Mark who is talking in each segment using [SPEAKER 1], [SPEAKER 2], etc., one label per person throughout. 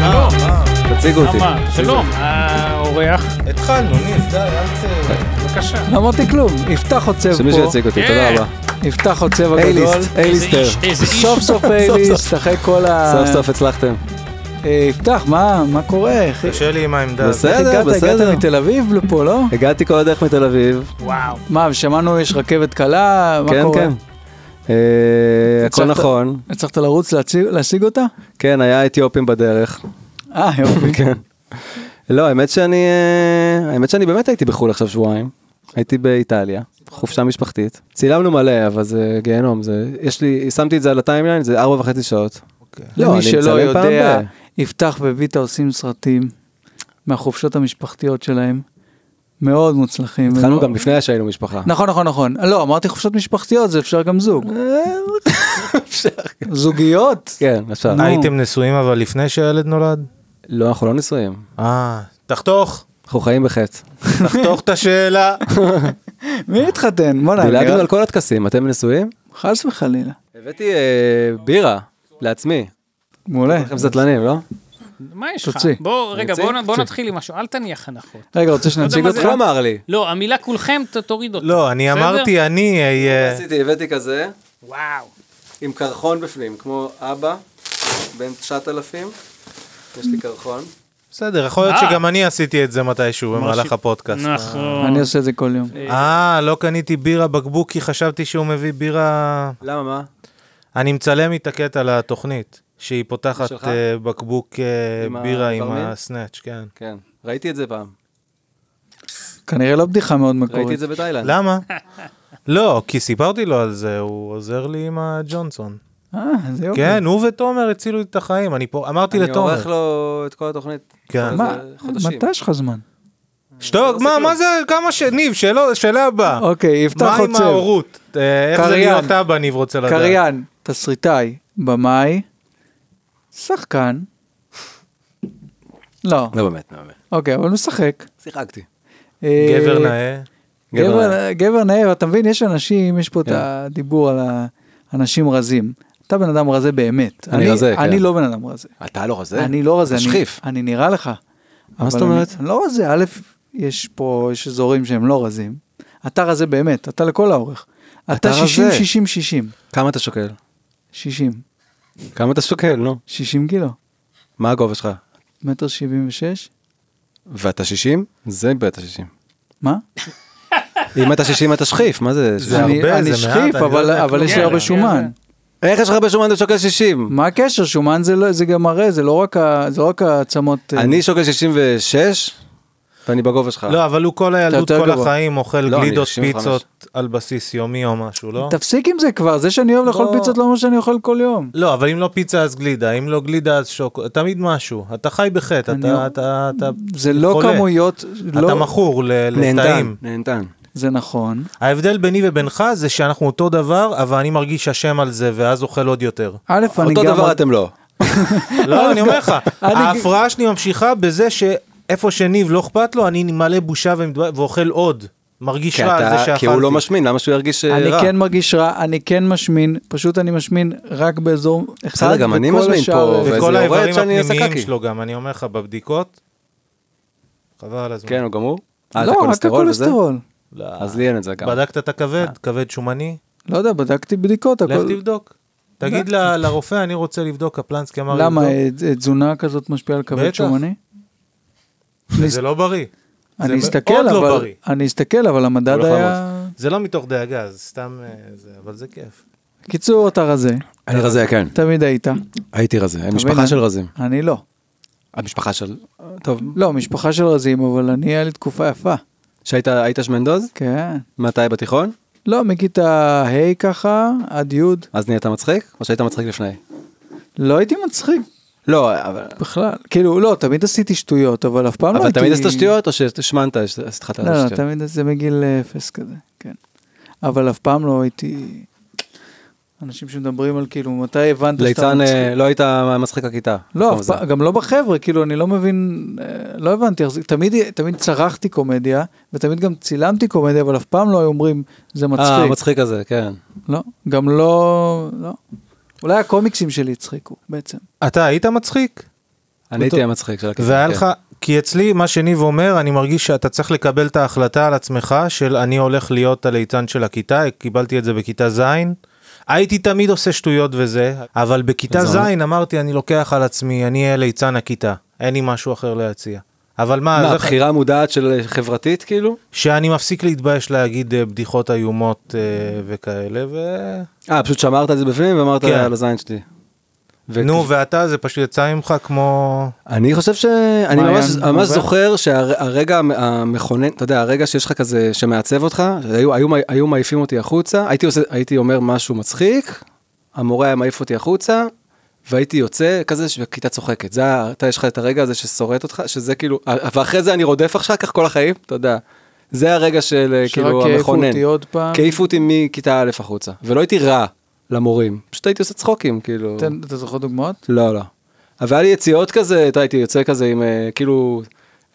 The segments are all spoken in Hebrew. [SPEAKER 1] אה,
[SPEAKER 2] מדאיג אותי.
[SPEAKER 3] מה? שלום, האורח,
[SPEAKER 1] אה. התחלנו, ניב, די, אל ת...
[SPEAKER 3] בבקשה.
[SPEAKER 2] לא אמרתי כלום, יפתח עוצב
[SPEAKER 4] שמישהו יציג
[SPEAKER 2] פה,
[SPEAKER 4] אותי, תודה
[SPEAKER 3] כן.
[SPEAKER 4] רבה.
[SPEAKER 2] יפתח עוצב הגדול.
[SPEAKER 4] אייליסט,
[SPEAKER 3] איזה
[SPEAKER 4] אייליסטר.
[SPEAKER 3] איש, איזה איש.
[SPEAKER 2] סוף סוף אייליסט, אחרי כל ה...
[SPEAKER 4] סוף סוף הצלחתם.
[SPEAKER 2] אה, יפתח, מה מה קורה? איך-
[SPEAKER 1] קשה לי עם העמדה הזאת.
[SPEAKER 2] איך
[SPEAKER 4] בסדר,
[SPEAKER 2] הגעת?
[SPEAKER 4] בסדר.
[SPEAKER 2] הגעת מתל אביב לפה, לא?
[SPEAKER 4] הגעתי כל הדרך מתל אביב,
[SPEAKER 3] וואו.
[SPEAKER 2] מה, ושמענו יש רכבת קלה, מה
[SPEAKER 4] כן
[SPEAKER 2] קורה?
[SPEAKER 4] כן. אה, הכל
[SPEAKER 2] הצלחת?
[SPEAKER 4] נכון,
[SPEAKER 2] הצלחת לרוץ להציג- להשיג אותה?
[SPEAKER 4] כן היה אתיופים בדרך,
[SPEAKER 2] אה, יופי.
[SPEAKER 4] כן. לא האמת שאני, אה, האמת שאני באמת הייתי בחו"ל עכשיו שבועיים, הייתי באיטליה, חופשה משפחתית, צילמנו מלא אבל זה גיהנום, זה, יש לי, שמתי את זה על הטיימליין, זה ארבע וחצי שעות. לא,
[SPEAKER 2] למי
[SPEAKER 4] אני
[SPEAKER 2] שלא
[SPEAKER 4] מצלם פעם
[SPEAKER 2] יודע,
[SPEAKER 4] ב-
[SPEAKER 2] יפתח וביטה עושים סרטים מהחופשות המשפחתיות שלהם, מאוד מוצלחים.
[SPEAKER 4] התחלנו
[SPEAKER 2] הם-
[SPEAKER 4] גם לפני שהיינו משפחה.
[SPEAKER 2] נכון, נכון, נכון. לא, אמרתי חופשות משפחתיות, זה אפשר גם זוג.
[SPEAKER 4] אה,
[SPEAKER 2] זוגיות?
[SPEAKER 4] כן אפשר.
[SPEAKER 2] נו.
[SPEAKER 1] הייתם נשואים אבל לפני שהילד נולד?
[SPEAKER 4] לא אנחנו לא נשואים,
[SPEAKER 1] אה, תחתוך,
[SPEAKER 4] אנחנו חיים בחטא.
[SPEAKER 1] תחתוך את השאלה.
[SPEAKER 2] מי התחתן? בוא'נה,
[SPEAKER 4] דילגנו
[SPEAKER 2] נראה-
[SPEAKER 4] על כל הטקסים, אתם נשואים?
[SPEAKER 2] חס וחלילה.
[SPEAKER 4] הבאתי אה, בירה לעצמי.
[SPEAKER 2] מעולה.
[SPEAKER 4] לכם זטלנים, לא?
[SPEAKER 3] מה יש לך?
[SPEAKER 2] תוציא.
[SPEAKER 3] בוא, רגע,
[SPEAKER 4] יוצא?
[SPEAKER 3] בוא נ- בוא נתחיל עם משהו, אל תניח הנחות.
[SPEAKER 2] רגע, רוצה
[SPEAKER 4] לא
[SPEAKER 2] שנציג
[SPEAKER 3] מה
[SPEAKER 2] אותך?
[SPEAKER 3] זה-
[SPEAKER 4] הוא אמר לי.
[SPEAKER 3] לא, המילה כולכם, ת- תוריד אותה.
[SPEAKER 1] לא, אני
[SPEAKER 3] בסדר?
[SPEAKER 1] אמרתי, אני אה, אהיה...
[SPEAKER 4] עשיתי, הבאתי כזה,
[SPEAKER 3] וואו.
[SPEAKER 4] עם קרחון בפנים, כמו אבא, בן 9,000, יש לי קרחון.
[SPEAKER 1] בסדר, יכול להיות
[SPEAKER 3] אה.
[SPEAKER 1] שגם אני עשיתי את זה מתישהו במהלך הפודקאסט.
[SPEAKER 3] נכון.
[SPEAKER 2] אני עושה את זה כל יום.
[SPEAKER 1] אה, לא קניתי בירה בקבוק כי חשבתי שהוא מביא בירה...
[SPEAKER 4] למה, מה?
[SPEAKER 1] אני מצלם את הקטע לתוכנית, שהיא פותחת
[SPEAKER 4] שלך?
[SPEAKER 1] אה, בקבוק אה,
[SPEAKER 4] עם
[SPEAKER 1] בירה עם
[SPEAKER 4] הברמין?
[SPEAKER 1] הסנאץ', כן.
[SPEAKER 4] כן, ראיתי את זה פעם.
[SPEAKER 2] כנראה לא בדיחה מאוד
[SPEAKER 4] ראיתי
[SPEAKER 2] מקורית.
[SPEAKER 4] את זה בתאילנד.
[SPEAKER 1] למה? לא, כי סיפרתי לו על זה, הוא עוזר לי עם הג'ונסון.
[SPEAKER 2] אה, זה יופי.
[SPEAKER 1] כן, הוא ותומר הצילו לי את החיים, אני פה, אמרתי
[SPEAKER 4] אני עורך לא-
[SPEAKER 1] לתומר.
[SPEAKER 4] לו את כל התוכנית.
[SPEAKER 1] כן.
[SPEAKER 4] כל
[SPEAKER 2] מה,
[SPEAKER 4] איזה חודשים.
[SPEAKER 2] מתי יש לך זמן?
[SPEAKER 4] לא
[SPEAKER 1] שתוק, מה, מה זה, כמה ש... ניב, שאלה- שאלה הבאה.
[SPEAKER 2] אוקיי, יפתח
[SPEAKER 1] אה. מה עם
[SPEAKER 2] עוצב.
[SPEAKER 1] ההורות? אה, איך זה
[SPEAKER 2] קריין.
[SPEAKER 1] להיות אבא, ניב רוצה לדעת.
[SPEAKER 2] קריין, תסריטאי, במאי, שחקן. לא,
[SPEAKER 4] לא באמת, לא באמת.
[SPEAKER 2] אוקיי, אבל משחק.
[SPEAKER 4] שיחקתי.
[SPEAKER 2] אה,
[SPEAKER 1] גבר נאה.
[SPEAKER 2] גבר-
[SPEAKER 4] גבר
[SPEAKER 2] גבר נאה, אתה מבין, יש אנשים, יש פה את הדיבור על האנשים רזים. אתה בן אדם רזה באמת.
[SPEAKER 4] אני רזה,
[SPEAKER 2] אני
[SPEAKER 4] כן.
[SPEAKER 2] לא בן אדם רזה.
[SPEAKER 4] אתה לא רזה?
[SPEAKER 2] אני לא רזה.
[SPEAKER 4] אתה
[SPEAKER 2] אני-
[SPEAKER 4] שכיף.
[SPEAKER 2] אני נראה לך. אבל
[SPEAKER 4] זאת
[SPEAKER 2] אני-
[SPEAKER 4] אומרת?
[SPEAKER 2] אני לא רזה, א', יש פה, יש אזורים שהם לא רזים. אתה רזה באמת, אתה לכל האורך. אתה
[SPEAKER 4] רזה.
[SPEAKER 2] 60, 60, 60.
[SPEAKER 4] כמה אתה שוקל?
[SPEAKER 2] 60.
[SPEAKER 4] כמה אתה שוקל, נו?
[SPEAKER 2] 60 קילו.
[SPEAKER 4] מה הגובה שלך?
[SPEAKER 2] מטר שבעים ושש?
[SPEAKER 4] ואתה 60? זה בטח 60.
[SPEAKER 2] מה?
[SPEAKER 4] אם אתה 60 אתה שכיף, מה זה?
[SPEAKER 1] זה
[SPEAKER 2] אני-
[SPEAKER 1] הרבה,
[SPEAKER 2] אני
[SPEAKER 1] זה מעט,
[SPEAKER 2] שכיף,
[SPEAKER 1] אני לא
[SPEAKER 2] אבל-
[SPEAKER 1] יודע
[SPEAKER 2] אבל
[SPEAKER 1] כלום.
[SPEAKER 2] יש לי
[SPEAKER 3] כן,
[SPEAKER 2] הרבה
[SPEAKER 3] כן,
[SPEAKER 2] שומן.
[SPEAKER 4] איך יש לך בשומנים שוקל 60?
[SPEAKER 2] מה הקשר? שומן זה לא- זה גם הרי, זה לא רק ה- זה לא רק העצמות... אה,
[SPEAKER 4] אני שוקל 66, ואני בגובה שלך.
[SPEAKER 1] לא, אבל הוא כל הילדות,
[SPEAKER 2] יותר
[SPEAKER 1] כל
[SPEAKER 2] גבוה.
[SPEAKER 1] החיים אוכל
[SPEAKER 4] אה. לא, אני
[SPEAKER 1] גלידות
[SPEAKER 4] 65.
[SPEAKER 1] פיצות על בסיס יומי או משהו, לא?
[SPEAKER 2] תפסיק עם זה כבר, זה שאני אוהב לאכול
[SPEAKER 1] לא.
[SPEAKER 2] פיצות לא אומר שאני אוכל כל יום.
[SPEAKER 1] לא, אבל אם לא פיצה אז גלידה, אם לא גלידה אז שוקו, תמיד משהו. אתה חי בחטא,
[SPEAKER 2] אני- לא-
[SPEAKER 1] אתה- אתה... אתה-
[SPEAKER 2] זה לא
[SPEAKER 1] חולה.
[SPEAKER 2] כמויות,
[SPEAKER 1] אתה
[SPEAKER 2] לא,
[SPEAKER 1] מכור ל-
[SPEAKER 4] נהנתן,
[SPEAKER 1] לטעים.
[SPEAKER 4] נהנתן.
[SPEAKER 2] זה נכון,
[SPEAKER 1] ההבדל ביני ובינך זה שאנחנו אותו דבר, אבל אני מרגיש אשם על זה, ואז אוכל עוד יותר.
[SPEAKER 2] א', אני
[SPEAKER 4] אותו
[SPEAKER 2] גם,
[SPEAKER 4] דבר אתם לא.
[SPEAKER 1] לא, אני אומר לך,
[SPEAKER 2] אני-
[SPEAKER 1] ההפרעה שלי ממשיכה בזה שאיפה שניב לא אכפת לו, אני מלא בושה ומתבא- ואוכל עוד. מרגיש
[SPEAKER 4] כי
[SPEAKER 1] רע על זה
[SPEAKER 4] אתה-
[SPEAKER 1] שאכלתי.
[SPEAKER 4] כי הוא לא משמין, למה שהוא ירגיש אה,
[SPEAKER 2] אני
[SPEAKER 4] רע?
[SPEAKER 2] כן מרגיש רע, אני כן משמין, פשוט אני משמין רק באזור אחד,
[SPEAKER 4] בסדר, גם אני
[SPEAKER 2] וכל
[SPEAKER 4] מזמין
[SPEAKER 2] השאר-
[SPEAKER 4] פה, וזה
[SPEAKER 1] וכל
[SPEAKER 4] יורד
[SPEAKER 1] האיברים
[SPEAKER 4] שאני אעשה
[SPEAKER 1] הפנימיים
[SPEAKER 4] קקי.
[SPEAKER 1] שלו גם, אני אומר לך, בבדיקות. חבל על הזמן.
[SPEAKER 4] כן, הוא גמור. אה,
[SPEAKER 2] לא,
[SPEAKER 4] אתה
[SPEAKER 2] רק
[SPEAKER 4] קולסטרול וזה?
[SPEAKER 2] הקולסטרול,
[SPEAKER 1] לא.
[SPEAKER 4] אז לי אין את זה גם. אה.
[SPEAKER 1] בדקת את הכבד? כבד שומני?
[SPEAKER 2] לא יודע, בדקתי בדיקות,
[SPEAKER 1] לך
[SPEAKER 2] הכל,
[SPEAKER 1] תבדוק. תגיד
[SPEAKER 4] אה.
[SPEAKER 1] ל- לרופא, אני רוצה לבדוק, קפלנסקי אמר "לא." לבדוק.
[SPEAKER 2] למה, אה, תזונה כזאת משפיעה על כבד
[SPEAKER 1] בטח.
[SPEAKER 2] שומני?
[SPEAKER 1] זה לא בריא.
[SPEAKER 2] אני
[SPEAKER 1] מאוד
[SPEAKER 2] אסתכל,
[SPEAKER 1] לא
[SPEAKER 2] אבל,
[SPEAKER 1] בריא.
[SPEAKER 2] אני אסתל, אבל המדד
[SPEAKER 4] הולך
[SPEAKER 2] היה,
[SPEAKER 1] זה לא מתוך דאגה, זה סתם... אה, זה- אבל זה כיף.
[SPEAKER 2] קיצור, אתה רזה,
[SPEAKER 4] אני רזה, כן.
[SPEAKER 2] תמיד היית,
[SPEAKER 4] הייתי רזה,
[SPEAKER 2] מבין, אה?
[SPEAKER 4] משפחה של רזים.
[SPEAKER 2] אני לא,
[SPEAKER 4] המשפחה של... טוב.
[SPEAKER 2] לא, משפחה של רזים, אבל אני, היה לי תקופה יפה,
[SPEAKER 4] שהיית היית שמנדוז?
[SPEAKER 2] כן.
[SPEAKER 4] מתי בתיכון?
[SPEAKER 2] לא, מכיתה ה' ככה, עד י',
[SPEAKER 4] אז נהיית מצחיק? או שהיית מצחיק לפני?
[SPEAKER 2] לא הייתי מצחיק
[SPEAKER 4] לא, אבל...
[SPEAKER 2] בכלל. כאילו, לא, תמיד עשיתי שטויות, אבל אף פעם לא
[SPEAKER 4] אבל
[SPEAKER 2] הייתי...
[SPEAKER 4] תמיד עשית שטויות, או שהשמנת, התחלת
[SPEAKER 2] לא, לא,
[SPEAKER 4] לעשות שטויות?
[SPEAKER 2] תמיד זה מגיל אה, אפס כזה, כן. אבל אף פעם לא הייתי... אנשים שמדברים על כאילו, מתי הבנת שאתה
[SPEAKER 4] ליצן, אה,
[SPEAKER 2] מצחיק?
[SPEAKER 4] לא היית מצחיק הכיתה.
[SPEAKER 2] לא,
[SPEAKER 4] במקום
[SPEAKER 2] אף
[SPEAKER 4] זה.
[SPEAKER 2] פעם, גם לא בחבר'ה, כאילו, אני לא מבין, אה, לא הבנתי, איך זה- תמיד, תמיד צרחתי קומדיה, ותמיד גם צילמתי קומדיה, אבל אף פעם לא היו אומרים, זה
[SPEAKER 4] אה,
[SPEAKER 2] מצחיק.
[SPEAKER 4] המצחיק הזה, כן.
[SPEAKER 2] לא, גם לא, לא. אולי הקומיקסים שלי הצחיקו, בעצם.
[SPEAKER 1] אתה היית מצחיק?
[SPEAKER 4] אני הייתי המצחיק של הכיתה.
[SPEAKER 1] והיה
[SPEAKER 4] כן.
[SPEAKER 1] לך, כי אצלי, מה שניב אומר, אני מרגיש שאתה צריך לקבל את ההחלטה על עצמך של אני הולך להיות הליצן של הכיתה, קיבלתי את זה בכיתה ז', הייתי תמיד עושה שטויות וזה, אבל בכיתה ז'
[SPEAKER 4] אז
[SPEAKER 1] אמרתי, אני לוקח על עצמי, אני אהיה ליצן הכיתה, אין לי משהו אחר להציע. אבל מה,
[SPEAKER 4] מה,
[SPEAKER 1] אה, זה-
[SPEAKER 4] בחירה מודעת של חברתית כאילו?
[SPEAKER 1] שאני מפסיק להתבייש להגיד אה, בדיחות איומות אה, וכאלה, ו...
[SPEAKER 4] אה, פשוט שמרת את זה בפנים ואמרת
[SPEAKER 1] כן.
[SPEAKER 4] על הזין שלי. ו-
[SPEAKER 1] נו, ואתה, זה פשוט יצא ממך כמו...
[SPEAKER 4] אני חושב ש... אני
[SPEAKER 2] מעיין
[SPEAKER 4] ממש, ממש
[SPEAKER 2] עובר?
[SPEAKER 4] זוכר שהרגע המ- המכונן, אתה יודע, הרגע שיש לך כזה שמעצב אותך, שהיו- היו, היו מעיפים אותי החוצה, הייתי, עושה, הייתי אומר משהו מצחיק, המורה היה מעיף אותי החוצה, והייתי יוצא כזה והכיתה צוחקת. זה, ה- אתה, יש לך את הרגע הזה ששורט אותך, שזה כאילו, ואחרי זה אני רודף אחר כך כל החיים, אתה יודע. זה הרגע של
[SPEAKER 2] שרק
[SPEAKER 4] כאילו
[SPEAKER 2] העיפו
[SPEAKER 4] המכונן.
[SPEAKER 2] אותי עוד פעם.
[SPEAKER 4] כי העיפו אותי מכיתה א' החוצה, ולא הייתי רע למורים, פשוט הייתי עושה צחוקים, כאילו.
[SPEAKER 2] תן- אתה זוכר דוגמאות?
[SPEAKER 4] לא, לא. אבל היה לי יציאות כזה, אתה יודע, הייתי יוצא כזה עם, אה, כאילו,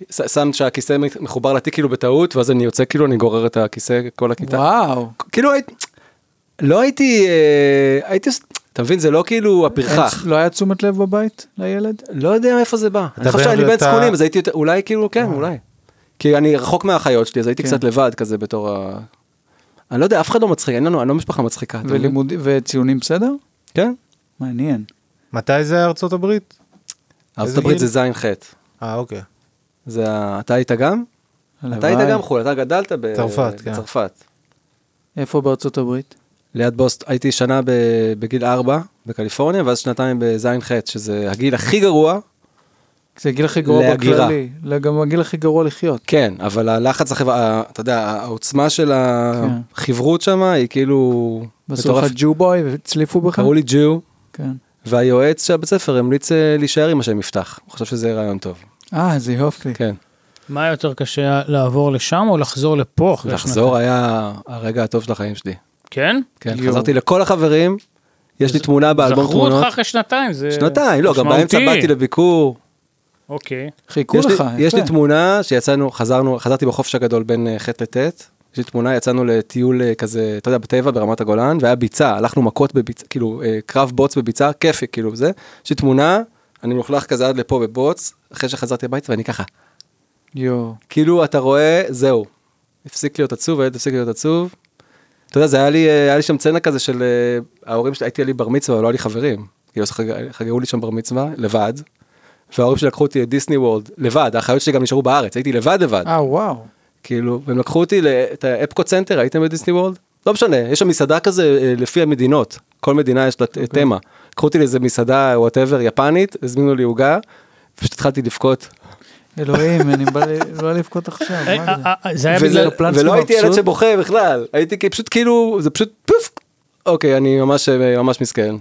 [SPEAKER 4] ש- שם שהכיסא מת- מחובר לתיק כאילו בטעות, ואז אני יוצא כאילו, אני גורר את הכיסא כל הכיתה.
[SPEAKER 2] וואו.
[SPEAKER 4] כאילו הייתי, לא הייתי, אה, הייתי, עוש- אתה מבין, זה לא כאילו הפרחח.
[SPEAKER 2] אין- לא היה תשומת לב בבית לילד?
[SPEAKER 4] לא יודע מאיפה זה בא. אני חושב
[SPEAKER 1] בן
[SPEAKER 4] שאני בן
[SPEAKER 1] ואתה-
[SPEAKER 4] צפונים, אז הייתי, יותר- אולי כאילו, כן, אולי. כי אני רחוק מהאחיות שלי, אז הייתי
[SPEAKER 2] כן.
[SPEAKER 4] קצת לבד כזה בתור ה... אני לא יודע, אף אחד לא מצחיק, אין לנו, אני לא משפחה מצחיקה. אתה מבין?
[SPEAKER 2] ולימוד- וציונים בסדר?
[SPEAKER 4] כן?
[SPEAKER 2] מעניין.
[SPEAKER 1] מתי זה ארצות הברית?
[SPEAKER 4] ארצות
[SPEAKER 1] איזה
[SPEAKER 4] הברית
[SPEAKER 1] גיל?
[SPEAKER 4] זה זין חטא.
[SPEAKER 1] אה, אוקיי.
[SPEAKER 4] זה ה- אתה היית גם? אתה
[SPEAKER 2] הלוואי.
[SPEAKER 4] היית גם חו"ל, אתה גדלת ב-
[SPEAKER 1] צרפת, כן.
[SPEAKER 4] בצרפת.
[SPEAKER 2] איפה בארצות הברית?
[SPEAKER 4] ליד בוסט, הייתי שנה ב- בגיל 4 בקליפורניה, ואז שנתיים בזין ח', שזה הגיל הכי גרוע,
[SPEAKER 2] זה הגיל הכי גרוע
[SPEAKER 4] להגירה.
[SPEAKER 2] בכללי. לא, גם הגיל הכי גרוע לחיות.
[SPEAKER 4] כן, אבל הלחץ החברה, אתה יודע, העוצמה של החברות שם היא כאילו...
[SPEAKER 2] בסוף
[SPEAKER 4] מטורף.
[SPEAKER 2] הג'ו בוי, הצליפו בך?
[SPEAKER 4] קראו לי ג'ו,
[SPEAKER 2] כן.
[SPEAKER 4] והיועץ של הבית ספר המליץ אה, להישאר עם השם יפתח. הוא חושב שזה רעיון טוב.
[SPEAKER 2] אה, איזה יופי.
[SPEAKER 4] כן.
[SPEAKER 3] מה יותר קשה לעבור לשם או לחזור לפה? אחרי
[SPEAKER 4] לחזור היה הרגע הטוב של החיים שלי.
[SPEAKER 3] שנתיים? כן?
[SPEAKER 4] כן,
[SPEAKER 2] יואו.
[SPEAKER 4] חזרתי לכל החברים, יש לי תמונה באלבום
[SPEAKER 3] זכרו אותך
[SPEAKER 4] תמונות.
[SPEAKER 3] אחרי שנתיים, זה
[SPEAKER 4] שנתיים, לא, גם באמצע
[SPEAKER 3] משמעותי.
[SPEAKER 4] באתי לביקור.
[SPEAKER 3] אוקיי.
[SPEAKER 2] חיכו
[SPEAKER 4] יש
[SPEAKER 2] לך,
[SPEAKER 4] לי, יש לי
[SPEAKER 2] יפה.
[SPEAKER 4] תמונה שיצאנו, חזרנו, חזרתי בחופש הגדול בין אה, ח' לט', יש לי תמונה, יצאנו לטיול אה, כזה, אתה יודע, בטבע ברמת הגולן, והיה ביצה, הלכנו מכות בביצה, כאילו אה, קרב בוץ בביצה, כיפי, כאילו זה. יש לי תמונה, אני מלוכלך כזה עד לפה בבוץ, אחרי שחזרתי הביתה ואני ככה,
[SPEAKER 2] יואו.
[SPEAKER 4] כאילו אתה רואה, זהו, הפסיק להיות עצוב, הילד הפסיק להיות עצוב. אתה יודע, זה היה לי, אה, היה לי שם צנה כזה של אה, ההורים שלי, הייתי לי בר מצווה, אבל לא היה לי חברים. כאילו, אז חג- חגגו לי שם בר מצווה, לבד. וההורים שלי לקחו אותי לדיסני וורלד, לבד, האחיות שלי גם נשארו בארץ, הייתי לבד לבד.
[SPEAKER 2] אה, וואו.
[SPEAKER 4] כאילו, והם לקחו אותי את האפקו צנטר, הייתם בדיסני וורלד? לא משנה, יש שם מסעדה כזה אה, לפי המדינות, כל מדינה יש לה okay. תמה. לקחו אותי לאיזה מסעדה, וואטאבר, יפנית, הזמינו לי עוגה, פשוט התחלתי לבכות.
[SPEAKER 2] אלוהים, אני בא ל- לא לבכות עכשיו,
[SPEAKER 3] אה,
[SPEAKER 2] מה זה?
[SPEAKER 3] אה, אה, זה היה
[SPEAKER 4] וזה- לא-
[SPEAKER 3] בגלל...
[SPEAKER 2] הפלנס
[SPEAKER 4] ולא
[SPEAKER 2] שלו
[SPEAKER 4] הייתי ילד
[SPEAKER 2] מבסוט?
[SPEAKER 4] שבוכה בכלל, הייתי כי- פשוט כאילו, זה פשוט פוף. אוקיי, אני ממש אה, ממש מסכן.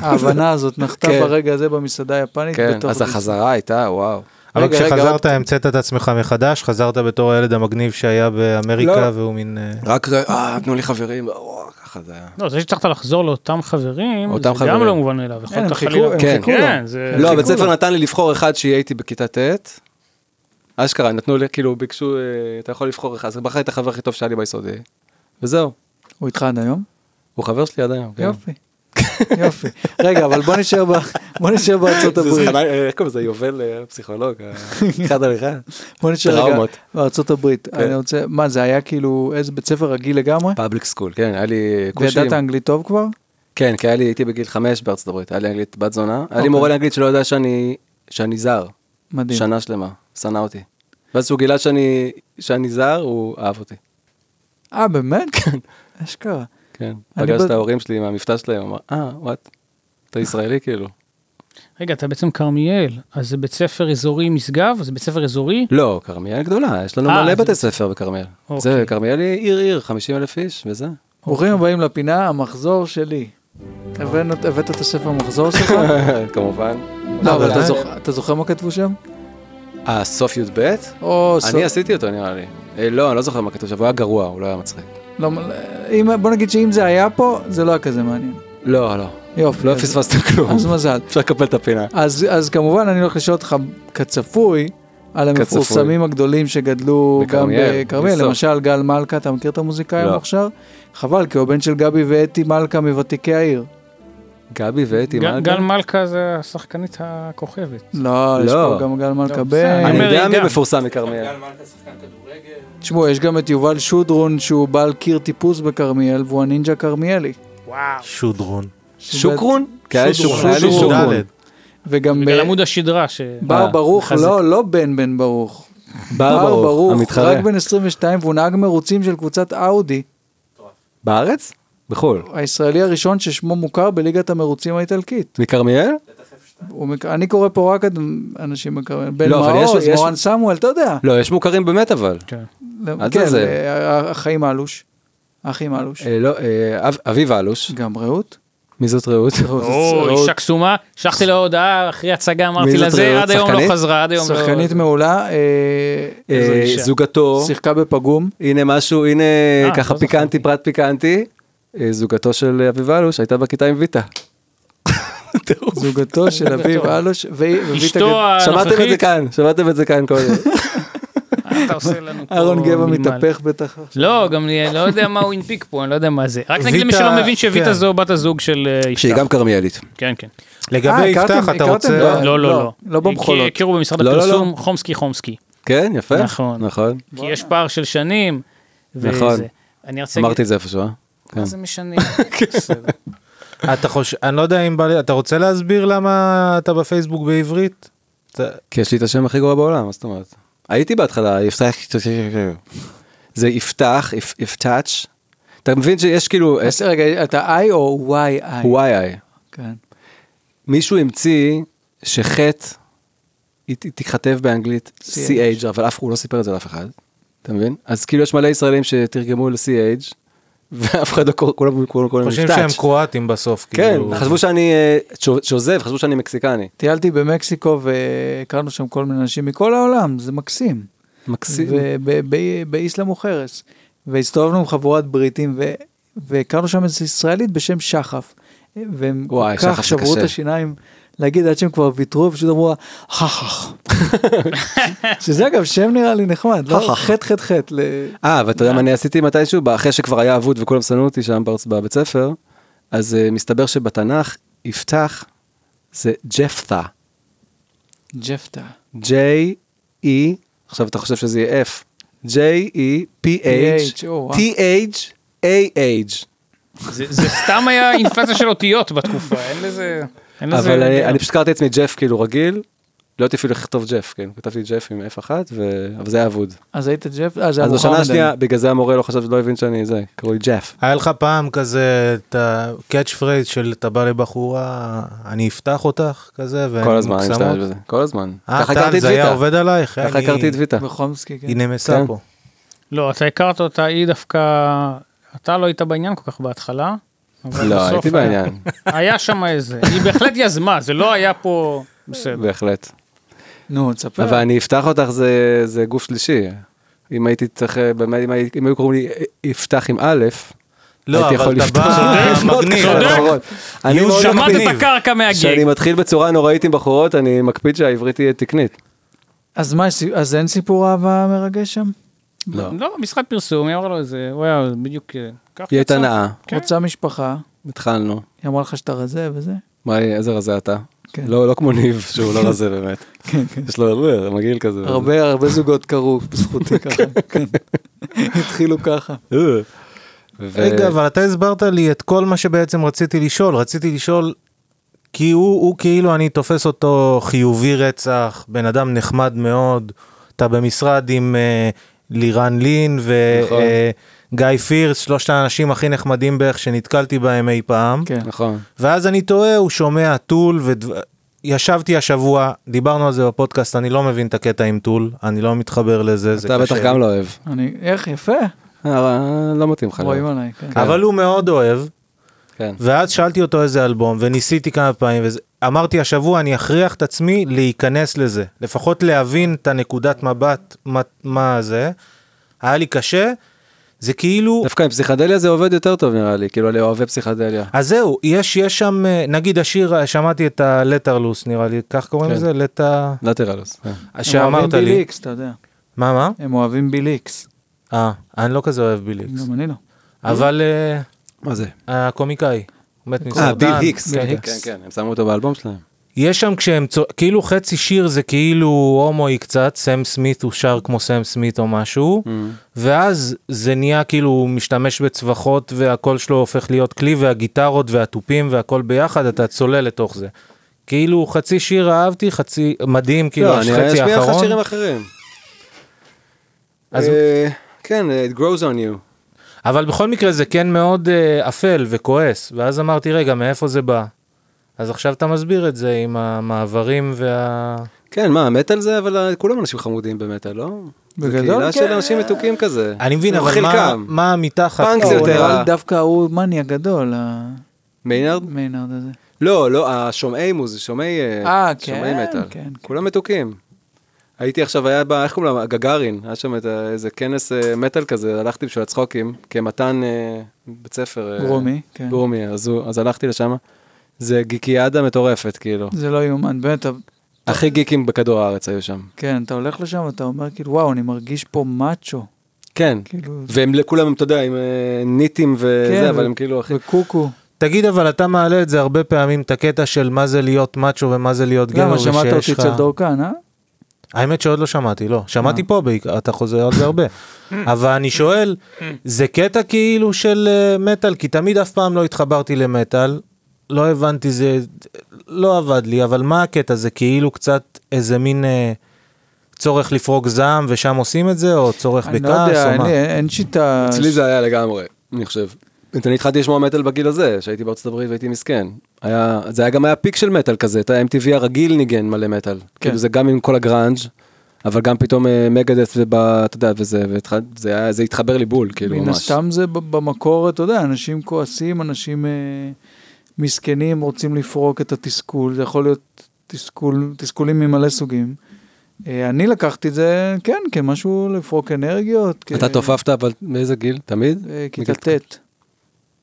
[SPEAKER 2] ההבנה הזאת נחתה
[SPEAKER 4] כן.
[SPEAKER 2] ברגע הזה במסעדה היפנית.
[SPEAKER 4] כן,
[SPEAKER 2] בתוך
[SPEAKER 4] אז
[SPEAKER 2] הדיסני.
[SPEAKER 4] החזרה הייתה, וואו.
[SPEAKER 1] אבל
[SPEAKER 4] רגע, רגע,
[SPEAKER 1] כשחזרת המצאת את עצמך מחדש, חזרת בתור הילד המגניב שהיה באמריקה
[SPEAKER 4] לא.
[SPEAKER 1] והוא מין... אה,
[SPEAKER 4] רק, רק- אה, תנו לי חברים, וואו, ככה זה היה.
[SPEAKER 3] לא, זה שצריך לחזור לאותם חברים,
[SPEAKER 4] אותם
[SPEAKER 3] זה
[SPEAKER 4] חברים.
[SPEAKER 3] גם לא מובן מאליו. יכולת
[SPEAKER 2] הם
[SPEAKER 3] חלילה-
[SPEAKER 2] חיכו- הם
[SPEAKER 4] כן.
[SPEAKER 2] חיכו
[SPEAKER 3] כן,
[SPEAKER 2] לו.
[SPEAKER 3] זה...
[SPEAKER 4] לא, הבית
[SPEAKER 2] חיכו
[SPEAKER 4] ספר
[SPEAKER 2] לו.
[SPEAKER 4] נתן לי לבחור אחד שיהיה איתי בכיתה ט', אשכרה, נתנו לי, כאילו, ביקשו, אה, אתה יכול לבחור אחד, אז בחרתי את החבר הכי טוב שהיה לי ביסודי, וזהו,
[SPEAKER 2] הוא איתך עד היום?
[SPEAKER 4] הוא חבר שלי עד היום. כן.
[SPEAKER 2] יופי. יופי. רגע, אבל בוא נשאר ב- בוא נשאר בארצות
[SPEAKER 4] זה- זה
[SPEAKER 2] הברית.
[SPEAKER 4] חנן, אה, איך קוראים לזה, יובל אה, פסיכולוג, אה, אחד על אחד.
[SPEAKER 2] בוא נשאר רגע
[SPEAKER 4] טראומות. כן.
[SPEAKER 2] בארצות הברית. אני רוצה, מה זה היה כאילו איזה בית ספר רגיל לגמרי?
[SPEAKER 4] פאבליק סקול, כן, היה לי כושים.
[SPEAKER 2] וידעת אנגלית טוב כבר?
[SPEAKER 4] כן, כי היה לי, הייתי בגיל חמש בארצות הברית, היה לי אנגלית בת זונה, היה לי
[SPEAKER 2] אוקיי.
[SPEAKER 4] מורה לאנגלית שלא יודע שאני שאני זר,
[SPEAKER 2] מדהים.
[SPEAKER 4] שנה שלמה, שנא אותי. ואז שהוא גילה שאני שאני זר, הוא אהב אותי.
[SPEAKER 2] אה, באמת? אשכרה.
[SPEAKER 4] כן,
[SPEAKER 2] אני
[SPEAKER 4] פגש
[SPEAKER 2] ב-
[SPEAKER 4] את ההורים שלי עם המבטא שלהם, אמר, אה, וואט, אתה ישראלי כאילו.
[SPEAKER 3] רגע, אתה בעצם כרמיאל, אז זה בית ספר אזורי משגב? זה בית ספר אזורי?
[SPEAKER 4] לא, כרמיאל גדולה, יש לנו
[SPEAKER 3] אה,
[SPEAKER 4] מלא
[SPEAKER 3] אז-
[SPEAKER 4] בתי ספר בכרמיאל.
[SPEAKER 3] אוקיי.
[SPEAKER 4] זה, כרמיאל היא עיר עיר, 50 אלף איש, וזה.
[SPEAKER 2] ברוכים הבאים לפינה, המחזור שלי. הבאנו- הבאת את הספר מחזור שלך?
[SPEAKER 4] כמובן.
[SPEAKER 2] לא, אבל
[SPEAKER 4] אבל
[SPEAKER 2] אתה
[SPEAKER 4] אה,
[SPEAKER 2] זוכ- אתה זוכר מה כתבו שם?
[SPEAKER 4] אה, סוף י"ב?
[SPEAKER 2] או...
[SPEAKER 4] אני עשיתי אותו נראה לי. אה, לא, אני לא זוכר מה כתוב שם, הוא היה גרוע, הוא לא היה מצחיק.
[SPEAKER 2] לא, אם- בוא נגיד שאם זה היה פה, זה לא היה כזה מעניין.
[SPEAKER 4] לא, לא,
[SPEAKER 2] יופי.
[SPEAKER 4] לא
[SPEAKER 2] אז-
[SPEAKER 4] פספסת כלום.
[SPEAKER 2] אז מזל.
[SPEAKER 4] אפשר לקפל את הפינה.
[SPEAKER 2] אז, אז כמובן אני הולך לשאול אותך כצפוי על המפורסמים הגדולים שגדלו גם
[SPEAKER 4] בכרמיאל,
[SPEAKER 2] בכרמיאל,
[SPEAKER 4] בסוף.
[SPEAKER 2] למשל גל מלכה, אתה מכיר את המוזיקאי
[SPEAKER 4] לא.
[SPEAKER 2] המוכשר? חבל, כי הוא הבן של גבי ואתי מלכה מוותיקי העיר.
[SPEAKER 4] גבי ואתי
[SPEAKER 3] גל-
[SPEAKER 4] מלכה?
[SPEAKER 3] גל מלכה זה השחקנית הכוכבת.
[SPEAKER 2] לא, יש
[SPEAKER 4] לא.
[SPEAKER 2] פה גם גל מלכה
[SPEAKER 3] לא,
[SPEAKER 2] בן.
[SPEAKER 4] אני
[SPEAKER 3] אומר,
[SPEAKER 4] יודע
[SPEAKER 3] היא
[SPEAKER 4] מי
[SPEAKER 3] גם.
[SPEAKER 4] מפורסם מכרמיאל.
[SPEAKER 2] תשמעו, יש גם את יובל שודרון שהוא בעל קיר טיפוס בכרמיאל, והוא הנינג'ה כרמיאלי.
[SPEAKER 3] וואו.
[SPEAKER 1] שודרון.
[SPEAKER 4] שוקרון? כי היה לי כן,
[SPEAKER 2] שודרון.
[SPEAKER 4] שוקרון. היה לי
[SPEAKER 2] שודרון.
[SPEAKER 4] שוקרון.
[SPEAKER 1] ד'.
[SPEAKER 2] וגם
[SPEAKER 3] בגלל
[SPEAKER 2] ב-
[SPEAKER 3] עמוד השדרה ש...
[SPEAKER 2] בר
[SPEAKER 4] אה,
[SPEAKER 2] ברוך,
[SPEAKER 3] מחזק.
[SPEAKER 2] לא, לא בן בן ברוך.
[SPEAKER 4] בר ברוך, המתחרה.
[SPEAKER 2] רק בן 22, והוא נהג מרוצים של קבוצת אאודי,
[SPEAKER 4] בארץ? בחו"ל.
[SPEAKER 2] הישראלי הראשון ששמו מוכר בליגת המרוצים האיטלקית.
[SPEAKER 4] מכרמיאל?
[SPEAKER 2] הוא מק- אני קורא פה רק את אנשים מכרמיאל. בן
[SPEAKER 4] לא, אבל יש-
[SPEAKER 2] מעוז,
[SPEAKER 4] יש-
[SPEAKER 2] מורן סמואל, אתה יודע.
[SPEAKER 4] לא, יש מוכרים באמת אבל.
[SPEAKER 3] כן.
[SPEAKER 2] לא,
[SPEAKER 4] אל
[SPEAKER 2] כן,
[SPEAKER 4] תזלזל.
[SPEAKER 2] אה, החיים האלוש. החיים האלוש.
[SPEAKER 4] אה, לא, אה, אב- אביב אלוש.
[SPEAKER 2] גם רעות.
[SPEAKER 4] מי זאת רעות?
[SPEAKER 3] או, אישה קסומה, שלחתי לה הודעה אחרי הצגה, אמרתי
[SPEAKER 4] מי
[SPEAKER 3] לה
[SPEAKER 4] זאת,
[SPEAKER 3] זה,
[SPEAKER 4] רעות?
[SPEAKER 3] עד היום לא
[SPEAKER 4] שחקנית?
[SPEAKER 3] חזרה, עד היום לא...
[SPEAKER 2] שחקנית מעולה, אה,
[SPEAKER 4] אה,
[SPEAKER 3] איזו אישה.
[SPEAKER 4] זוגתו.
[SPEAKER 2] שיחקה בפגום.
[SPEAKER 4] הנה משהו, הנה
[SPEAKER 3] אה,
[SPEAKER 4] ככה
[SPEAKER 3] לא
[SPEAKER 4] פיקנטי,
[SPEAKER 3] זכרתי.
[SPEAKER 4] פרט פיקנטי. אה, זוגתו של אביב אלוש הייתה בכיתה עם ויטה.
[SPEAKER 2] זוגתו של אביב אלוש. והיא- וויטה גט-
[SPEAKER 3] אשתו
[SPEAKER 4] שמעתם את זה
[SPEAKER 3] הנוכחית,
[SPEAKER 4] כאן, שמעתם את זה כאן קודם.
[SPEAKER 3] אתה עושה לנו פה
[SPEAKER 2] אהרון גבע
[SPEAKER 3] מלמל.
[SPEAKER 2] מתהפך בטח.
[SPEAKER 3] לא, גם אני לא יודע מה הוא הנפיק פה, אני לא יודע מה זה. רק נגיד
[SPEAKER 1] ויטה-
[SPEAKER 3] למי שלא מבין שוויטה
[SPEAKER 1] כן.
[SPEAKER 3] זו בת הזוג של אה,
[SPEAKER 4] שהיא
[SPEAKER 3] יפתח.
[SPEAKER 4] גם כרמיאלית.
[SPEAKER 3] כן, כן.
[SPEAKER 2] אה,
[SPEAKER 1] לגבי
[SPEAKER 2] הכרתם-
[SPEAKER 1] יפתח, אתה
[SPEAKER 2] הכרתם
[SPEAKER 1] רוצה...
[SPEAKER 2] ב-
[SPEAKER 3] לא, לא,
[SPEAKER 2] לא,
[SPEAKER 3] לא.
[SPEAKER 2] לא במחולות.
[SPEAKER 3] הכי- הכירו במשרד
[SPEAKER 4] לא, לא, לא.
[SPEAKER 3] הפרסום חומסקי חומסקי.
[SPEAKER 4] כן, יפה.
[SPEAKER 3] נכון.
[SPEAKER 4] נכון.
[SPEAKER 3] כי יש פער של שנים. וזה.
[SPEAKER 4] נכון.
[SPEAKER 3] אני רוצה להגיד,
[SPEAKER 4] אמרתי כן. את זה איפשהו, אה?
[SPEAKER 3] מה זה משנה? בסדר.
[SPEAKER 1] אתה חושב, אני לא יודע אם בא לי, אתה רוצה להסביר למה אתה בפייסבוק בעברית? אתה-
[SPEAKER 4] כי יש לי את השם הכי גרוע בעולם, מה זאת אומרת? הייתי בהתחלה, יפתח, זה יפתח, יפ- יפתח. אתה מבין שיש כאילו
[SPEAKER 2] אז רגע, אתה I או Y I?
[SPEAKER 4] וואי
[SPEAKER 2] כן.
[SPEAKER 4] מישהו המציא שחטא היא ת- תיכתב באנגלית
[SPEAKER 2] CH.
[SPEAKER 4] CH, אבל אף הוא לא סיפר את זה לאף אחד, אתה מבין? אז כאילו יש מלא ישראלים שתרגמו ל-CH, ואף אחד לא קורא, כולם כולם קוראים
[SPEAKER 1] חושבים
[SPEAKER 4] יפתח.
[SPEAKER 1] שהם קרואטים בסוף,
[SPEAKER 4] כן,
[SPEAKER 1] כאילו.
[SPEAKER 4] חשבו שאני אה, שו- שוזב, חשבו שאני מקסיקני.
[SPEAKER 2] טיילתי במקסיקו והכרנו שם כל מיני אנשים מכל העולם, זה מקסים.
[SPEAKER 4] מקסים.
[SPEAKER 2] ובאיסלאם הוא חרס. והסתובבנו עם חבורת בריטים ו... והכרנו שם איזו ישראלית בשם שחף. והם
[SPEAKER 4] וואי,
[SPEAKER 2] כל כך
[SPEAKER 4] שחף זה
[SPEAKER 2] שברו את
[SPEAKER 4] קשה.
[SPEAKER 2] השיניים להגיד עד שהם כבר ויתרו ופשוט אמרו לה חחח. שזה אגב שם נראה לי נחמד, לא?
[SPEAKER 4] חחח.
[SPEAKER 2] חטא חטא חטא. ל-
[SPEAKER 4] אה, ואתה יודע מה אני עשיתי מתישהו? אחרי שכבר היה אבוד וכולם שנאו אותי שם בארץ- בבית ספר, אז אה, מסתבר שבתנ"ך יפתח זה ג'פתה.
[SPEAKER 2] ג'פטה.
[SPEAKER 4] J-E, עכשיו אתה חושב שזה יהיה F, J-E-P-H,
[SPEAKER 2] PH, או, וואו.
[SPEAKER 4] T-H, A-H.
[SPEAKER 3] זה זה סתם היה אינפלציה של אותיות בתקופה, אין לזה... אין לזה-
[SPEAKER 4] אבל אני- אני פשוט קראתי לעצמי ג'ף כאילו רגיל, לא הייתי אפילו לכתוב ג'ף, כן, כתבתי ג'ף עם F אחת, ו- אבל זה היה אבוד.
[SPEAKER 2] אז היית ג'פ... אה, זה
[SPEAKER 4] אז בשנה
[SPEAKER 2] המוחמדן.
[SPEAKER 4] השנייה, בגלל זה המורה לא חשב, לא הבין שאני זה, קראו לי ג'ף.
[SPEAKER 1] היה לך פעם כזה את ה-catch phrase של אתה בא לבחורה, אני אפתח אותך, כזה, והן
[SPEAKER 4] כל הזמן אני
[SPEAKER 1] מוקסמות?
[SPEAKER 4] משתמש בזה, כל הזמן.
[SPEAKER 1] אה,
[SPEAKER 4] ככה
[SPEAKER 1] טל,
[SPEAKER 4] הכרתי את
[SPEAKER 1] זה היה
[SPEAKER 4] ויטה,
[SPEAKER 1] עובד עלייך? אה?
[SPEAKER 4] ככה
[SPEAKER 1] אני-
[SPEAKER 4] הכרתי את ויטה.
[SPEAKER 2] בחומסקי, כן.
[SPEAKER 1] היא נמסה
[SPEAKER 4] כן.
[SPEAKER 1] פה.
[SPEAKER 3] לא, אתה הכרת אותה, היא דווקא... אתה לא היית בעניין כל כך בהתחלה. אבל
[SPEAKER 4] לא,
[SPEAKER 3] בסוף
[SPEAKER 4] הייתי
[SPEAKER 3] היה-
[SPEAKER 4] בעניין,
[SPEAKER 3] היה שם איזה, היא בהחלט יזמה, זה לא היה פה... בסדר.
[SPEAKER 4] בהחלט.
[SPEAKER 2] נו, תספר.
[SPEAKER 4] אבל אני אפתח אותך זה, זה גוף שלישי. אם הייתי צריך, אה, באמת, אם, הי- אם היו קוראים לי אה, יפתח עם א',
[SPEAKER 1] לא,
[SPEAKER 4] הייתי יכול
[SPEAKER 1] אבל אתה
[SPEAKER 4] לפתוח.
[SPEAKER 1] בא
[SPEAKER 3] צודק,
[SPEAKER 1] מגניב.
[SPEAKER 3] צודק.
[SPEAKER 4] בחורות. אני
[SPEAKER 1] You
[SPEAKER 4] מאוד
[SPEAKER 1] שמעת
[SPEAKER 3] שמעת
[SPEAKER 4] מקפיד,
[SPEAKER 3] את הקרקע
[SPEAKER 4] כשאני
[SPEAKER 3] מהגג.
[SPEAKER 4] מתחיל בצורה נוראית עם בחורות, אני מקפיד שהעברית תהיה תקנית.
[SPEAKER 2] אז מה, סי- אז אין סיפור אהבה מרגש שם?
[SPEAKER 4] לא.
[SPEAKER 3] לא, משחק פרסום, היא אמרה לו איזה, הוא היה בדיוק... אה, ככה
[SPEAKER 4] היא הייתה
[SPEAKER 3] יצא.
[SPEAKER 4] נאה,
[SPEAKER 3] כן.
[SPEAKER 2] רוצה משפחה,
[SPEAKER 4] התחלנו.
[SPEAKER 2] היא אמרה לך שאתה רזה וזה?
[SPEAKER 4] מה, איזה רזה אתה?
[SPEAKER 2] כן.
[SPEAKER 4] לא, לא כמו ניב, שהוא לא רזה באמת. יש לו אה, מגעיל כזה.
[SPEAKER 2] הרבה הרבה זוגות קרו בזכותי ככה, כן. התחילו ככה.
[SPEAKER 4] אה. ו-
[SPEAKER 1] רגע, אבל אתה הסברת לי את כל מה שבעצם רציתי לשאול. רציתי לשאול, כי הוא, הוא כאילו, אני תופס אותו חיובי רצח, בן אדם נחמד מאוד, אתה במשרד עם אה, לירן לין
[SPEAKER 4] נכון.
[SPEAKER 1] וגיא אה, פירס, שלושת האנשים הכי נחמדים בערך שנתקלתי בהם אי פעם.
[SPEAKER 2] כן.
[SPEAKER 4] נכון.
[SPEAKER 1] ואז אני תוהה, הוא שומע טול, ודו... ישבתי השבוע, דיברנו על זה בפודקאסט, אני לא מבין את הקטע עם טול, אני לא מתחבר לזה, זה
[SPEAKER 4] אתה
[SPEAKER 1] קשה.
[SPEAKER 4] בטח
[SPEAKER 1] לי.
[SPEAKER 4] גם לא אוהב.
[SPEAKER 2] אני, איך יפה,
[SPEAKER 4] אה, לא מתאים לך.
[SPEAKER 2] רואים
[SPEAKER 4] לא.
[SPEAKER 2] עליי, כן.
[SPEAKER 1] אבל הוא מאוד אוהב,
[SPEAKER 4] כן.
[SPEAKER 1] ואז שאלתי אותו איזה אלבום, וניסיתי כמה פעמים, ואמרתי השבוע אני אכריח את עצמי להיכנס לזה, לפחות להבין את הנקודת מבט, מה, מה זה. היה לי קשה, זה כאילו,
[SPEAKER 4] דווקא עם פסיכדליה זה עובד יותר טוב נראה לי, כאילו לאוהבי פסיכדליה.
[SPEAKER 1] אז זהו, יש, יש שם, אה, נגיד השיר, שמעתי את הלטרלוס נראה לי, כך קוראים
[SPEAKER 4] כן.
[SPEAKER 1] לזה? לטה...
[SPEAKER 4] לטרלוס. כן.
[SPEAKER 2] הם אוהבים
[SPEAKER 1] שאמרת לי.
[SPEAKER 2] ביליקס, אתה יודע.
[SPEAKER 1] מה, מה?
[SPEAKER 2] הם אוהבים ביליקס.
[SPEAKER 1] אה, אני לא כזה אוהב ביליקס,
[SPEAKER 2] גם אני לא.
[SPEAKER 1] אבל אה,
[SPEAKER 4] מה זה?
[SPEAKER 1] הקומיקאי. הוא מת מסרטן.
[SPEAKER 4] אה, ביל היקס.
[SPEAKER 2] ביל
[SPEAKER 4] כן,
[SPEAKER 2] היקס.
[SPEAKER 4] כן, כן, הם שמו אותו באלבום שלהם.
[SPEAKER 1] יש שם כשהם, צוע- כאילו חצי שיר זה כאילו הומואי קצת, סם סמית הוא שר כמו סם סמית או משהו,
[SPEAKER 4] Mm.
[SPEAKER 1] ואז זה נהיה כאילו הוא משתמש בצווחות והקול שלו הופך להיות כלי והגיטרות והתופים והכל ביחד, אתה צולל לתוך זה. כאילו חצי שיר אהבתי, חצי מדהים, כאילו
[SPEAKER 4] לא, אני
[SPEAKER 1] החצי
[SPEAKER 4] אשמיע לך
[SPEAKER 1] האחרון.
[SPEAKER 4] שירים אחרים.
[SPEAKER 1] אז-
[SPEAKER 4] אה, כן, it grows on you.
[SPEAKER 1] אבל בכל מקרה זה כן מאוד אה, אפל וכועס, ואז אמרתי רגע מאיפה זה בא. אז עכשיו אתה מסביר את זה עם המעברים וה...
[SPEAKER 4] כן, מה, מטאל זה, אבל אה, כולם אנשים חמודים במטאל, לא?
[SPEAKER 2] בגדול,
[SPEAKER 4] קהילה
[SPEAKER 2] כן.
[SPEAKER 4] של אנשים מתוקים כזה.
[SPEAKER 1] אני מבין, לא, אבל מה,
[SPEAKER 4] חלקם.
[SPEAKER 1] מה מתחת?
[SPEAKER 4] פאנק זה
[SPEAKER 2] הוא
[SPEAKER 4] יותר
[SPEAKER 2] נראה
[SPEAKER 4] ה-
[SPEAKER 2] לי לא, דווקא הוא מניאק גדול,
[SPEAKER 4] מיינרד?
[SPEAKER 2] המיינרד הזה.
[SPEAKER 4] לא, לא, השומעי מוז, שומעי
[SPEAKER 2] אה,
[SPEAKER 4] אה, שומעי
[SPEAKER 2] כן,
[SPEAKER 4] מטאל.
[SPEAKER 2] כן, כן.
[SPEAKER 4] כולם מתוקים. הייתי עכשיו, היה ב... איך קוראים לה? גגארין. היה שם את ה- איזה כנס אה, מטאל כזה, הלכתי בשביל הצחוקים, כמתן אה, בית ספר. אה,
[SPEAKER 2] גרומי, כן.
[SPEAKER 4] גרומי, אז הוא- אז הלכתי לשם. זה גיקיאדה מטורפת, כאילו.
[SPEAKER 2] זה לא יאומן, באמת, אתה-
[SPEAKER 4] הכי גיקים בכדור הארץ היו שם.
[SPEAKER 2] כן, אתה הולך לשם ואתה אומר כאילו, וואו, אני מרגיש פה מאצ'ו,
[SPEAKER 4] כן.
[SPEAKER 2] כאילו,
[SPEAKER 4] והם לכולם, הם, אתה יודע, עם אה, ניטים
[SPEAKER 2] כן,
[SPEAKER 4] וזה, אבל
[SPEAKER 2] ו-
[SPEAKER 4] הם כאילו הכי...
[SPEAKER 2] וקוקו.
[SPEAKER 1] תגיד אבל אתה מעלה את זה הרבה פעמים את הקטע של מה זה להיות מאצ'ו ומה זה להיות גבר
[SPEAKER 2] למה, שמעת
[SPEAKER 1] ושיש
[SPEAKER 2] אותי
[SPEAKER 1] לך...
[SPEAKER 2] אצל אה. דורקן, אה?
[SPEAKER 1] האמת שעוד לא שמעתי לא שמעתי פה בעיקר אתה חוזר על זה הרבה אבל אני שואל זה קטע כאילו של אה, מטאל כי תמיד אף פעם לא התחברתי למטאל לא הבנתי זה לא עבד לי אבל מה הקטע זה כאילו קצת איזה מין אה, צורך לפרוק זעם ושם עושים את זה או צורך
[SPEAKER 2] אני לא
[SPEAKER 1] בכעס
[SPEAKER 2] יודע,
[SPEAKER 1] או
[SPEAKER 2] אין
[SPEAKER 1] מה.
[SPEAKER 2] לי- אין שיטה...
[SPEAKER 4] אצלי זה היה לגמרי, אני חושב. אני התחלתי לשמוע מטאל בגיל הזה, שהייתי בארצות הברית והייתי מסכן. היה, זה היה גם היה פיק של מטאל כזה, את ה-MTV הרגיל ניגן מלא מטאל. כאילו זה גם עם כל הגראנג', אבל גם פתאום אה, מגדס ובא, אתה יודע, וזה, והתחל- זה היה- זה התחבר לי בול, כאילו, ממש.
[SPEAKER 2] מן הסתם זה ב- במקור, אתה יודע, אנשים כועסים, אנשים אה, מסכנים, רוצים לפרוק את התסכול, זה יכול להיות תסכול, תסכולים ממלא סוגים. אה, אני לקחתי את זה, כן, כמשהו לפרוק אנרגיות. כ-
[SPEAKER 4] אתה תופפת, אבל מאיזה גיל? תמיד?
[SPEAKER 2] כן. אה, כיתה
[SPEAKER 4] מגיל-
[SPEAKER 2] ט'.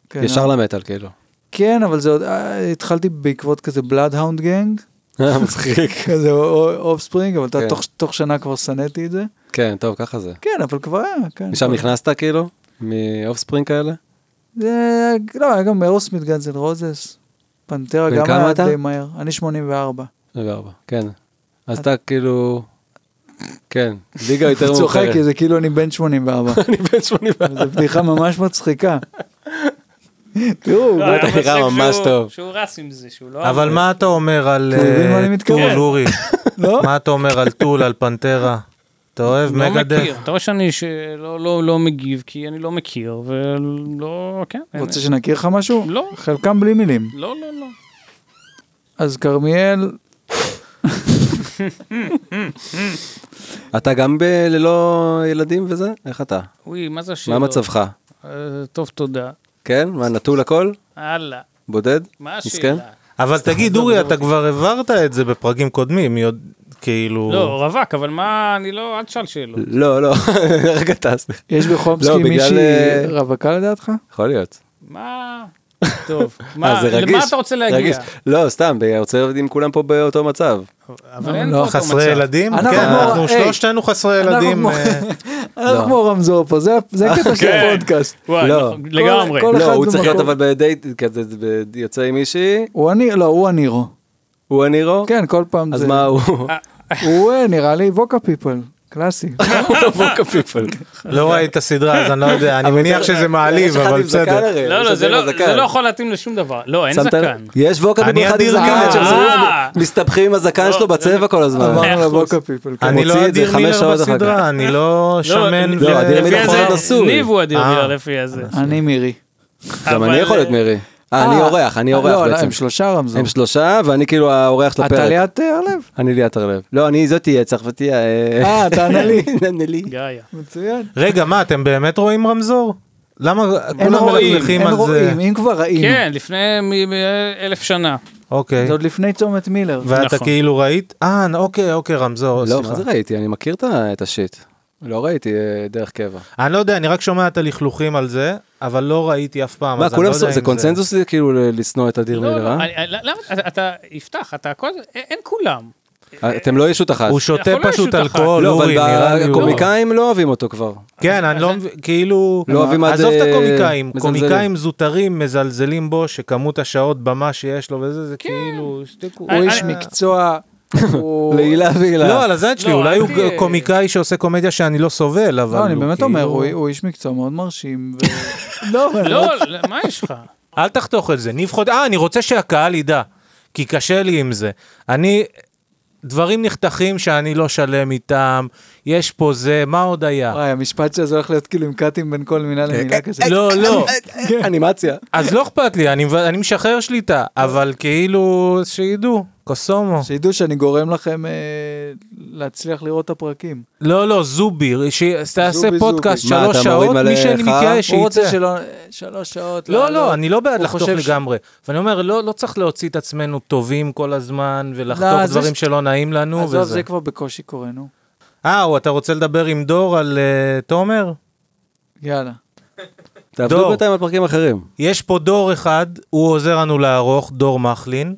[SPEAKER 2] כן,
[SPEAKER 4] ישר
[SPEAKER 2] אבל-
[SPEAKER 4] למטאל, כאילו.
[SPEAKER 2] כן, אבל זה עוד, אה, התחלתי בעקבות כזה בלאדהאונד גנג,
[SPEAKER 4] מצחיק.
[SPEAKER 2] כזה אופספרינג, אבל אתה
[SPEAKER 4] כן.
[SPEAKER 2] תוך- תוך שנה כבר שנאתי את זה.
[SPEAKER 4] כן, טוב, ככה זה.
[SPEAKER 2] כן, אבל כבר היה, כן.
[SPEAKER 4] משם
[SPEAKER 2] כבר-
[SPEAKER 4] נכנסת, כאילו? מאופספרינג כאלה?
[SPEAKER 2] זה, לא, היה גם אירוסמית גנזן רוזס. פנטרה
[SPEAKER 4] בן
[SPEAKER 2] גם
[SPEAKER 4] כמה
[SPEAKER 2] היה
[SPEAKER 4] אתה?
[SPEAKER 2] די מהר. אני 84.
[SPEAKER 4] 24, כן. אז אתה כאילו... כן, ליגה יותר מאוחרת.
[SPEAKER 2] צוחק כי זה כאילו אני בן 84.
[SPEAKER 4] אני בן 84.
[SPEAKER 2] זו בדיחה ממש מצחיקה. תראו,
[SPEAKER 3] לא, היה
[SPEAKER 4] אתה נראה
[SPEAKER 3] מצחיק
[SPEAKER 4] ממש
[SPEAKER 3] שהוא-
[SPEAKER 4] טוב.
[SPEAKER 3] שהוא רץ עם זה, שהוא לא...
[SPEAKER 1] אבל מה אתה אומר על
[SPEAKER 2] אתם יודעים מה אני
[SPEAKER 1] אה,
[SPEAKER 2] מתכוון?
[SPEAKER 1] טול אורי?
[SPEAKER 2] לא?
[SPEAKER 1] מה אתה אומר על טול, על פנטרה? אתה אוהב
[SPEAKER 3] לא מכיר,
[SPEAKER 1] מגדף?
[SPEAKER 3] אתה רואה שאני שלא לא, לא מגיב כי אני לא מכיר ולא, כן. אין-
[SPEAKER 2] רוצה שנכיר לך משהו?
[SPEAKER 3] לא.
[SPEAKER 2] חלקם בלי מילים.
[SPEAKER 3] לא, לא, לא.
[SPEAKER 2] אז כרמיאל,
[SPEAKER 4] אתה גם ב- ללא ילדים וזה? איך אתה?
[SPEAKER 3] אוי, מה זה השיר?
[SPEAKER 4] מה מצבך?
[SPEAKER 3] אה, טוב, תודה.
[SPEAKER 4] כן? מה, נטול הכל?
[SPEAKER 3] הלאה.
[SPEAKER 4] בודד?
[SPEAKER 3] מה
[SPEAKER 4] מסכן?
[SPEAKER 3] השאלה?
[SPEAKER 1] אבל תגיד,
[SPEAKER 3] לא
[SPEAKER 1] אורי, אתה כבר הבהרת את זה בפרקים קודמים, יודע- כאילו...
[SPEAKER 3] לא, רווק, אבל מה, אני לא, אל תשאל שאלות.
[SPEAKER 4] לא, לא, רגע טס.
[SPEAKER 2] יש
[SPEAKER 4] לא,
[SPEAKER 2] בחומסקי
[SPEAKER 4] בגלל,
[SPEAKER 2] מישהי
[SPEAKER 4] אה,
[SPEAKER 2] רווקה לדעתך?
[SPEAKER 4] יכול להיות.
[SPEAKER 3] מה? טוב, מה,
[SPEAKER 4] אה, זה רגיש.
[SPEAKER 3] למה אתה רוצה להגיע?
[SPEAKER 4] רגיש. לא, סתם, אני רוצה להיות עם כולם פה באותו מצב.
[SPEAKER 3] אבל אין
[SPEAKER 2] לא,
[SPEAKER 3] פה אותו
[SPEAKER 1] חסרי
[SPEAKER 3] מצב.
[SPEAKER 1] ילדים?
[SPEAKER 2] אנחנו
[SPEAKER 1] כן,
[SPEAKER 2] כמו-
[SPEAKER 1] אנחנו
[SPEAKER 2] היי,
[SPEAKER 1] שלושתנו חסרי ילדים.
[SPEAKER 2] כמו-
[SPEAKER 1] אה,
[SPEAKER 2] אנחנו כמו רמזור פה, זה
[SPEAKER 4] אה,
[SPEAKER 2] זה הקטע של
[SPEAKER 3] כן.
[SPEAKER 2] הפודקאסט.
[SPEAKER 3] וואי,
[SPEAKER 4] לא.
[SPEAKER 3] נכון, לגמרי.
[SPEAKER 2] כל-
[SPEAKER 4] לא,
[SPEAKER 2] אחד
[SPEAKER 4] הוא צריך
[SPEAKER 2] במקום.
[SPEAKER 4] להיות אבל בדייט כזה, ב- יוצא עם מישהי,
[SPEAKER 2] הוא אני, לא, הוא הנירו.
[SPEAKER 4] הוא הנירו,
[SPEAKER 2] כן, כל פעם
[SPEAKER 4] אז
[SPEAKER 2] זה.
[SPEAKER 4] מה הוא?
[SPEAKER 2] הוא אה, נראה לי ווקה פיפל, קלאסי.
[SPEAKER 4] אה,
[SPEAKER 3] אה,
[SPEAKER 4] ווקה פיפל.
[SPEAKER 1] לא ראיתי את הסדרה, אז אני לא יודע, אני מניח שזה מעליב, אבל בסדר.
[SPEAKER 3] לא, לא, זה לא- זה לא יכול להתאים לשום דבר. לא, אין זקן.
[SPEAKER 4] יש ווקה
[SPEAKER 1] אני
[SPEAKER 4] פיפל אחד עם
[SPEAKER 1] אדיר
[SPEAKER 4] זקן,
[SPEAKER 1] מילר.
[SPEAKER 4] שהם
[SPEAKER 3] אה.
[SPEAKER 4] סביב- מסתבכים עם הזקן שלו בצבע כל הזמן.
[SPEAKER 2] אמרנו
[SPEAKER 3] מאה אחוז.
[SPEAKER 2] לווקה פיפל. כן.
[SPEAKER 1] אני לא
[SPEAKER 4] מוציא את זה
[SPEAKER 1] אדיר
[SPEAKER 4] חמש
[SPEAKER 1] מילר
[SPEAKER 4] שעות אחר
[SPEAKER 1] בסדרה,
[SPEAKER 4] כך.
[SPEAKER 1] אני לא שמן.
[SPEAKER 3] לא,
[SPEAKER 1] ו-
[SPEAKER 4] לא, אדיר
[SPEAKER 3] לפי איזה-
[SPEAKER 4] מילר יכול להיות נשוי.
[SPEAKER 3] ניב הוא אדיר
[SPEAKER 1] אה.
[SPEAKER 3] מילר לפי איזה.
[SPEAKER 2] אני מירי.
[SPEAKER 4] גם
[SPEAKER 3] אבל-
[SPEAKER 4] אני יכול להיות מירי. אה, אני אורח, אני
[SPEAKER 2] לא,
[SPEAKER 4] אורח
[SPEAKER 2] לא,
[SPEAKER 4] בעצם.
[SPEAKER 2] הם שלושה רמזור.
[SPEAKER 4] הם שלושה, ואני כאילו האורח של
[SPEAKER 2] אתה
[SPEAKER 4] הפרק.
[SPEAKER 2] ליאת אה, הרלב?
[SPEAKER 4] אני ליאת הרלב. לא, אני זאת תהיה, צריך ותהיה.
[SPEAKER 2] אה, אתה ענה לי.
[SPEAKER 4] ענה לי.
[SPEAKER 3] גאיה.
[SPEAKER 2] מצוין.
[SPEAKER 1] רגע, מה, אתם באמת רואים רמזור? למה
[SPEAKER 2] אין
[SPEAKER 1] כולם
[SPEAKER 2] רואים,
[SPEAKER 1] מלכלכים
[SPEAKER 2] אין
[SPEAKER 1] על זה?
[SPEAKER 2] רואים, אם כבר ראינו.
[SPEAKER 3] כן, לפני מ- מ- אלף שנה.
[SPEAKER 1] אוקיי.
[SPEAKER 2] זה עוד לפני צומת מילר.
[SPEAKER 1] ואתה
[SPEAKER 3] נכון.
[SPEAKER 1] כאילו ראית? אה, אוקיי, אוקיי, רמזור,
[SPEAKER 4] לא,
[SPEAKER 1] סליחה.
[SPEAKER 4] מה זה ראיתי? אני מכיר את ה- את השיט. לא ראיתי אה, דרך קבע.
[SPEAKER 1] אני לא יודע, אני רק שומע את הלכלוכים על זה, אבל לא ראיתי אף פעם.
[SPEAKER 4] מה,
[SPEAKER 1] אז אני לא
[SPEAKER 4] כולם,
[SPEAKER 1] יודע
[SPEAKER 4] סו-
[SPEAKER 1] אם
[SPEAKER 4] זה קונצנזוס כאילו ל- לשנוא את אדיר
[SPEAKER 3] לא,
[SPEAKER 4] מילר,
[SPEAKER 3] לא,
[SPEAKER 4] אה?
[SPEAKER 3] אני- למה, אתה- אתה, יפתח, אתה כל, אין- אין כולם.
[SPEAKER 4] אתם לא ישות אחת.
[SPEAKER 1] הוא שותה
[SPEAKER 3] יכול להיות
[SPEAKER 1] פשוט
[SPEAKER 3] שותף.
[SPEAKER 1] אלכוהול,
[SPEAKER 4] לא, אבל
[SPEAKER 1] אורי, נראה לי הוא...
[SPEAKER 4] הקומיקאים לא אוהבים אותו כבר.
[SPEAKER 1] כן, אני לא מבין, כאילו...
[SPEAKER 4] לא אוהבים עד,
[SPEAKER 1] עזוב את
[SPEAKER 4] אה,
[SPEAKER 1] הקומיקאים,
[SPEAKER 4] מזלזלים.
[SPEAKER 1] קומיקאים זוטרים מזלזלים בו, שכמות השעות במה שיש לו וזה, זה כאילו... שתקו.
[SPEAKER 2] הוא איש
[SPEAKER 1] אה,
[SPEAKER 2] מקצוע, הוא...
[SPEAKER 4] לעילה ועילה.
[SPEAKER 1] לא, על הזין שלי,
[SPEAKER 3] לא,
[SPEAKER 1] אולי
[SPEAKER 3] אל
[SPEAKER 1] הוא
[SPEAKER 3] תהיה-
[SPEAKER 1] קומיקאי שעושה קומדיה שאני לא סובל, אבל
[SPEAKER 2] לא, אני
[SPEAKER 1] הוא
[SPEAKER 2] באמת
[SPEAKER 1] כאילו-
[SPEAKER 2] אומר, הוא- הוא איש מקצוע מאוד מרשים. ו-
[SPEAKER 1] לא, אבל-
[SPEAKER 3] לא, מה יש לך?
[SPEAKER 1] אל תחתוך את זה, ניב חוד... אה, אני רוצה שהקהל ידע, כי קשה לי עם זה. אני... דברים נחתכים שאני לא שלם איתם, יש פה זה, מה עוד היה?
[SPEAKER 2] וואי, המשפט של זה הולך להיות כאילו עם קאטים בין כל מילה למילה אה, כזה.
[SPEAKER 1] לא, לא.
[SPEAKER 4] אה. אנימציה.
[SPEAKER 1] אז לא אכפת לי, אני, אני משחרר שליטה, אבל כאילו, שידעו, קוסומו.
[SPEAKER 2] שידעו שאני גורם לכם אה, להצליח לראות את הפרקים.
[SPEAKER 1] לא, לא, זובי, שתעשה
[SPEAKER 2] זובי,
[SPEAKER 1] פודקאסט
[SPEAKER 4] זובי. מה,
[SPEAKER 1] שלוש
[SPEAKER 4] אתה
[SPEAKER 1] שעות,
[SPEAKER 4] מוריד מלא
[SPEAKER 1] מי שמתייאש,
[SPEAKER 4] חרא?
[SPEAKER 2] הוא רוצה
[SPEAKER 1] שייצא.
[SPEAKER 2] שלא... אה, שלוש שעות.
[SPEAKER 1] אה, לא,
[SPEAKER 2] לעלות.
[SPEAKER 1] לא, אני לא בעד
[SPEAKER 2] הוא
[SPEAKER 1] לחתוך
[SPEAKER 2] חושב ש-
[SPEAKER 1] לגמרי. ואני אומר, לא לא צריך להוציא את עצמנו טובים כל הזמן, ולחתוך
[SPEAKER 2] לא, זה
[SPEAKER 1] דברים
[SPEAKER 2] ש-
[SPEAKER 1] שלא נעים לנו,
[SPEAKER 2] עזוב,
[SPEAKER 1] וזה.
[SPEAKER 2] זה כבר בקושי קורה, נו.
[SPEAKER 1] אה, או, אתה רוצה לדבר עם דור על אה, תומר?
[SPEAKER 2] יאללה.
[SPEAKER 4] תעבדו
[SPEAKER 1] דור.
[SPEAKER 4] בינתיים על פרקים אחרים.
[SPEAKER 1] יש פה דור אחד, הוא עוזר לנו לערוך, דור מחלין,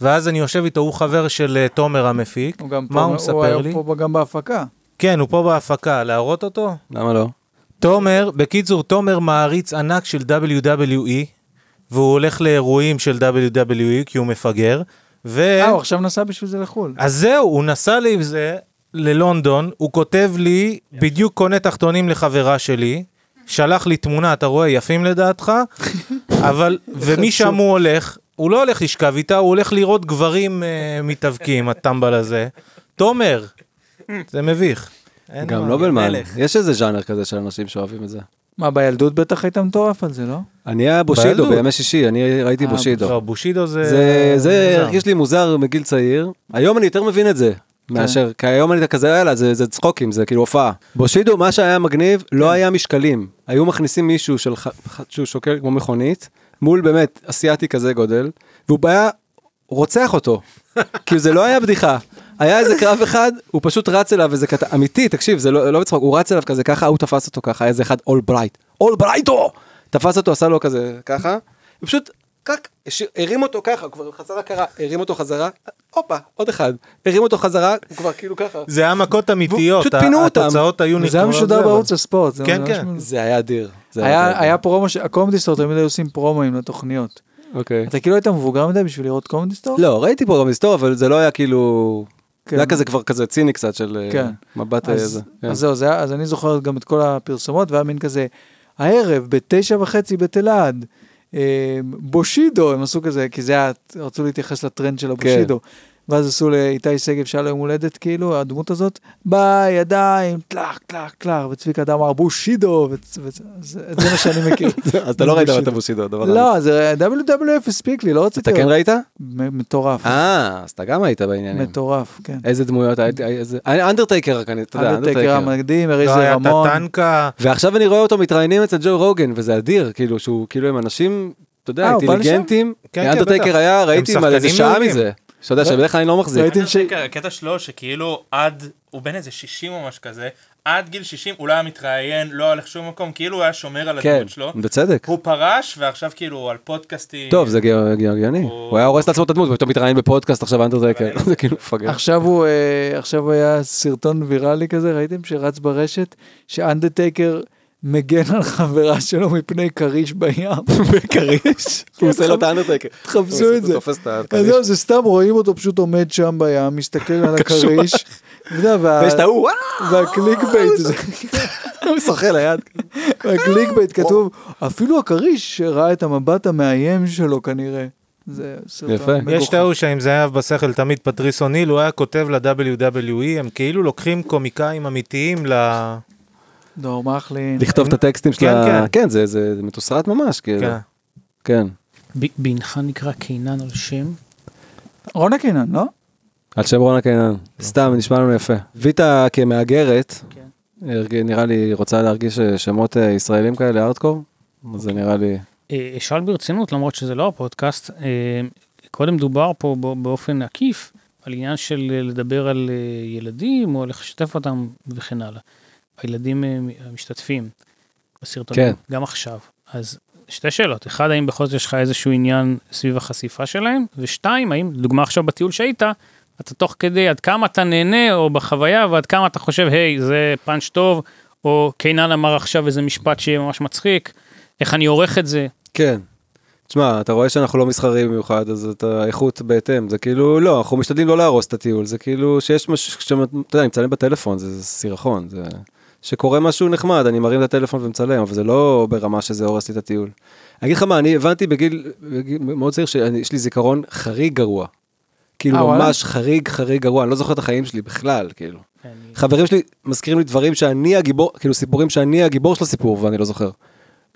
[SPEAKER 1] ואז אני יושב איתו, הוא חבר של אה, תומר המפיק.
[SPEAKER 2] הוא גם פה,
[SPEAKER 1] מה הוא
[SPEAKER 2] הוא
[SPEAKER 1] מספר לי?
[SPEAKER 2] היה פה גם בהפקה.
[SPEAKER 1] כן, הוא פה בהפקה, להראות אותו?
[SPEAKER 4] למה לא?
[SPEAKER 1] תומר, בקיצור, תומר מעריץ ענק של WWE, והוא הולך לאירועים של WWE כי הוא מפגר, ו...
[SPEAKER 2] אה, הוא עכשיו נסע בשביל זה לחו"ל.
[SPEAKER 1] אז זהו, הוא נסע לי עם זה ללונדון, הוא כותב לי, בדיוק קונה תחתונים לחברה שלי, שלח לי תמונה, אתה רואה, יפים לדעתך, אבל, ומשם הוא הולך, הוא לא הולך לשכב איתה, הוא הולך לראות גברים אה, מתאבקים, הטמבל הזה. תומר, זה מביך. אין
[SPEAKER 4] גם
[SPEAKER 1] מה,
[SPEAKER 2] לא
[SPEAKER 4] נובלמן.
[SPEAKER 1] מלך.
[SPEAKER 4] יש איזה ז'אנר כזה של אנשים שאוהבים את זה.
[SPEAKER 2] מה, בילדות בטח היית מטורף על זה, לא?
[SPEAKER 4] אני היה בושידו
[SPEAKER 1] בילדות.
[SPEAKER 4] בימי שישי, אני ראיתי
[SPEAKER 2] אה,
[SPEAKER 4] בושידו.
[SPEAKER 1] לא, בושידו זה...
[SPEAKER 4] זה- זה
[SPEAKER 1] אה, מוזר.
[SPEAKER 4] הרגיש לי מוזר מגיל צעיר. היום אני יותר מבין את זה. מאשר,
[SPEAKER 1] כן.
[SPEAKER 4] כי היום אני כזה, יאללה, זה זה צחוקים, זה כאילו הופעה. בושידו, מה שהיה מגניב,
[SPEAKER 1] כן.
[SPEAKER 4] לא היה משקלים. היו מכניסים מישהו של ח- ח- שהוא שוקל כמו מכונית, מול באמת אסיאתי כזה גודל, והוא היה רוצח אותו. כאילו זה לא היה בדיחה. היה איזה קרב אחד, הוא פשוט רץ אליו איזה קטע, אמיתי, תקשיב, זה לא, לא בצחוק, הוא רץ אליו כזה ככה, הוא תפס אותו ככה, היה איזה אחד אול ברייט, אול ברייטו! תפס אותו, עשה לו כזה ככה, ופשוט, קק, השאיר- הרים אותו ככה, הוא כבר חזר הכרה, הרים אותו חזרה, הופה, עוד אחד, הרים אותו חזרה, הוא כבר כאילו ככה.
[SPEAKER 1] זה היה מכות אמיתיות,
[SPEAKER 4] פשוט פינו
[SPEAKER 1] ה-
[SPEAKER 4] אותם.
[SPEAKER 1] התוצאות היו
[SPEAKER 2] זה היה
[SPEAKER 1] נכונות.
[SPEAKER 2] משודר
[SPEAKER 1] אבל-
[SPEAKER 2] בערוץ הספורט. זה
[SPEAKER 1] כן,
[SPEAKER 2] ממש
[SPEAKER 1] כן.
[SPEAKER 2] מ-
[SPEAKER 4] זה היה אדיר. זה
[SPEAKER 2] היה
[SPEAKER 4] אדיר.
[SPEAKER 2] היה פרומו, ש- הקומדי סטור תמיד היו עושים פרומואים לתוכניות.
[SPEAKER 4] אוקיי.
[SPEAKER 2] אתה כאילו היית מבוגר מדי בשביל לראות קומדי סטור?
[SPEAKER 4] לא, ראיתי פה גם היסטוריה, אבל זה לא היה כאילו, זה
[SPEAKER 2] כן.
[SPEAKER 4] היה כזה כבר כזה ציני קצת של אה,
[SPEAKER 2] כן.
[SPEAKER 4] מבט
[SPEAKER 2] אז-
[SPEAKER 4] איזה. כן.
[SPEAKER 2] אז זהו, זה היה- אז אני זוכר גם את כל הפרסומות, והיה מין כזה, הערב, בתשע וחצי בתלעד, אה, בושידו, הם עשו כזה, כי זה היה, רצו להתייחס לטרנד
[SPEAKER 4] כן.
[SPEAKER 2] של הבושידו. ואז עשו לאיתי שגב, שהיה לו יום הולדת, כאילו, הדמות הזאת, בידיים, טלח, טלח, טלח, וצביקה אדם אמר, בושידו, ו- ו- זה זה מה שאני מכיר.
[SPEAKER 4] אז אתה לא ראית אבל את
[SPEAKER 2] בושידו.
[SPEAKER 4] הבוסידו, הדבר הזה.
[SPEAKER 2] לא, זה WWF הספיק לי, לא רציתי...
[SPEAKER 4] אתה כן
[SPEAKER 2] עוד.
[SPEAKER 4] ראית?
[SPEAKER 2] מ- מטורף,
[SPEAKER 4] אה, אז אתה גם היית בעניינים.
[SPEAKER 2] מטורף, כן.
[SPEAKER 4] איזה דמויות, הייתי- איזה... אני- אנדרטייקר רק אני, אתה יודע,
[SPEAKER 2] אנדרטייקר
[SPEAKER 4] אנדרטייקר.
[SPEAKER 2] המקדים,
[SPEAKER 1] לא
[SPEAKER 2] אריזי
[SPEAKER 1] היה את
[SPEAKER 2] רמון.
[SPEAKER 1] הטנקה,
[SPEAKER 4] ועכשיו אני רואה אותו מתראיינים אצל ג'ו רוגן, וזה אדיר, כאילו, שהוא, כאילו, הם אנשים, אתה יודע,
[SPEAKER 2] אה, הוא בא
[SPEAKER 4] אינטליגנטים.
[SPEAKER 1] כן, כן, בטח.
[SPEAKER 4] אנדרטייקר היה, ראיתי
[SPEAKER 1] הם
[SPEAKER 4] על איזה
[SPEAKER 1] שחקנים
[SPEAKER 4] שעה
[SPEAKER 1] מעולים.
[SPEAKER 4] מזה. שאתה יודע, שבדרך כלל אני לא מחזיק.
[SPEAKER 2] ראיתם ש...
[SPEAKER 5] כן, הקטע שלו שכאילו עד, הוא בן איזה 60 או משהו כזה, עד גיל 60 הוא לא היה מתראיין, לא הלך שום מקום, כאילו הוא היה שומר על
[SPEAKER 4] כן,
[SPEAKER 5] הדמות שלו.
[SPEAKER 4] בצדק.
[SPEAKER 5] הוא פרש ועכשיו כאילו הוא על פודקאסטים.
[SPEAKER 4] טוב, זה גאו- הגיוני. הוא היה הורס לעצמו את הדמות, ופתאום מתראיין בפודקאסט עכשיו אנדרטייקר. זה כאילו מפגר.
[SPEAKER 2] עכשיו הוא, אה, עכשיו היה סרטון ויראלי כזה, ראיתם? שרץ ברשת, שאנדרטייקר מגן על חברה שלו מפני כריש בים.
[SPEAKER 4] בכריש? הוא עושה לו את האנדרטייקר.
[SPEAKER 2] תחפשו
[SPEAKER 4] הוא
[SPEAKER 2] את זה.
[SPEAKER 4] תופס את
[SPEAKER 2] אז
[SPEAKER 4] הכריש.
[SPEAKER 2] זהו, זה סתם רואים אותו פשוט עומד שם בים, מסתכל על הכריש. אתה יודע, וה-
[SPEAKER 4] ויש את ההוא, וואו!
[SPEAKER 2] והקליק בייט, זה-
[SPEAKER 4] הוא שוחה ליד.
[SPEAKER 2] והקליק בייט כתוב, אפילו הכריש ראה את המבט המאיים שלו כנראה. זה סרטון
[SPEAKER 4] יפה. יש
[SPEAKER 2] מגוחך.
[SPEAKER 1] יש את ההוא שאם זה היה בשכל תמיד פטריס אוניל, הוא היה כותב ל-WWE, הם כאילו לוקחים קומיקאים אמיתיים ל...
[SPEAKER 2] דור מחלין.
[SPEAKER 4] לכתוב את הטקסטים של
[SPEAKER 1] כן,
[SPEAKER 4] ה...
[SPEAKER 1] כן.
[SPEAKER 4] כן, זה- זה זה מתוסרט ממש, כאילו.
[SPEAKER 1] כן.
[SPEAKER 4] כן.
[SPEAKER 3] ב- בנך נקרא קינן על שם.
[SPEAKER 2] רונה קינן, לא?
[SPEAKER 4] על שם רונה קינן. סתם, נשמע לנו יפה. ויטה כמהגרת, הרג- נראה לי רוצה להרגיש אה, שמות אה, ישראלים כאלה, ארדקור. אז זה נראה לי...
[SPEAKER 3] אה, אשאל ברצינות, למרות שזה לא הפודקאסט, אה, קודם דובר פה ב- באופן עקיף על עניין של אה, לדבר על אה, ילדים או לשתף אותם וכן הלאה. הילדים אה, מ- המשתתפים בסרטונים,
[SPEAKER 4] כן.
[SPEAKER 3] גם עכשיו. אז שתי שאלות, אחד, האם בכל זאת יש לך איזשהו עניין סביב החשיפה שלהם? ושתיים, האם, לדוגמה עכשיו בטיול שהיית, אתה תוך כדי עד כמה אתה נהנה או בחוויה ועד כמה אתה חושב היי זה פאנץ' טוב או קיינן אמר עכשיו איזה משפט שיהיה ממש מצחיק איך אני עורך את זה
[SPEAKER 4] כן. תשמע, אתה רואה שאנחנו לא מסחרים במיוחד, אז את האיכות בהתאם. זה כאילו, לא, אנחנו משתדלים לא להרוס את הטיול. זה כאילו שיש משהו, כשאתה יודע, אני מצלם בטלפון, זה זה סירחון. זה... שקורה משהו נחמד, אני מרים את הטלפון ומצלם, אבל זה לא ברמה שזה הורס לי את הטיול. אני אגיד לך מה, אני הבנתי בגיל, בגיל מאוד צעיר שיש לי זיכרון חריג גרוע.
[SPEAKER 2] אה,
[SPEAKER 4] כאילו
[SPEAKER 2] וואלה?
[SPEAKER 4] ממש חריג חריג גרוע, אני לא זוכר את החיים שלי בכלל, כאילו.
[SPEAKER 3] אני-
[SPEAKER 4] חברים שלי מזכירים לי דברים שאני הגיבור, כאילו סיפורים שאני הגיבור של הסיפור ואני לא זוכר.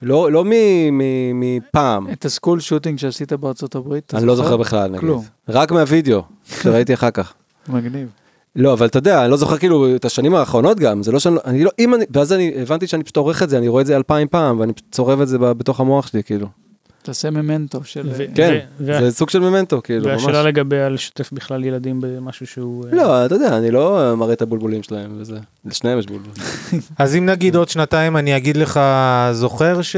[SPEAKER 4] לא, לא מ- מ- מפעם,
[SPEAKER 2] את הסקול שוטינג שעשית בארצות הברית, אתה
[SPEAKER 4] אני לא זוכר בכלל נגיד.
[SPEAKER 2] כלום.
[SPEAKER 4] רק מהווידאו שראיתי אחר כך.
[SPEAKER 2] מגניב.
[SPEAKER 4] לא, אבל אתה יודע, אני לא זוכר כאילו את השנים האחרונות גם, זה לא שאני, לא- אני לא, אם אני, ואז אני הבנתי שאני פשוט עורך את זה, אני רואה את זה אלפיים פעם, ואני פשוט צורב את זה ב- בתוך המוח שלי, כאילו.
[SPEAKER 2] תעשה ממנטו של... אה,
[SPEAKER 3] ו-
[SPEAKER 4] כן,
[SPEAKER 3] וה-
[SPEAKER 4] זה סוג של ממנטו, כאילו, ממש.
[SPEAKER 3] והשאלה לגבי על לשתף בכלל ילדים במשהו שהוא אה,
[SPEAKER 4] לא, אתה יודע, אני לא אה, מראה את הבולבולים שלהם וזה. לשניהם יש בולבול.
[SPEAKER 1] אז אם נגיד עוד שנתיים אני אגיד לך, זוכר ש...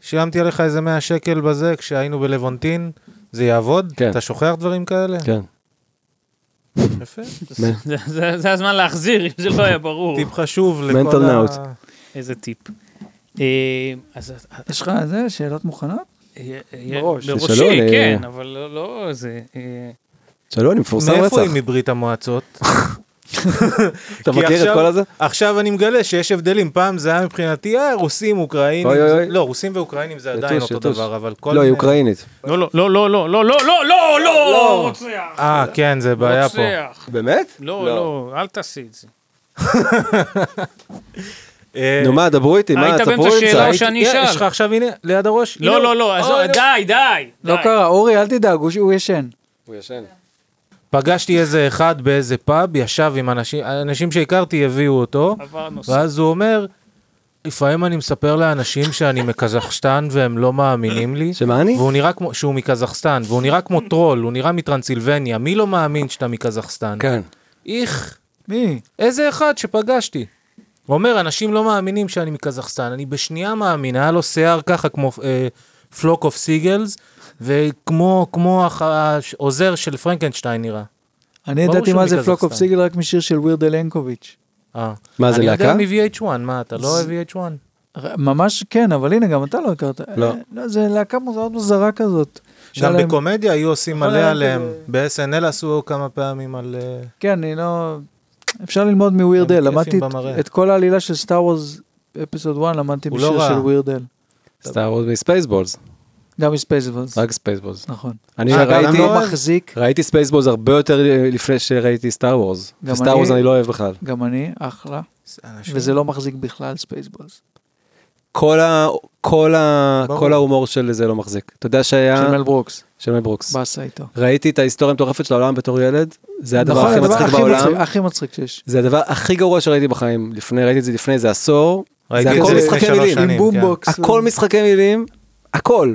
[SPEAKER 1] שילמתי עליך איזה 100 שקל בזה כשהיינו בלוונטין, זה יעבוד?
[SPEAKER 4] כן.
[SPEAKER 1] אתה שוכח דברים כאלה?
[SPEAKER 4] כן.
[SPEAKER 1] יפה.
[SPEAKER 3] זה- זה- זה הזמן להחזיר אם זה לא היה ברור
[SPEAKER 1] טיפ חשוב לכל
[SPEAKER 4] Mental
[SPEAKER 1] ה...
[SPEAKER 4] note.
[SPEAKER 3] איזה טיפ. אה, אז
[SPEAKER 2] יש לך זה, שאלות מוכנות?
[SPEAKER 3] אה, אה,
[SPEAKER 2] בראש.
[SPEAKER 4] תשאלו,
[SPEAKER 3] בראשי
[SPEAKER 4] אני-
[SPEAKER 3] כן אבל לא- לא זה אה,
[SPEAKER 4] שלא, אני מפורסם רצח.
[SPEAKER 1] מאיפה היא מברית המועצות?
[SPEAKER 4] אתה
[SPEAKER 1] כי
[SPEAKER 4] מכיר
[SPEAKER 1] עכשיו-
[SPEAKER 4] את כל הזה?
[SPEAKER 1] עכשיו אני מגלה שיש הבדלים, פעם זה היה מבחינתי, אה, רוסים, אוקראינים.
[SPEAKER 4] אוי, אוי, אוי.
[SPEAKER 1] לא, רוסים ואוקראינים זה עדיין
[SPEAKER 4] יטוש,
[SPEAKER 1] אותו
[SPEAKER 4] יטוש.
[SPEAKER 1] דבר, אבל כל...
[SPEAKER 4] לא, היא
[SPEAKER 1] מיני-
[SPEAKER 4] אוקראינית.
[SPEAKER 3] לא לא לא לא לא לא לא לא לא לא רוצח
[SPEAKER 1] אה, כן, זה בעיה פה.
[SPEAKER 3] רוצח.
[SPEAKER 4] באמת?
[SPEAKER 3] לא לא אל תעשי את זה.
[SPEAKER 1] אה,
[SPEAKER 4] נו מה, דברו איתי, מה,
[SPEAKER 3] היית
[SPEAKER 4] תספרו
[SPEAKER 3] באמצע
[SPEAKER 4] לי
[SPEAKER 3] שאלה או לא,
[SPEAKER 4] קצת.
[SPEAKER 3] שאני
[SPEAKER 1] אה,
[SPEAKER 3] אשאל?
[SPEAKER 1] יש לך עכשיו, הנה, ליד הראש. הנה
[SPEAKER 3] לא
[SPEAKER 1] הוא.
[SPEAKER 3] לא לא אז
[SPEAKER 1] אוי,
[SPEAKER 3] די די.
[SPEAKER 2] לא
[SPEAKER 3] די.
[SPEAKER 2] קרה, אורי, אל תדאג, הוא- הוא ישן.
[SPEAKER 4] הוא ישן.
[SPEAKER 1] לא. פגשתי איזה אחד באיזה פאב, ישב עם אנשים, אנשים שהכרתי הביאו אותו,
[SPEAKER 3] עבר נושא.
[SPEAKER 1] ואז הוא אומר, לפעמים אני מספר לאנשים שאני מקזחסטן והם לא מאמינים לי,
[SPEAKER 4] שמה אני?
[SPEAKER 1] והוא נראה כמו, שהוא מקזחסטן, והוא נראה כמו טרול, הוא נראה מטרנסילבניה, מי לא מאמין שאתה מקזחסטן?
[SPEAKER 4] כן.
[SPEAKER 1] איך,
[SPEAKER 2] מי?
[SPEAKER 1] איזה אחד שפגשתי. הוא אומר, אנשים לא מאמינים שאני מקזחסטן, אני בשנייה מאמין, היה לו שיער ככה כמו אה, פלוק אוף סיגלס, וכמו כמו הח- העוזר של פרנקנשטיין נראה.
[SPEAKER 2] אני
[SPEAKER 1] ברור
[SPEAKER 2] ידעתי
[SPEAKER 1] שהוא
[SPEAKER 2] מה זה
[SPEAKER 1] מקזחסטן.
[SPEAKER 2] פלוק אוף סיגל רק משיר של ווירד אלנקוביץ'.
[SPEAKER 1] אה.
[SPEAKER 4] מה, זה להקה?
[SPEAKER 1] אני יודע מ-VH1, מה, אתה לא אוהב VH1?
[SPEAKER 2] ר- ממש כן, אבל הנה, גם אתה לא הכרת.
[SPEAKER 4] לא.
[SPEAKER 2] אה, לא, זה להקה מאוד מוזרה כזאת.
[SPEAKER 1] גם לא,
[SPEAKER 2] שהיה להם-
[SPEAKER 1] בקומדיה היו עושים
[SPEAKER 2] נכון,
[SPEAKER 1] מלא
[SPEAKER 2] היה
[SPEAKER 1] עליהם,
[SPEAKER 2] כזה-
[SPEAKER 1] ב-SNL עשו כמה פעמים על... אה,
[SPEAKER 2] כן, אני לא... אפשר ללמוד מווירד
[SPEAKER 1] הם
[SPEAKER 2] אל,
[SPEAKER 1] כיפים
[SPEAKER 2] למדתי את-
[SPEAKER 1] במראה.
[SPEAKER 2] את כל העלילה של סטאר וורז אפיסוד 1, למדתי
[SPEAKER 1] הוא לא
[SPEAKER 2] בשיר
[SPEAKER 1] רע.
[SPEAKER 2] של ווירד אל.
[SPEAKER 4] סטאר וורס וספייסבולס.
[SPEAKER 2] גם מספייסבולס,
[SPEAKER 4] רק ספייסבולס.
[SPEAKER 2] נכון.
[SPEAKER 4] אני
[SPEAKER 1] אה, גם
[SPEAKER 2] אני
[SPEAKER 4] ראיתי...
[SPEAKER 2] לא
[SPEAKER 1] אוהב.
[SPEAKER 2] מחזיק,
[SPEAKER 4] ראיתי ספייסבולס הרבה יותר אה, לפני שראיתי סטאר וורס.
[SPEAKER 2] גם
[SPEAKER 4] סטאר
[SPEAKER 2] אני-
[SPEAKER 4] וורס אני לא אוהב בכלל.
[SPEAKER 2] גם אני, אחלה,
[SPEAKER 1] אנשים-
[SPEAKER 2] וזה לא מחזיק בכלל ספייסבולס.
[SPEAKER 4] כל ה... כל ה...
[SPEAKER 1] ברור.
[SPEAKER 4] כל ההומור של זה לא מחזיק. אתה יודע
[SPEAKER 1] אה.
[SPEAKER 4] שהיה...
[SPEAKER 2] של מל ברוקס,
[SPEAKER 4] של מל ברוקס.
[SPEAKER 2] באסה איתו.
[SPEAKER 4] ראיתי את ההיסטוריה המטורפת של העולם בתור ילד, זה הדבר
[SPEAKER 2] נכון,
[SPEAKER 4] הכי
[SPEAKER 2] הדבר
[SPEAKER 4] מצחיק
[SPEAKER 2] הכי
[SPEAKER 4] בעולם.
[SPEAKER 2] מצחיק- הכי מצחיק שיש.
[SPEAKER 4] זה הדבר הכי גרוע שראיתי בחיים. לפני, ראיתי את זה לפני איזה עשור.
[SPEAKER 1] ראיתי
[SPEAKER 4] זה
[SPEAKER 1] את
[SPEAKER 4] הכל
[SPEAKER 1] זה
[SPEAKER 4] משחקי
[SPEAKER 1] לפני שלוש
[SPEAKER 4] מילים.
[SPEAKER 1] שנים, כן.
[SPEAKER 2] עם בומבוקס.
[SPEAKER 4] הכל משחקי מילים, הכל.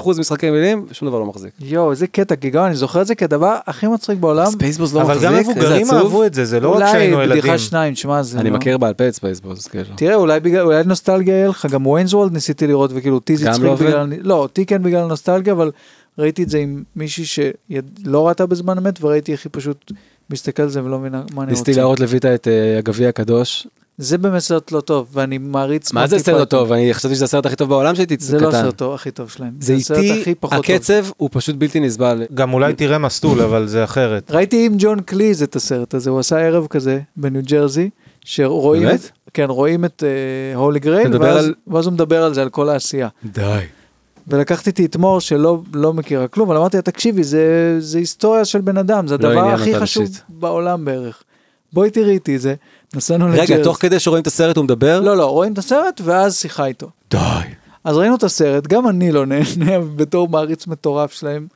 [SPEAKER 4] 99% משחקי מילים, שום דבר לא מחזיק.
[SPEAKER 2] יואו, איזה קטע, כי גם אני זוכר את זה כדבר הכי מצחיק בעולם.
[SPEAKER 4] ספייסבולס לא
[SPEAKER 1] אבל
[SPEAKER 4] מחזיק,
[SPEAKER 1] גם
[SPEAKER 4] איזה
[SPEAKER 1] מבוגרים
[SPEAKER 4] עצוב.
[SPEAKER 1] אהבו את זה, זה לא רק שהיינו
[SPEAKER 2] אולי
[SPEAKER 1] ילדים.
[SPEAKER 2] בדיחה שניים, שמע, אה? זה...
[SPEAKER 4] אני
[SPEAKER 2] לא-
[SPEAKER 4] מכיר בעל פה את ספייסבולס, כאילו.
[SPEAKER 2] תראה, אולי בגלל, אולי נוסטלגיה יהיה לך, גם וויינזוולד ניסיתי לראות, וכאילו אותי זה
[SPEAKER 4] גם
[SPEAKER 2] הצחיק
[SPEAKER 4] לא עובד?
[SPEAKER 2] בגלל... לא, אותי כן בגלל נוסטלגיה, אבל ראיתי את זה עם מישהי שלא ראתה בזמן אמת, וראיתי איך היא פשוט מסתכל על זה ולא מבינה מה אני
[SPEAKER 4] ניסיתי
[SPEAKER 2] רוצה.
[SPEAKER 4] להראות לויטה את אה, הגביע הקדוש.
[SPEAKER 2] זה באמת סרט לא טוב, ואני מעריץ...
[SPEAKER 4] מה זה
[SPEAKER 2] מונטי
[SPEAKER 4] סרט לא
[SPEAKER 2] פייתון.
[SPEAKER 4] טוב? אני חשבתי שזה הסרט הכי טוב בעולם שהייתי
[SPEAKER 2] זה לא
[SPEAKER 4] קטן.
[SPEAKER 2] הסרט טוב- הכי טוב שלהם.
[SPEAKER 4] זה
[SPEAKER 2] הסרט הכי
[SPEAKER 4] איטי,
[SPEAKER 2] פחות טוב.
[SPEAKER 4] הקצב הוא פשוט בלתי נסבל.
[SPEAKER 1] גם אולי תראה מסלול, אבל זה אחרת.
[SPEAKER 2] ראיתי עם ג'ון קליז את הסרט הזה, הוא עשה ערב כזה בניו ג'רזי, שרואים...
[SPEAKER 4] באמת?
[SPEAKER 2] את- כן, רואים את אה, הולי
[SPEAKER 4] אתה
[SPEAKER 2] גרייל,
[SPEAKER 4] מדבר
[SPEAKER 2] ואז
[SPEAKER 4] על-
[SPEAKER 2] ואז הוא מדבר על זה, על כל העשייה.
[SPEAKER 4] די.
[SPEAKER 2] ולקחתי איתי את מור שלא לא מכירה כלום, אבל אמרתי לה, תקשיבי, זה, זה היסטוריה של בן אדם, זה
[SPEAKER 4] לא
[SPEAKER 2] הדבר
[SPEAKER 4] עניין
[SPEAKER 2] הכי
[SPEAKER 4] אותה
[SPEAKER 2] חשוב
[SPEAKER 4] אישית.
[SPEAKER 2] בעולם בערך. בואי תראי איתי את זה, נסענו לג'רז.
[SPEAKER 4] רגע, תוך כדי שרואים את הסרט הוא מדבר?
[SPEAKER 2] לא, לא, רואים את הסרט ואז שיחה איתו.
[SPEAKER 4] די.
[SPEAKER 2] אז ראינו את הסרט, גם אני לא נהנה בתור מעריץ מטורף שלהם.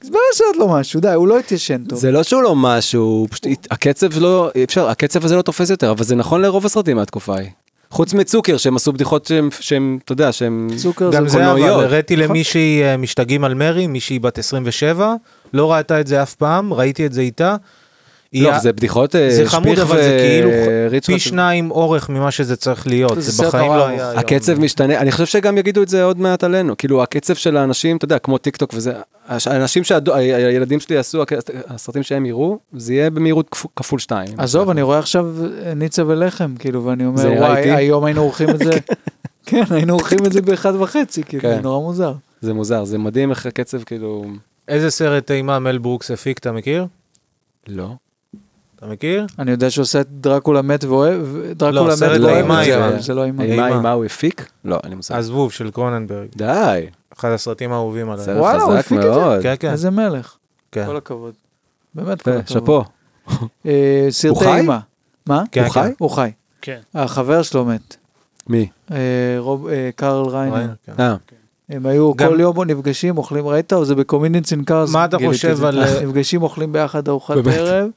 [SPEAKER 2] זה באמת סרט לא משהו, די, הוא לא התיישן טוב.
[SPEAKER 4] זה לא שהוא לא משהו, הוא פשוט, הקצב לא, אי אפשר, הקצב הזה לא תופס יותר, אבל זה נכון לרוב הסרטים מהתקופה ההיא. חוץ מצוקר, שהם עשו בדיחות שהם, שהם, אתה יודע, שהם...
[SPEAKER 2] צוקר
[SPEAKER 1] גם זה אבל,
[SPEAKER 4] קולנועיות.
[SPEAKER 1] הראיתי
[SPEAKER 2] נכון.
[SPEAKER 1] למישהי אה, משתגעים על מרי, מישהי בת 27, לא ראתה את זה אף פעם, ראיתי את זה איתה. היא ה-
[SPEAKER 4] לא, זה בדיחות אה,
[SPEAKER 1] זה חמוד,
[SPEAKER 4] שפיך אה,
[SPEAKER 1] אבל זה כאילו ח-
[SPEAKER 4] וריצ'רד.
[SPEAKER 1] פי שניים אורך ממה שזה צריך להיות,
[SPEAKER 2] זה
[SPEAKER 1] זה
[SPEAKER 2] סרט
[SPEAKER 1] בחיים
[SPEAKER 2] נורא
[SPEAKER 1] לא
[SPEAKER 2] ארוך.
[SPEAKER 1] היה היום.
[SPEAKER 4] הקצב משתנה, אני חושב שגם יגידו את זה עוד מעט עלינו, כאילו הקצב של האנשים, אתה יודע, כמו טיק טוק וזה, הש- האנשים שהילדים שלי יעשו, הק- הסרטים שהם יראו, זה יהיה במהירות כפו- כפול שתיים.
[SPEAKER 2] עזוב, אני רואה עכשיו אה, ניצה ולחם, כאילו, ואני אומר,
[SPEAKER 4] זה נראה
[SPEAKER 2] וואי,
[SPEAKER 4] איטי?"
[SPEAKER 2] היום היינו עורכים את זה, כן, היינו עורכים את זה באחד וחצי, כאילו,
[SPEAKER 4] כן.
[SPEAKER 2] זה נורא מוזר.
[SPEAKER 4] זה מוזר, זה מדהים איך הקצב כאילו...
[SPEAKER 1] איזה סרט אימה מל ברוקס הפיק, אתה מכיר?
[SPEAKER 4] לא.
[SPEAKER 1] אתה מכיר?
[SPEAKER 2] אני יודע שעושה את דרקולה מת ואוהב, דרקולה
[SPEAKER 1] לא,
[SPEAKER 2] מת
[SPEAKER 1] סרט
[SPEAKER 2] ואוהב, את
[SPEAKER 1] אימה,
[SPEAKER 2] זה,
[SPEAKER 1] אימה.
[SPEAKER 2] אבל זה לא אימה.
[SPEAKER 4] אימה,
[SPEAKER 1] אימה.
[SPEAKER 4] אימה הוא הפיק? לא, אין לי מושג.
[SPEAKER 1] הזבוב של קרוננברג,
[SPEAKER 4] די,
[SPEAKER 1] אחד הסרטים האהובים עליי.
[SPEAKER 4] סרט
[SPEAKER 2] וואלה, הוא
[SPEAKER 4] חזק
[SPEAKER 2] הפיק את זה?
[SPEAKER 4] מאוד.
[SPEAKER 1] כן, כן,
[SPEAKER 2] איזה מלך,
[SPEAKER 1] כן.
[SPEAKER 2] כל הכבוד. באמת
[SPEAKER 4] יפה,
[SPEAKER 2] כל הכבוד.
[SPEAKER 4] כן, שאפו.
[SPEAKER 2] אה,
[SPEAKER 4] הוא
[SPEAKER 2] סרטי
[SPEAKER 4] חי?
[SPEAKER 2] אימה. מה?
[SPEAKER 1] כן,
[SPEAKER 4] הוא
[SPEAKER 1] כן.
[SPEAKER 4] חי?
[SPEAKER 2] הוא חי.
[SPEAKER 3] כן.
[SPEAKER 2] החבר שלו מת.
[SPEAKER 4] מי?
[SPEAKER 2] אה, רוב- אה, קרל ריינר.
[SPEAKER 1] ראינו, כן.
[SPEAKER 4] אה,
[SPEAKER 2] הם היו
[SPEAKER 1] גם-
[SPEAKER 2] כל יום נפגשים, אוכלים, ראית? זה בקומינינס אין קארס.
[SPEAKER 1] מה אתה חושב על-
[SPEAKER 2] נפגשים, אוכלים ביחד ארוחת
[SPEAKER 4] באמת?
[SPEAKER 2] ערב.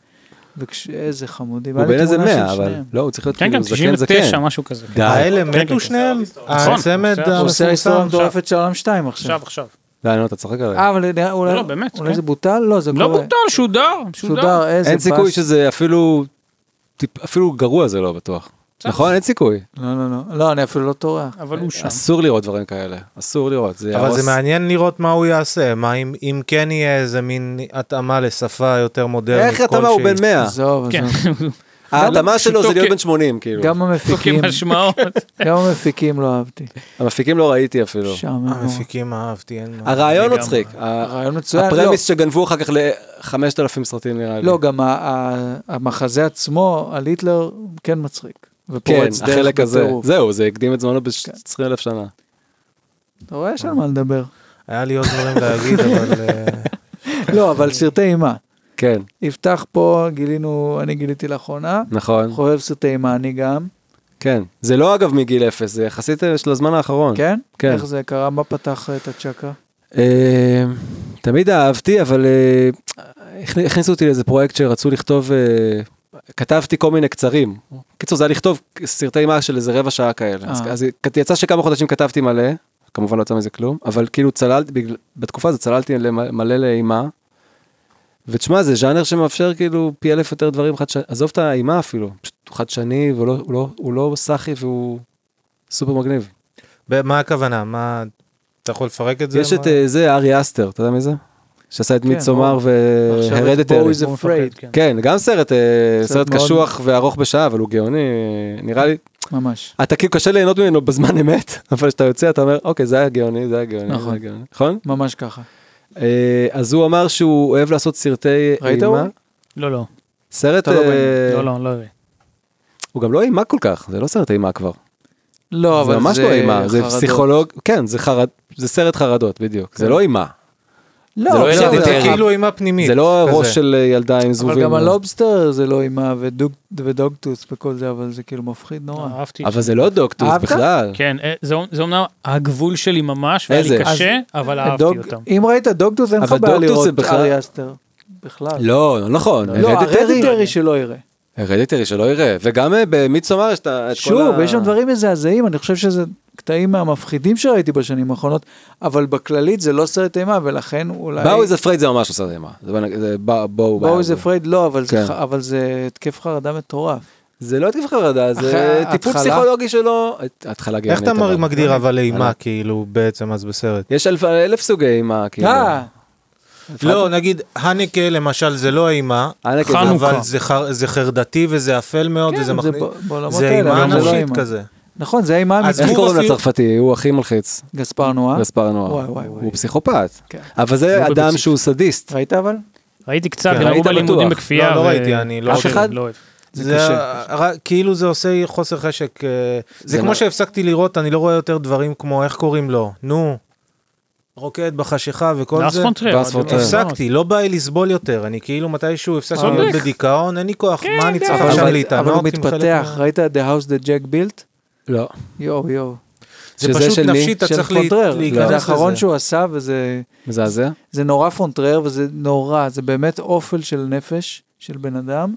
[SPEAKER 2] וכש- איזה חמודים.
[SPEAKER 4] הוא
[SPEAKER 2] היה לי
[SPEAKER 4] בן איזה
[SPEAKER 2] תמונה של
[SPEAKER 4] 100, אבל...
[SPEAKER 2] שניהם.
[SPEAKER 4] לא, הוא צריך להיות
[SPEAKER 3] כן, כן,
[SPEAKER 4] כאילו זקן
[SPEAKER 3] 99,
[SPEAKER 4] זקן.
[SPEAKER 3] משהו כזה. כן.
[SPEAKER 4] די.
[SPEAKER 2] אה,
[SPEAKER 1] האלה
[SPEAKER 3] כן, כן, כן.
[SPEAKER 1] מתו שניהם? הצמד
[SPEAKER 3] נכון,
[SPEAKER 2] הוא עושה היסטוריה
[SPEAKER 1] המפורסם?
[SPEAKER 2] מטורפת של עולם 2 עכשיו.
[SPEAKER 3] עכשיו, עכשיו.
[SPEAKER 4] די, נו, לא, אתה צוחק עליי.
[SPEAKER 2] אה, אבל נראה- אולי...
[SPEAKER 3] לא, באמת,
[SPEAKER 2] אולי
[SPEAKER 3] כן.
[SPEAKER 2] זה בוטל? לא, זה
[SPEAKER 3] לא
[SPEAKER 2] קורה.
[SPEAKER 3] בוטל, שודר, שודר.
[SPEAKER 2] שודר, איזה
[SPEAKER 4] אין סיכוי
[SPEAKER 2] באס.
[SPEAKER 4] שזה אפילו... טיפ- אפילו גרוע זה לא בטוח. נכון? אין סיכוי.
[SPEAKER 2] לא, לא, לא. לא, אני אפילו לא טורח.
[SPEAKER 3] אבל הוא שם.
[SPEAKER 4] אסור לראות דברים כאלה. אסור לראות. זה
[SPEAKER 1] אבל
[SPEAKER 4] יהרוס.
[SPEAKER 1] זה מעניין לראות מה הוא יעשה, מה אם- אם כן יהיה איזה מין התאמה לשפה יותר מודרנית
[SPEAKER 4] איך אתה מה, הוא
[SPEAKER 1] כלשהי.
[SPEAKER 4] בן 100?
[SPEAKER 2] עזוב,
[SPEAKER 3] כן,
[SPEAKER 2] עזוב.
[SPEAKER 4] ההתאמה שלו זה
[SPEAKER 3] פשוטו
[SPEAKER 4] להיות
[SPEAKER 3] כ-
[SPEAKER 4] בן 80, כאילו.
[SPEAKER 2] גם המפיקים,
[SPEAKER 3] כמשמעות.
[SPEAKER 2] גם המפיקים לא אהבתי. המפיקים
[SPEAKER 4] המפיקים לא ראיתי אפילו.
[SPEAKER 2] שם,
[SPEAKER 1] המפיקים אהבתי, אין מה.
[SPEAKER 4] הרעיון
[SPEAKER 3] לגמרי.
[SPEAKER 4] מצחיק. ה-
[SPEAKER 2] הרעיון מצוין.
[SPEAKER 4] הפרמיס שגנבו אחר כך ל-5,000 סרטים נראה לי.
[SPEAKER 2] לא, גם ה- ה- המחזה עצמו על היטלר כן מצחיק.
[SPEAKER 4] כן,
[SPEAKER 2] ופורץ דרך
[SPEAKER 4] החלק הזה.
[SPEAKER 2] בטירוף. כן.
[SPEAKER 4] זהו, זה הקדים את זמנו ב-20,000 שנה.
[SPEAKER 2] אתה רואה, יש על מה לדבר.
[SPEAKER 1] היה לי עוד דברים להגיד, אבל... אה,
[SPEAKER 2] לא, אבל סרטי אימה.
[SPEAKER 4] כן,
[SPEAKER 2] יפתח פה, גילינו, אני גיליתי לאחרונה.
[SPEAKER 4] נכון.
[SPEAKER 2] חובב סרטי אימה, אני גם.
[SPEAKER 4] כן. זה לא אגב מגיל אפס, זה יחסית אה, של הזמן האחרון.
[SPEAKER 2] כן?
[SPEAKER 4] כן.
[SPEAKER 2] איך זה קרה? מה פתח את הצ'קה?
[SPEAKER 4] אה, תמיד אהבתי, אבל אה, הכנ- הכניסו אותי לאיזה פרויקט שרצו לכתוב, אה, כתבתי כל מיני קצרים. קיצור, זה היה לכתוב סרטי אימה של איזה רבע שעה כאלה. אז-
[SPEAKER 2] אה.
[SPEAKER 4] אז יצא שכמה חודשים כתבתי מלא, כמובן לא יצא מזה כלום, אבל כאילו צללתי, בגלל- בתקופה הזאת צללתי למ- מלא לאימה. ותשמע, זה ז'אנר שמאפשר כאילו פי אלף יותר דברים חדשני, עזוב את האימה אפילו, פשוט הוא חדשני, והוא לא- הוא לא- הוא לא סאחי והוא סופר מגניב.
[SPEAKER 1] ב- מה הכוונה? מה... אתה יכול לפרק את זה?
[SPEAKER 4] יש
[SPEAKER 1] מה-
[SPEAKER 4] את אה, זה, ארי אסטר, אתה יודע מי זה? שעשה את
[SPEAKER 2] כן,
[SPEAKER 4] מיצומר
[SPEAKER 2] עכשיו את
[SPEAKER 4] והרדטר.
[SPEAKER 2] בואו is
[SPEAKER 3] הוא מפחד,
[SPEAKER 2] afraid.
[SPEAKER 3] כן.
[SPEAKER 4] כן, גם סרט, אה,
[SPEAKER 2] סרט
[SPEAKER 4] סרט
[SPEAKER 2] מאוד-
[SPEAKER 4] קשוח וארוך בשעה, אבל הוא גאוני, אה, נראה לי.
[SPEAKER 2] ממש.
[SPEAKER 4] אתה כאילו קשה ליהנות ממנו בזמן אמת, אבל כשאתה יוצא אתה אומר, אוקיי, זה היה גאוני, זה היה גאוני, זה
[SPEAKER 2] נכון.
[SPEAKER 4] היה גאוני, נכון?
[SPEAKER 2] ממש ככה.
[SPEAKER 4] אה, אז הוא אמר שהוא אוהב לעשות סרטי
[SPEAKER 2] ראית,
[SPEAKER 4] אימה.
[SPEAKER 2] אורי?
[SPEAKER 3] לא, לא,
[SPEAKER 4] סרט,
[SPEAKER 2] אתה לא
[SPEAKER 4] אה,
[SPEAKER 3] לא, לא, לא. אראה.
[SPEAKER 4] הוא גם לא אימה כל כך, זה לא סרט אימה כבר.
[SPEAKER 2] לא, אבל
[SPEAKER 4] זה
[SPEAKER 2] זה
[SPEAKER 4] ממש לא אימה, זה
[SPEAKER 2] חרדות.
[SPEAKER 4] פסיכולוג, כן, זה חרד- זה סרט חרדות, בדיוק. זה
[SPEAKER 2] כן.
[SPEAKER 4] לא אימה,
[SPEAKER 2] לא,
[SPEAKER 4] זה לא
[SPEAKER 2] אבל-
[SPEAKER 4] ילד
[SPEAKER 2] אבל-
[SPEAKER 1] זה
[SPEAKER 4] יותר.
[SPEAKER 1] כאילו אימה פנימית.
[SPEAKER 4] זה לא
[SPEAKER 1] כזה.
[SPEAKER 4] ראש של אה, ילדה עם
[SPEAKER 2] אבל
[SPEAKER 4] זבובים.
[SPEAKER 2] גם לא הלובסטר זה לא אימה ודוגטוס וכל זה, אבל זה כאילו מפחיד נורא.
[SPEAKER 3] לא, אהבתי.
[SPEAKER 4] אבל זה לא דוקטוס
[SPEAKER 2] אהבת?
[SPEAKER 4] בכלל.
[SPEAKER 3] כן, אה, זה זה אומנם הגבול שלי ממש, והיה לי
[SPEAKER 4] איזה?
[SPEAKER 3] קשה,
[SPEAKER 1] אה,
[SPEAKER 3] אבל אהבתי
[SPEAKER 2] הדוג-
[SPEAKER 3] אותם.
[SPEAKER 2] אה, אם ראית דוקטוס, אין לך
[SPEAKER 4] אבל
[SPEAKER 2] בעיה
[SPEAKER 4] דוקטוס
[SPEAKER 2] לראות
[SPEAKER 4] זה בכלל-
[SPEAKER 2] ארי אסטר. בכלל.
[SPEAKER 4] לא, לא נכון.
[SPEAKER 2] לא, הרדיטרי שלא יראה.
[SPEAKER 4] הרדיטרי שלא יראה. וגם אה, במיצומר יש את ה- את כל ה...
[SPEAKER 2] שוב, יש שם דברים מזעזעים, אני חושב שזה קטעים מהמפחידים שראיתי בשנים האחרונות, אבל בכללית זה לא סרט אימה, ולכן אולי...
[SPEAKER 4] באו איזה פרייד זה ממש עושה אימה. זה בוא- זה בא- בואו...
[SPEAKER 2] באו
[SPEAKER 4] באו
[SPEAKER 2] איזה
[SPEAKER 4] זה-
[SPEAKER 2] פרייד, לא, אבל זה
[SPEAKER 4] כן.
[SPEAKER 2] ח- אבל זה התקף חרדה מטורף.
[SPEAKER 4] זה לא התקף חרדה, זה
[SPEAKER 2] אחרי
[SPEAKER 4] טיפול
[SPEAKER 2] ההתחלה?
[SPEAKER 4] פסיכולוגי שלו. התחלה
[SPEAKER 1] איך
[SPEAKER 4] גאונית.
[SPEAKER 1] אתה
[SPEAKER 4] אבל.
[SPEAKER 1] מגדיר אבל אימה,
[SPEAKER 4] אבל-
[SPEAKER 1] כאילו, בעצם, אז בסרט?
[SPEAKER 4] יש אלף- אלף סוגי אימה, כאילו.
[SPEAKER 2] אה,
[SPEAKER 1] לא, נגיד, הנקה למשל זה לא אימה,
[SPEAKER 4] ענק,
[SPEAKER 3] חנוכה.
[SPEAKER 1] אבל זה חר- זה חרדתי וזה אפל מאוד,
[SPEAKER 2] כן,
[SPEAKER 1] וזה
[SPEAKER 2] זה
[SPEAKER 1] מכניס...
[SPEAKER 2] ב- בעולמות
[SPEAKER 1] זה
[SPEAKER 2] האלה,
[SPEAKER 1] אימה
[SPEAKER 2] אבל זה לא
[SPEAKER 1] נפשית
[SPEAKER 2] אימה.
[SPEAKER 1] כזה.
[SPEAKER 2] נכון, זה האימה
[SPEAKER 1] אז
[SPEAKER 4] איך
[SPEAKER 2] האמיתית.
[SPEAKER 1] הוא
[SPEAKER 4] קוראים
[SPEAKER 1] אפילו-
[SPEAKER 4] לצרפתי? הוא הכי מלחיץ.
[SPEAKER 2] גספר נועה.
[SPEAKER 4] גספר נוער.
[SPEAKER 2] וואי, וואי, וואי.
[SPEAKER 4] הוא פסיכופת.
[SPEAKER 2] כן.
[SPEAKER 4] אבל זה
[SPEAKER 3] לא
[SPEAKER 4] אדם
[SPEAKER 3] בבסיס.
[SPEAKER 4] שהוא סדיסט.
[SPEAKER 2] ראית אבל?
[SPEAKER 3] ראיתי קצת,
[SPEAKER 4] כן,
[SPEAKER 3] גם
[SPEAKER 4] ראית
[SPEAKER 3] אמרו בלימודים
[SPEAKER 4] בטוח.
[SPEAKER 3] בכפייה.
[SPEAKER 1] לא, לא
[SPEAKER 3] ו-
[SPEAKER 1] ראיתי, אני לא
[SPEAKER 3] אף
[SPEAKER 1] אוהב.
[SPEAKER 3] אחד? לא אוהב.
[SPEAKER 2] זה
[SPEAKER 1] זה
[SPEAKER 2] קשה.
[SPEAKER 1] הר- כאילו זה עושה חוסר חשק. אה, זה
[SPEAKER 4] זה
[SPEAKER 1] כמו
[SPEAKER 4] לא-
[SPEAKER 1] שהפסקתי לראות, אני לא רואה יותר דברים כמו, איך קוראים לו? נו, רוקד בחשיכה וכל
[SPEAKER 3] לארס
[SPEAKER 1] זה.
[SPEAKER 3] פון טרר,
[SPEAKER 4] לארס
[SPEAKER 3] אתם
[SPEAKER 4] פון
[SPEAKER 3] יודעים.
[SPEAKER 1] הפסקתי, לא בא לי לסבול יותר, אני כאילו מתישהו הפסקתי
[SPEAKER 3] צודק. כן,
[SPEAKER 1] להיות בדיכאון, אין לי כוח, מה לא אני צריך
[SPEAKER 2] אבל-
[SPEAKER 1] עכשיו להתענות?
[SPEAKER 2] אבל הוא
[SPEAKER 1] עם חלק
[SPEAKER 2] מתפתח,
[SPEAKER 1] מה-
[SPEAKER 2] ראית The House that Jack built?
[SPEAKER 4] לא.
[SPEAKER 2] יואו יואו.
[SPEAKER 1] זה
[SPEAKER 4] שזה
[SPEAKER 1] פשוט
[SPEAKER 4] של מי?
[SPEAKER 1] נפשי, אתה
[SPEAKER 2] של
[SPEAKER 1] צריך
[SPEAKER 2] פון
[SPEAKER 1] להת-
[SPEAKER 2] טרר. זה
[SPEAKER 1] להיכנס
[SPEAKER 2] האחרון
[SPEAKER 1] לזה.
[SPEAKER 2] שהוא עשה וזה
[SPEAKER 4] מזעזע?
[SPEAKER 2] זה נורא פונטרר וזה נורא, זה באמת אופל של נפש של בן אדם,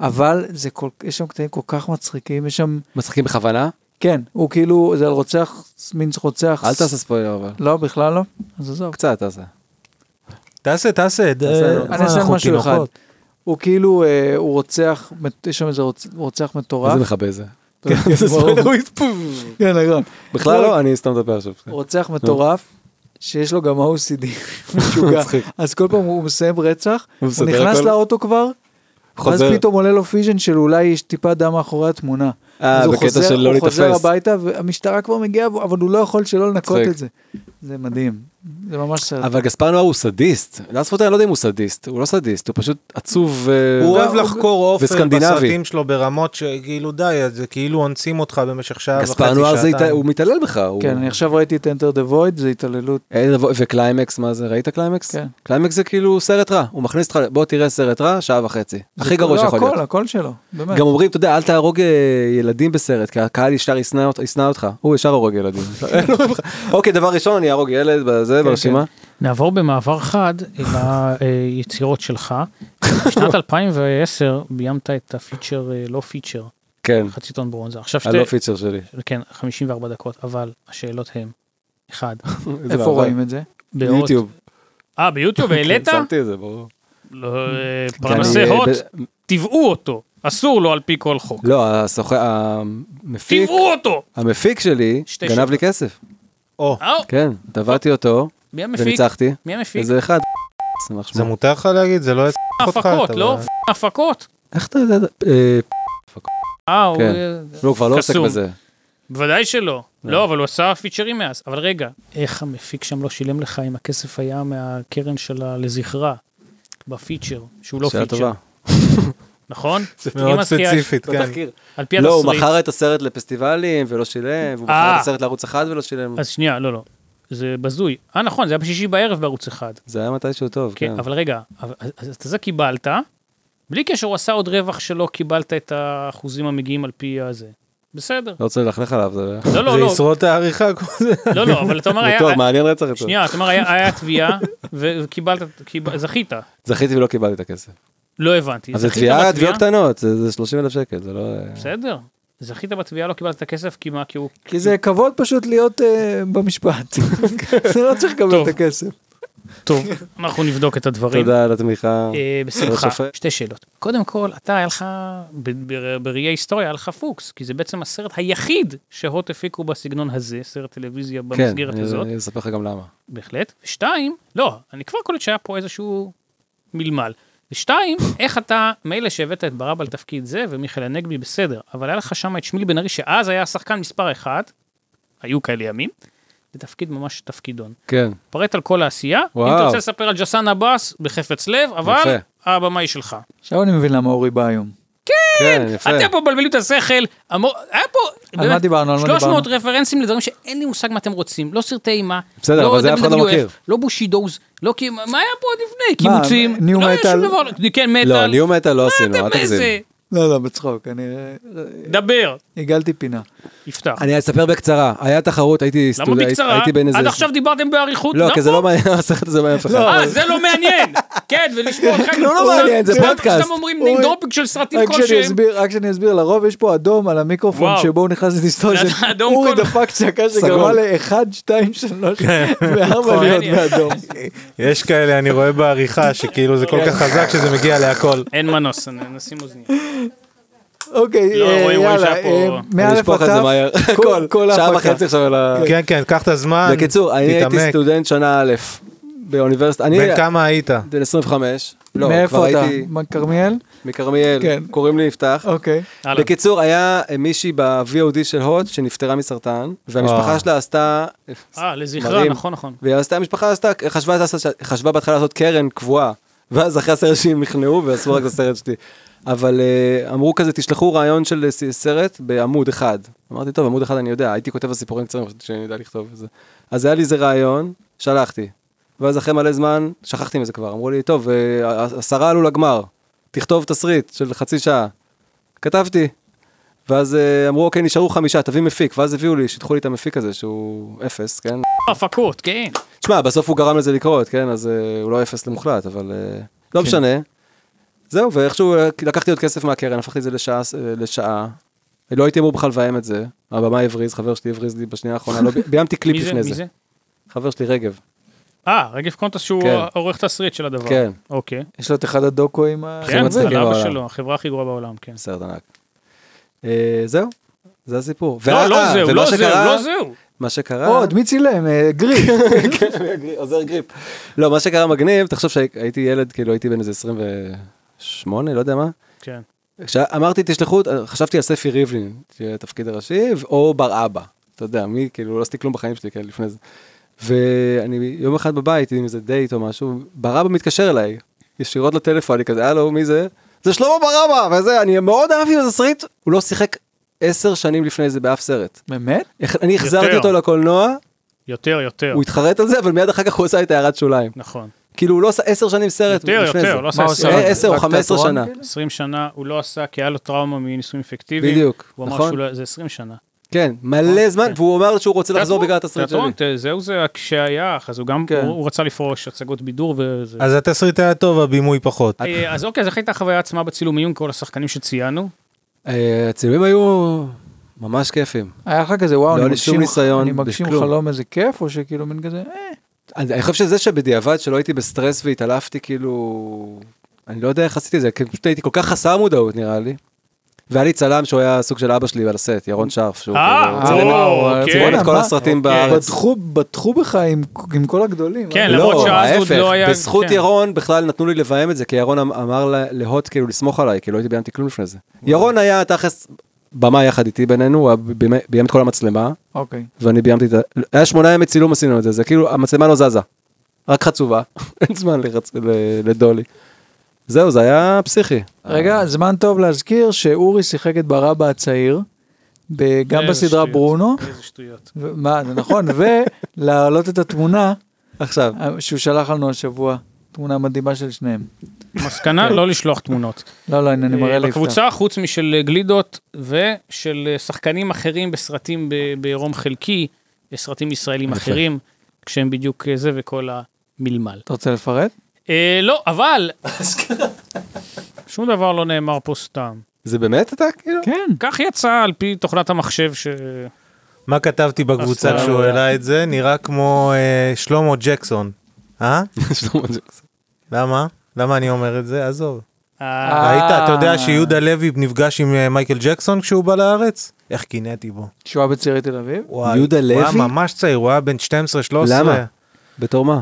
[SPEAKER 2] אבל זה כל, יש שם קטעים כל כך מצחיקים, יש שם,
[SPEAKER 4] מצחיקים בכוונה?
[SPEAKER 2] כן, הוא כאילו, זה על רוצח, מין רוצח.
[SPEAKER 4] אל תעשה ספוילר אבל.
[SPEAKER 2] לא, בכלל לא, אז עזוב.
[SPEAKER 4] קצת תעשה.
[SPEAKER 1] תעשה, תעשה, ד-
[SPEAKER 2] אני אעשה
[SPEAKER 1] אנחנו
[SPEAKER 2] משהו אחד.
[SPEAKER 1] תינוקות.
[SPEAKER 2] הוא כאילו, אה, הוא רוצח, מת- יש שם איזה רוצ- רוצח
[SPEAKER 4] מה זה
[SPEAKER 2] מטורף.
[SPEAKER 4] מכבה זה?
[SPEAKER 2] כן, כן,
[SPEAKER 4] זה
[SPEAKER 2] ברור.
[SPEAKER 1] לא,
[SPEAKER 4] ספוילר וויז.
[SPEAKER 2] כן, נכון.
[SPEAKER 4] בכלל לא, אני סתם מדבר עכשיו.
[SPEAKER 2] רוצח מטורף, שיש לו גם OCD משוגע.
[SPEAKER 4] מצחיק.
[SPEAKER 2] אז כל פעם הוא מסיים רצח,
[SPEAKER 4] הוא
[SPEAKER 2] הוא
[SPEAKER 4] מסדר
[SPEAKER 2] נכנס
[SPEAKER 4] הכל.
[SPEAKER 2] לאוטו כבר, ואז
[SPEAKER 4] חוזר.
[SPEAKER 2] פתאום עולה לו פיז'ן של אולי יש טיפה דם מאחורי התמונה.
[SPEAKER 4] אה,
[SPEAKER 2] אז הוא
[SPEAKER 4] בקטע
[SPEAKER 2] חוזר-
[SPEAKER 4] של לא
[SPEAKER 2] הוא חוזר
[SPEAKER 4] להיתפס.
[SPEAKER 2] הביתה, והמשטרה כבר מגיעה, אבל הוא לא יכול שלא לנקות
[SPEAKER 4] מצחיק.
[SPEAKER 2] את זה. זה מדהים. זה ממש סרט.
[SPEAKER 4] אבל גספר נוער הוא סדיסט. לאס פוטר אני לא יודע אם הוא סדיסט, הוא לא סדיסט, הוא פשוט עצוב. אה,
[SPEAKER 1] הוא אוהב לחקור אופן
[SPEAKER 4] וסקנדינבי.
[SPEAKER 1] בסרטים שלו ברמות שכאילו די, אז זה כאילו אונסים אותך במשך שעה וחצי,
[SPEAKER 4] גספר נוער זה, הת-
[SPEAKER 1] שעתיים.
[SPEAKER 4] הוא מתעלל בך. הוא-
[SPEAKER 2] כן, אני עכשיו ראיתי את Enter the Void, זה התעללות.
[SPEAKER 4] אין דבר- וקליימקס, מה זה? ראית קליימקס?
[SPEAKER 2] כן.
[SPEAKER 4] קליימקס זה כאילו סרט רע, הוא מכניס אותך, בוא תראה סרט רע, שעה וחצי. הכי
[SPEAKER 2] זה-
[SPEAKER 4] גרוע
[SPEAKER 2] לא,
[SPEAKER 4] שיכול
[SPEAKER 2] הכל,
[SPEAKER 4] להיות.
[SPEAKER 2] הכל שלו, באמת.
[SPEAKER 4] גם אומרים, אתה יודע, אל תהרוג אה, ילדים בסרט, כי הקהל ישר ישנא אות- ישנא אותך, הוא ישר הורג ילדים. לא, אוקיי, דבר ראשון, אני אהרוג ילד, בזה, ברשימה.
[SPEAKER 3] נעבור במעבר חד ליצירות שלך. בשנת 2010 ביימת את הפיצ'ר, אה, לא פיצ'ר,
[SPEAKER 4] כן,
[SPEAKER 3] חצי טון ברונזה. עכשיו שתי,
[SPEAKER 4] הלא פיצ'ר שלי.
[SPEAKER 3] כן, 54 דקות, אבל השאלות הן, אחד,
[SPEAKER 2] איפה רואים את זה?
[SPEAKER 3] באות-
[SPEAKER 4] ביוטיוב.
[SPEAKER 3] אה, ביוטיוב העלית?
[SPEAKER 4] כן, שמתי את זה, ברור.
[SPEAKER 3] לא, אה,
[SPEAKER 4] כן,
[SPEAKER 3] פרנסי
[SPEAKER 4] אני, אה,
[SPEAKER 3] הוט,
[SPEAKER 4] ב-
[SPEAKER 3] תבעו אותו. אסור לו על פי כל חוק.
[SPEAKER 4] לא, הסוכן, המפיק,
[SPEAKER 3] תבעו אותו!
[SPEAKER 4] המפיק שלי
[SPEAKER 3] שתי
[SPEAKER 4] גנב
[SPEAKER 3] שאלות.
[SPEAKER 4] לי כסף.
[SPEAKER 1] או,
[SPEAKER 3] אה,
[SPEAKER 4] כן, טבעתי אותו
[SPEAKER 3] מי המפיק?
[SPEAKER 4] וניצחתי.
[SPEAKER 3] מי המפיק?
[SPEAKER 4] איזה אחד.
[SPEAKER 1] זה מותר לך להגיד? זה לא יצא אותך.
[SPEAKER 3] הפקות,
[SPEAKER 1] אתה-
[SPEAKER 3] לא? הפקות.
[SPEAKER 4] איך אתה יודע? אה,
[SPEAKER 3] אה, הוא...
[SPEAKER 4] כן. אה. לא, הוא כבר לא עוסק
[SPEAKER 3] קסום.
[SPEAKER 4] בזה.
[SPEAKER 3] בוודאי שלא. לא, אבל הוא עשה פיצ'רים מאז. אבל רגע, איך המפיק שם לא שילם לך אם הכסף היה מהקרן שלה לזכרה? בפיצ'ר, שהוא לא
[SPEAKER 4] שאלה
[SPEAKER 3] פיצ'ר,
[SPEAKER 4] טובה.
[SPEAKER 3] נכון?
[SPEAKER 1] זה
[SPEAKER 3] אם
[SPEAKER 1] מאוד
[SPEAKER 3] אז כי-
[SPEAKER 1] ספציפית, כן.
[SPEAKER 4] בתחקיר.
[SPEAKER 3] על פי
[SPEAKER 4] לא, הוא
[SPEAKER 3] התסריט.
[SPEAKER 4] מכר את הסרט לפסטיבלים ולא שילם, והוא מכר
[SPEAKER 3] אה.
[SPEAKER 4] את הסרט לערוץ אחד ולא שילם.
[SPEAKER 3] אז שנייה, לא, לא. זה בזוי. אה, נכון, זה היה בשישי בערב בערוץ אחד.
[SPEAKER 4] זה היה מתישהו טוב, כן.
[SPEAKER 3] כן, אבל רגע, אבל- אז אז את זה קיבלת, בלי קשר, הוא עשה עוד רווח שלא קיבלת את האחוזים המגיעים על פי הזה. בסדר.
[SPEAKER 4] לא רוצה ללכלך עליו, זה
[SPEAKER 3] לא, לא,
[SPEAKER 1] זה
[SPEAKER 3] לא,
[SPEAKER 1] ישרוד את העריכה כל זה.
[SPEAKER 3] לא, לא, אבל אתה אומר,
[SPEAKER 4] זה
[SPEAKER 3] היה...
[SPEAKER 4] טוב, מעניין רצח את זה.
[SPEAKER 3] שנייה, אתה אומר, היה היה תביעה, ו- וקיבלת, קיב- זכית.
[SPEAKER 4] זכיתי ולא קיבלתי את הכסף.
[SPEAKER 3] לא הבנתי.
[SPEAKER 4] אז זה
[SPEAKER 3] זכית
[SPEAKER 4] תביעה,
[SPEAKER 3] בתביעה?
[SPEAKER 4] תביעות קטנות, זה זה 30 אלף שקל, זה לא...
[SPEAKER 3] בסדר. זכית בתביעה, לא קיבלת את הכסף, כי מה, כי הוא...
[SPEAKER 2] כי זה כבוד פשוט להיות אה, במשפט. זה לא צריך לקבל
[SPEAKER 3] טוב.
[SPEAKER 2] את הכסף.
[SPEAKER 3] טוב, אנחנו נבדוק את הדברים.
[SPEAKER 4] תודה על התמיכה.
[SPEAKER 3] אה,
[SPEAKER 4] כבוד
[SPEAKER 3] בשמחה.
[SPEAKER 4] השופט.
[SPEAKER 3] שתי שאלות. קודם כל, אתה, היה לך, ב- ב- בראי ההיסטוריה, היה לך פוקס, כי זה בעצם הסרט היחיד שהוט הפיקו בסגנון הזה, סרט טלוויזיה
[SPEAKER 4] כן,
[SPEAKER 3] במסגרת
[SPEAKER 4] אני-
[SPEAKER 3] הזאת,
[SPEAKER 4] אני אספר לך גם למה.
[SPEAKER 3] בהחלט. ושתיים, לא, אני כבר קולט שהיה פה איזשהו מלמל. ושתיים, איך אתה, מילא שהבאת את ברבא לתפקיד זה, ומיכאל הנגבי בסדר, אבל היה לך שם את שמילי בן ארי, שאז היה השחקן מספר אחת, היו כאלה ימים, לתפקיד ממש תפקידון.
[SPEAKER 4] כן.
[SPEAKER 3] פרט על כל העשייה, אם
[SPEAKER 4] וואו.
[SPEAKER 3] אתה רוצה לספר על ג'סן עבאס, בחפץ לב, אבל
[SPEAKER 4] יפה.
[SPEAKER 3] הבמה היא שלך.
[SPEAKER 2] עכשיו אני מבין למה אורי בא היום.
[SPEAKER 4] כן, יפה.
[SPEAKER 3] אתם פה מבלבלים את השכל, המור... היה פה,
[SPEAKER 2] על מה דיברנו? על מה
[SPEAKER 3] 300
[SPEAKER 2] דיברנו?
[SPEAKER 3] רפרנסים לדברים שאין לי מושג מה אתם רוצים, לא סרטי אימה,
[SPEAKER 4] בסדר, אבל זה אף אחד לא
[SPEAKER 3] WWF,
[SPEAKER 4] מכיר.
[SPEAKER 3] לא בושידוז, לא כי, מה היה פה עוד לפני?
[SPEAKER 2] מה,
[SPEAKER 3] קיבוצים,
[SPEAKER 2] ניו
[SPEAKER 3] לא היה
[SPEAKER 2] מטאל?
[SPEAKER 3] שום דבר, כן, מטאל,
[SPEAKER 4] לא, ניו מטאל לא עשינו, אל
[SPEAKER 3] אתם
[SPEAKER 4] תגזים.
[SPEAKER 3] איזה,
[SPEAKER 2] לא, לא, בצחוק, אני אה,
[SPEAKER 3] דבר,
[SPEAKER 2] עיגלתי פינה.
[SPEAKER 3] יפתח,
[SPEAKER 4] אני אספר בקצרה, היה תחרות, הייתי
[SPEAKER 3] למה
[SPEAKER 4] סטודנט,
[SPEAKER 3] בקצרה?
[SPEAKER 4] הייתי בין איזה...
[SPEAKER 3] עד עכשיו דיברתם באריכות,
[SPEAKER 4] לא, כי זה
[SPEAKER 3] פה?
[SPEAKER 4] לא מעניין, הסרט הזה מעניין אף אחד.
[SPEAKER 3] אה, זה לא מעניין, כן, ולשמוע אותך,
[SPEAKER 4] לא, לא מעניין, זה
[SPEAKER 3] סתם-
[SPEAKER 4] פודקאסט.
[SPEAKER 3] סתם אומרים
[SPEAKER 2] אוי.
[SPEAKER 3] ניים דרופינג של סרטים
[SPEAKER 2] רק שאני
[SPEAKER 3] כלשהם,
[SPEAKER 2] אסביר, רק שאני אסביר, לרוב יש פה אדום על המיקרופון
[SPEAKER 3] וואו.
[SPEAKER 2] שבו הוא נכנס לדיסטורשן.
[SPEAKER 3] זה אדום
[SPEAKER 2] אורי
[SPEAKER 3] כל-
[SPEAKER 2] דפק צעקה
[SPEAKER 4] סגול. כן.
[SPEAKER 2] שגרמה ל-1, 2, 3 ו-4 להיות
[SPEAKER 3] מעניין.
[SPEAKER 2] באדום.
[SPEAKER 1] יש כאלה, אני רואה בעריכה, שכאילו זה כל כך
[SPEAKER 4] כן.
[SPEAKER 1] חזק שזה מגיע להכל.
[SPEAKER 3] אין מנוס, נשים אוזניים,
[SPEAKER 2] אוקיי,
[SPEAKER 3] לא,
[SPEAKER 2] אה,
[SPEAKER 3] רואים, רואים
[SPEAKER 2] יאללה,
[SPEAKER 3] שהיה פה-
[SPEAKER 2] אה,
[SPEAKER 4] אני
[SPEAKER 2] מאלף
[SPEAKER 4] אשפוך את זה מהר.
[SPEAKER 2] עד תף, כל- כל
[SPEAKER 4] שעה
[SPEAKER 2] ההפקה.
[SPEAKER 4] וחצי עכשיו על ה...
[SPEAKER 1] כן, כן, קח את הזמן,
[SPEAKER 4] בקיצור, אני הייתי
[SPEAKER 1] תתעמק.
[SPEAKER 4] סטודנט שנה א' באוניברסיטה, אני
[SPEAKER 1] בן כמה היית?
[SPEAKER 4] בן 25, לא, כבר
[SPEAKER 2] מאיפה אתה?
[SPEAKER 4] הייתי
[SPEAKER 2] מה, כרמיאל?
[SPEAKER 4] מכרמיאל,
[SPEAKER 2] כן.
[SPEAKER 4] קוראים לי יפתח.
[SPEAKER 2] אוקיי.
[SPEAKER 3] הלאה.
[SPEAKER 4] בקיצור, היה מישהי ב-VOD של הוט שנפטרה מסרטן, והמשפחה
[SPEAKER 1] וואו.
[SPEAKER 4] שלה עשתה...
[SPEAKER 3] אה, לזכרה,
[SPEAKER 4] מרים.
[SPEAKER 3] נכון, נכון,
[SPEAKER 4] והיא עשתה, המשפחה עשתה, חשבה, לעשות- חשבה בהתחלה לעשות קרן קבועה, ואז אחרי הסרט שלי הם נכנעו ועשו רק את הסרט שלי. אבל אה, אמרו כזה, תשלחו רעיון של אה, ס- סרט בעמוד אחד. אמרתי, טוב, עמוד אחד אני יודע, הייתי כותב על סיפורים קצרים, חשבתי שאני יודע לכתוב את זה. אז היה לי איזה רעיון, שלחתי. ואז אחרי מלא זמן, שכחתי מזה כבר, אמרו לי, טוב, אה, השרה עלו לגמר, תכתוב תסריט של חצי שעה. כתבתי. ואז אה, אמרו, אוקיי, נשארו חמישה, תביא מפיק, ואז הביאו לי, שיתחו לי את המפיק הזה, שהוא אפס, כן?
[SPEAKER 3] הפקות, כן.
[SPEAKER 4] תשמע, בסוף הוא גרם לזה לקרות, כן? אז אה, הוא לא אפס למוחלט, אבל אה,
[SPEAKER 3] כן.
[SPEAKER 4] לא משנה. זהו, ואיכשהו אה, לקחתי עוד כסף מהקרן, הפכתי את זה לשעה, אה, לשעה. לא הייתי אמור בכלל לביים את זה. הבמאי הבריז, חבר שלי הבריז לי בשנייה האחרונה, לא, ביימתי קליפ
[SPEAKER 3] מי זה?
[SPEAKER 4] לפני
[SPEAKER 3] מי
[SPEAKER 4] זה.
[SPEAKER 3] זה?
[SPEAKER 4] חבר שלי רגב.
[SPEAKER 3] אה, רגב קונטס שהוא
[SPEAKER 4] כן.
[SPEAKER 3] עורך תסריט של הדבר.
[SPEAKER 4] כן.
[SPEAKER 3] אוקיי.
[SPEAKER 2] יש לו את אחד הדוקו עם ה...
[SPEAKER 4] הכי
[SPEAKER 3] כן,
[SPEAKER 4] מצחיק
[SPEAKER 3] זה אבא
[SPEAKER 4] בעולם.
[SPEAKER 3] שלו, החברה הכי גרועה בעולם, כן.
[SPEAKER 4] סרט ענק. אה, זהו, זה הסיפור.
[SPEAKER 3] לא, לא
[SPEAKER 4] וה- אה,
[SPEAKER 3] זהו,
[SPEAKER 4] ומה
[SPEAKER 3] לא זהו,
[SPEAKER 4] שקרה-
[SPEAKER 3] לא זהו.
[SPEAKER 4] מה שקרה...
[SPEAKER 2] עוד, מי צילם? אה, גריף.
[SPEAKER 4] עוזר גריפ. לא, מה שקרה מגניב, תחשוב שהייתי ילד, כאילו הייתי בן איזה 28, לא יודע מה.
[SPEAKER 3] כן.
[SPEAKER 4] כשאמרתי תשלחו, חשבתי על ספי ריבלין, שיהיה התפקיד הראשי, או בר אבא. אתה יודע, מי, כאילו, לא עשיתי כלום בחיים שלי, כן, לפני זה. ואני יום אחד בבית, עם איזה דייט או משהו, בר אבא מתקשר אליי, ישירות לטלפון, אני כזה, הלו, מי זה? זה שלמה בר אבא, וזה, אני מאוד אהבתי את התסריט, הוא לא שיחק עשר שנים לפני זה באף סרט.
[SPEAKER 2] באמת?
[SPEAKER 4] אני החזרתי אותו לקולנוע,
[SPEAKER 3] יותר, יותר.
[SPEAKER 4] הוא התחרט על זה, אבל מיד אחר כך הוא עשה את הערת שוליים.
[SPEAKER 3] נכון.
[SPEAKER 4] כאילו הוא לא עשה עשר שנים סרט
[SPEAKER 3] יותר,
[SPEAKER 4] לפני
[SPEAKER 3] יותר,
[SPEAKER 4] זה.
[SPEAKER 3] לא עשה
[SPEAKER 2] מה,
[SPEAKER 3] עשר.
[SPEAKER 2] הוא עשה?
[SPEAKER 4] עשר או
[SPEAKER 2] רק
[SPEAKER 4] חמש עשרה
[SPEAKER 2] תיאטרון,
[SPEAKER 4] שנה.
[SPEAKER 2] כאילו?
[SPEAKER 3] 20 שנה הוא לא עשה, כי היה לו טראומה מנישואים פיקטיביים.
[SPEAKER 4] בדיוק,
[SPEAKER 3] הוא אמר
[SPEAKER 4] נכון?
[SPEAKER 3] שהוא לא- זה 20 שנה. אה,
[SPEAKER 4] כן, מלא זמן, והוא אמר שהוא רוצה לחזור
[SPEAKER 3] תיאטרון,
[SPEAKER 4] בגלל התסריט שלי.
[SPEAKER 3] תיאטרון, ת- זהו זה כשהייך, אז הוא גם,
[SPEAKER 2] כן.
[SPEAKER 3] הוא הוא רצה לפרוש הצגות בידור וזה.
[SPEAKER 1] אז התסריט היה טוב, הבימוי פחות.
[SPEAKER 3] אה, אז אוקיי, אז איך הייתה החוויה עצמה בצילום עיון כל השחקנים שציינו?
[SPEAKER 4] אה, הצילומים היו ממש כיפים.
[SPEAKER 2] היה לך כזה, וואו,
[SPEAKER 4] לא
[SPEAKER 2] אני
[SPEAKER 4] היה לי שום
[SPEAKER 2] מגשים-
[SPEAKER 4] ניסיון
[SPEAKER 2] אני מגשים
[SPEAKER 4] בכלום.
[SPEAKER 2] חלום איזה כיף, או שכאילו מין כזה, אה,
[SPEAKER 4] אני אני חושב שזה שבדיעבד שלא הייתי בסטרס והתעלפתי כאילו... אני לא יודע איך עשיתי את זה, כי פשוט הייתי כל כך חסר מודעות נראה לי. והיה לי צלם שהוא היה סוג של אבא שלי על הסט, ירון שרף, שהוא
[SPEAKER 3] אה,
[SPEAKER 4] כאילו צילם-
[SPEAKER 3] וואו,
[SPEAKER 2] אוקיי.
[SPEAKER 4] צילם את כל
[SPEAKER 2] מה?
[SPEAKER 4] הסרטים
[SPEAKER 3] אוקיי.
[SPEAKER 4] בארץ.
[SPEAKER 2] בטחו- בטחו בך עם- עם כל הגדולים.
[SPEAKER 3] כן,
[SPEAKER 2] אה?
[SPEAKER 3] למרות
[SPEAKER 4] לא,
[SPEAKER 3] שאז עוד
[SPEAKER 4] ההפך,
[SPEAKER 3] לא היה-
[SPEAKER 4] בזכות
[SPEAKER 3] כן.
[SPEAKER 4] ירון בכלל נתנו לי לביים את זה, כי ירון אמ- אמר לה- להוט כאילו לסמוך עליי, כי לא הייתי ביימתי כלום לפני זה. ירון היה תכלס במה יחד איתי בינינו, הוא היה ביים- ביים את כל המצלמה,
[SPEAKER 2] אוקיי.
[SPEAKER 4] ואני ביימתי את ה... היה שמונה ימי צילום עשינו את זה, זה כאילו, המצלמה לא זזה, רק חצובה, אין זמן לחצ- ל- לדולי. זהו, זה היה פסיכי.
[SPEAKER 2] רגע, זמן טוב להזכיר שאורי שיחק את ברבא הצעיר, ב- גם
[SPEAKER 3] איזה
[SPEAKER 2] בסדרה
[SPEAKER 3] שטויות,
[SPEAKER 2] ברונו,
[SPEAKER 3] איזה שטויות.
[SPEAKER 2] ו- מה, זה נכון, ולהעלות את התמונה
[SPEAKER 4] עכשיו,
[SPEAKER 2] אה, שהוא שלח לנו השבוע, תמונה מדהימה של שניהם.
[SPEAKER 3] מסקנה, לא לשלוח תמונות.
[SPEAKER 2] לא, לא, הנה, אני מראה ליפתח.
[SPEAKER 3] אה, בקבוצה, חוץ משל אה, גלידות ושל אה, שחקנים אחרים בסרטים ב- בעירום חלקי, יש סרטים ישראלים
[SPEAKER 4] יפה.
[SPEAKER 3] אחרים, כשהם בדיוק אה, זה וכל המלמל.
[SPEAKER 2] אתה רוצה לפרט?
[SPEAKER 3] אה, לא, אבל... שום דבר לא נאמר פה סתם.
[SPEAKER 4] זה באמת אתה כאילו?
[SPEAKER 2] כן.
[SPEAKER 3] כך יצא על פי תוכנת המחשב ש...
[SPEAKER 1] מה כתבתי בקבוצה
[SPEAKER 3] אסטרלוגיה.
[SPEAKER 1] כשהוא העלה את זה? נראה כמו אה, שלמה ג'קסון. אה?
[SPEAKER 4] כן, שלמה ג'קסון.
[SPEAKER 1] למה? למה אני אומר את זה? עזוב.
[SPEAKER 3] אה,
[SPEAKER 1] ראית, אתה יודע שיהודה לוי נפגש עם אה, מייקל ג'קסון כשהוא בא לארץ? איך קינאתי בו.
[SPEAKER 2] שהוא היה בצעירי תל אביב?
[SPEAKER 1] וואי,
[SPEAKER 4] יהודה
[SPEAKER 1] הוא היה
[SPEAKER 4] לוי?
[SPEAKER 1] ממש צעיר, הוא היה בן 12-13.
[SPEAKER 4] למה? בתור מה?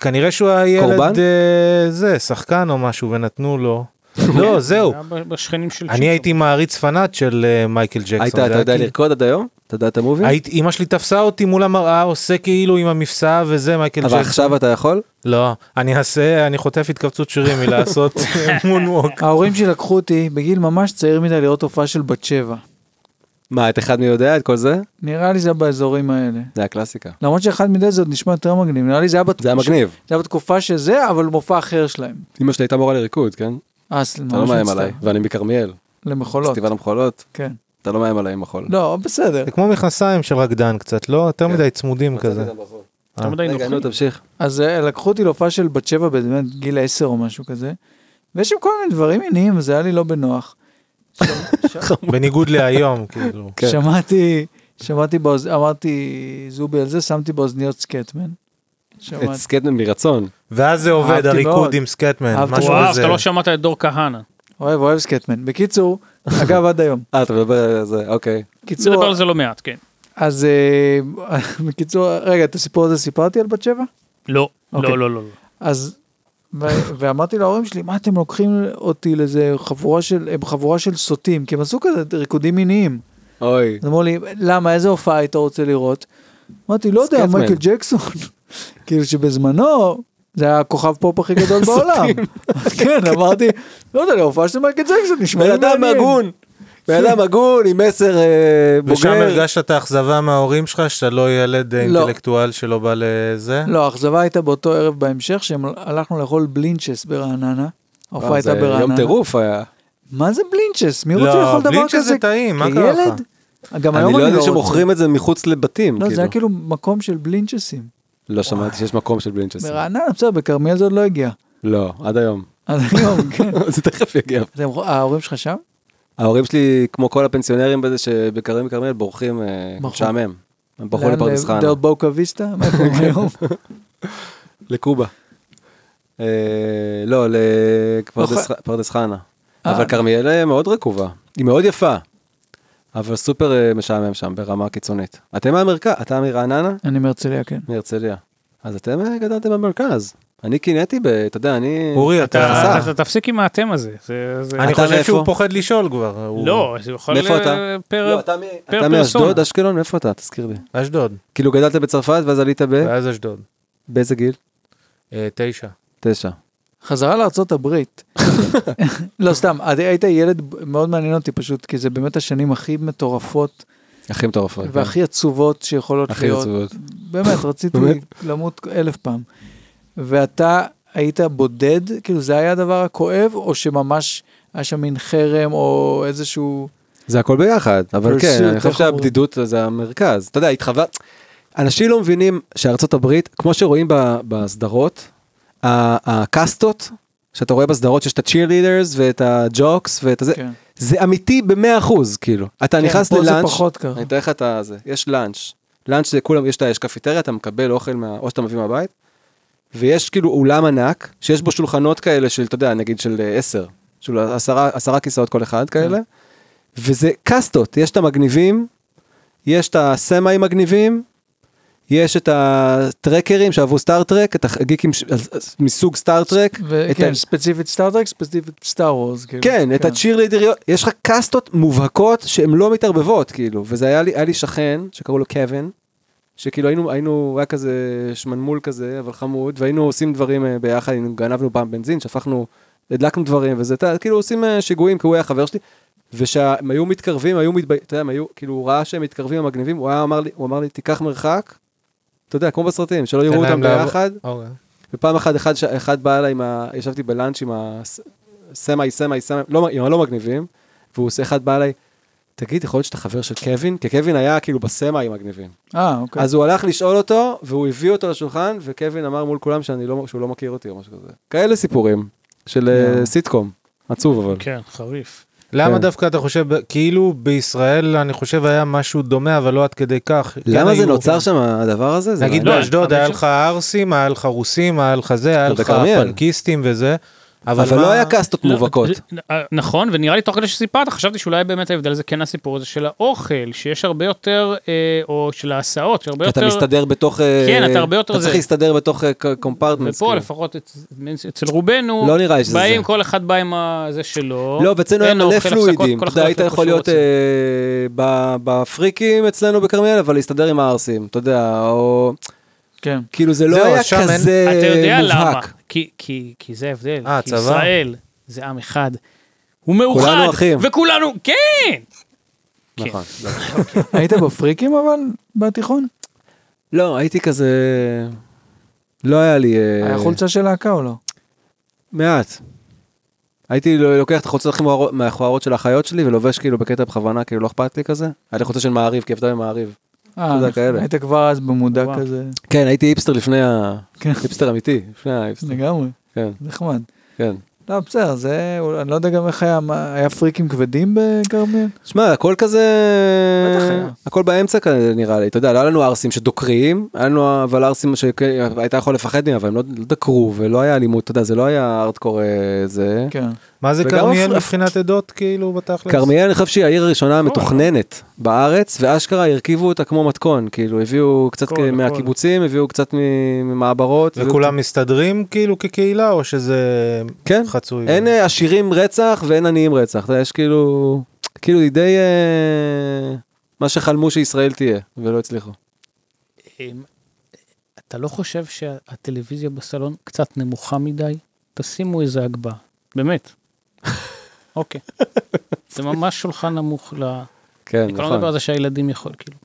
[SPEAKER 1] כנראה שהוא היה
[SPEAKER 4] קורבן?
[SPEAKER 1] ילד, אה, זה, שחקן או משהו, ונתנו לו. לא, זהו.
[SPEAKER 3] היה ב- בשכנים של...
[SPEAKER 1] אני
[SPEAKER 3] שיקו.
[SPEAKER 1] הייתי מעריץ פנאט של אה, מייקל ג'קסון.
[SPEAKER 4] היית,
[SPEAKER 1] זה
[SPEAKER 4] אתה
[SPEAKER 1] היה
[SPEAKER 4] יודע
[SPEAKER 1] כאילו-
[SPEAKER 4] לרקוד עד היום? אתה יודע את המובי?
[SPEAKER 1] היית, אמא שלי תפסה אותי מול המראה, עושה כאילו עם המפסע וזה, מייקל ג'קסון.
[SPEAKER 4] אבל עכשיו אתה יכול?
[SPEAKER 1] לא, אני אעשה, אני חוטף התכווצות שרירים מלעשות מונווק.
[SPEAKER 2] ההורים שלי לקחו אותי בגיל ממש צעיר מדי לראות הופעה של בת שבע.
[SPEAKER 4] מה, את אחד מי יודע את כל זה?
[SPEAKER 2] נראה לי זה היה באזורים האלה.
[SPEAKER 4] זה היה קלאסיקה.
[SPEAKER 2] למרות שאחד מדי זה עוד נשמע יותר מגניב, נראה לי זה היה בתקופה...
[SPEAKER 4] זה היה מגניב.
[SPEAKER 2] זה היה בתקופה שזה, אבל מופע אחר שלהם.
[SPEAKER 4] אמא שלי הייתה מורה לריקוד, כן?
[SPEAKER 2] אה, אז ממש
[SPEAKER 4] אתה לא מאיים
[SPEAKER 2] מצטער.
[SPEAKER 4] עליי, ואני מכרמיאל.
[SPEAKER 2] למחולות,
[SPEAKER 4] פסטיבל המחולות,
[SPEAKER 2] כן.
[SPEAKER 4] אתה לא מאיים עליי עם מחול.
[SPEAKER 2] לא, בסדר.
[SPEAKER 1] זה כמו מכנסיים של רקדן קצת, לא? יותר מדי צמודים כזה.
[SPEAKER 3] אתה לא מדי
[SPEAKER 4] אה, רגע, לא נו,
[SPEAKER 3] נוחים.
[SPEAKER 4] תמשיך.
[SPEAKER 2] אז אה, לקחו אותי להופעה של בת שבע באמת גיל 10 או משהו כזה, ויש שם כל מיני דברים מיניים, זה היה לי לא בנוח.
[SPEAKER 1] בניגוד להיום, כאילו.
[SPEAKER 4] כן.
[SPEAKER 2] שמעתי, שמעתי, באוז... אמרתי זובי על זה, שמתי באוזניות סקטמן.
[SPEAKER 4] את
[SPEAKER 2] שמעתי,
[SPEAKER 4] סקטמן מרצון.
[SPEAKER 1] ואז זה עובד,
[SPEAKER 2] אהבתי מאוד.
[SPEAKER 1] הריקוד עם סקטמן,
[SPEAKER 2] אהבתי
[SPEAKER 1] משהו
[SPEAKER 3] וואו,
[SPEAKER 1] כזה.
[SPEAKER 3] אתה לא שמעת את דור כהנא.
[SPEAKER 2] אוהב, אוהב סקטמן. בקיצור, אגב, עד היום.
[SPEAKER 4] אה, אתה מדבר על זה, אוקיי.
[SPEAKER 3] נדבר
[SPEAKER 2] קיצור,
[SPEAKER 3] על זה לא מעט, כן.
[SPEAKER 2] אז אה, בקיצור, רגע, את הסיפור הזה סיפרתי על בת שבע?
[SPEAKER 3] לא,
[SPEAKER 2] אוקיי.
[SPEAKER 3] לא, לא, לא. לא.
[SPEAKER 2] אז, ו- ואמרתי להורים שלי, מה אתם לוקחים אותי לאיזה חבורה של, הם חבורה של סוטים, כי הם עשו כזה ריקודים מיניים.
[SPEAKER 4] אוי.
[SPEAKER 2] אז אמרו לי, למה, איזה הופעה היית רוצה לראות? אמרתי, לא יודע,
[SPEAKER 4] סקטמן.
[SPEAKER 2] מייקל ג'קסון. כאילו שבזמנו, זה היה הכוכב פופ הכי גדול בעולם. כן, אמרתי, לא יודע, להופעה של מייקל ג'קסון נשמע לי
[SPEAKER 4] בן אדם
[SPEAKER 2] מעניין.
[SPEAKER 4] הגון. בן אדם הגון עם מסר אה,
[SPEAKER 1] ושם
[SPEAKER 4] בוגר.
[SPEAKER 1] הרגשת את האכזבה מההורים שלך, שאתה לא ילד אה,
[SPEAKER 2] לא.
[SPEAKER 1] אינטלקטואל שלא בא לזה?
[SPEAKER 2] לא, האכזבה הייתה באותו ערב בהמשך, שהלכנו לאכול בלינצ'ס ברעננה. ההופעה
[SPEAKER 4] וואו, אה, זה
[SPEAKER 2] הייתה ברעננה.
[SPEAKER 4] יום טירוף היה.
[SPEAKER 2] מה זה בלינצ'ס? מי
[SPEAKER 1] לא,
[SPEAKER 2] רוצה לאכול דבר
[SPEAKER 1] בלינצ'ס
[SPEAKER 2] כזה?
[SPEAKER 1] זה טעים, מה קרה לך?
[SPEAKER 2] כילד? גם
[SPEAKER 4] אני
[SPEAKER 2] היום
[SPEAKER 4] לא
[SPEAKER 2] אני
[SPEAKER 4] יודע
[SPEAKER 2] לא רוצה.
[SPEAKER 4] שמוכרים את זה מחוץ לבתים,
[SPEAKER 2] לא, זה היה
[SPEAKER 4] כאילו.
[SPEAKER 2] כאילו מקום של בלינצ'סים.
[SPEAKER 4] לא שמעתי שיש מקום של בלינצ'סים.
[SPEAKER 2] ברעננה, בסדר, בכרמיאל זה עוד לא הגיע.
[SPEAKER 4] לא, עד היום.
[SPEAKER 2] אז היום, כן.
[SPEAKER 4] זה תכף יגיע.
[SPEAKER 2] אתם- ההורים שלך שם?
[SPEAKER 4] ההורים שלי, כמו כל הפנסיונרים בזה שבקרים בכרמיאל, בורחים אה,
[SPEAKER 2] ברחו.
[SPEAKER 4] משעמם. הם ברחו
[SPEAKER 2] לאן?
[SPEAKER 4] לפרדס חנה.
[SPEAKER 2] דל בוקה ויסטה? מה איפה הם היום?
[SPEAKER 4] לקובה. אה, לא, לפרדס
[SPEAKER 2] אוכל-
[SPEAKER 4] פרדס חנה.
[SPEAKER 2] אה.
[SPEAKER 4] אבל כרמיאל אה, מאוד רקובה, היא מאוד יפה. אבל סופר אה, משעמם שם ברמה קיצונית. אתם מהמרכז, אתה מרעננה?
[SPEAKER 2] אני מהרצליה, כן.
[SPEAKER 4] מהרצליה. אז אתם אה, גדלתם במרכז. אני קינאתי ב... אתה יודע, אני...
[SPEAKER 1] אורי, אתה...
[SPEAKER 3] אתה
[SPEAKER 4] חסך.
[SPEAKER 3] אתה תפסיק עם האתם הזה. זה- זה-
[SPEAKER 1] אני
[SPEAKER 4] אתה
[SPEAKER 1] חושב שהוא
[SPEAKER 4] מאיפה?
[SPEAKER 1] פוחד לשאול כבר. הוא-
[SPEAKER 3] לא, זה יכול...
[SPEAKER 4] מאיפה
[SPEAKER 3] אה,
[SPEAKER 4] אתה?
[SPEAKER 3] פר-
[SPEAKER 4] לא, אתה מ-
[SPEAKER 3] פר
[SPEAKER 4] אתה מאשדוד,
[SPEAKER 3] פרסונה.
[SPEAKER 4] אשקלון, מאיפה אתה? תזכיר לי.
[SPEAKER 1] אשדוד,
[SPEAKER 4] כאילו גדלת בצרפת ואז עלית ב...
[SPEAKER 1] ואז אשדוד.
[SPEAKER 4] באיזה גיל?
[SPEAKER 1] אה, תשע.
[SPEAKER 4] תשע.
[SPEAKER 2] חזרה לארצות הברית. לא, סתם, אז היית ילד, מאוד מעניין אותי פשוט, כי זה באמת השנים הכי מטורפות
[SPEAKER 4] הכי מטורפות.
[SPEAKER 2] והכי עצובות שיכולות
[SPEAKER 4] אוקיי. הכי
[SPEAKER 2] להיות.
[SPEAKER 4] עצובות.
[SPEAKER 2] באמת, רציתי
[SPEAKER 4] באמת?
[SPEAKER 2] למות אלף פעם. ואתה היית בודד? כאילו, זה היה הדבר הכואב, או שממש היה שם מין חרם, או איזשהו...
[SPEAKER 4] זה הכל ביחד, אבל
[SPEAKER 2] Pursuit,
[SPEAKER 4] כן, אני
[SPEAKER 2] איך
[SPEAKER 4] חושב
[SPEAKER 2] אומרים?
[SPEAKER 4] שהבדידות זה המרכז. אתה יודע, התחווה... אנשים לא מבינים שארצות הברית, כמו שרואים ב- בסדרות, ה- הקאסטות, שאתה רואה בסדרות שיש את הצ'ירלידרס ואת הג'וקס ואת הזה,
[SPEAKER 2] כן.
[SPEAKER 4] זה אמיתי במאה אחוז, כאילו. אתה נכנס
[SPEAKER 2] כן, פה
[SPEAKER 4] ללאנץ',
[SPEAKER 2] זה פחות ככה.
[SPEAKER 4] אני אתאר לך את הזה, יש לאנץ', לאנץ' זה כולם, יש את ה- יש קפיטריה, אתה מקבל אוכל, מה, או שאתה מביא מהבית, ויש כאילו אולם ענק, שיש בו שולחנות כאלה של, אתה יודע, נגיד של אה, עשר, של עשרה, עשרה כיסאות כל אחד כאלה, וזה קאסטות, יש את המגניבים, יש את הסמי מגניבים, יש את הטרקרים שאהבו סטארט-טרק, את הגיקים ש- מסוג סטארט-טרק, את
[SPEAKER 2] וכן,
[SPEAKER 4] ה-
[SPEAKER 2] כן, ספציפית סטארטרק, ספציפית כאילו. סטאר וורס.
[SPEAKER 1] כאילו,
[SPEAKER 4] כן, את הצ'ירלידריות, יש לך קאסטות מובהקות שהן לא מתערבבות, כאילו, וזה היה לי, היה לי שכן, שקראו לו קווין, שכאילו היינו, היינו, הוא היה כזה שמנמול כזה, אבל חמוד, והיינו עושים דברים אה, ביחד, היינו- גנבנו פעם בנזין, שפכנו, הדלקנו דברים, וזה, אתה יודע, כאילו עושים אה, שיגועים, כי הוא היה חבר שלי, וכשהם היו מתקרבים, היו מתב... אתה יודע, הם היו, כאילו, הוא ראה שהם מתקרבים, הם מגניבים, הוא היה אמר לי, הוא אמר לי, תיקח מרחק, אתה יודע, כמו בסרטים, שלא
[SPEAKER 1] להם
[SPEAKER 4] יראו אותם
[SPEAKER 1] לעבור."
[SPEAKER 4] ביחד.
[SPEAKER 1] אוקיי.
[SPEAKER 4] ופעם אחת, אחד, ש- אחד בא אליי, עם ה... ישבתי בלאנץ' עם הסמאי, סמאי, סמאי, לא, עם הלא מגניבים, והוא עושה, אחד בא אליי, תגיד, יכול להיות שאתה חבר של קווין? כי קווין היה כאילו בסמאי מגניבים.
[SPEAKER 2] אה, אוקיי.
[SPEAKER 4] אז הוא הלך לשאול אותו, והוא הביא אותו לשולחן, וקווין אמר מול כולם שאני לא, שהוא לא מכיר אותי או משהו כזה. כאלה סיפורים, של אה, סיטקום. עצוב אבל.
[SPEAKER 3] כן, חריף.
[SPEAKER 1] למה
[SPEAKER 4] כן.
[SPEAKER 1] דווקא אתה חושב, כאילו בישראל, אני חושב היה משהו דומה, אבל לא עד כדי כך.
[SPEAKER 4] למה
[SPEAKER 1] כן
[SPEAKER 4] זה
[SPEAKER 1] היו-
[SPEAKER 4] נוצר שם הדבר הזה? זה
[SPEAKER 1] נגיד
[SPEAKER 4] מעניין.
[SPEAKER 3] לא,
[SPEAKER 1] באשדוד היה
[SPEAKER 3] אבל
[SPEAKER 1] לך ערסים, היה לך רוסים, היה לך זה, היה לך
[SPEAKER 4] בכרמיאל.
[SPEAKER 1] פנקיסטים וזה, אבל
[SPEAKER 4] אבל
[SPEAKER 1] מה-
[SPEAKER 4] לא היה קאסטות
[SPEAKER 3] לא,
[SPEAKER 4] מובהקות.
[SPEAKER 3] נ- נ- נכון, ונראה לי תוך כדי שסיפרת, חשבתי שאולי באמת ההבדל זה כן הסיפור הזה של האוכל, שיש הרבה יותר, אה, או של ההסעות, שהרבה
[SPEAKER 4] כי
[SPEAKER 3] יותר...
[SPEAKER 4] אתה מסתדר בתוך... אה,
[SPEAKER 3] כן, אתה הרבה יותר
[SPEAKER 4] אתה צריך
[SPEAKER 3] זה.
[SPEAKER 4] להסתדר בתוך אה, קומפרטמנט.
[SPEAKER 3] ופה לפחות אצ- אצל רובנו,
[SPEAKER 4] לא נראה לי שזה
[SPEAKER 3] באים,
[SPEAKER 4] זה.
[SPEAKER 3] כל אחד בא עם ה- זה שלו.
[SPEAKER 4] לא, ואצלנו היה
[SPEAKER 3] נכון? אין
[SPEAKER 4] מלא
[SPEAKER 3] אוכל, הפסקות,
[SPEAKER 4] פלואידים.
[SPEAKER 3] כל
[SPEAKER 4] אתה
[SPEAKER 3] אחד
[SPEAKER 4] יודע, היית
[SPEAKER 3] הולך לאיפה
[SPEAKER 4] יכול
[SPEAKER 3] שהוא
[SPEAKER 4] להיות
[SPEAKER 3] רוצה.
[SPEAKER 4] אה, ב- בפריקים אצלנו בכרמיאל, אבל להסתדר עם הערסים, אתה יודע, או...
[SPEAKER 2] כן.
[SPEAKER 4] כאילו זה לא
[SPEAKER 1] זהו,
[SPEAKER 4] היה
[SPEAKER 1] שם אין-
[SPEAKER 4] כזה מובהק.
[SPEAKER 3] אתה יודע למה? כי- כי כי זה ההבדל.
[SPEAKER 1] אה,
[SPEAKER 3] כי
[SPEAKER 1] צבא.
[SPEAKER 3] ישראל זה עם אחד. הוא מאוחד.
[SPEAKER 4] כולנו אחים.
[SPEAKER 3] וכולנו, כן! כן.
[SPEAKER 4] נכון.
[SPEAKER 2] היית בפריקים אבל, בתיכון?
[SPEAKER 4] לא, הייתי כזה... לא היה לי... אה,
[SPEAKER 2] היה חולצה של להקה או לא?
[SPEAKER 4] מעט. הייתי ל- לוקח את החולצות הכי מוארו- מהכוערות של האחיות שלי ולובש כאילו בקטע בכוונה, כאילו לא אכפת לי כזה. היה לי חולצה של מעריב, כי עבדה במעריב.
[SPEAKER 2] אה,
[SPEAKER 4] יודע, כאלה.
[SPEAKER 2] היית כבר אז במודע
[SPEAKER 3] וואו.
[SPEAKER 2] כזה.
[SPEAKER 4] כן, הייתי היפסטר לפני ה...
[SPEAKER 2] כן.
[SPEAKER 4] היפסטר אמיתי, לפני ההיפסטר.
[SPEAKER 2] לגמרי,
[SPEAKER 4] כן,
[SPEAKER 2] נחמד.
[SPEAKER 4] כן.
[SPEAKER 2] לא, בסדר, זה, אני לא יודע גם איך היה, מה- היה פריקים כבדים בכרמיאל?
[SPEAKER 4] שמע, הכל כזה...
[SPEAKER 2] בטח היה.
[SPEAKER 4] הכל באמצע כזה נראה לי, אתה יודע, לא היה לנו ערסים שדוקרים, היה לנו אבל ערסים שהיית יכול לפחד מהם, אבל הם לא לא דקרו, ולא היה אלימות, אתה יודע, זה לא היה ארטקור אה, זה.
[SPEAKER 2] כן.
[SPEAKER 1] מה זה
[SPEAKER 4] וגם
[SPEAKER 1] כרמיאל
[SPEAKER 4] הפרח.
[SPEAKER 1] מבחינת עדות, כאילו,
[SPEAKER 3] כן,
[SPEAKER 1] בתכלס?
[SPEAKER 4] כרמיאל, אני חושב שהיא העיר
[SPEAKER 3] לא,
[SPEAKER 4] הראשונה המתוכננת בארץ, ואשכרה הרכיבו אותה כמו מתכון, כאילו, הביאו קצת
[SPEAKER 3] הכל, הכל.
[SPEAKER 4] מהקיבוצים, הביאו קצת מ- ממעברות. הביאו-
[SPEAKER 1] וכולם מסתדרים כאילו כקהילה, או שזה
[SPEAKER 4] כן.
[SPEAKER 1] חצוי?
[SPEAKER 4] אין אה, עשירים רצח ואין עניים רצח, אתה יודע, יש כאילו... כאילו, היא די... אה, מה שחלמו שישראל תהיה, ולא הצליחו.
[SPEAKER 3] אמ, אתה לא חושב שהטלוויזיה בסלון קצת נמוכה מדי? תשימו איזה הגבהה, באמת. אוקיי. זה ממש שולחן נמוך ל...
[SPEAKER 4] כן,
[SPEAKER 3] אני כבר לא
[SPEAKER 4] נכון,
[SPEAKER 3] מדבר על זה שהילדים יכול, כאילו,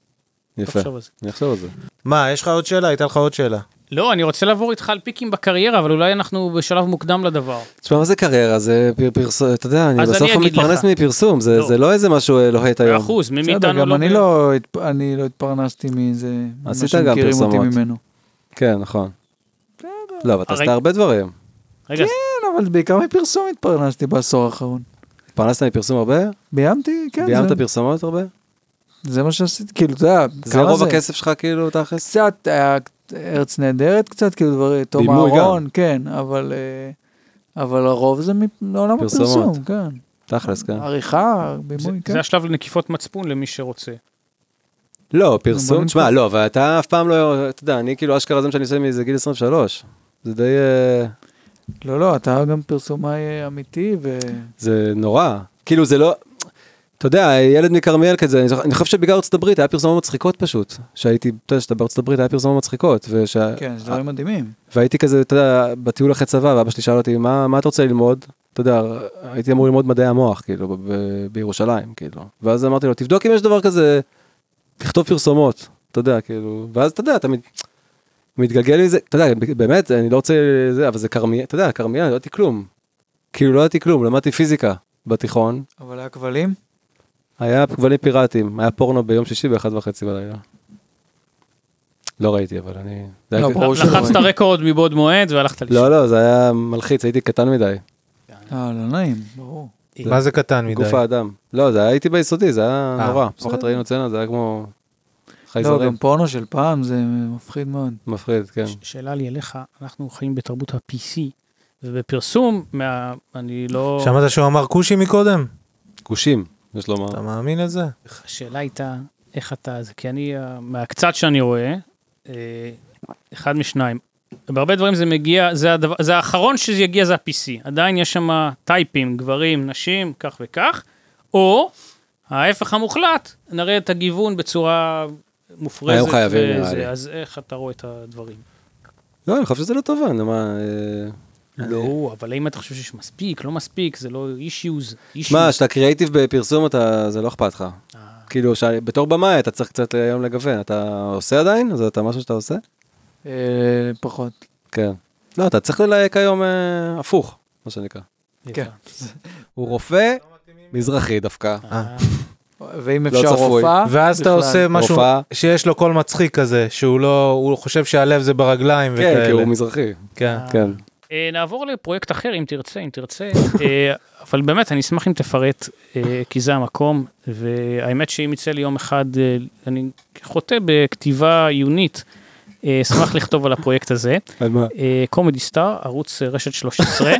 [SPEAKER 4] יפה.
[SPEAKER 3] תחשוב על זה.
[SPEAKER 4] אני אחשוב על זה.
[SPEAKER 1] מה, יש לך עוד שאלה? הייתה לך עוד שאלה.
[SPEAKER 3] לא, אני רוצה לעבור איתך על פיקים בקריירה, אבל אולי אנחנו בשלב מוקדם לדבר.
[SPEAKER 4] תשמע, מה זה קריירה? זה פר- פרסום, אתה יודע, אני
[SPEAKER 3] אז
[SPEAKER 4] בסוף
[SPEAKER 3] אני אגיד
[SPEAKER 4] מתפרנס
[SPEAKER 3] לך.
[SPEAKER 4] מפרסום, זה-
[SPEAKER 3] לא.
[SPEAKER 4] זה לא איזה משהו אה, לוהט היום.
[SPEAKER 3] אחוז, מי
[SPEAKER 2] בסדר,
[SPEAKER 3] מאיתנו
[SPEAKER 2] גם
[SPEAKER 3] לא...
[SPEAKER 2] אני לא, התפ- אני לא התפרנסתי מזה, ממה
[SPEAKER 4] עשית גם
[SPEAKER 2] שמכירים אותי
[SPEAKER 4] פרסומות.
[SPEAKER 2] ממנו.
[SPEAKER 4] כן, נכון. לא, אבל אתה עשית
[SPEAKER 3] הרי-
[SPEAKER 4] הרבה דברים.
[SPEAKER 3] רגע,
[SPEAKER 2] כן, אבל בעיקר מפרסום התפרנסתי בעשור האחרון.
[SPEAKER 4] התפרנסת מפרסום הרבה?
[SPEAKER 2] ביימתי, כן,
[SPEAKER 4] ביימת
[SPEAKER 2] זה-
[SPEAKER 4] פרסומות הרבה?
[SPEAKER 2] זה מה שעשיתי, כאילו, אתה יודע,
[SPEAKER 4] זה
[SPEAKER 2] כמה
[SPEAKER 4] רוב הכסף שלך כאילו, תכלס?
[SPEAKER 2] קצת, היה ארץ נהדרת קצת, כאילו דברים, תום
[SPEAKER 4] בימוי גם.
[SPEAKER 2] אהרון, כן, אבל, אה, אבל הרוב זה מפ- מעולם
[SPEAKER 4] פרסומות.
[SPEAKER 2] הפרסום, כן.
[SPEAKER 4] תכלס,
[SPEAKER 3] אה,
[SPEAKER 4] כן.
[SPEAKER 2] עריכה,
[SPEAKER 3] זה,
[SPEAKER 2] בימוי, כן.
[SPEAKER 3] זה השלב לנקיפות מצפון למי שרוצה.
[SPEAKER 4] לא,
[SPEAKER 2] בוא
[SPEAKER 4] פרסום, תשמע,
[SPEAKER 2] נמכור.
[SPEAKER 4] לא, אבל אתה אף פעם לא, אתה יודע, אני כאילו אשכרה זה מה שאני עושה מזה גיל 23. זה די, אה,
[SPEAKER 2] לא, לא, אתה גם פרסומאי אה, אמיתי, ואתה
[SPEAKER 4] זה נורא. כאילו זה לא, אתה יודע, ילד מכרמיאל כזה, אני זוכר- אני חושב שבגלל ארצות הברית היה פרסומות מצחיקות פשוט. שהייתי, אתה יודע, שאתה בארצות הברית היה פרסומות מצחיקות. ושה-
[SPEAKER 2] כן, זה דברים מדהימים.
[SPEAKER 4] והייתי כזה, אתה יודע, בטיול אחרי צבא, ואבא שלי שאל אותי, מה, מה אתה רוצה ללמוד? אתה יודע, הייתי אמור ללמוד מדעי המוח, כאילו, ב- ב- בירושלים, כאילו. ואז אמרתי לו, תבדוק אם יש דבר כזה, לכתוב פרסומות, אתה יודע, כאילו, ואז אתה יודע, אתה מת- מתגלגל מזה, אתה יודע, ב- באמת, אני לא רוצה, זה, אבל זה כרמיאל, אתה יודע, כרמיאל, לא ידעתי כלום. כאילו, לא ידעתי כלום, למדתי פיזיקה בתיכון,
[SPEAKER 2] אבל היה כבלים?
[SPEAKER 4] היה כבלים פיראטיים, היה פורנו ביום שישי באחת וחצי בלילה. לא ראיתי, אבל אני... זה היה-
[SPEAKER 2] לא, ברור שלא.
[SPEAKER 3] לחצת רקורד מבעוד מועד והלכת לישון.
[SPEAKER 4] לא, לא, זה היה מלחיץ, הייתי קטן מדי.
[SPEAKER 2] אה, לא נעים, ברור.
[SPEAKER 1] מה זה קטן מדי?
[SPEAKER 4] גוף האדם. לא, זה היה, הייתי ביסודי, זה היה
[SPEAKER 1] אה,
[SPEAKER 4] נורא.
[SPEAKER 1] בסדר.
[SPEAKER 4] פעם אחת ראינו צנע, זה היה כמו
[SPEAKER 2] לא, גם
[SPEAKER 4] חייזרים.
[SPEAKER 2] פורנו של פעם זה מפחיד מאוד.
[SPEAKER 4] מפחיד, כן.
[SPEAKER 3] ש- שאלה לי אליך, אנחנו חיים בתרבות ה-PC, ובפרסום, מה, אני לא...
[SPEAKER 1] שמעת שהוא אמר כושי מקודם?
[SPEAKER 4] גושים, יש לומר.
[SPEAKER 1] אתה מאמין לזה?
[SPEAKER 3] השאלה הייתה, איך אתה... זה כי אני, אה, מהקצת שאני רואה, אה, אחד משניים. בהרבה דברים זה מגיע, זה, הדבר, זה האחרון שזה יגיע זה ה-PC. עדיין יש שם טייפים, גברים, נשים, כך וכך, או ההפך המוחלט, נראה את הגיוון בצורה מופרזת.
[SPEAKER 4] היום חייבים, נראה
[SPEAKER 3] וזה.
[SPEAKER 4] לי.
[SPEAKER 3] אז איך אתה רואה את הדברים?
[SPEAKER 4] לא, אני חושב שזה לא טובה, נו מה... אה,
[SPEAKER 3] לא, אבל האם אתה חושב שיש מספיק, לא מספיק, זה לא אה, אישיוז.
[SPEAKER 4] שמע, כשאתה קריאייטיב בפרסום, אתה, זה לא אכפת לך. כאילו, ש- בתור במאי אתה צריך קצת היום לגוון. אתה עושה עדיין? זה אתה משהו שאתה עושה?
[SPEAKER 2] אה, פחות.
[SPEAKER 4] כן. לא, אתה צריך ללהק היום אה, הפוך, מה שנקרא.
[SPEAKER 2] כן.
[SPEAKER 4] הוא רופא מזרחי דווקא.
[SPEAKER 2] ואם
[SPEAKER 4] לא
[SPEAKER 2] אפשר
[SPEAKER 4] צפוי.
[SPEAKER 2] רופאה...
[SPEAKER 1] ואז אתה
[SPEAKER 2] בכלל.
[SPEAKER 1] עושה משהו
[SPEAKER 4] הופעה.
[SPEAKER 1] שיש לו קול מצחיק כזה, שהוא לא, הוא חושב שהלב זה ברגליים
[SPEAKER 4] כן, כי
[SPEAKER 1] וכאלה.
[SPEAKER 4] הוא מזרחי.
[SPEAKER 1] כן.
[SPEAKER 4] כן.
[SPEAKER 3] אה, נעבור לפרויקט אחר, אם תרצה, אם תרצה. אה, אבל באמת, אני אשמח אם תפרט, אה, כי זה המקום, והאמת שאם יצא לי יום אחד, אה, אני חוטא בכתיבה עיונית, אה, אשמח לכתוב על הפרויקט הזה.
[SPEAKER 4] על מה?
[SPEAKER 3] קומדי סטאר, ערוץ אה, רשת 13, אה,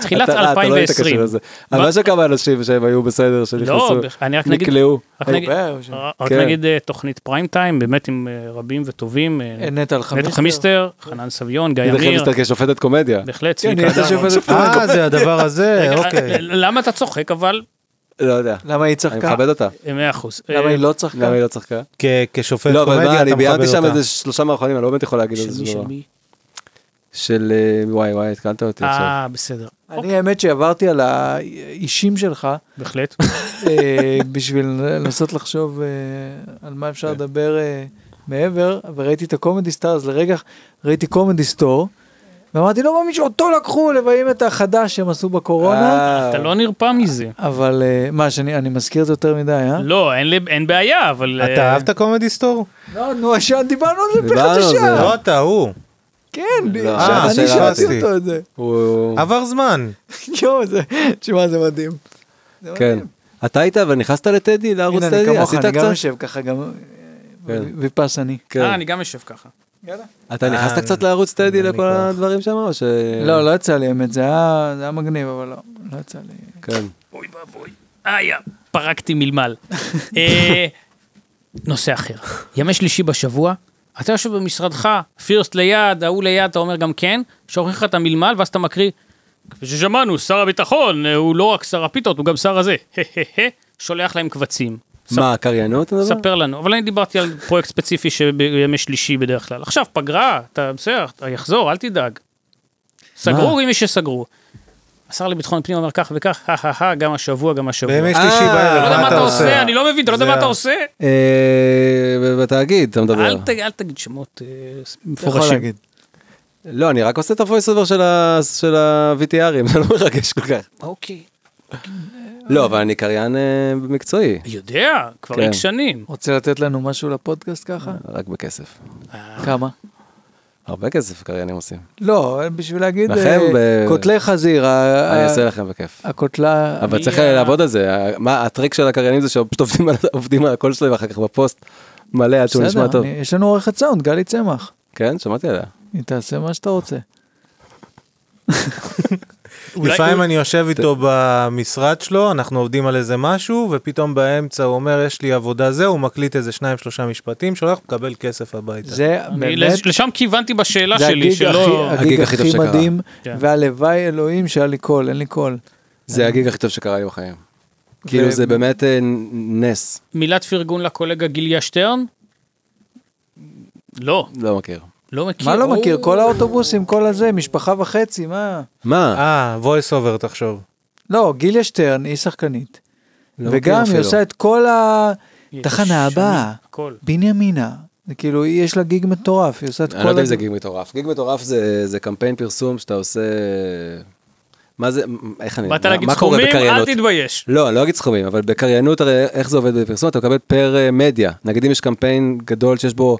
[SPEAKER 3] תחילת
[SPEAKER 4] כן. אתה- אה, אתה לא היית קשור
[SPEAKER 3] 2020.
[SPEAKER 4] לזה. אבל יש שם כמה אנשים שהם היו בסדר, שנכנסו,
[SPEAKER 3] לא, אני רק נגיד,
[SPEAKER 4] נקלעו.
[SPEAKER 3] רק נגיד-
[SPEAKER 2] הרבה, ש-
[SPEAKER 3] רק
[SPEAKER 4] כן.
[SPEAKER 3] נגיד אה, תוכנית פריים טיים, באמת עם אה, רבים וטובים. אה,
[SPEAKER 2] נטע
[SPEAKER 3] נטע
[SPEAKER 2] אלחמיסטר.
[SPEAKER 3] חמיסטר, חנן סביון, גיא
[SPEAKER 4] אני לכם
[SPEAKER 3] אמיר,
[SPEAKER 4] מסתכל כשופטת קומדיה.
[SPEAKER 3] בהחלט,
[SPEAKER 2] כן,
[SPEAKER 3] צביקה
[SPEAKER 2] נטע
[SPEAKER 3] אדמון.
[SPEAKER 2] שופטת פריים.
[SPEAKER 1] אה, זה הדבר הזה,
[SPEAKER 3] רגע, אה,
[SPEAKER 1] אוקיי.
[SPEAKER 3] למה אתה צוחק אבל?
[SPEAKER 4] לא יודע.
[SPEAKER 2] למה היא
[SPEAKER 4] אני
[SPEAKER 2] צחקה?
[SPEAKER 4] מכבד אותה.
[SPEAKER 3] אה, מאה אחוז.
[SPEAKER 2] למה
[SPEAKER 3] אה,
[SPEAKER 2] היא לא צחקה?
[SPEAKER 4] למה היא לא צחקה?
[SPEAKER 1] כ- כשופט
[SPEAKER 4] לא, אבל מה,
[SPEAKER 1] קומדיה
[SPEAKER 4] אני
[SPEAKER 1] אתה מכבד
[SPEAKER 4] ביימתי שם
[SPEAKER 1] אותה.
[SPEAKER 4] איזה שלושה מערכונים, אני לא באמת יכול להגיד על
[SPEAKER 3] של
[SPEAKER 4] זה
[SPEAKER 3] מי, של
[SPEAKER 4] דבר.
[SPEAKER 3] מי?
[SPEAKER 4] של אה, וואי וואי, התקלת אותי עכשיו.
[SPEAKER 3] אה, בסדר.
[SPEAKER 2] אני האמת שעברתי על האישים שלך
[SPEAKER 3] בהחלט.
[SPEAKER 2] אה, בשביל לנסות לחשוב אה, על מה אפשר לדבר אה, מעבר, וראיתי את הקומדי סטאר, אז לרגע ראיתי קומדי סטור, ואמרתי, לא מאמין שאותו לקחו לביים את החדש שהם עשו בקורונה,
[SPEAKER 4] אה,
[SPEAKER 3] אתה לא נרפא מזה.
[SPEAKER 2] אבל אה, מה, שאני אני מזכיר את זה יותר מדי, אה?
[SPEAKER 3] לא, אין לי- אין בעיה, אבל...
[SPEAKER 1] אתה
[SPEAKER 3] אה,
[SPEAKER 1] אהבת קומדי סטור?
[SPEAKER 2] לא, נו, השעה דיברנו על זה
[SPEAKER 4] דיברנו על
[SPEAKER 2] בחצי
[SPEAKER 4] זה.
[SPEAKER 2] שעה.
[SPEAKER 1] לא אתה, הוא.
[SPEAKER 4] אה.
[SPEAKER 2] כן, ב-
[SPEAKER 4] לא,
[SPEAKER 2] אה,
[SPEAKER 4] שאלת
[SPEAKER 2] אני
[SPEAKER 4] שאלה
[SPEAKER 2] שאלתי
[SPEAKER 1] אותי.
[SPEAKER 2] אותו את זה.
[SPEAKER 4] הוא-
[SPEAKER 1] עבר זמן.
[SPEAKER 2] יואו, זה, תשמע, זה מדהים. זה
[SPEAKER 4] כן.
[SPEAKER 2] מדהים.
[SPEAKER 4] אתה היית אבל נכנסת לטדי, לערוץ
[SPEAKER 2] הנה, אני
[SPEAKER 4] טדי?
[SPEAKER 2] כמוך,
[SPEAKER 4] עשית
[SPEAKER 2] אני גם
[SPEAKER 4] קצת?
[SPEAKER 2] יושב ככה, גם אה,
[SPEAKER 4] כן.
[SPEAKER 2] ויפסני.
[SPEAKER 4] כן.
[SPEAKER 3] אה, אני גם יושב ככה.
[SPEAKER 4] אתה נכנסת
[SPEAKER 1] אה,
[SPEAKER 4] קצת לערוץ טדי
[SPEAKER 1] אני
[SPEAKER 4] לכל
[SPEAKER 1] כוח.
[SPEAKER 4] הדברים שם או ש...
[SPEAKER 2] לא, לא יצא לי אמת, זה היה זה היה מגניב, אבל לא, לא יצא לי.
[SPEAKER 4] כן.
[SPEAKER 3] אוי ואבוי. איי, אה. פרקתי מלמל. אה, נושא אחר. ימי שלישי בשבוע, אתה יושב במשרדך, פירסט ליד, ההוא ליד, אתה אומר גם כן, שוכח לך את המלמל, ואז אתה מקריא, כפי ששמענו, שר הביטחון, אה, הוא לא רק שר הפיתות, הוא גם שר הזה. שולח להם קבצים.
[SPEAKER 4] מה, קריינות? אתה מדבר?
[SPEAKER 3] ספר לנו, אבל אני דיברתי על פרויקט ספציפי שבימי שלישי בדרך כלל. עכשיו, פגרה, אתה בסדר, אתה יחזור, אל תדאג. סגרו עם מי שסגרו. השר לביטחון פנים אומר כך וכך, הא הא הא, גם השבוע, גם השבוע.
[SPEAKER 1] בימי
[SPEAKER 3] לא
[SPEAKER 1] שלישי
[SPEAKER 4] אה,
[SPEAKER 1] בערב,
[SPEAKER 3] יודע
[SPEAKER 1] מה אתה עושה?
[SPEAKER 3] אני לא מבין, אתה לא יודע
[SPEAKER 1] זה
[SPEAKER 3] מה אתה
[SPEAKER 1] ה-
[SPEAKER 3] עושה.
[SPEAKER 4] אה, ב- בתאגיד אתה מדבר.
[SPEAKER 3] אל ת- אל תגיד שמות אה,
[SPEAKER 2] אתה יכול
[SPEAKER 3] מפורשים.
[SPEAKER 2] להגיד.
[SPEAKER 4] לא, אני רק עושה את הוויס אובר של ה- של ה-VTRים, זה לא מרגש כל כך.
[SPEAKER 3] אוקיי.
[SPEAKER 4] לא, אבל אני קריין אה, מקצועי,
[SPEAKER 3] יודע, כבר
[SPEAKER 4] כן.
[SPEAKER 3] איקס שנים.
[SPEAKER 2] רוצה לתת לנו משהו לפודקאסט ככה?
[SPEAKER 4] רק בכסף. אה.
[SPEAKER 2] כמה?
[SPEAKER 4] הרבה כסף קריינים עושים.
[SPEAKER 2] לא, בשביל להגיד,
[SPEAKER 4] לכם
[SPEAKER 2] אה,
[SPEAKER 4] ב-
[SPEAKER 2] קוטלי חזיר, ה-
[SPEAKER 4] אני
[SPEAKER 2] ה-
[SPEAKER 4] אעשה לכם בכיף.
[SPEAKER 2] הקוטלה,
[SPEAKER 4] אבל
[SPEAKER 3] אני
[SPEAKER 4] צריך אה,
[SPEAKER 3] ה-
[SPEAKER 4] לעבוד על זה, ה- מה הטריק של הקריינים זה שפשוט עובדים על- עובדים על הקול שלהם ואחר כך בפוסט מלא עד שהוא נשמע
[SPEAKER 2] בסדר,
[SPEAKER 4] טוב.
[SPEAKER 2] אני- יש לנו עורכת סאונד, גלי צמח.
[SPEAKER 4] כן, שמעתי עליה.
[SPEAKER 2] היא תעשה מה שאתה רוצה.
[SPEAKER 5] אולי-
[SPEAKER 1] לפעמים אני יושב איתו במשרד שלו, אנחנו עובדים על איזה משהו, ופתאום באמצע הוא אומר, יש לי עבודה זה, הוא מקליט איזה שניים שלושה משפטים, שולח, מקבל כסף הביתה.
[SPEAKER 2] זה
[SPEAKER 3] אני-
[SPEAKER 2] באמת,
[SPEAKER 3] לשם כיוונתי בשאלה
[SPEAKER 2] זה
[SPEAKER 3] שלי,
[SPEAKER 2] הגיג
[SPEAKER 3] שלא...
[SPEAKER 2] הכי- הגיג הכי
[SPEAKER 4] טוב שקרה.
[SPEAKER 2] מדהים,
[SPEAKER 3] כן.
[SPEAKER 2] והלוואי אלוהים שהיה לי קול, אין לי קול. אה.
[SPEAKER 4] זה הגיג הכי טוב שקרה לי בחיים. כאילו זה באמת אה, נס,
[SPEAKER 3] מילת פרגון לקולגה גיליה שטרן? לא,
[SPEAKER 4] לא מכיר.
[SPEAKER 3] לא מכיר.
[SPEAKER 2] מה לא
[SPEAKER 3] או-
[SPEAKER 2] מכיר? כל האוטובוסים, כל הזה, משפחה וחצי, מה?
[SPEAKER 4] מה?
[SPEAKER 1] אה, voice over תחשוב.
[SPEAKER 2] לא, גיליה שטרן היא שחקנית.
[SPEAKER 4] לא מכיר
[SPEAKER 2] וגם היא
[SPEAKER 4] אפילו.
[SPEAKER 2] עושה את כל
[SPEAKER 3] היא
[SPEAKER 2] התחנה
[SPEAKER 3] שנים,
[SPEAKER 2] הבאה,
[SPEAKER 3] הכל.
[SPEAKER 2] בנימינה. זה כאילו, היא- יש לה גיג מטורף, היא עושה את כל...
[SPEAKER 4] אני לא יודע אם
[SPEAKER 2] הזה.
[SPEAKER 4] זה גיג מטורף. גיג מטורף זה זה קמפיין פרסום שאתה עושה... מה זה, איך
[SPEAKER 2] כן,
[SPEAKER 4] אני,
[SPEAKER 3] באת
[SPEAKER 4] מה-
[SPEAKER 3] להגיד
[SPEAKER 4] מה קורה
[SPEAKER 3] סכומים, אל
[SPEAKER 4] בקריינות?
[SPEAKER 3] תתבייש.
[SPEAKER 4] לא, אני לא אגיד סכומים, אבל בקריינות, הרי איך זה עובד בפרסום? אתה מקבל פר אה, מדיה. נגיד אם יש קמפיין גדול שיש בו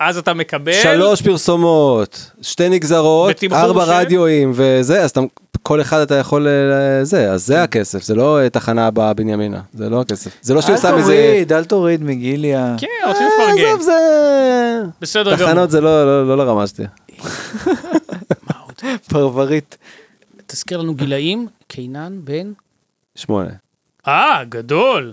[SPEAKER 3] אז אתה מקבל...
[SPEAKER 4] שלוש פרסומות, שתי נגזרות,
[SPEAKER 3] בתמחור
[SPEAKER 4] ארבע
[SPEAKER 3] של?
[SPEAKER 4] רדיואים וזה, אז אתה, כל אחד אתה יכול, אה, זה, אז זה הכסף, זה לא אה, תחנה הבאה בנימינה, זה לא הכסף. זה לא שהיא עושה
[SPEAKER 2] אל
[SPEAKER 4] מזה...
[SPEAKER 2] תוריד, אל תוריד מגיליה.
[SPEAKER 3] כן, רוצים
[SPEAKER 4] אה,
[SPEAKER 3] לפרגן.
[SPEAKER 4] עזוב, זה...
[SPEAKER 3] בסדר גמור.
[SPEAKER 4] תחנות זה לא, לא, לא לרמה שלי.
[SPEAKER 2] פרברית.
[SPEAKER 3] תזכיר לנו גילאים, קינן, בן...
[SPEAKER 4] שמונה.
[SPEAKER 3] אה, גדול.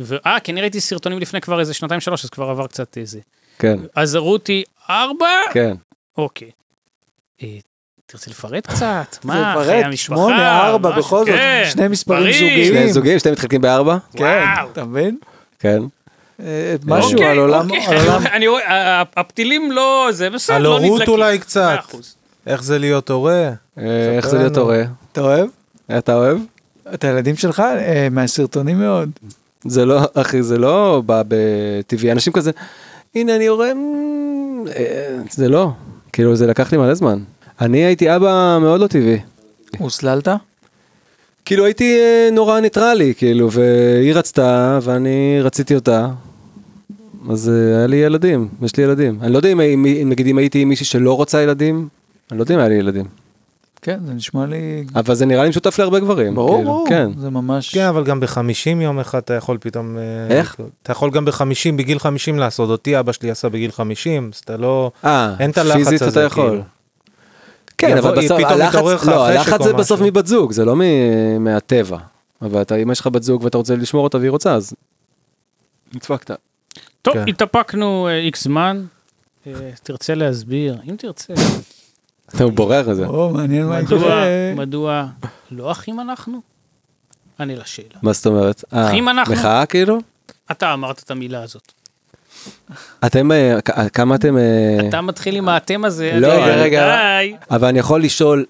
[SPEAKER 3] ו- אה, כן, אני ראיתי סרטונים לפני כבר איזה שנתיים שלוש, אז כבר עבר קצת איזה.
[SPEAKER 4] כן,
[SPEAKER 3] אז רותי ארבע?
[SPEAKER 4] כן.
[SPEAKER 3] אוקיי. אה, תרצה לפרט קצת? מה,
[SPEAKER 2] זה
[SPEAKER 3] חיי
[SPEAKER 2] פרט,
[SPEAKER 3] המשפחה?
[SPEAKER 2] שמונה, ארבע,
[SPEAKER 3] משהו?
[SPEAKER 2] בכל זאת,
[SPEAKER 3] כן,
[SPEAKER 2] שני מספרים
[SPEAKER 3] מספרים.
[SPEAKER 2] זוגיים.
[SPEAKER 4] שני זוגים, שני מתחלקים בארבע?
[SPEAKER 2] כן,
[SPEAKER 3] וואו.
[SPEAKER 2] אתה מבין?
[SPEAKER 4] כן.
[SPEAKER 2] אה, משהו
[SPEAKER 3] אוקיי,
[SPEAKER 2] על עולם...
[SPEAKER 3] אוקיי.
[SPEAKER 2] על עולם-
[SPEAKER 3] אני רואה, ה- ה- הפתילים לא, זה בסדר,
[SPEAKER 1] על
[SPEAKER 3] לא נדלקים.
[SPEAKER 1] הורות אולי קצת.
[SPEAKER 3] מאה אחוז.
[SPEAKER 1] איך זה להיות הורה?
[SPEAKER 4] אה, איך
[SPEAKER 1] ספר
[SPEAKER 4] זה להיות
[SPEAKER 1] לנו.
[SPEAKER 4] הורה?
[SPEAKER 2] אתה אוהב?
[SPEAKER 4] אתה אוהב?
[SPEAKER 2] את הילדים שלך? אה, מהסרטונים מאוד.
[SPEAKER 4] זה לא, אחי, זה לא בא בטבעי, אנשים כזה, הנה אני הורה, מ, אה, זה לא, כאילו זה לקח לי מלא זמן. אני הייתי אבא מאוד לא טבעי.
[SPEAKER 2] הוסללת?
[SPEAKER 4] כאילו הייתי אה, נורא ניטרלי, כאילו, והיא רצתה ואני רציתי אותה. אז אה, היה לי ילדים, יש לי ילדים. אני לא יודע אם, אם, אם נגיד אם הייתי עם מישהי שלא רוצה ילדים, אני לא יודע אם היה לי ילדים.
[SPEAKER 2] כן, זה נשמע לי...
[SPEAKER 4] אבל זה נראה לי משותף להרבה גברים.
[SPEAKER 2] ברור,
[SPEAKER 4] כאילו,
[SPEAKER 2] ברור.
[SPEAKER 4] כן.
[SPEAKER 2] זה ממש...
[SPEAKER 1] כן, אבל גם בחמישים יום אחד אתה יכול פתאום... אה,
[SPEAKER 4] איך?
[SPEAKER 1] אתה יכול גם בחמישים, בגיל חמישים לעשות. אותי אבא שלי עשה בגיל חמישים, אז אתה לא...
[SPEAKER 4] אה,
[SPEAKER 1] אין את הלחץ
[SPEAKER 4] פיזית
[SPEAKER 1] הזה,
[SPEAKER 4] אתה יכול.
[SPEAKER 1] כאילו.
[SPEAKER 4] כן,
[SPEAKER 1] יבוא-
[SPEAKER 4] אבל בסוף,
[SPEAKER 1] פתאום
[SPEAKER 4] הלחץ,
[SPEAKER 1] מתעורר לך
[SPEAKER 4] לא,
[SPEAKER 1] חשק
[SPEAKER 4] הלחץ
[SPEAKER 1] או
[SPEAKER 4] זה בסוף
[SPEAKER 1] משהו.
[SPEAKER 4] מבת זוג, זה לא מ- מהטבע. אבל אתה, אם יש לך בת זוג ואתה רוצה לשמור אותה והיא רוצה, אז... נדפקת.
[SPEAKER 3] טוב,
[SPEAKER 1] כן.
[SPEAKER 3] התאפקנו אה, איקס זמן. אה, תרצה להסביר, אם תרצה,
[SPEAKER 4] הוא בורר את זה.
[SPEAKER 2] או, מעניין מה
[SPEAKER 3] מדוע,
[SPEAKER 2] יקרה.
[SPEAKER 3] מדוע לא אחים אנחנו? ענה לשאלה.
[SPEAKER 4] מה זאת אומרת? אה,
[SPEAKER 3] אחים אנחנו.
[SPEAKER 4] מחאה כאילו?
[SPEAKER 3] אתה אמרת את המילה הזאת.
[SPEAKER 4] אתם, אה, כ- כמה אתם... אה,
[SPEAKER 3] אתה מתחיל עם האתם הזה.
[SPEAKER 4] לא,
[SPEAKER 3] אני-
[SPEAKER 4] רגע, רגע.
[SPEAKER 3] די.
[SPEAKER 4] אבל אני יכול לשאול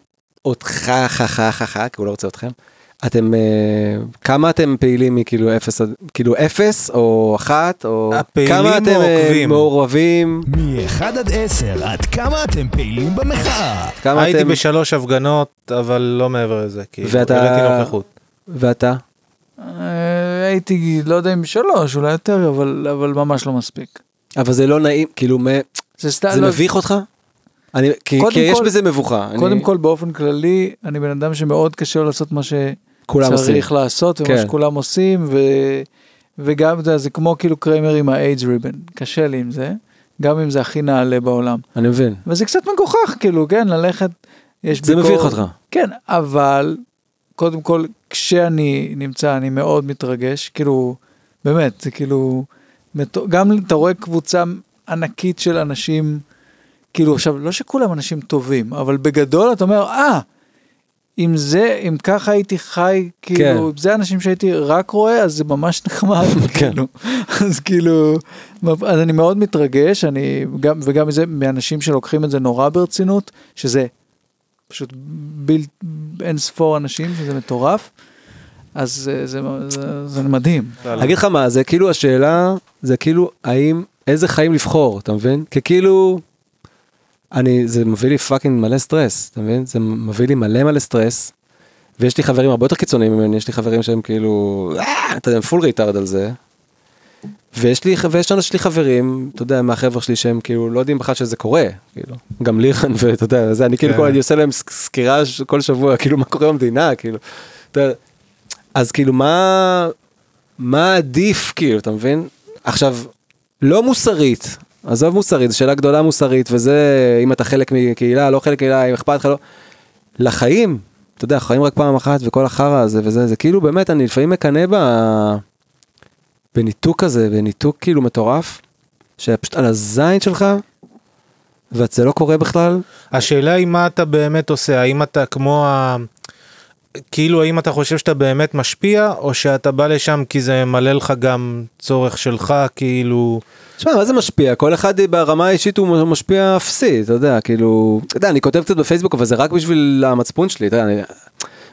[SPEAKER 4] אותך, חכה, חכה, כי הוא לא רוצה אתכם. אתם, אה, כמה אתם פעילים מכאילו אפס, עד- כאילו אפס או אחת, או
[SPEAKER 1] הפעילים
[SPEAKER 4] כמה אתם אה,
[SPEAKER 1] מעורבים.
[SPEAKER 4] מעורבים,
[SPEAKER 6] מ-1 עד 10, עד כמה אתם פעילים במחאה?
[SPEAKER 4] כמה
[SPEAKER 1] הייתי
[SPEAKER 4] אתם,
[SPEAKER 1] בשלוש הפגנות, אבל לא מעבר לזה, כי
[SPEAKER 4] ואתה-
[SPEAKER 1] העליתי נוכחות.
[SPEAKER 4] ואתה?
[SPEAKER 2] אה, הייתי, לא יודע אם שלוש, אולי יותר, אבל אבל ממש לא מספיק.
[SPEAKER 4] אבל זה לא נעים, כאילו, מ-
[SPEAKER 2] זה סתם...
[SPEAKER 4] זה
[SPEAKER 2] לא-
[SPEAKER 4] מביך אותך? אני, כי,
[SPEAKER 2] קודם
[SPEAKER 4] כי יש
[SPEAKER 2] כל-
[SPEAKER 4] בזה מבוכה.
[SPEAKER 2] קודם
[SPEAKER 4] אני,
[SPEAKER 2] כל, באופן כללי, אני בן אדם שמאוד קשה לו לעשות מה
[SPEAKER 4] כולם
[SPEAKER 2] שצריך לעשות, ומה
[SPEAKER 4] כן.
[SPEAKER 2] שכולם עושים, ו... וגם אתה יודע, זה כמו כאילו קריימר עם האיידס ריבן, קשה לי עם זה, גם אם זה הכי נעלה בעולם.
[SPEAKER 4] אני מבין.
[SPEAKER 2] וזה קצת מגוחך, כאילו, כן, ללכת, יש
[SPEAKER 4] זה
[SPEAKER 2] ביקורת.
[SPEAKER 4] מביך אותך.
[SPEAKER 2] כן, אבל קודם כל, כשאני נמצא, אני מאוד מתרגש, כאילו, באמת, זה כאילו, מטו- גם אתה רואה קבוצה ענקית של אנשים, כאילו, עכשיו, לא שכולם אנשים טובים, אבל בגדול אתה אומר, אה, אם זה, אם ככה הייתי חי, כאילו, כן. זה אנשים שהייתי רק רואה, אז זה ממש נחמד,
[SPEAKER 4] כן.
[SPEAKER 2] כאילו. אז כאילו, אז אני מאוד מתרגש, אני, גם, וגם מזה, מאנשים שלוקחים את זה נורא ברצינות, שזה פשוט בל... אין ספור אנשים, שזה מטורף. אז זה, זה, זה, זה מדהים.
[SPEAKER 4] אני אגיד לך מה, זה כאילו השאלה, זה כאילו, האם, איזה חיים לבחור, אתה מבין? כי כאילו, אני, זה מביא לי פאקינג מלא סטרס, אתה מבין? זה מביא לי מלא מלא סטרס, ויש לי חברים הרבה יותר קיצוניים ממני, יש לי חברים שהם כאילו, "אה", אתה יודע, הם פול ריטארד על זה. ויש לי, ויש לנו- יש לי חברים, אתה יודע, מהחבר'ה שלי שהם כאילו לא יודעים בכלל שזה קורה, כאילו, גם לירן ואתה יודע, זה, אני כאילו
[SPEAKER 1] כן.
[SPEAKER 4] כל, אני עושה להם ס- סקירה ש- כל שבוע, כאילו מה קורה במדינה, כאילו, אתה יודע, אז כאילו מה, מה עדיף כאילו, אתה מבין? עכשיו, לא מוסרית, עזוב מוסרית, זו שאלה גדולה מוסרית, וזה אם אתה חלק מקהילה, לא חלק מקהילה, אם אכפת לך, לא... לחיים, אתה יודע, חיים רק פעם אחת, וכל החרא הזה וזה, זה כאילו באמת, אני לפעמים מקנא ב... בניתוק הזה, בניתוק כאילו מטורף, שפשוט על הזין שלך, וזה לא קורה בכלל,
[SPEAKER 1] השאלה היא מה אתה באמת עושה, האם אתה כמו ה... כאילו האם אתה חושב שאתה באמת משפיע, או שאתה בא לשם כי זה ממלא לך גם צורך שלך, כאילו...
[SPEAKER 4] תשמע, מה זה משפיע? כל אחד ברמה האישית הוא משפיע אפסי, אתה יודע, כאילו... אתה יודע, אני כותב קצת בפייסבוק, אבל זה רק בשביל המצפון שלי, אתה יודע, אני...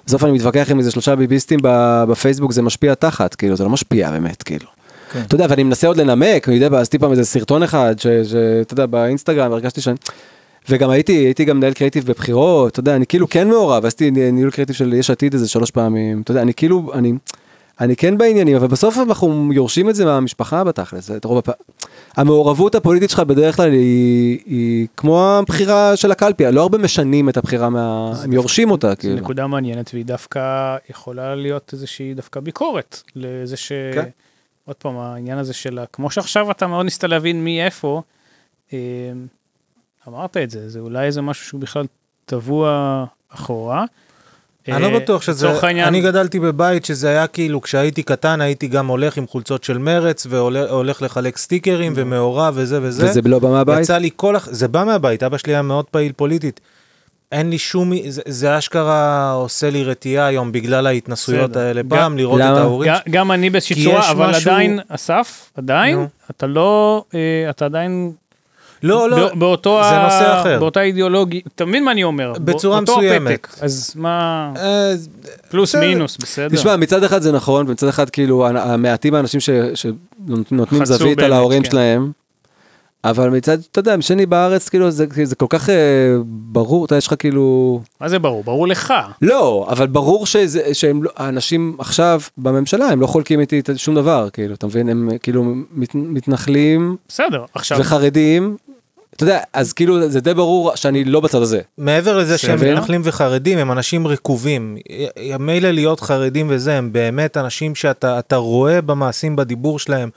[SPEAKER 4] בסוף אני מתווכח עם איזה שלושה ביביסטים ב- בפייסבוק, זה משפיע תחת, כאילו, זה לא משפיע באמת, כאילו.
[SPEAKER 2] כן.
[SPEAKER 4] אתה יודע, ואני מנסה עוד לנמק, אני יודע, עשיתי פעם איזה סרטון אחד, ש- שאתה יודע, באינסטגרם, הרגשתי שאני... וגם הייתי, הייתי גם מנהל קריאיטיב בבחירות, אתה יודע, אני כאילו כן מעורב, עשיתי ניהול קריאיטיב של יש עתיד איזה שלוש פעמים, אתה יודע, אני כאילו, אני, אני כן בעניינים, אבל בסוף אנחנו יורשים את זה מהמשפחה בתכלס, את רוב הפ... המעורבות הפוליטית שלך בדרך כלל היא, היא כמו הבחירה של הקלפי, לא הרבה משנים את הבחירה, מה... הם יורשים אותה,
[SPEAKER 1] כן.
[SPEAKER 3] זו
[SPEAKER 4] כאילו.
[SPEAKER 3] נקודה מעניינת, והיא דווקא יכולה להיות איזושהי דווקא ביקורת לזה ש...
[SPEAKER 4] כן.
[SPEAKER 3] עוד פעם, העניין הזה של... ה- כמו שעכשיו אתה מאוד ניסית להבין מי איפה, אה, אמרת את זה, זה אולי איזה משהו שהוא בכלל טבוע אחורה.
[SPEAKER 1] אני לא
[SPEAKER 3] אה,
[SPEAKER 1] בטוח שזה...
[SPEAKER 3] לצורך העניין,
[SPEAKER 1] אני גדלתי בבית שזה היה כאילו, כשהייתי קטן הייתי גם הולך עם חולצות של מרץ, והולך לחלק סטיקרים, ומעורב וזה וזה.
[SPEAKER 4] וזה לא בא מהבית?
[SPEAKER 1] יצא לי כל... הח- זה בא מהבית, אבא שלי היה מאוד פעיל פוליטית. אין לי שום... זה, זה אשכרה עושה לי רתיעה היום בגלל ההתנסויות
[SPEAKER 3] בסדר.
[SPEAKER 1] האלה.
[SPEAKER 3] גם-
[SPEAKER 1] פעם לראות
[SPEAKER 4] למה?
[SPEAKER 1] את ההורים.
[SPEAKER 3] ג- גם אני באיזושהי
[SPEAKER 1] כי יש
[SPEAKER 3] צורה, אבל
[SPEAKER 1] משהו-
[SPEAKER 3] עדיין, אסף, עדיין,
[SPEAKER 1] נו.
[SPEAKER 3] אתה לא, אה, אתה עדיין
[SPEAKER 1] לא, לא,
[SPEAKER 3] בא- באותו
[SPEAKER 1] זה
[SPEAKER 3] ה-
[SPEAKER 1] נושא אחר.
[SPEAKER 3] באותה אידיאולוגיה, אתה מבין מה אני אומר? בא-
[SPEAKER 1] בצורה
[SPEAKER 3] אותו
[SPEAKER 1] מסוימת.
[SPEAKER 3] הפתק, אז מה,
[SPEAKER 1] אה,
[SPEAKER 3] פלוס
[SPEAKER 1] בסדר.
[SPEAKER 3] מינוס, בסדר.
[SPEAKER 4] תשמע, מצד אחד זה נכון, ומצד אחד כאילו ה- המעטים האנשים ש- שנותנים
[SPEAKER 3] חצו
[SPEAKER 4] זווית
[SPEAKER 3] באמת,
[SPEAKER 4] על ההורים
[SPEAKER 3] כן.
[SPEAKER 4] שלהם, אבל מצד, אתה יודע, שני בארץ, כאילו, זה זה כל כך אה, ברור, אתה יודע, יש לך כאילו...
[SPEAKER 3] מה זה ברור? ברור לך.
[SPEAKER 4] לא, אבל ברור שזה, שהם, לא- האנשים עכשיו בממשלה, הם לא חולקים איתי את- שום דבר, כאילו, אתה מבין? הם אה, כאילו מת, מתנחלים
[SPEAKER 3] בסדר, עכשיו,
[SPEAKER 4] וחרדים, אתה יודע, אז כאילו זה די ברור שאני לא בצד הזה.
[SPEAKER 1] מעבר לזה שהם
[SPEAKER 4] בסדר.
[SPEAKER 1] מתנחלים וחרדים, הם אנשים רקובים. י- י- מילא להיות חרדים וזה, הם באמת אנשים שאתה אתה רואה במעשים, בדיבור שלהם,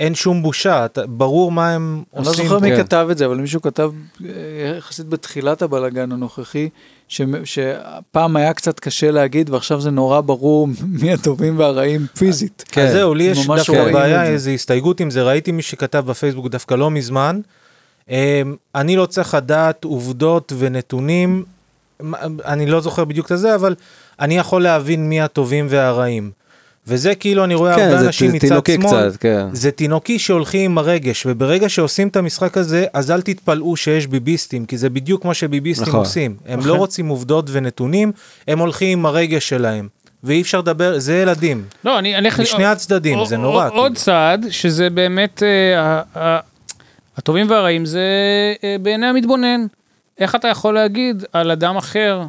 [SPEAKER 1] אין שום בושה, אתה, ברור מה הם
[SPEAKER 2] אני לא
[SPEAKER 1] עושים.
[SPEAKER 2] זוכר מי
[SPEAKER 4] כן.
[SPEAKER 2] כתב את זה, אבל מישהו כתב אה, יחסית בתחילת הבלגן הנוכחי, ש- שפעם היה קצת קשה להגיד, ועכשיו זה נורא ברור מי הטובים והרעים פיזית.
[SPEAKER 4] כן.
[SPEAKER 1] אז זהו, לי יש
[SPEAKER 2] ממש
[SPEAKER 1] דווקא
[SPEAKER 2] רואים
[SPEAKER 1] בעיה,
[SPEAKER 2] את זה.
[SPEAKER 1] איזו הסתייגות עם זה, ראיתי מי שכתב בפייסבוק דווקא לא מזמן. אמ, אני לא צריך לדעת עובדות ונתונים, מה- אני לא זוכר בדיוק את זה, אבל אני יכול להבין מי הטובים והרעים. וזה כאילו, אני רואה
[SPEAKER 4] כן,
[SPEAKER 1] הרבה
[SPEAKER 4] זה
[SPEAKER 1] אנשים
[SPEAKER 4] ט-
[SPEAKER 1] מצד
[SPEAKER 4] תינוקי
[SPEAKER 1] שמאל,
[SPEAKER 4] קצת, כן.
[SPEAKER 1] זה תינוקי שהולכים עם הרגש, וברגע שעושים את המשחק הזה, אז אל תתפלאו שיש ביביסטים, כי זה בדיוק מה שביביסטים
[SPEAKER 4] נכון.
[SPEAKER 1] עושים. הם לא רוצים עובדות ונתונים, הם הולכים עם הרגש שלהם. ואי אפשר לדבר, זה ילדים.
[SPEAKER 3] לא, אני אני...
[SPEAKER 1] משני הצדדים,
[SPEAKER 3] או-
[SPEAKER 1] זה
[SPEAKER 3] או-
[SPEAKER 1] נורא.
[SPEAKER 3] עוד
[SPEAKER 1] כאילו.
[SPEAKER 3] צעד, שזה באמת, אה, ה- ה- הטובים והרעים זה אה, בעיני המתבונן. איך אתה יכול להגיד על אדם אחר,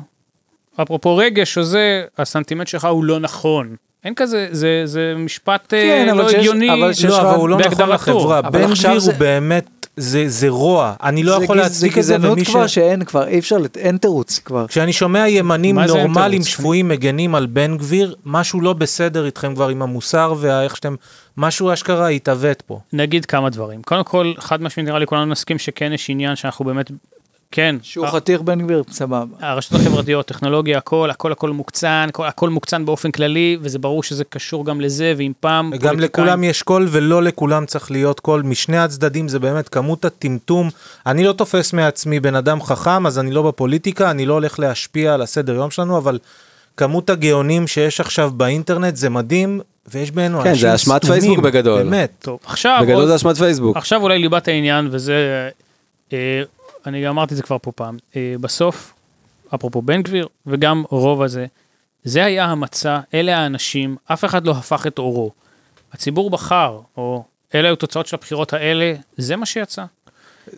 [SPEAKER 3] אפרופו רגש או זה, הסנטימט שלך הוא לא נכון. אין כזה, זה, זה משפט אה,
[SPEAKER 2] כן, אבל
[SPEAKER 3] לא
[SPEAKER 2] שיש-
[SPEAKER 3] הגיוני.
[SPEAKER 2] אבל שיש
[SPEAKER 1] לא,
[SPEAKER 2] לך-
[SPEAKER 1] אבל הוא לא נכון
[SPEAKER 3] בהגדרתו.
[SPEAKER 1] לחברה.
[SPEAKER 2] אבל
[SPEAKER 1] בן
[SPEAKER 2] עכשיו
[SPEAKER 1] גביר
[SPEAKER 2] זה-
[SPEAKER 1] הוא באמת, זה זה רוע. אני לא
[SPEAKER 2] זה
[SPEAKER 1] יכול
[SPEAKER 2] גז-
[SPEAKER 1] להצדיק את זה,
[SPEAKER 2] זה
[SPEAKER 1] ומי
[SPEAKER 2] גזענות
[SPEAKER 1] ש...
[SPEAKER 2] כבר שאין, כבר אי אפשר, לת- אין תירוץ כבר.
[SPEAKER 1] כשאני שומע ימנים
[SPEAKER 3] מה זה אין
[SPEAKER 1] נורמלים
[SPEAKER 3] תירוץ?
[SPEAKER 1] שפויים מגנים על בן גביר, משהו לא בסדר איתכם כבר עם המוסר ואיך שאתם... משהו אשכרה התעוות פה.
[SPEAKER 3] נגיד כמה דברים. קודם כל, חד משמעית נראה לי כולנו נסכים שכן יש עניין שאנחנו באמת, כן.
[SPEAKER 2] שהוא
[SPEAKER 1] אה.
[SPEAKER 3] ה-
[SPEAKER 2] חתיך בן גביר, סבבה.
[SPEAKER 3] הרשתות החברתיות, טכנולוגיה, הכל, הכל הכל מוקצן, הכל, הכל מוקצן באופן כללי, וזה ברור שזה קשור גם לזה, ואם פעם...
[SPEAKER 1] גם
[SPEAKER 3] פוליטיקאים-
[SPEAKER 1] לכולם יש קול ולא לכולם צריך להיות קול. משני הצדדים זה באמת כמות הטמטום. אני לא תופס מעצמי בן אדם חכם, אז אני לא בפוליטיקה, אני לא הולך להשפיע על הסדר יום שלנו, אבל כמות הגאונים שיש עכשיו באינטרנט זה מדהים, ויש בינינו
[SPEAKER 4] כן,
[SPEAKER 1] אנשים
[SPEAKER 4] זה אשמת
[SPEAKER 1] סתומים,
[SPEAKER 4] פייסבוק בגדול.
[SPEAKER 1] באמת.
[SPEAKER 3] טוב, עכשיו...
[SPEAKER 4] בגדול
[SPEAKER 3] עוד-
[SPEAKER 4] זה אשמת פייסבוק.
[SPEAKER 3] עכשיו אולי ליבת העניין, וזה... אה, אני גם אמרתי את זה כבר פה פעם. אה, בסוף, אפרופו בן גביר, וגם רוב הזה, זה היה המצע, אלה האנשים, אף אחד לא הפך את עורו. הציבור בחר, או אלה היו תוצאות של הבחירות האלה, זה מה שיצא.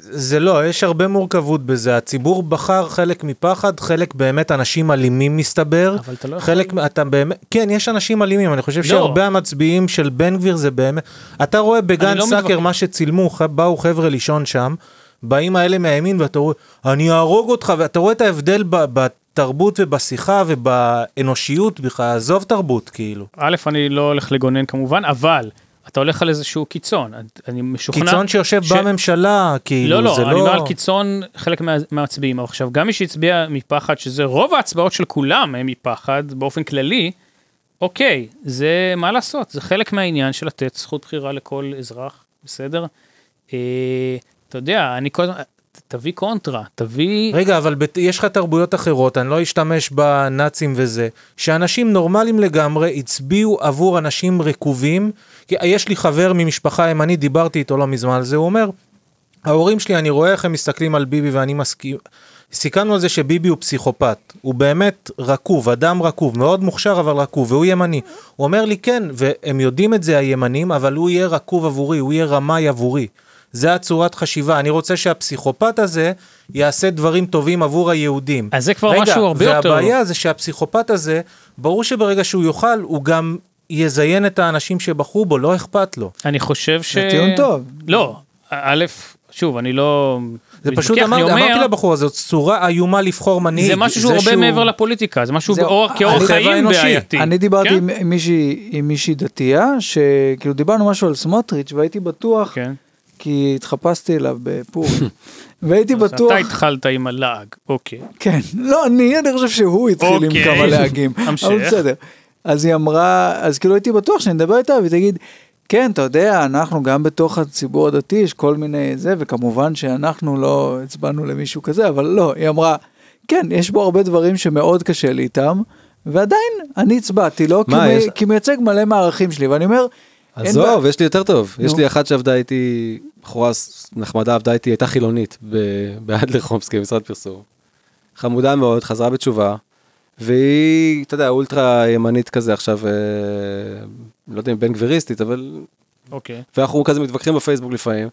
[SPEAKER 1] זה לא, יש הרבה מורכבות בזה. הציבור בחר חלק מפחד, חלק באמת אנשים אלימים מסתבר.
[SPEAKER 3] אבל אתה לא יכול...
[SPEAKER 1] חלק, מה- אתה באמת, כן, יש אנשים אלימים, אני חושב
[SPEAKER 3] לא.
[SPEAKER 1] שהרבה המצביעים של בן גביר זה באמת, אתה רואה בגן
[SPEAKER 3] אני לא
[SPEAKER 1] סאקר
[SPEAKER 3] מתווכח.
[SPEAKER 1] מה שצילמו, ח- באו חבר'ה לישון שם, באים האלה מהימין ואתה רואה, אני אהרוג אותך, ואתה רואה את ההבדל ב- בתרבות ובשיחה ובאנושיות בכלל, עזוב תרבות כאילו.
[SPEAKER 3] א', אני לא הולך לגונן כמובן, אבל אתה הולך על איזשהו קיצון, את- אני משוכנע...
[SPEAKER 1] קיצון שיושב
[SPEAKER 3] ש-
[SPEAKER 1] בממשלה,
[SPEAKER 3] לא,
[SPEAKER 1] כאילו,
[SPEAKER 3] לא,
[SPEAKER 1] זה
[SPEAKER 3] אני לא על
[SPEAKER 1] לא...
[SPEAKER 3] קיצון חלק מה- מהמצביעים. אבל עכשיו, גם מי שהצביע מפחד, שזה רוב ההצבעות של כולם הם מפחד, באופן כללי, אוקיי, זה מה לעשות, זה חלק מהעניין של לתת זכות בחירה לכל אזרח, בסדר? אה, אתה יודע, אני כל הזמן, ת- תביא קונטרה, תביא...
[SPEAKER 1] רגע, אבל בת- יש לך תרבויות אחרות, אני לא אשתמש בנאצים וזה, שאנשים נורמלים לגמרי הצביעו עבור אנשים רקובים. כי אה, יש לי חבר ממשפחה ימנית, דיברתי איתו לא מזמן על זה, הוא אומר, ההורים שלי, אני רואה איך הם מסתכלים על ביבי ואני מסכים. סיכמנו על זה שביבי הוא פסיכופת, הוא באמת רקוב, אדם רקוב, מאוד מוכשר אבל רקוב, והוא ימני. הוא אומר לי כן, והם יודעים את זה הימנים, אבל הוא יהיה רקוב עבורי, הוא יהיה רמאי עבורי. זה הצורת חשיבה, אני רוצה שהפסיכופת הזה יעשה דברים טובים עבור היהודים.
[SPEAKER 3] אז זה כבר משהו הרבה יותר-
[SPEAKER 1] והבעיה זה שהפסיכופת הזה, ברור שברגע שהוא יאכל, הוא גם יזיין את האנשים שבחרו בו, לא אכפת לו.
[SPEAKER 3] אני חושב ש...
[SPEAKER 2] זה טיעון טוב.
[SPEAKER 3] לא, א', שוב, אני לא...
[SPEAKER 1] זה
[SPEAKER 3] מתווכח,
[SPEAKER 1] פשוט
[SPEAKER 3] אני
[SPEAKER 1] אמרתי,
[SPEAKER 3] אומר,
[SPEAKER 1] אמרתי לבחור הזה, זאת צורה איומה לבחור מנהיג.
[SPEAKER 3] זה משהו שהוא הרבה מעבר לפוליטיקה, זה משהו
[SPEAKER 4] אה,
[SPEAKER 3] באורח- כאורח
[SPEAKER 1] הטבע
[SPEAKER 3] חיים
[SPEAKER 1] האנושי.
[SPEAKER 3] בעייתי.
[SPEAKER 2] אני דיברתי
[SPEAKER 3] כן?
[SPEAKER 2] עם עם מישהי עם מישהי דתייה, שכאילו דיברנו משהו על סמוטריץ', והייתי בטוח,
[SPEAKER 3] כן.
[SPEAKER 2] כי התחפשתי אליו בפורים, והייתי
[SPEAKER 3] אז
[SPEAKER 2] בטוח,
[SPEAKER 3] אתה התחלת עם הלעג, אוקיי.
[SPEAKER 2] כן, לא אני, אני חושב שהוא התחיל עם
[SPEAKER 3] אוקיי.
[SPEAKER 2] כמה להגים,
[SPEAKER 3] המשך.
[SPEAKER 2] אבל בסדר. אז היא אמרה, אז כאילו הייתי בטוח שאני אדבר איתה, והיא תגיד, כן, אתה יודע, אנחנו גם בתוך הציבור הדתי, יש כל מיני זה, וכמובן שאנחנו לא הצבענו למישהו כזה, אבל לא, היא אמרה, כן, יש בו הרבה דברים שמאוד קשה לי איתם, ועדיין אני הצבעתי לו, כי
[SPEAKER 4] מה,
[SPEAKER 2] מי-
[SPEAKER 4] יש-
[SPEAKER 2] כי הוא מייצג מלא מהערכים שלי, ואני אומר, אין
[SPEAKER 4] עזוב,
[SPEAKER 2] בעיה.
[SPEAKER 4] יש לי יותר טוב. יש
[SPEAKER 2] נו.
[SPEAKER 4] לי אחת שעבדה איתי, בחורה ס- נחמדה עבדה איתי, הייתה חילונית ב- באדלר חומסקי, במשרד פרסום. חמודה מאוד, חזרה בתשובה, והיא, אתה יודע, אולטרה ימנית כזה עכשיו, אה, לא יודע אם בן גביריסטית, אבל...
[SPEAKER 3] אוקיי.
[SPEAKER 4] ואנחנו כזה מתווכחים בפייסבוק לפעמים.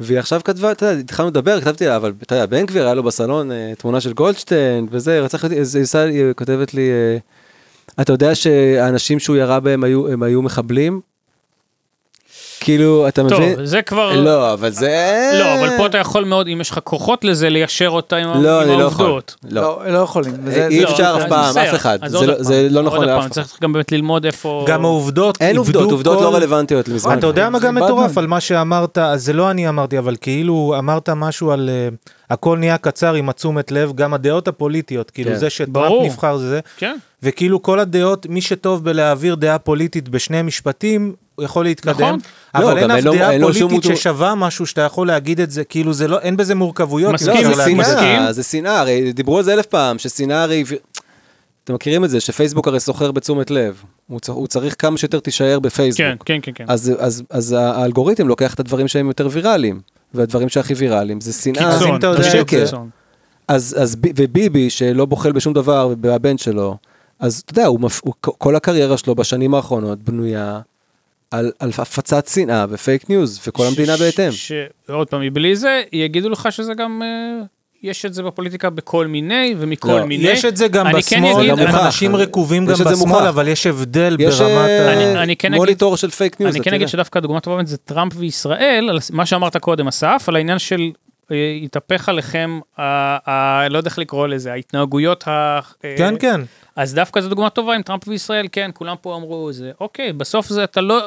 [SPEAKER 4] והיא עכשיו כתבה, אתה יודע, התחלנו לדבר, כתבתי לה, אבל אתה יודע, בן גביר היה לו בסלון אה, תמונה של גולדשטיין, וזה, רצח אותי, אז היא עושה- היא כותבת לי, אה, אתה יודע שהאנשים שהוא ירה בהם היו, הם היו מחבלים? כאילו, אתה
[SPEAKER 3] טוב,
[SPEAKER 4] מבין?
[SPEAKER 3] זה כבר...
[SPEAKER 4] לא, אבל זה...
[SPEAKER 3] לא, אבל פה אתה יכול מאוד, אם יש לך כוחות לזה, ליישר אותה עם ה- עם
[SPEAKER 4] לא, אני לא יכול.
[SPEAKER 3] העובדות.
[SPEAKER 4] לא.
[SPEAKER 2] לא, לא יכולים. וזה-
[SPEAKER 4] אי
[SPEAKER 2] זה-
[SPEAKER 3] לא,
[SPEAKER 4] אפשר
[SPEAKER 3] אז
[SPEAKER 4] אף פעם,
[SPEAKER 3] בסדר,
[SPEAKER 4] אף אחד.
[SPEAKER 3] אז
[SPEAKER 4] זה
[SPEAKER 3] עוד
[SPEAKER 4] לא-
[SPEAKER 3] הפעם.
[SPEAKER 4] זה לא נכון
[SPEAKER 3] עוד
[SPEAKER 4] לאף
[SPEAKER 3] פעם,
[SPEAKER 4] אחד.
[SPEAKER 3] צריך גם באמת ללמוד איפה...
[SPEAKER 1] גם העובדות
[SPEAKER 4] אין
[SPEAKER 1] איבדו
[SPEAKER 4] עובדות, עובדות
[SPEAKER 1] כל-
[SPEAKER 4] לא רלוונטיות מזמן.
[SPEAKER 1] אתה יודע מה גם
[SPEAKER 2] איבדנו.
[SPEAKER 1] מטורף על מה שאמרת, אז זה לא אני אמרתי, אבל כאילו אמרת משהו על אה, הכל נהיה קצר עם התשומת לב, גם הדעות הפוליטיות, כאילו
[SPEAKER 4] כן.
[SPEAKER 1] זה שטראמפ
[SPEAKER 3] ברור.
[SPEAKER 1] נבחר זה זה,
[SPEAKER 3] כן,
[SPEAKER 1] וכאילו כל הדעות, מי שטוב בלהעביר דעה פוליטית בשני משפטים, הוא יכול להתקדם,
[SPEAKER 3] נכון.
[SPEAKER 4] לא,
[SPEAKER 1] אבל אין
[SPEAKER 4] גם
[SPEAKER 1] אף
[SPEAKER 4] אין לו-
[SPEAKER 1] דעה
[SPEAKER 4] אין לו שום
[SPEAKER 1] פוליטית
[SPEAKER 4] מוטו-
[SPEAKER 1] ששווה משהו שאתה יכול להגיד את זה, כאילו זה לא, אין בזה מורכבויות.
[SPEAKER 3] מסכים,
[SPEAKER 1] אי אפשר
[SPEAKER 4] לא, זה
[SPEAKER 1] להגיד את זה.
[SPEAKER 3] מסכים?
[SPEAKER 4] שנאה, זה שנאה, הרי דיברו על זה אלף פעם, ששנאה הרי... אתם מכירים את זה, שפייסבוק הרי סוחר בתשומת לב. הוא צריך, הוא צריך כמה שיותר תישאר בפייסבוק.
[SPEAKER 3] כן, כן, כן, כן.
[SPEAKER 4] אז, אז, אז האלגוריתם לוקח את הדברים שהם יותר ויראליים, והדברים שהכי ויראליים זה שנאה.
[SPEAKER 1] אז אם
[SPEAKER 3] קיצון,
[SPEAKER 1] אתה יודע-
[SPEAKER 3] תמשיך,
[SPEAKER 4] שקר.
[SPEAKER 3] קיצון.
[SPEAKER 4] אז, אז, ב- וביבי, שלא בוחל בשום דבר, והבן שלו, אז אתה יודע, הוא מפ... הוא, כל הקריירה שלו בשנים האחרונות בנויה על, על הפצת שנאה ופייק ניוז, וכל
[SPEAKER 3] ש-
[SPEAKER 4] המדינה
[SPEAKER 3] ש-
[SPEAKER 4] בהתאם.
[SPEAKER 3] ש- עוד פעם, מבלי זה, יגידו לך שזה גם... אה, יש את זה בפוליטיקה בכל מיני ומכל
[SPEAKER 4] לא,
[SPEAKER 3] מיני.
[SPEAKER 1] יש את זה גם
[SPEAKER 3] אני כן
[SPEAKER 1] בשמאל,
[SPEAKER 3] אגיד-
[SPEAKER 4] זה גם מוכח.
[SPEAKER 1] אנשים רקובים גם
[SPEAKER 4] יש את זה
[SPEAKER 1] בשמאל,
[SPEAKER 4] מוכח.
[SPEAKER 1] אבל יש הבדל
[SPEAKER 4] יש
[SPEAKER 1] ברמת ה...
[SPEAKER 4] אה,
[SPEAKER 3] אני כן אגיד-
[SPEAKER 4] מוניטור של פייק ניוז.
[SPEAKER 3] אני
[SPEAKER 4] אתה
[SPEAKER 3] כן אגיד
[SPEAKER 4] יודע.
[SPEAKER 3] שדווקא הדוגמה הטובה באמת זה טראמפ וישראל, על מה שאמרת קודם, אסף, על העניין של אה, התהפך עליכם, ה- ה- לא יודע איך לקרוא לזה, ההתנהגויות ה... אה,
[SPEAKER 1] כן, כן.
[SPEAKER 3] אז דווקא זו דוגמה טובה עם טראמפ וישראל, כן, כולם פה אמרו זה, אוקיי, בסוף זה אתה לא...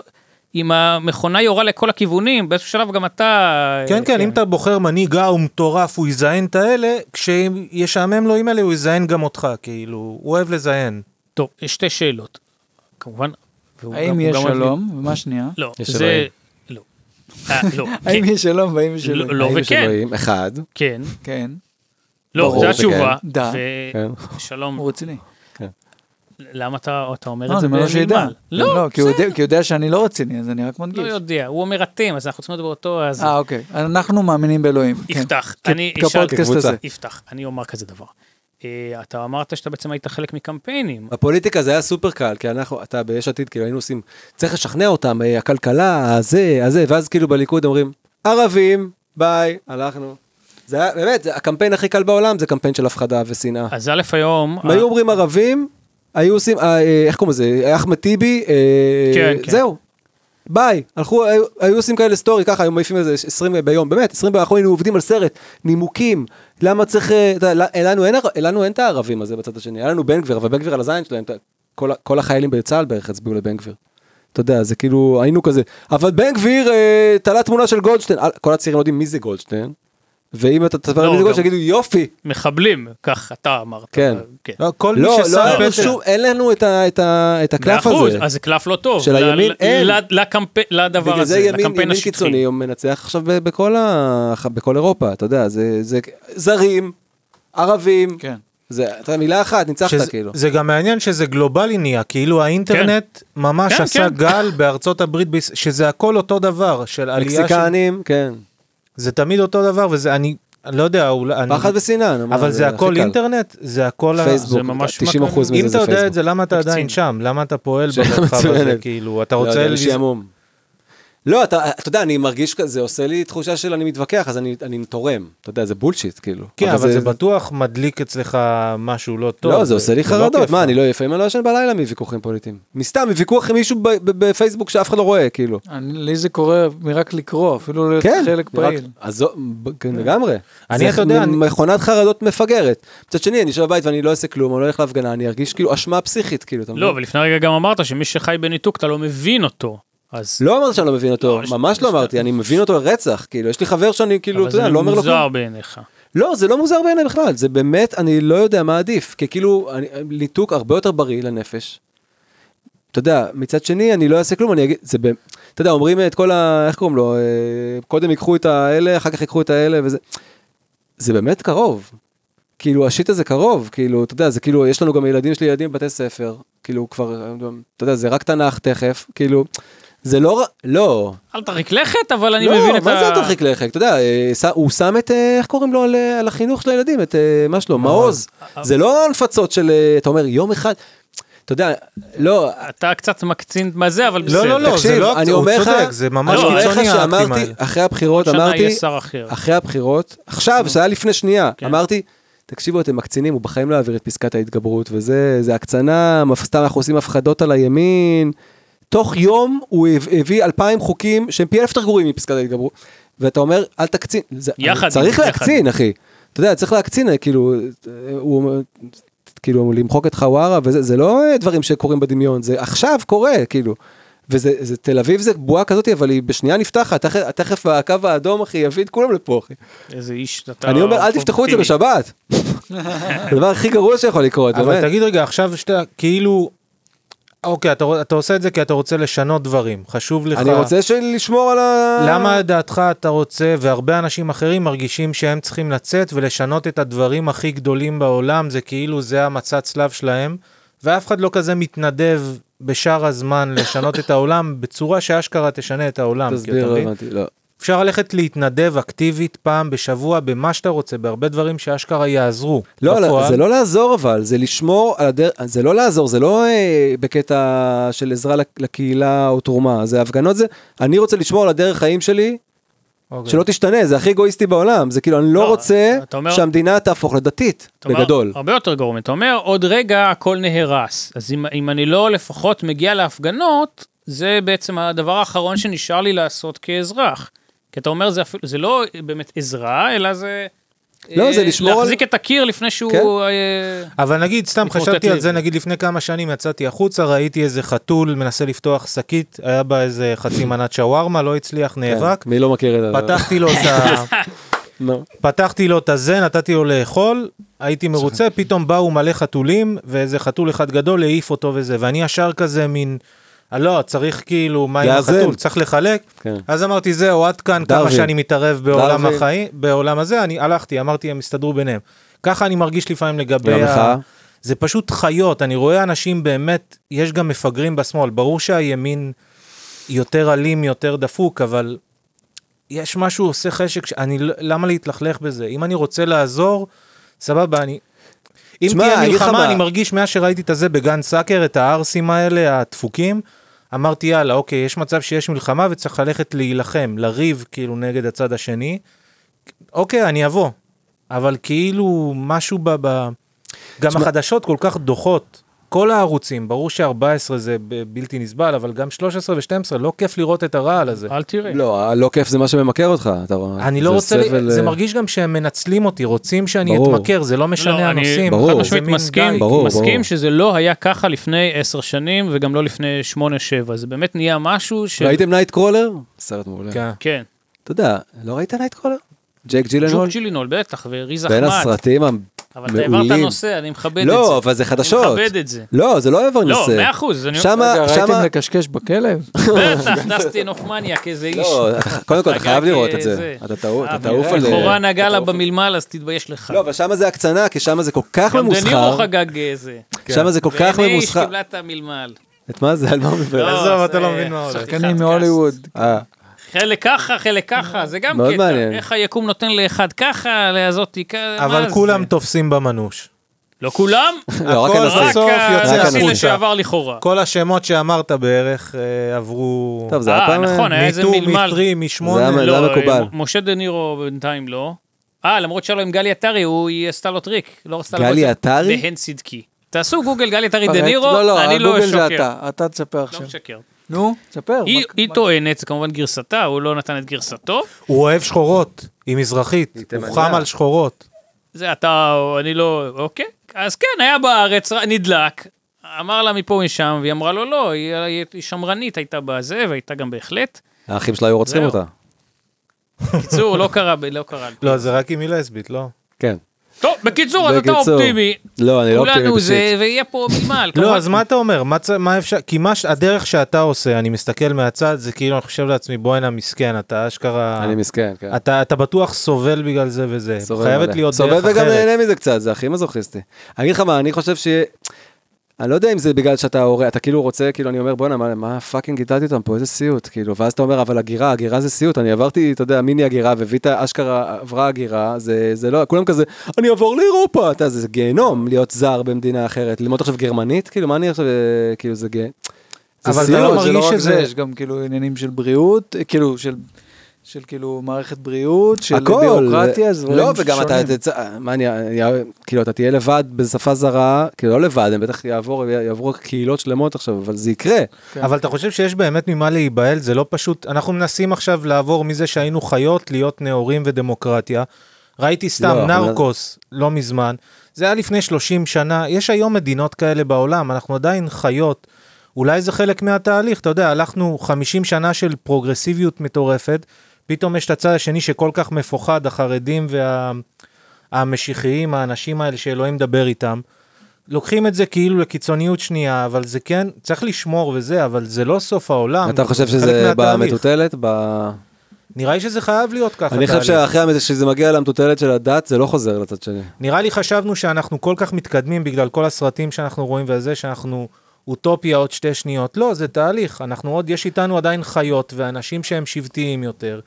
[SPEAKER 3] אם המכונה יורה לכל הכיוונים, באיזשהו שלב גם אתה...
[SPEAKER 1] כן, כן, אם אתה בוחר מנהיג, אה, הוא מטורף, הוא יזיין את האלה, כשישעמם לו עם אלה, הוא יזיין גם אותך, כאילו, הוא אוהב לזיין.
[SPEAKER 3] טוב, יש שתי שאלות. כמובן... והוא
[SPEAKER 4] אה,
[SPEAKER 3] גם-
[SPEAKER 2] האם
[SPEAKER 3] הוא
[SPEAKER 2] יש
[SPEAKER 3] גם אוהב לי-
[SPEAKER 2] שלום? ומה שנייה?
[SPEAKER 3] לא,
[SPEAKER 4] יש
[SPEAKER 3] זה...
[SPEAKER 4] אלוהים.
[SPEAKER 3] לא. אה, לא, כן,
[SPEAKER 2] האם יש שלום והאם יש
[SPEAKER 3] לא,
[SPEAKER 2] אלוהים?
[SPEAKER 3] לא
[SPEAKER 4] האם יש
[SPEAKER 3] וכן,
[SPEAKER 4] אלוהים? אחד.
[SPEAKER 3] כן.
[SPEAKER 2] כן,
[SPEAKER 3] לא,
[SPEAKER 4] ברור
[SPEAKER 3] זו
[SPEAKER 4] שכן.
[SPEAKER 3] התשובה.
[SPEAKER 2] דה.
[SPEAKER 4] כן.
[SPEAKER 3] ושלום,
[SPEAKER 2] הוא רציני.
[SPEAKER 3] למה אתה אתה אומר
[SPEAKER 2] אה,
[SPEAKER 3] את זה
[SPEAKER 2] זה מה שידע.
[SPEAKER 3] בנלמל? לא,
[SPEAKER 2] כי הוא יודע- כי הוא יודע שאני לא רציני, אז אני רק
[SPEAKER 3] לא
[SPEAKER 2] מדגיש.
[SPEAKER 3] יודע, הוא אומר אתם, אז אנחנו צריכים לדבר אותו, אז
[SPEAKER 2] אה, אוקיי. אנחנו מאמינים באלוהים. כן.
[SPEAKER 3] יפתח.
[SPEAKER 2] כ-
[SPEAKER 3] אני אשאל,
[SPEAKER 2] כפודקאסט
[SPEAKER 4] כקבוצה.
[SPEAKER 2] הזה.
[SPEAKER 3] יפתח, אני אומר כזה דבר. אה, אתה אמרת שאתה בעצם היית חלק מקמפיינים.
[SPEAKER 4] אה. בפוליטיקה זה היה סופר קל, כי אנחנו, אתה ביש עתיד, כאילו היינו עושים, צריך לשכנע אותם, אה, הכלכלה, הזה, הזה, ואז כאילו בליכוד אומרים, ערבים, ביי, הלכנו. זה היה, באמת, זה הקמפיין הכי קל בעולם זה קמפיין של הפחדה ושנאה.
[SPEAKER 3] אז א' היום,
[SPEAKER 4] אם היו אומרים ערבים, היו עושים, אה, אה, איך קוראים לזה, אחמד טיבי, אה,
[SPEAKER 3] כן, כן.
[SPEAKER 4] זהו. ביי, הלכו, היו, היו עושים כאלה סטורי, ככה היו מעיפים איזה 20 ביום, באמת, 20 ביום, אנחנו היינו עובדים על סרט, נימוקים, למה צריך, אה, אתה יודע, לנו אין, הר- לנו אין את הערבים הזה בצד השני, היה לנו בן גביר, אבל בן גביר על הזין שלהם, אתה- כל, ה- כל החיילים בצה"ל בערך הצביעו לבן גביר. אתה יודע, זה כאילו, היינו כזה, אבל בן גביר אה, תלה תמונה של גולדשטיין, אה, כל הצעירים לא יודעים מי זה גולדשטיין, ואם אתה תספר
[SPEAKER 3] לא,
[SPEAKER 4] לי מי זה
[SPEAKER 3] גם-
[SPEAKER 4] גולדשטיין, יגידו יופי.
[SPEAKER 3] מחבלים, כך אתה אמרת.
[SPEAKER 4] כן.
[SPEAKER 3] כן.
[SPEAKER 1] לא, כל מי
[SPEAKER 4] לא, לא,
[SPEAKER 1] ששם
[SPEAKER 4] אין לנו
[SPEAKER 1] פצע.
[SPEAKER 4] שום- אין לנו את ה- את ה- את הקלף
[SPEAKER 3] מאה אחוז,
[SPEAKER 4] הזה.
[SPEAKER 3] אז זה קלף לא טוב.
[SPEAKER 4] של
[SPEAKER 3] ל-
[SPEAKER 4] הימין,
[SPEAKER 3] ל-
[SPEAKER 4] אין.
[SPEAKER 3] ל- לקמפ- לדבר
[SPEAKER 4] בגלל
[SPEAKER 3] הזה,
[SPEAKER 4] זה
[SPEAKER 3] לקמפיין השטחי.
[SPEAKER 4] ימין, ימין קיצוני הוא מנצח עכשיו ב- בכל, ה... בכל אירופה, אתה יודע, זה, זה זרים, ערבים,
[SPEAKER 2] כן.
[SPEAKER 4] זה, אתה יודע, מילה אחת, ניצחת
[SPEAKER 1] שזה-
[SPEAKER 4] כאילו.
[SPEAKER 1] זה גם מעניין שזה גלובלי נהיה, כאילו האינטרנט ממש
[SPEAKER 3] כן,
[SPEAKER 1] עשה
[SPEAKER 3] כן.
[SPEAKER 1] גל בארצות הברית, ביס- שזה הכל אותו דבר, של עלייה של...
[SPEAKER 4] מקסיקנים, כן,
[SPEAKER 1] זה תמיד אותו דבר, וזה, אני, אני לא יודע, אולי... אני-
[SPEAKER 4] פחד ושנאה. נו, מה,
[SPEAKER 1] אבל זה
[SPEAKER 4] הכי
[SPEAKER 1] הכל
[SPEAKER 4] קל.
[SPEAKER 1] אינטרנט, זה הכל... ה-
[SPEAKER 4] פייסבוק,
[SPEAKER 3] זה ממש
[SPEAKER 4] 90 אחוז
[SPEAKER 1] אם
[SPEAKER 4] מזה
[SPEAKER 1] אתה
[SPEAKER 4] זה
[SPEAKER 1] יודע את
[SPEAKER 4] פייסבוק.
[SPEAKER 1] זה, למה אתה
[SPEAKER 3] תקציב.
[SPEAKER 1] עדיין שם? למה אתה פועל
[SPEAKER 4] שאלה
[SPEAKER 1] במרחב הזה?
[SPEAKER 4] מצוינת.
[SPEAKER 1] כאילו, אתה
[SPEAKER 4] לא יודע,
[SPEAKER 1] רוצה...
[SPEAKER 4] אני
[SPEAKER 1] לז-
[SPEAKER 4] שעמום. לא, אתה, אתה יודע, אני מרגיש כזה, עושה לי תחושה של אני מתווכח, אז אני, אני תורם. אתה יודע, זה בולשיט, כאילו.
[SPEAKER 1] כן, אבל זה בטוח מדליק אצלך משהו לא טוב.
[SPEAKER 4] לא, זה עושה לי
[SPEAKER 1] לא
[SPEAKER 4] חרדות,
[SPEAKER 1] כיף.
[SPEAKER 4] מה, אני לא, לפעמים אני לא ישן בלילה מוויכוחים פוליטיים. מסתם, מוויכוח עם מישהו ב- ב- בפייסבוק שאף אחד לא רואה, כאילו.
[SPEAKER 2] אני- לי זה קורה מרק לקרוא, אפילו
[SPEAKER 1] כן,
[SPEAKER 2] להיות חלק
[SPEAKER 4] כן. רק- אה,
[SPEAKER 2] פעיל.
[SPEAKER 4] אז זו- ב- כן, לגמרי.
[SPEAKER 1] אני,
[SPEAKER 4] זה
[SPEAKER 1] אתה יודע, אני-
[SPEAKER 4] מכונת חרדות מפגרת. מצד שני, אני יושב בבית ואני לא אעשה כלום, אני לא הולך להפגנה, אני ארגיש כאילו אשמה פסיכית, כאילו, אתה מבין?
[SPEAKER 3] לא, ולפני רגע גם אמרת שמי שחי בניתוק, אתה לא מבין אותו. אז...
[SPEAKER 4] לא אמרת שאני לא מבין אותו,
[SPEAKER 3] לא, יש-
[SPEAKER 4] ממש לא
[SPEAKER 3] יש-
[SPEAKER 4] אמרתי, אני מבין אותו לרצח, כאילו, יש לי חבר שאני כאילו,
[SPEAKER 3] אבל
[SPEAKER 4] אתה יודע, אני לא אומר לו
[SPEAKER 3] זה
[SPEAKER 4] כלום.
[SPEAKER 3] מוזר בעיניך.
[SPEAKER 4] לא, זה לא מוזר בעיניי בכלל, זה באמת, אני לא יודע מה עדיף, כי כאילו, אני- ליתוק הרבה יותר בריא לנפש. אתה יודע, מצד שני, אני לא אעשה כלום, אני אגיד, זה ב... אתה יודע, אומרים את כל ה... איך קוראים לו? אה, קודם ייקחו את האלה, אחר כך ייקחו את האלה, וזה... זה באמת קרוב. כאילו, השיט הזה קרוב, כאילו, אתה יודע, זה כאילו, יש לנו גם ילדים שלי, ילדים בבתי ספר, כאילו, כבר, אתה יודע, זה רק תנ"ך תכף, כאילו, זה לא... ר- לא,
[SPEAKER 3] אל תרחיק לכת, אבל אני
[SPEAKER 4] לא,
[SPEAKER 3] מבין את ה...
[SPEAKER 4] מה זה אל תרחיק לכת? אתה יודע, אה, ש- הוא שם את, אה, איך קוראים לו, על, אה, על החינוך של הילדים, את אה, מה שלו, מעוז.
[SPEAKER 1] אה.
[SPEAKER 4] זה לא הנפצות של, אה, אתה אומר, יום אחד, אתה יודע, לא,
[SPEAKER 3] אתה קצת מקצין מה זה, אבל בסדר.
[SPEAKER 1] לא, לא, לא, זה
[SPEAKER 4] תקשיב,
[SPEAKER 1] לא...
[SPEAKER 4] אני
[SPEAKER 1] הוא
[SPEAKER 4] אומר לך,
[SPEAKER 1] צודק, זה
[SPEAKER 4] אני
[SPEAKER 1] ממש
[SPEAKER 3] לא,
[SPEAKER 4] אומר לך
[SPEAKER 1] קיצוני האקטים
[SPEAKER 4] שאמרתי,
[SPEAKER 1] האלה.
[SPEAKER 4] אחרי הבחירות
[SPEAKER 3] עוד שנה
[SPEAKER 4] אמרתי,
[SPEAKER 3] יהיה שר אחר.
[SPEAKER 4] אחרי הבחירות, עכשיו, זה היה לפני שנייה,
[SPEAKER 3] כן.
[SPEAKER 4] אמרתי, תקשיבו, אתם מקצינים, הוא בחיים לא יעביר את פסקת ההתגברות, וזה זה הקצנה, מפ- סתם אנחנו עושים הפחדות על הימין. תוך יום הוא הב- הביא אלפיים חוקים שהם פי אלף יותר גרועים מפסקת ההתגברות, ואתה אומר, אל תקצין. זה-
[SPEAKER 3] יחד,
[SPEAKER 4] אני- צריך
[SPEAKER 3] יחד.
[SPEAKER 4] להקצין, אחי. אתה יודע, צריך להקצין, כאילו, אה, הוא... אומר, כאילו למחוק את חווארה וזה זה לא אה, דברים שקורים בדמיון זה עכשיו קורה כאילו. וזה זה, תל אביב זה בועה כזאת אבל היא בשנייה נפתחת תכף, תכף הקו האדום אחי יביא את כולם לפה אחי.
[SPEAKER 3] איזה איש אתה...
[SPEAKER 4] אני אומר אל תפתחו את זה
[SPEAKER 3] אופטימי.
[SPEAKER 4] בשבת. הדבר הכי גרוע שיכול לקרות.
[SPEAKER 1] אבל
[SPEAKER 4] באמת.
[SPEAKER 1] תגיד רגע, עכשיו שאתה, כאילו... אוקיי, אתה רוצ- אתה עושה את זה כי אתה רוצה לשנות דברים, חשוב לך.
[SPEAKER 4] אני רוצה של- לשמור על ה...
[SPEAKER 1] למה דעתך אתה רוצה, והרבה אנשים אחרים מרגישים שהם צריכים לצאת ולשנות את הדברים הכי גדולים בעולם, זה כאילו זה המצע צלב שלהם, ואף אחד לא כזה מתנדב בשאר הזמן לשנות את העולם בצורה שאשכרה תשנה את העולם. כי
[SPEAKER 4] תסביר
[SPEAKER 1] אתה
[SPEAKER 4] לא
[SPEAKER 1] מבין?
[SPEAKER 4] הבנתי לא.
[SPEAKER 1] אפשר ללכת להתנדב אקטיבית פעם בשבוע במה שאתה רוצה, בהרבה דברים שאשכרה יעזרו.
[SPEAKER 4] לא, לא,
[SPEAKER 1] בפועל.
[SPEAKER 4] זה לא לעזור אבל, זה לשמור על הדרך, זה לא לעזור, זה לא אה, בקטע של עזרה לק- לקהילה או תרומה, זה הפגנות, זה, אני רוצה לשמור על הדרך חיים שלי,
[SPEAKER 1] אוקיי.
[SPEAKER 4] שלא תשתנה, זה הכי אגואיסטי בעולם, זה כאילו, אני
[SPEAKER 3] לא,
[SPEAKER 4] לא רוצה
[SPEAKER 3] אתה אומר-
[SPEAKER 4] שהמדינה תהפוך לדתית,
[SPEAKER 3] אתה אומר,
[SPEAKER 4] בגדול.
[SPEAKER 1] אה,
[SPEAKER 3] הרבה יותר גרוע. אתה אומר, עוד רגע הכל נהרס. אז אם, אם אני לא לפחות מגיע להפגנות, זה בעצם הדבר האחרון שנשאר לי לעשות כאזרח. כי אתה אומר, זה, אפילו, זה לא באמת עזרה, אלא זה... אה,
[SPEAKER 4] לא, זה לשמור על-
[SPEAKER 3] להחזיק את הקיר לפני שהוא...
[SPEAKER 4] כן.
[SPEAKER 3] אה,
[SPEAKER 1] אבל נגיד, סתם
[SPEAKER 3] התמוטט
[SPEAKER 1] חשבתי על
[SPEAKER 3] לי.
[SPEAKER 1] זה, נגיד לפני כמה שנים יצאתי החוצה, ראיתי איזה חתול מנסה לפתוח שקית, היה בה איזה חצי מנת שווארמה, לא הצליח, נאבק.
[SPEAKER 4] כן, מי לא מכיר את לא, זה?
[SPEAKER 1] פתחתי לו את ה...
[SPEAKER 4] נו.
[SPEAKER 1] פתחתי לו את הזה, נתתי לו לאכול, הייתי מרוצה, פתאום באו מלא חתולים, ואיזה חתול אחד גדול העיף אותו וזה, ואני ישר כזה מין, "אה, לא, צריך כאילו, מה עם
[SPEAKER 4] לאזן.
[SPEAKER 1] החתול, צריך לחלק.
[SPEAKER 4] כן.
[SPEAKER 1] אז אמרתי, זהו, עד כאן כמה
[SPEAKER 4] דרווין.
[SPEAKER 1] שאני מתערב בעולם
[SPEAKER 4] דרווין.
[SPEAKER 1] החיים, בעולם הזה, אני הלכתי, אמרתי, הם יסתדרו ביניהם. ככה אני מרגיש לפעמים לגבי
[SPEAKER 4] והמחאה?
[SPEAKER 1] ה... זה פשוט חיות, אני רואה אנשים באמת, יש גם מפגרים בשמאל, ברור שהימין יותר אלים, יותר דפוק, אבל יש משהו עושה חשק, ש- אני, לא- למה להתלכלך בזה? אם אני רוצה לעזור, סבבה, אני... אם
[SPEAKER 4] תשמע,
[SPEAKER 1] תהיה
[SPEAKER 4] אני אגיד לך
[SPEAKER 1] מלחמה,
[SPEAKER 4] מה.
[SPEAKER 1] אני מרגיש מאז שראיתי את הזה בגן סאקר, את הערסים האלה, הדפוקים, אמרתי, יאללה, אוקיי, יש מצב שיש מלחמה וצריך ללכת להילחם, לריב, כאילו, נגד הצד השני. אוקיי, אני אבוא. אבל כאילו, משהו ב... ב... גם החדשות כל כך דוחות. כל הערוצים, ברור ש-14 זה ב- בלתי נסבל, אבל גם 13 ו-12, לא כיף לראות את הרעל הזה.
[SPEAKER 3] אה, אל תראה.
[SPEAKER 4] לא, הלא כיף זה מה שממכר אותך, אתה רואה.
[SPEAKER 1] אה, אני
[SPEAKER 4] זה
[SPEAKER 1] לא רוצה,
[SPEAKER 4] סבל,
[SPEAKER 1] לי, זה
[SPEAKER 4] אה,
[SPEAKER 1] מרגיש גם שהם מנצלים אותי, רוצים שאני
[SPEAKER 4] ברור.
[SPEAKER 1] אתמכר, זה לא משנה
[SPEAKER 3] לא, אני
[SPEAKER 1] הנושאים.
[SPEAKER 4] ברור.
[SPEAKER 3] חד
[SPEAKER 1] זה
[SPEAKER 3] משמעית
[SPEAKER 1] מין
[SPEAKER 3] מסכים,
[SPEAKER 1] גג.
[SPEAKER 4] ברור, ברור.
[SPEAKER 3] מסכים שזה לא היה ככה לפני עשר שנים וגם לא לפני שמונה שבע, זה באמת נהיה משהו ש...
[SPEAKER 4] ראיתם נייט קרולר? סרט מעולה.
[SPEAKER 1] כן.
[SPEAKER 3] כן.
[SPEAKER 4] אתה יודע, לא ראית נייט קרולר? ג'ק ג'ילנול?
[SPEAKER 3] ג'וק ג'ילינול, בטח, וריז
[SPEAKER 4] בין
[SPEAKER 3] אחמד.
[SPEAKER 4] הסרטים המ...
[SPEAKER 3] אבל אתה העברת
[SPEAKER 4] מעולים.
[SPEAKER 3] נושא, אני מכבד את זה.
[SPEAKER 4] לא, אבל זה חדשות.
[SPEAKER 3] אני מכבד את זה.
[SPEAKER 4] לא, זה לא העבר
[SPEAKER 3] לא,
[SPEAKER 4] נושא.
[SPEAKER 3] מאה אחוז. אני-
[SPEAKER 4] שמה,
[SPEAKER 2] רגע, ראיתם
[SPEAKER 4] שמה...
[SPEAKER 2] לקשקש בכלב?
[SPEAKER 3] בטח, דסטין הופמניאק, איזה איש.
[SPEAKER 4] לא, אתה- קודם כל, אתה
[SPEAKER 3] חגג,
[SPEAKER 4] חייב לראות את
[SPEAKER 3] אה,
[SPEAKER 4] זה.
[SPEAKER 3] זה.
[SPEAKER 4] אתה טעו- אתה
[SPEAKER 3] אה,
[SPEAKER 4] תעוף על...
[SPEAKER 3] חורה נגע לה במלמל, אז תתבייש לך.
[SPEAKER 4] לא, אבל שמה זה הקצנה, כי שמה זה כל כך
[SPEAKER 3] גם דנירו
[SPEAKER 4] ממוסחר.
[SPEAKER 3] חגג איזה.
[SPEAKER 4] שמה זה כל כך
[SPEAKER 3] והנה איש
[SPEAKER 4] ממוסחר.
[SPEAKER 3] קיבלה את המלמל.
[SPEAKER 4] את מה זה? על מה הוא מדבר?
[SPEAKER 3] לא,
[SPEAKER 1] עזוב, אתה
[SPEAKER 3] זה
[SPEAKER 1] לא מבין מה הולך.
[SPEAKER 3] חתיכת
[SPEAKER 2] שחקנים
[SPEAKER 3] כעס.
[SPEAKER 2] מהוליווד.
[SPEAKER 4] אה,
[SPEAKER 3] חלק ככה, חלק ככה, זה גם
[SPEAKER 4] מאוד
[SPEAKER 3] קטע.
[SPEAKER 4] מעניין.
[SPEAKER 3] איך היקום נותן לאחד ככה, לזאתי ככה, מה
[SPEAKER 1] אבל
[SPEAKER 3] זה?
[SPEAKER 1] כולם תופסים במנוש.
[SPEAKER 3] לא כולם?
[SPEAKER 4] לא, רק
[SPEAKER 1] הכל
[SPEAKER 4] הנושא.
[SPEAKER 3] רק אה,
[SPEAKER 1] בסוף יוצא
[SPEAKER 3] הנשיא
[SPEAKER 4] החוצה.
[SPEAKER 3] לשעבר לכאורה.
[SPEAKER 1] כל השמות שאמרת בערך אה, עברו...
[SPEAKER 4] טוב, זה
[SPEAKER 3] אה,
[SPEAKER 4] הפעם...
[SPEAKER 3] נכון, היה איזה
[SPEAKER 1] מ-2,
[SPEAKER 3] מלמל.
[SPEAKER 1] מ-3,
[SPEAKER 4] זה
[SPEAKER 1] מ-8.
[SPEAKER 4] היה-
[SPEAKER 3] לא,
[SPEAKER 4] מקובל.
[SPEAKER 3] אה, מ- משה דה נירו בינתיים לא. אה, למרות שהיה לו עם גלי עטרי, הוא- היא עשתה לו טריק. לא רצתה
[SPEAKER 4] גלי
[SPEAKER 3] לבוא את זה
[SPEAKER 4] עטרי?
[SPEAKER 3] בהן צדקי. תעשו גוגל גלי עטרי דה
[SPEAKER 2] פרט.
[SPEAKER 3] כן. נירו,
[SPEAKER 2] לא, לא,
[SPEAKER 3] אני לא
[SPEAKER 2] הגוגל זה
[SPEAKER 3] אשקר.
[SPEAKER 2] אתה, אתה תספר
[SPEAKER 3] לא
[SPEAKER 2] עכשיו.
[SPEAKER 3] משקר.
[SPEAKER 2] נו, תספר.
[SPEAKER 3] היא-
[SPEAKER 2] מה-
[SPEAKER 3] היא טוענת, זה כמובן גרסתה, הוא לא נתן את גרסתו.
[SPEAKER 1] הוא אוהב שחורות, היא מזרחית, הוא חם על שחורות.
[SPEAKER 3] זה אתה, או אני לא, אוקיי. אז כן, היה בארץ, ר- נדלק. אמר לה מפה ומשם, והיא אמרה לו לא, היא היא שמרנית, הייתה בזה, והייתה גם בהחלט.
[SPEAKER 4] האחים שלה היו רוצחים
[SPEAKER 3] זהו.
[SPEAKER 4] אותה.
[SPEAKER 3] בקיצור, לא קרה, ב- לא קרה.
[SPEAKER 1] לא, זה רק אם היא לסבית, לא?
[SPEAKER 4] כן.
[SPEAKER 3] טוב, בקיצור, אז אתה
[SPEAKER 4] בקיצור.
[SPEAKER 3] אופטימי.
[SPEAKER 4] לא, אני לא אופטימי
[SPEAKER 3] כולנו זה,
[SPEAKER 4] פשוט.
[SPEAKER 3] ויהיה פה ממעל.
[SPEAKER 1] לא, אז מה אתה אומר? מה צ- מה אפשר? כי מה ש- הדרך שאתה עושה, אני מסתכל מהצד, זה כאילו, אני חושב לעצמי, בוא הנה מסכן, אתה אשכרה...
[SPEAKER 4] אני מסכן, כן.
[SPEAKER 1] אתה אתה בטוח סובל בגלל זה וזה.
[SPEAKER 4] סובל
[SPEAKER 1] חייבת
[SPEAKER 4] מלא.
[SPEAKER 1] להיות דרך
[SPEAKER 4] סובל וגם
[SPEAKER 1] אחרת.
[SPEAKER 4] נהנה מזה קצת, זה הכי מזוכיסטי. אני אגיד לך מה, אני חושב ש... אני לא יודע אם זה בגלל שאתה הורה, אתה כאילו רוצה, כאילו, אני אומר, בואנה, מה, מה פאקינג גידלתי אותם פה, איזה סיוט, כאילו, ואז אתה אומר, אבל הגירה, הגירה זה סיוט, אני עברתי, אתה יודע, מיני הגירה, וויטה אשכרה עברה הגירה, זה, זה לא, כולם כזה, אני אעבור לאירופה, אתה יודע, זה גיהנום להיות זר במדינה אחרת, ללמוד עכשיו גרמנית, כאילו, מה אני עכשיו, אה, כאילו, זה גה... זה
[SPEAKER 1] אבל אתה
[SPEAKER 4] סיוט,
[SPEAKER 1] לא
[SPEAKER 4] זה
[SPEAKER 2] זה לא
[SPEAKER 1] מרגיש
[SPEAKER 2] רק
[SPEAKER 1] שזה-
[SPEAKER 2] זה, יש גם כאילו עניינים של בריאות, אה, כאילו של... של כאילו מערכת בריאות, של
[SPEAKER 4] הכל.
[SPEAKER 2] בירוקרטיה, זה דברים
[SPEAKER 4] לא, וגם אתה,
[SPEAKER 2] שונים.
[SPEAKER 4] תצא, מה אני, אני- כאילו, אתה תהיה לבד בשפה זרה, כאילו, לא לבד, הם בטח יעבור, יעברו קהילות שלמות עכשיו, אבל זה יקרה.
[SPEAKER 1] אבל אתה חושב שיש באמת ממה להיבהל? זה לא פשוט... אנחנו מנסים עכשיו לעבור מזה שהיינו חיות להיות נאורים ודמוקרטיה. ראיתי סתם
[SPEAKER 4] לא, אבל-
[SPEAKER 1] נרקוס לא מזמן, זה היה לפני 30 שנה, יש היום מדינות כאלה בעולם, אנחנו עדיין חיות. אולי זה חלק מהתהליך, אתה יודע, הלכנו 50 שנה של פרוגרסיביות מטורפת, פתאום יש את הצד השני שכל כך מפוחד, החרדים וה... המשיחיים, האנשים האלה שאלוהים מדבר איתם, לוקחים את זה כאילו לקיצוניות שנייה, אבל זה כן, צריך לשמור וזה, אבל זה לא סוף העולם.
[SPEAKER 4] אתה חושב
[SPEAKER 1] זה חלק
[SPEAKER 4] שזה
[SPEAKER 1] מהתהליך.
[SPEAKER 4] במטוטלת? ב-
[SPEAKER 1] נראה לי שזה חייב להיות ככה.
[SPEAKER 4] אני חושב
[SPEAKER 1] תהליך.
[SPEAKER 4] שאחרי המט- שזה מגיע למטוטלת של הדת, זה לא חוזר לצד שני.
[SPEAKER 1] נראה לי חשבנו שאנחנו כל כך מתקדמים בגלל כל הסרטים שאנחנו רואים וזה, שאנחנו אוטופיה עוד שתי שניות. לא, זה תהליך. אנחנו עוד, יש איתנו עדיין חיות ואנשים שהם שבטיים יותר.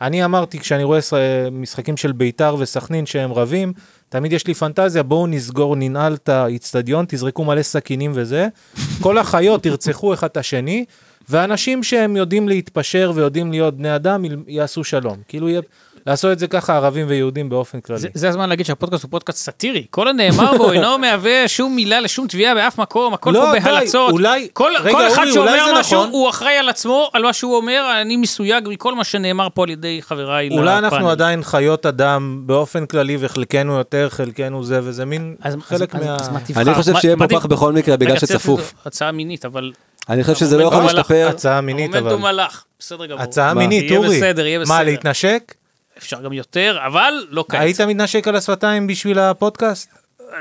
[SPEAKER 1] אני אמרתי, כשאני רואה שר- משחקים של ביתר וסכנין שהם רבים, תמיד יש לי פנטזיה, בואו נסגור, ננעל את האיצטדיון, תזרקו מלא סכינים וזה. כל החיות ירצחו אחד את השני, ואנשים שהם יודעים להתפשר ויודעים להיות בני אדם, יל- יעשו שלום. כאילו, יהיה- לעשות את זה ככה ערבים ויהודים באופן כללי.
[SPEAKER 3] זה- זה הזמן להגיד שהפודקאסט הוא פודקאסט סאטירי. כל הנאמר בו אינו מהווה שום מילה לשום תביעה באף מקום, הכל
[SPEAKER 1] לא,
[SPEAKER 3] פה
[SPEAKER 1] די,
[SPEAKER 3] בהלצות.
[SPEAKER 1] אולי-
[SPEAKER 3] כל
[SPEAKER 1] רגע,
[SPEAKER 3] כל אחד
[SPEAKER 1] אורי, אולי
[SPEAKER 3] שאומר
[SPEAKER 1] זה
[SPEAKER 3] משהו,
[SPEAKER 1] נכון?
[SPEAKER 3] הוא אחראי על עצמו, על מה שהוא אומר, אני מסויג מכל מה שנאמר פה על ידי חבריי לפאנל.
[SPEAKER 1] אולי אנחנו עדיין חיות אדם באופן כללי, וחלקנו יותר, חלקנו זה, וזה מין
[SPEAKER 3] אז- אז-
[SPEAKER 1] חלק
[SPEAKER 3] אז-
[SPEAKER 1] מה...
[SPEAKER 3] אז מה תבחר?
[SPEAKER 4] אני חושב
[SPEAKER 3] מה-
[SPEAKER 4] שיהיה
[SPEAKER 3] מה
[SPEAKER 4] מופח
[SPEAKER 3] תבחר?
[SPEAKER 4] בכל מקרה, בגלל
[SPEAKER 3] רגע, צריך
[SPEAKER 4] שצפוף.
[SPEAKER 3] לזה הצעה מינית, אבל...
[SPEAKER 4] אני חושב שזה לא יכול
[SPEAKER 3] המומנטום
[SPEAKER 4] להשתפר.
[SPEAKER 3] הלך.
[SPEAKER 1] הצעה מינית, אבל.
[SPEAKER 3] המומנטום הלך, בסדר גמור.
[SPEAKER 1] הצעה
[SPEAKER 4] מה?
[SPEAKER 1] מינית,
[SPEAKER 3] יהיה
[SPEAKER 1] אורי.
[SPEAKER 3] בסדר, יהיה
[SPEAKER 1] מה,
[SPEAKER 3] בסדר.
[SPEAKER 1] להתנשק?
[SPEAKER 3] אפשר גם יותר, אבל לא כעת.
[SPEAKER 1] היית מתנשק על השפתיים בשביל הפודקאסט?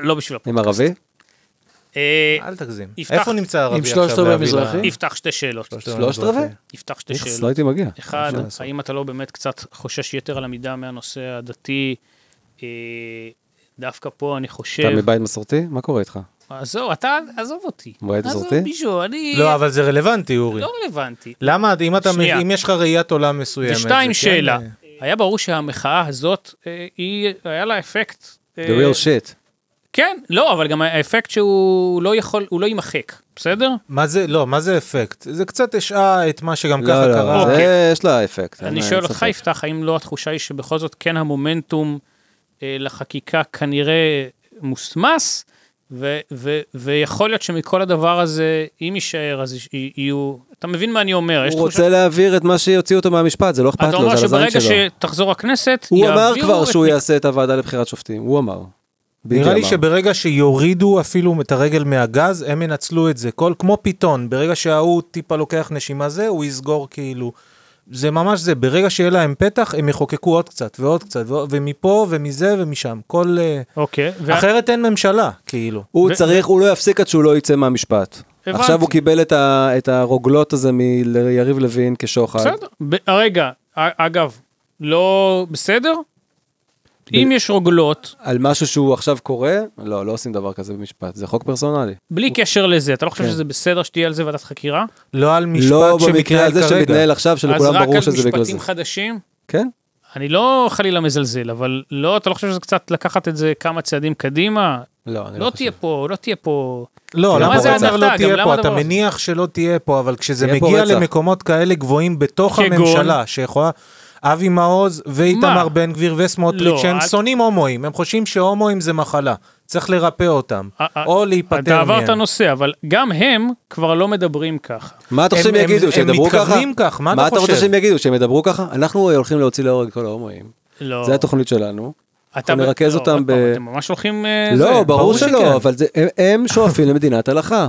[SPEAKER 3] לא בשביל הפודקאסט.
[SPEAKER 4] עם ערבי?
[SPEAKER 3] אה,
[SPEAKER 1] אל תגזים.
[SPEAKER 3] יפתח-
[SPEAKER 1] איפה נמצא הרבי
[SPEAKER 2] עם
[SPEAKER 1] עכשיו?
[SPEAKER 2] שלושת רבעי
[SPEAKER 1] להביא לה-
[SPEAKER 2] מזרחי?
[SPEAKER 3] יפתח שתי שאלות.
[SPEAKER 4] לא, שלושת רבעי?
[SPEAKER 3] יפתח שתי
[SPEAKER 4] איכס, לא
[SPEAKER 3] שאלות.
[SPEAKER 4] הייתי מגיע.
[SPEAKER 3] לא, אחד, האם אתה לא באמת קצת חושש יתר על המידה מהנושא הדתי? אה, דווקא פה אני
[SPEAKER 4] אתה
[SPEAKER 3] חושב...
[SPEAKER 4] מבית מסורתי? מה קורה איתך?
[SPEAKER 3] עזוב, אתה, עזוב אותי.
[SPEAKER 4] מועד
[SPEAKER 3] עזוב,
[SPEAKER 4] מסורתי?
[SPEAKER 3] ביז'ו, אני...
[SPEAKER 1] לא, אבל זה רלוונטי, אורי.
[SPEAKER 3] לא רלוונטי.
[SPEAKER 1] למה, אם אתה-
[SPEAKER 3] שנייה.
[SPEAKER 1] אם יש לך ראיית עולם מסוימת...
[SPEAKER 3] ושתיים,
[SPEAKER 1] זה כן,
[SPEAKER 3] שאלה.
[SPEAKER 1] אה,
[SPEAKER 3] היה ברור שהמחאה הזאת, אה, היא, היה לה אפקט.
[SPEAKER 4] The
[SPEAKER 3] אה,
[SPEAKER 4] real shit.
[SPEAKER 3] כן, לא, אבל גם האפקט שהוא לא יכול, הוא לא יימחק, בסדר?
[SPEAKER 1] מה זה, לא, מה זה אפקט? זה קצת השעה את מה שגם ככה
[SPEAKER 4] לא,
[SPEAKER 1] קרה.
[SPEAKER 4] לא, זה- יש לה אפקט. אין-
[SPEAKER 3] אוקיי. אני
[SPEAKER 4] אין
[SPEAKER 3] שואל אותך,
[SPEAKER 4] ספק.
[SPEAKER 3] יפתח, האם לא התחושה היא שבכל זאת כן המומנטום אה, לחקיקה כנראה מוסמס, ו- ו- ויכול להיות שמכל הדבר הזה, אם יישאר, אז יש- י- יהיו... אתה מבין מה אני אומר? יש
[SPEAKER 4] הוא
[SPEAKER 3] תחושה-
[SPEAKER 4] רוצה להעביר את מה שיוציא אותו מהמשפט, זה לא אכפת
[SPEAKER 3] אתה
[SPEAKER 4] לו,
[SPEAKER 3] אומר
[SPEAKER 4] זה על הזין
[SPEAKER 3] שברגע
[SPEAKER 4] שלו.
[SPEAKER 3] שתחזור הכנסת,
[SPEAKER 4] הוא אמר
[SPEAKER 3] יעבירו
[SPEAKER 4] כבר
[SPEAKER 3] את
[SPEAKER 4] שהוא
[SPEAKER 3] מק-
[SPEAKER 4] יעשה את הוועדה לבחירת שופטים, הוא אמר. ביבי
[SPEAKER 1] נראה לי
[SPEAKER 4] אמר.
[SPEAKER 1] שברגע שיורידו אפילו את הרגל מהגז, הם ינצלו את זה. כל, כמו פיתון, ברגע שההוא טיפה לוקח נשימה זה, הוא יסגור כאילו. זה ממש זה, ברגע שיהיה להם פתח, הם יחוקקו עוד קצת ועוד קצת, ועוד- ומפה ומזה ומשם. כל... אה,
[SPEAKER 3] אוקיי. וה-
[SPEAKER 1] אחרת אין ממשלה, כאילו.
[SPEAKER 4] הוא
[SPEAKER 3] ו-
[SPEAKER 4] צריך, הוא לא יפסיק עד שהוא לא יצא מהמשפט.
[SPEAKER 3] הבנתי.
[SPEAKER 4] עכשיו הוא קיבל את ה- את הרוגלות הזה מיריב לוין כשוחד.
[SPEAKER 3] בסדר. ב- רגע, א- אגב, לא בסדר? אם יש רוגלות,
[SPEAKER 4] על משהו שהוא עכשיו קורא, לא, לא עושים דבר כזה במשפט, זה חוק פרסונלי.
[SPEAKER 3] בלי קשר לזה, אתה לא
[SPEAKER 4] כן.
[SPEAKER 3] חושב שזה בסדר שתהיה על זה ועדת חקירה?
[SPEAKER 1] לא על משפט
[SPEAKER 4] לא במקרה
[SPEAKER 1] שמתנהל
[SPEAKER 4] הזה
[SPEAKER 1] כרגע.
[SPEAKER 4] שמתנהל עכשיו,
[SPEAKER 3] אז
[SPEAKER 4] שלכולם
[SPEAKER 3] רק
[SPEAKER 4] ברור
[SPEAKER 3] על
[SPEAKER 4] שזה בגלל זה.
[SPEAKER 3] משפטים חדשים?
[SPEAKER 4] כן?
[SPEAKER 3] אני לא חלילה מזלזל, אבל לא, אתה לא חושב שזה קצת לקחת את זה כמה צעדים קדימה?
[SPEAKER 4] לא, אני
[SPEAKER 3] לא תהיה פה, לא תהיה פה...
[SPEAKER 1] לא,
[SPEAKER 4] גם
[SPEAKER 1] למה זה
[SPEAKER 4] רצח.
[SPEAKER 1] אומר
[SPEAKER 3] גם
[SPEAKER 1] לא תהיה
[SPEAKER 3] למה
[SPEAKER 1] פה?
[SPEAKER 3] הדבר
[SPEAKER 1] אתה
[SPEAKER 3] הזה?
[SPEAKER 1] מניח שלא תהיה פה, אבל כשזה
[SPEAKER 4] תהיה פה
[SPEAKER 1] מגיע
[SPEAKER 4] רצח.
[SPEAKER 1] למקומות כאלה גבוהים בתוך
[SPEAKER 3] כגון?
[SPEAKER 1] הממשלה, שיכולה... אבי מעוז ואיתמר
[SPEAKER 3] מה?
[SPEAKER 1] בן גביר וסמוטריץ',
[SPEAKER 3] לא,
[SPEAKER 1] שהם
[SPEAKER 3] אל-
[SPEAKER 1] שונאים הומואים, הם חושבים שהומואים זה מחלה, צריך לרפא אותם,
[SPEAKER 3] א- א-
[SPEAKER 1] או להיפטר
[SPEAKER 3] אה, אתה עברת
[SPEAKER 1] מהם.
[SPEAKER 3] נושא, אבל גם הם כבר לא מדברים ככה.
[SPEAKER 4] מה אתה חושב
[SPEAKER 1] הם-
[SPEAKER 4] שהם
[SPEAKER 1] הם-
[SPEAKER 4] יגידו,
[SPEAKER 1] הם
[SPEAKER 4] שידברו ככה?
[SPEAKER 1] מתכוונים כך, מה אתה
[SPEAKER 4] מה אתה רוצה
[SPEAKER 1] חושב?
[SPEAKER 4] שהם יגידו, שהם ידברו ככה? אנחנו הולכים להוציא להורג את כל ההומואים.
[SPEAKER 3] לא.
[SPEAKER 4] זה התוכנית שלנו.
[SPEAKER 3] אתה
[SPEAKER 4] אנחנו
[SPEAKER 3] ב-
[SPEAKER 4] נרכז
[SPEAKER 3] לא,
[SPEAKER 4] אותם
[SPEAKER 3] עוד
[SPEAKER 4] ב-
[SPEAKER 3] פעם, אתם ממש הולכים... אה,
[SPEAKER 4] לא,
[SPEAKER 3] זה.
[SPEAKER 4] ברור
[SPEAKER 1] ברור שכן.
[SPEAKER 4] שלא, אבל זה- הם- הם שואפים למדינת הלכה.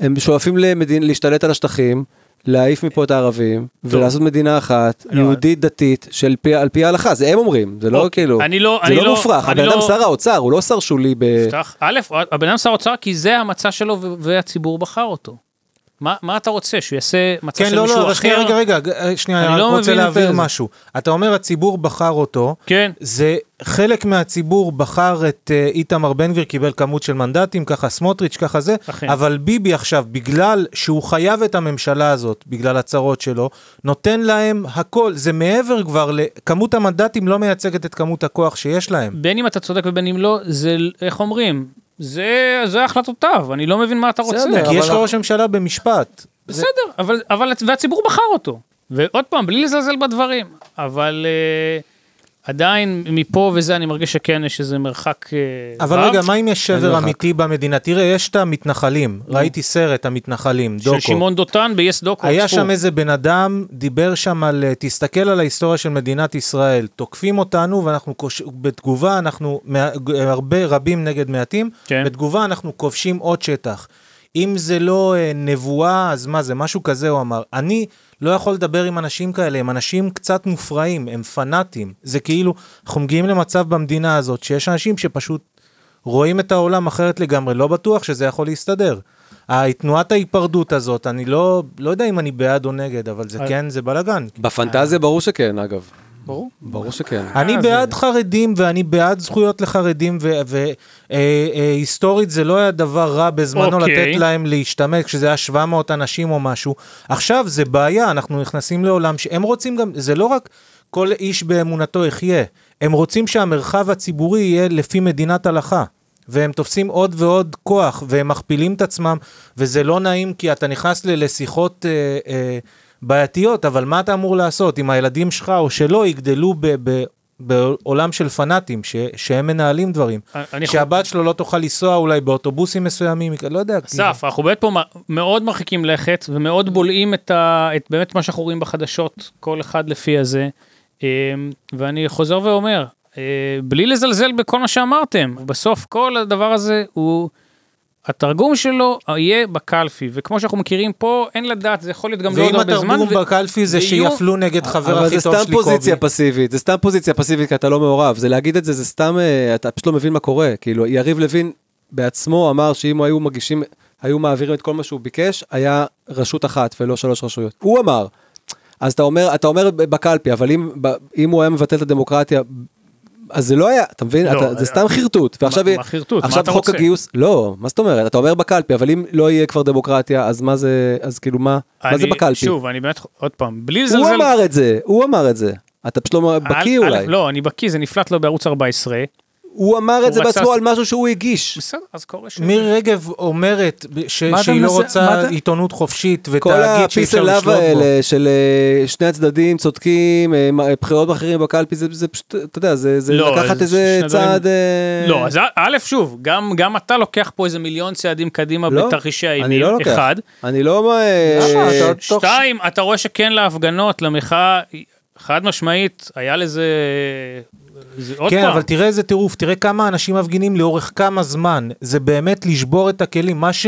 [SPEAKER 4] הם שואפים למדינ- להשתלט על השטחים, להעיף מפה את הערבים, ולעשות מדינה אחת,
[SPEAKER 3] לא,
[SPEAKER 4] יהודית דתית, שעל פי- על פי ההלכה, זה הם אומרים, זה לא
[SPEAKER 3] אוקיי,
[SPEAKER 4] כאילו,
[SPEAKER 3] אני לא-
[SPEAKER 4] זה
[SPEAKER 3] אני
[SPEAKER 4] לא
[SPEAKER 3] לא-
[SPEAKER 4] מופרך,
[SPEAKER 3] אני
[SPEAKER 4] הבן אדם
[SPEAKER 3] לא-
[SPEAKER 4] שר האוצר, הוא לא שר שולי ב...
[SPEAKER 3] יפתח, א', הבן אדם שר אוצר כי זה המצע שלו ו- והציבור בחר אותו. מה מה אתה רוצה, שהוא יעשה מצע
[SPEAKER 1] כן,
[SPEAKER 3] של
[SPEAKER 1] לא,
[SPEAKER 3] מישהו
[SPEAKER 1] לא,
[SPEAKER 3] אחר?
[SPEAKER 1] אבל שנייה, רגע, רגע, אה, שנייה,
[SPEAKER 3] אני
[SPEAKER 1] אני
[SPEAKER 3] לא
[SPEAKER 1] רק רוצה
[SPEAKER 3] מבין את
[SPEAKER 1] להבהיר
[SPEAKER 3] זה.
[SPEAKER 1] משהו. אתה אומר הציבור בחר אותו,
[SPEAKER 3] כן.
[SPEAKER 1] זה חלק מהציבור בחר את אה, איתמר בן גביר, קיבל כמות של מנדטים, ככה סמוטריץ', ככה זה,
[SPEAKER 3] אכן.
[SPEAKER 1] אבל ביבי עכשיו, בגלל שהוא חייב את הממשלה הזאת, בגלל הצרות שלו, נותן להם הכל, זה מעבר כבר, ל- כמות המנדטים לא מייצגת את כמות הכוח שיש להם.
[SPEAKER 3] בין אם אתה צודק ובין אם לא, זה, איך אומרים? זה, זה החלטותיו, אני לא מבין מה אתה רוצה.
[SPEAKER 4] בסדר,
[SPEAKER 1] כי יש
[SPEAKER 4] אבל-
[SPEAKER 1] לו ראש ממשלה במשפט.
[SPEAKER 3] בסדר, אבל, אבל, והציבור בחר אותו. ועוד פעם, בלי לזלזל בדברים, אבל אה, עדיין מפה וזה אני מרגיש שכן יש איזה מרחק אה,
[SPEAKER 1] אבל
[SPEAKER 3] רב
[SPEAKER 1] רגע, מה אם יש
[SPEAKER 4] אין
[SPEAKER 1] שבר
[SPEAKER 4] מרחק.
[SPEAKER 1] אמיתי במדינה? תראה, יש את המתנחלים, ראיתי סרט, המתנחלים,
[SPEAKER 3] של
[SPEAKER 1] דוקו.
[SPEAKER 3] שמעון דותן ב-yes דוקו.
[SPEAKER 1] היה
[SPEAKER 3] צפו.
[SPEAKER 1] שם איזה בן אדם, דיבר שם על, אה, תסתכל על ההיסטוריה של מדינת ישראל, תוקפים אותנו ואנחנו, כוש... בתגובה אנחנו, מה... ג- הרבה רבים נגד מעטים,
[SPEAKER 3] כן.
[SPEAKER 1] בתגובה אנחנו כובשים עוד שטח. אם זה לא אה, נבואה, אז מה זה, משהו כזה הוא אמר. אני לא יכול לדבר עם אנשים כאלה, הם אנשים קצת מופרעים, הם פנאטים. זה כאילו, אנחנו מגיעים למצב במדינה הזאת, שיש אנשים שפשוט רואים את העולם אחרת לגמרי, לא בטוח שזה יכול להסתדר. ה- תנועת ההיפרדות הזאת, אני לא, לא יודע אם אני בעד או נגד, אבל זה כן, זה בלאגן.
[SPEAKER 4] בפנטזיה ברור שכן, אגב. ברור. ברור שכן.
[SPEAKER 1] אני בעד חרדים ואני בעד זכויות לחרדים, והיסטורית זה לא היה דבר רע בזמנו
[SPEAKER 3] אוקיי.
[SPEAKER 1] לתת להם להשתמט, כשזה היה 700 אנשים או משהו. עכשיו זה בעיה, אנחנו נכנסים לעולם שהם רוצים גם, זה לא רק כל איש באמונתו יחיה, הם רוצים שהמרחב הציבורי יהיה לפי מדינת הלכה. והם תופסים עוד ועוד כוח, והם מכפילים את עצמם, וזה לא נעים כי אתה נכנס ל- לשיחות אה, אה, בעייתיות, אבל מה אתה אמור לעשות אם הילדים שלך או שלא יגדלו ב... ב בעולם של פנאטים, ש- שהם מנהלים דברים.
[SPEAKER 3] אני חושב-
[SPEAKER 1] שהבת שלו לא תוכל לנסוע אולי באוטובוסים מסוימים, לא יודע. כאילו.
[SPEAKER 4] כן.
[SPEAKER 3] אסף, אנחנו באמת פה מ- מאוד מרחיקים לכת ומאוד בולעים את, ה, את באמת מה שאנחנו רואים בחדשות, כל אחד לפי הזה. אמ, ואני חוזר ואומר, אה, בלי לזלזל בכל מה שאמרתם, בסוף כל הדבר הזה הוא, התרגום שלו יהיה בקלפי, וכמו שאנחנו מכירים פה, אין לדעת, זה יכול להיות גם
[SPEAKER 1] ואם
[SPEAKER 3] בעוד הרבה זמן.
[SPEAKER 1] התרגום
[SPEAKER 3] ו-
[SPEAKER 1] בקלפי זה
[SPEAKER 3] ויהיו-
[SPEAKER 1] שיפלו נגד חבר
[SPEAKER 4] אבל
[SPEAKER 1] הכי
[SPEAKER 4] זה
[SPEAKER 1] טוב
[SPEAKER 4] סתם
[SPEAKER 1] שלי קובי.
[SPEAKER 4] פוזיציה פסיבית, זה סתם פוזיציה פסיבית כי אתה לא מעורב, זה להגיד את זה, זה סתם, אה, אתה פשוט לא מבין מה קורה. כאילו, יריב לוין בעצמו אמר שאם היו מגישים, היו מעבירים את כל מה שהוא ביקש, היה רשות אחת ולא שלוש רשויות. הוא אמר. אז אתה אומר, אתה אומר בקלפי, אבל אם, ב- אם הוא היה מבטל את הדמוקרטיה, אז זה לא היה, אתה מבין?
[SPEAKER 3] לא,
[SPEAKER 4] אתה, זה
[SPEAKER 3] אה,
[SPEAKER 4] סתם חרטוט. ועכשיו
[SPEAKER 3] מה
[SPEAKER 4] יהיה-
[SPEAKER 3] חרטוט? מה
[SPEAKER 4] עכשיו
[SPEAKER 3] אתה
[SPEAKER 4] חוק
[SPEAKER 3] רוצה?
[SPEAKER 4] הגיוס, לא, מה זאת אומרת? אתה אומר בקלפי, אבל אם לא יהיה כבר דמוקרטיה, אז מה זה, אז כאילו מה? מה זה
[SPEAKER 3] אני-
[SPEAKER 4] בקלפי?
[SPEAKER 3] שוב, אני באמת, עוד פעם, בלי
[SPEAKER 4] הוא
[SPEAKER 3] לזלזל.
[SPEAKER 4] אמר את זה, הוא אמר את זה. אתה פשוט לא
[SPEAKER 3] א'-
[SPEAKER 4] בקיא
[SPEAKER 3] א',
[SPEAKER 4] אולי.
[SPEAKER 3] לא, אני בקיא, זה נפלט לו בערוץ 14.
[SPEAKER 4] הוא אמר
[SPEAKER 3] הוא
[SPEAKER 4] את זה
[SPEAKER 3] רצה
[SPEAKER 4] בעצמו
[SPEAKER 3] ס-
[SPEAKER 4] על משהו שהוא הגיש.
[SPEAKER 3] בסדר, אז קורה ש...
[SPEAKER 1] מירי רגב אומרת ב- ש-
[SPEAKER 2] מה אתה
[SPEAKER 1] שהיא לא
[SPEAKER 2] מנסה- מה
[SPEAKER 1] רוצה
[SPEAKER 2] אתה-
[SPEAKER 1] עיתונות חופשית
[SPEAKER 4] כל
[SPEAKER 1] ותאגיד שאי
[SPEAKER 4] הפיס
[SPEAKER 1] אפשר
[SPEAKER 4] אליו
[SPEAKER 1] לשלוט בו.
[SPEAKER 4] האלה של אה, שני הצדדים צודקים, אה, מה- בחירות אחרים בקלפי, זה זה פשוט, אתה יודע, זה זה
[SPEAKER 3] לא,
[SPEAKER 4] לקחת
[SPEAKER 3] זה
[SPEAKER 4] איזה
[SPEAKER 3] שני דברים-
[SPEAKER 4] צעד... אה,
[SPEAKER 3] לא, אז א', שוב, גם, גם אתה לוקח פה איזה מיליון צעדים קדימה
[SPEAKER 4] לא,
[SPEAKER 3] בתרחישי
[SPEAKER 4] אני
[SPEAKER 3] האימים,
[SPEAKER 4] לא לוקח.
[SPEAKER 3] אחד.
[SPEAKER 4] אני לא... אה,
[SPEAKER 2] למה? אתה עוד תוך-
[SPEAKER 3] שתיים, אתה רואה שכן להפגנות, למחאה, חד משמעית, היה לזה... זה עוד
[SPEAKER 1] כן,
[SPEAKER 3] פעם.
[SPEAKER 1] אבל תראה איזה טירוף, תראה כמה אנשים מפגינים לאורך כמה זמן. זה באמת לשבור את הכלים. מה ש...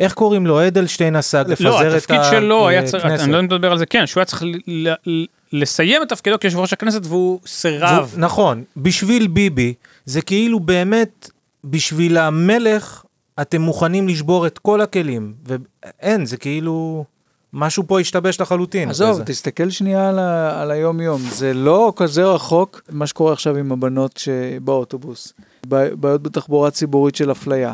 [SPEAKER 1] איך קוראים לו? אדלשטיין עשה,
[SPEAKER 3] לא,
[SPEAKER 1] לפזר את אה,
[SPEAKER 3] התפקיד שלו היה צריך,
[SPEAKER 1] הכנסת.
[SPEAKER 3] אני לא מדבר על זה, כן, שהוא היה צריך ל- ל- לסיים את תפקידו כיושב ראש הכנסת והוא סירב.
[SPEAKER 1] והוא- נכון, בשביל ביבי, זה כאילו באמת, בשביל המלך, אתם מוכנים לשבור את כל הכלים. ואין, זה כאילו... משהו פה השתבש לחלוטין.
[SPEAKER 2] עזוב,
[SPEAKER 1] וזה-
[SPEAKER 2] תסתכל שנייה על, ה, על היום-יום. זה לא כזה רחוק מה שקורה עכשיו עם הבנות שבאוטובוס. ב- בעיות בתחבורה ציבורית של אפליה.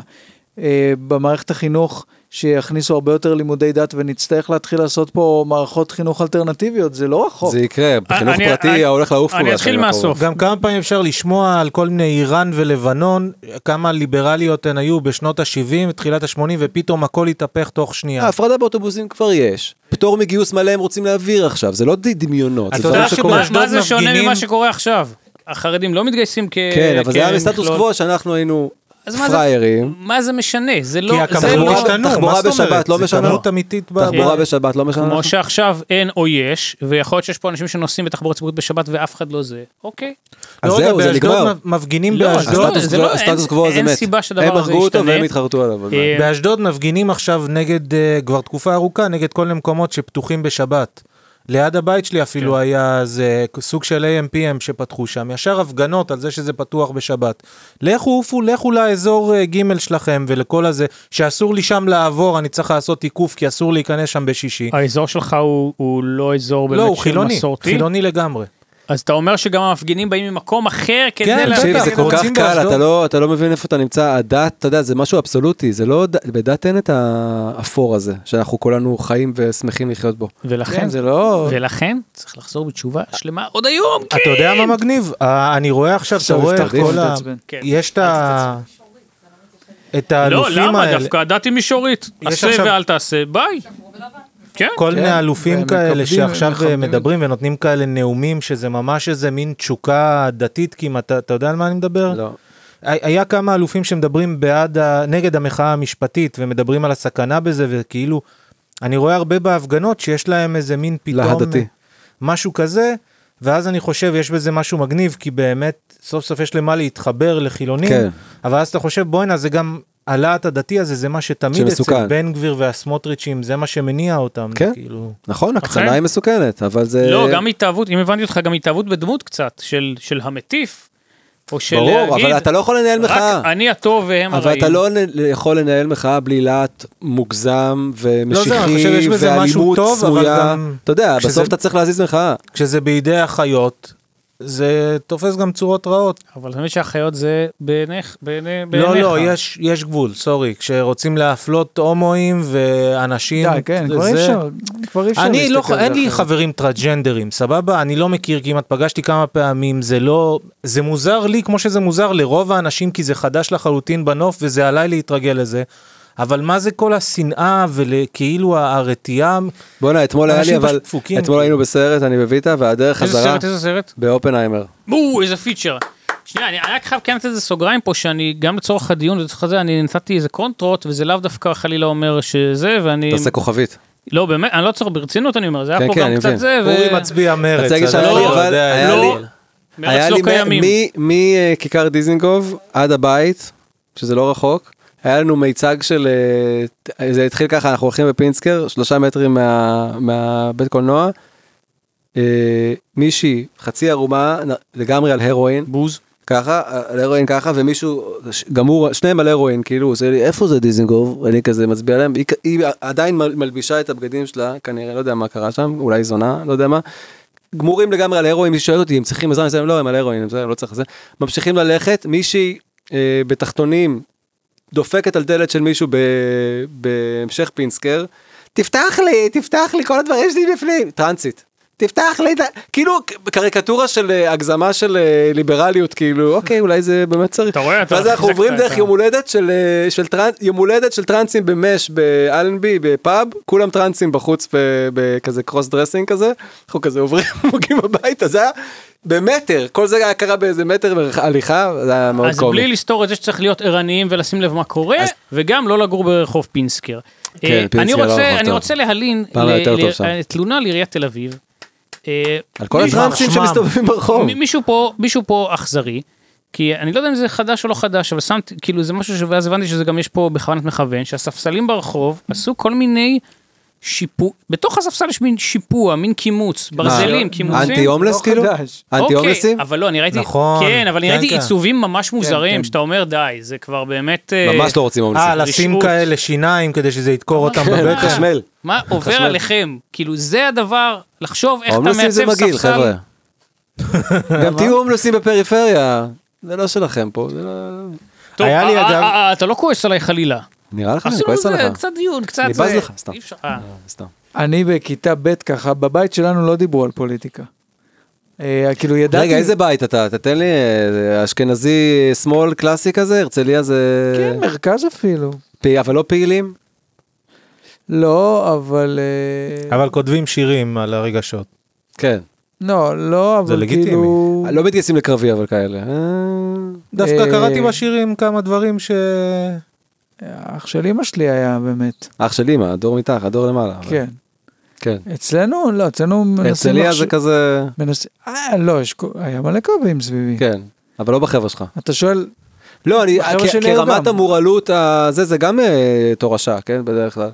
[SPEAKER 2] אה, במערכת החינוך, שיכניסו הרבה יותר לימודי דת ונצטרך להתחיל לעשות פה מערכות חינוך אלטרנטיביות, זה לא רחוק.
[SPEAKER 4] זה יקרה, בחינוך
[SPEAKER 3] אה, אני-
[SPEAKER 4] פרטי
[SPEAKER 3] אני-
[SPEAKER 4] הולך לעוף פה.
[SPEAKER 3] אני אתחיל
[SPEAKER 4] בשנים הקרובות.
[SPEAKER 3] מהסוף.
[SPEAKER 1] גם כמה פעמים אפשר לשמוע על כל מיני איראן ולבנון, כמה ליברליות הן היו בשנות ה-70, תחילת ה-80, ופתאום הכל התהפך תוך שנייה.
[SPEAKER 4] ההפרדה באוטובוסים כבר יש. פטור מגיוס מלא הם רוצים להעביר עכשיו, זה לא ד- דמיונות.
[SPEAKER 1] אתה
[SPEAKER 4] זה
[SPEAKER 1] יודע
[SPEAKER 4] דברים
[SPEAKER 3] מה-
[SPEAKER 4] שקורים.
[SPEAKER 1] שבאשדוד
[SPEAKER 3] מה זה שונה
[SPEAKER 1] מפגינים-
[SPEAKER 3] ממה שקורה עכשיו? החרדים לא מתגייסים כ...
[SPEAKER 4] כן, אבל זה היה בסטטוס
[SPEAKER 3] כמכלול.
[SPEAKER 4] קוו שאנחנו היינו
[SPEAKER 3] אז מה זה-
[SPEAKER 4] פראיירים.
[SPEAKER 3] מה זה משנה? זה
[SPEAKER 1] כי
[SPEAKER 3] לא... זה
[SPEAKER 1] הכמויות
[SPEAKER 3] לא...
[SPEAKER 4] השתנתה.
[SPEAKER 1] השתנו,
[SPEAKER 4] תחבורה
[SPEAKER 1] מה זאת
[SPEAKER 4] בשבת
[SPEAKER 1] אומרת?
[SPEAKER 4] לא
[SPEAKER 1] זה
[SPEAKER 4] משנה.
[SPEAKER 1] כמות אמיתית ב...
[SPEAKER 4] תחבורה בשבת לא משנה.
[SPEAKER 3] כמו שעכשיו אין או יש, ויכול להיות שיש פה אנשים שנוסעים בתחבורה ציבורית בשבת ואף אחד לא זה, אוקיי.
[SPEAKER 1] לא,
[SPEAKER 4] אז
[SPEAKER 1] רגע,
[SPEAKER 4] זהו, זה
[SPEAKER 1] באשדוד
[SPEAKER 4] נגמר.
[SPEAKER 1] מפ- מפגינים
[SPEAKER 3] לא, אז
[SPEAKER 1] באשדוד,
[SPEAKER 3] לא,
[SPEAKER 4] הסטטוס
[SPEAKER 3] זה
[SPEAKER 4] קוו-
[SPEAKER 3] לא-
[SPEAKER 4] הסטטוס
[SPEAKER 3] אין-
[SPEAKER 4] קוו הזה
[SPEAKER 3] אין
[SPEAKER 4] מת.
[SPEAKER 3] סיבה שהדבר
[SPEAKER 4] הם
[SPEAKER 3] הזה
[SPEAKER 4] הרגו אותו
[SPEAKER 3] ישתנה.
[SPEAKER 4] והם התחרטו עליו. אבל
[SPEAKER 3] אה,
[SPEAKER 1] באשדוד מפגינים עכשיו נגד, אה, כבר תקופה ארוכה, נגד כל מיני מקומות שפתוחים בשבת. ליד הבית שלי אפילו כן. היה איזה סוג של AMPM שפתחו שם, ישר הפגנות על זה שזה פתוח בשבת. לכו עופו, לכו לאזור אה, ג' שלכם ולכל הזה, שאסור לי שם לעבור, אני צריך לעשות עיקוף כי אסור להיכנס שם בשישי.
[SPEAKER 3] האזור שלך הוא, הוא לא אזור אה, באמת
[SPEAKER 1] לא, הוא
[SPEAKER 3] של
[SPEAKER 1] חילוני,
[SPEAKER 3] מסורתי? כן.
[SPEAKER 1] חילוני לגמרי.
[SPEAKER 3] אז אתה אומר שגם המפגינים באים ממקום אחר כדי
[SPEAKER 1] כן,
[SPEAKER 3] לה...
[SPEAKER 4] תקשיב,
[SPEAKER 1] בטח,
[SPEAKER 4] זה
[SPEAKER 1] הם
[SPEAKER 4] כל כך
[SPEAKER 1] רוצים
[SPEAKER 4] קל,
[SPEAKER 1] באשדוד.
[SPEAKER 4] אתה לא, אתה לא מבין איפה אתה נמצא, הדת, אתה יודע, זה משהו אבסולוטי, זה לא, ד- בדת אין את האפור הזה, שאנחנו כולנו חיים ושמחים לחיות בו.
[SPEAKER 3] ולכן,
[SPEAKER 2] כן, זה לא...
[SPEAKER 3] ולכן צריך לחזור בתשובה שלמה עוד היום.
[SPEAKER 1] אתה יודע מה מגניב? אה, אני רואה עכשיו, אתה
[SPEAKER 2] עכשיו
[SPEAKER 1] רואה את
[SPEAKER 2] הבטחתי
[SPEAKER 1] כל ה...
[SPEAKER 2] להתעצבן.
[SPEAKER 3] כן.
[SPEAKER 1] יש את ה... את
[SPEAKER 3] לא,
[SPEAKER 1] האלופים
[SPEAKER 3] למה?
[SPEAKER 1] האלה.
[SPEAKER 3] דווקא הדת היא מישורית.
[SPEAKER 1] יש
[SPEAKER 3] עשה
[SPEAKER 1] עכשיו-
[SPEAKER 3] ואל תעשה, ביי. כן,
[SPEAKER 1] כל
[SPEAKER 2] כן,
[SPEAKER 1] מיני אלופים
[SPEAKER 2] והם
[SPEAKER 1] כאלה
[SPEAKER 2] מכבדים,
[SPEAKER 1] שעכשיו אה,
[SPEAKER 2] הם מכבדים.
[SPEAKER 1] מדברים ונותנים כאלה נאומים שזה ממש איזה מין תשוקה דתית כמעט, אתה- אתה יודע על מה אני מדבר?
[SPEAKER 4] לא.
[SPEAKER 1] היה כמה אלופים שמדברים בעד, ה- נגד המחאה המשפטית ומדברים על הסכנה בזה וכאילו, אני רואה הרבה בהפגנות שיש להם איזה מין פתאום,
[SPEAKER 4] להט דתי.
[SPEAKER 1] משהו כזה, ואז אני חושב יש בזה משהו מגניב כי באמת סוף סוף יש למה להתחבר לחילונים,
[SPEAKER 4] כן.
[SPEAKER 1] אבל אז אתה חושב בואנה זה גם הלהט הדתי הזה זה מה שתמיד אצל
[SPEAKER 4] שמסוכן.
[SPEAKER 1] בן גביר והסמוטריצ'ים זה מה שמניע אותם,
[SPEAKER 4] כן.
[SPEAKER 1] כאילו.
[SPEAKER 4] נכון, הקצנה
[SPEAKER 3] אכן.
[SPEAKER 4] היא מסוכנת, אבל זה...
[SPEAKER 3] לא, גם התאהבות, אם הבנתי אותך, גם התאהבות בדמות קצת, של, של המטיף, או של
[SPEAKER 4] ברור,
[SPEAKER 3] להגיד,
[SPEAKER 4] אבל אתה לא יכול לנהל מחאה.
[SPEAKER 3] רק אני הטוב והם
[SPEAKER 4] אבל
[SPEAKER 3] הרעים.
[SPEAKER 4] אתה לא נ- יכול לנהל מחאה בלי להט מוגזם
[SPEAKER 1] לא, זה, אני חושב
[SPEAKER 4] ומשיחי
[SPEAKER 1] שיש בזה משהו
[SPEAKER 4] ואלימות
[SPEAKER 1] טוב, אבל
[SPEAKER 4] צפויה.
[SPEAKER 1] גם-
[SPEAKER 4] אתה יודע,
[SPEAKER 1] כשזה-
[SPEAKER 4] בסוף אתה צריך להזיז מחאה.
[SPEAKER 1] כשזה בידי החיות, זה תופס גם צורות רעות.
[SPEAKER 3] אבל באמת שהחיות זה בעיניך, בעיני- בעיניך.
[SPEAKER 1] לא, לא, יש, יש גבול, סורי. כשרוצים להפלות הומואים ואנשים,
[SPEAKER 2] די, כן, כבר אי
[SPEAKER 1] זה-
[SPEAKER 2] אפשר, כבר אי אפשר
[SPEAKER 1] אני לא,
[SPEAKER 2] להסתכל על זה
[SPEAKER 1] אין לי
[SPEAKER 2] אחרת.
[SPEAKER 1] חברים טרג'נדרים, סבבה? אני לא מכיר כמעט, פגשתי כמה פעמים, זה לא, זה מוזר לי כמו שזה מוזר לרוב האנשים, כי זה חדש לחלוטין בנוף וזה עליי להתרגל לזה. אבל מה זה כל השנאה וכאילו הרתיעה?
[SPEAKER 4] בואנה, אתמול היה לי,
[SPEAKER 1] אנשים
[SPEAKER 4] אבל...
[SPEAKER 1] פשוט דפוקים.
[SPEAKER 4] אתמול היינו בסרט, אני בויטה, והדרך
[SPEAKER 3] איזה
[SPEAKER 4] חזרה...
[SPEAKER 3] סרט, איזה סרט?
[SPEAKER 4] באופנהיימר.
[SPEAKER 3] בואו, איזה פיצ'ר. שנייה, אני אני רק חייב לקיים את איזה סוגריים פה, שאני גם לצורך הדיון ולצורך זה, אני נתתי איזה קונטרות, וזה לאו דווקא חלילה אומר שזה, ואני...
[SPEAKER 4] אתה עושה כוכבית.
[SPEAKER 3] לא, באמת, אני לא צריך, ברצינות אני אומר, זה
[SPEAKER 4] כן,
[SPEAKER 3] היה פה
[SPEAKER 4] כן,
[SPEAKER 3] גם
[SPEAKER 4] אני
[SPEAKER 3] קצת
[SPEAKER 4] מבין.
[SPEAKER 3] זה, ו...
[SPEAKER 1] אורי מצביע מרץ.
[SPEAKER 4] רוצה להגיד
[SPEAKER 1] אז
[SPEAKER 4] שהיה
[SPEAKER 1] אתה
[SPEAKER 3] לי,
[SPEAKER 1] יודע,
[SPEAKER 4] אבל היה
[SPEAKER 3] לא,
[SPEAKER 4] לי-
[SPEAKER 3] מרץ לא
[SPEAKER 4] מ-
[SPEAKER 3] קיימים.
[SPEAKER 4] מ- מכיכר דיזינגוף עד הבית, שזה לא רחוק, היה לנו מיצג של, אה, זה התחיל ככה, אנחנו הולכים בפינסקר, שלושה מטרים מה- מהבית קולנוע, אה, מישהי חצי ערומה, נ- לגמרי על הרואין,
[SPEAKER 3] בוז.
[SPEAKER 4] ככה, אה, על הרואין ככה, ומישהו ש- גמור, שניהם על הרואין, כאילו, הוא עושה לי, איפה זה דיזינגוף? אני כזה מצביע להם, היא, כ- היא עדיין מל- מלבישה את הבגדים שלה, כנראה, לא יודע מה קרה שם, אולי זונה, לא יודע מה. גמורים לגמרי על הרואין, מישהו שואל אותי אם צריכים עזרה, אני אומר, לא, הם על הרואין, זה, לא צריך זה. ממשיכים ללכת, מישהי אה, בתחתונים דופקת על דלת של מישהו ב- בהמשך פינסקר, תפתח לי, תפתח לי, כל הדברים שלי בפנים, טרנסית. תפתח לי את ה... כאילו קריקטורה של אה, הגזמה של אה, ליברליות, כאילו, אוקיי, אולי זה באמת צריך.
[SPEAKER 3] אתה רואה? אתה
[SPEAKER 4] ואז אנחנו
[SPEAKER 3] חיזקת
[SPEAKER 4] עוברים
[SPEAKER 3] את
[SPEAKER 4] דרך
[SPEAKER 3] ה-
[SPEAKER 4] יום הולדת של, אה, של טרנס, יום הולדת של טרנסים במש באלנבי, בפאב, כולם טרנסים בחוץ ב- בכזה קרוס דרסינג כזה, אנחנו כזה עוברים, מוגעים הביתה, זה היה במטר, כל זה היה קרה באיזה מטר מרח- הליכה, זה היה מאוד
[SPEAKER 3] אז בלי
[SPEAKER 4] קומי.
[SPEAKER 3] לסתור את זה שצריך להיות ערניים ולשים לב מה קורה, וגם לא לגור ברחוב פינסקר.
[SPEAKER 4] כן,
[SPEAKER 3] אה,
[SPEAKER 4] פינסקר
[SPEAKER 3] אני
[SPEAKER 4] לא
[SPEAKER 3] רוצה-
[SPEAKER 4] רחוב
[SPEAKER 3] אני
[SPEAKER 4] טוב.
[SPEAKER 3] רוצה להלין
[SPEAKER 4] פעם
[SPEAKER 3] ל-
[SPEAKER 4] היה יותר
[SPEAKER 3] ל-
[SPEAKER 4] טוב שם.
[SPEAKER 3] אה, תלונה לעיריית תל אביב. אה,
[SPEAKER 4] על כל
[SPEAKER 3] מישהו-
[SPEAKER 4] הטרנסים
[SPEAKER 3] שמם.
[SPEAKER 4] שמסתובבים ברחוב.
[SPEAKER 3] מ- מישהו פה, מישהו פה אכזרי, כי אני לא יודע אם זה חדש או לא חדש, אבל שמתי, כאילו זה משהו ש- ואז הבנתי שזה גם יש פה בכוונת מכוון, שהספסלים ברחוב עשו כל מיני שיפוע, בתוך הספסל יש מין שיפוע, מין קימוץ, ברזלים, קימוצים.
[SPEAKER 4] אנטי הומלס
[SPEAKER 2] לא
[SPEAKER 4] אה, כאילו?
[SPEAKER 2] חדש.
[SPEAKER 4] אנטי
[SPEAKER 3] אוקיי,
[SPEAKER 4] הומלסים?
[SPEAKER 3] אבל לא, אני ראיתי,
[SPEAKER 1] נכון,
[SPEAKER 3] כן, אבל אני
[SPEAKER 1] כן,
[SPEAKER 3] ראיתי
[SPEAKER 1] כן.
[SPEAKER 3] עיצובים ממש מוזרים,
[SPEAKER 2] כן.
[SPEAKER 3] שאתה אומר די, זה כבר באמת... אה,
[SPEAKER 4] ממש לא רוצים הומלסים.
[SPEAKER 1] אה, לשים
[SPEAKER 3] רשעות.
[SPEAKER 1] כאלה שיניים כדי שזה ידקור אותם
[SPEAKER 3] כן,
[SPEAKER 1] בבטן.
[SPEAKER 4] חשמל.
[SPEAKER 3] מה עובר
[SPEAKER 4] חשמל.
[SPEAKER 3] עליכם? כאילו, זה הדבר, לחשוב איך אתה
[SPEAKER 4] הומלסים זה
[SPEAKER 3] מעצב
[SPEAKER 4] מגעיל,
[SPEAKER 3] ספסל.
[SPEAKER 4] חבר'ה. גם תהיו הומלסים בפריפריה, זה לא שלכם פה, זה לא...
[SPEAKER 3] טוב,
[SPEAKER 1] היה לי,
[SPEAKER 3] אה,
[SPEAKER 1] אגב-
[SPEAKER 3] אה, אה, אתה לא כועס עליי חלילה.
[SPEAKER 4] נראה לך, אני
[SPEAKER 3] עשינו
[SPEAKER 4] כועס
[SPEAKER 3] זה
[SPEAKER 4] עליך.
[SPEAKER 3] קצת דיון, קצת...
[SPEAKER 4] אני בז
[SPEAKER 3] זה-
[SPEAKER 4] לך, סתם.
[SPEAKER 3] אי אפשר- אה.
[SPEAKER 4] סתם.
[SPEAKER 2] אני בכיתה ב' ככה, בבית שלנו לא דיברו על פוליטיקה. אה, כאילו ידעתי...
[SPEAKER 4] רגע, איזה בית אתה? תתן לי אה, אשכנזי אה, שמאל קלאסי כזה, הרצליה זה...
[SPEAKER 2] כן, מרכז אפילו.
[SPEAKER 4] פי- אבל לא פעילים?
[SPEAKER 2] לא, אבל... אה,
[SPEAKER 1] אבל כותבים שירים על הרגשות.
[SPEAKER 4] כן.
[SPEAKER 2] לא, לא,
[SPEAKER 1] זה
[SPEAKER 2] אבל
[SPEAKER 1] לגיטימי.
[SPEAKER 2] כאילו...
[SPEAKER 4] לא מתגייסים לקרבי אבל כאלה. אה,
[SPEAKER 1] דווקא
[SPEAKER 2] אה,
[SPEAKER 1] קראתי בשירים כמה דברים ש...
[SPEAKER 2] אח של אמא שלי היה באמת,
[SPEAKER 4] אח של אמא, הדור מתחת, הדור למעלה. אבל-
[SPEAKER 2] כן.
[SPEAKER 4] כן.
[SPEAKER 2] אצלנו, לא, אצלנו מנסים...
[SPEAKER 4] הרצליה
[SPEAKER 2] לחש-
[SPEAKER 4] זה כזה...
[SPEAKER 2] מנס... אה, לא, יש... כל- היה מלא קרבים סביבי.
[SPEAKER 4] כן. אבל לא בחבר'ה שלך.
[SPEAKER 2] אתה שואל,
[SPEAKER 4] לא, אני,
[SPEAKER 2] החבר'ה
[SPEAKER 4] כ-
[SPEAKER 2] שלי היו
[SPEAKER 4] כרמת
[SPEAKER 2] גם.
[SPEAKER 4] המורעלות, ה- זה, זה גם אה, תורשה, כן, בדרך כלל.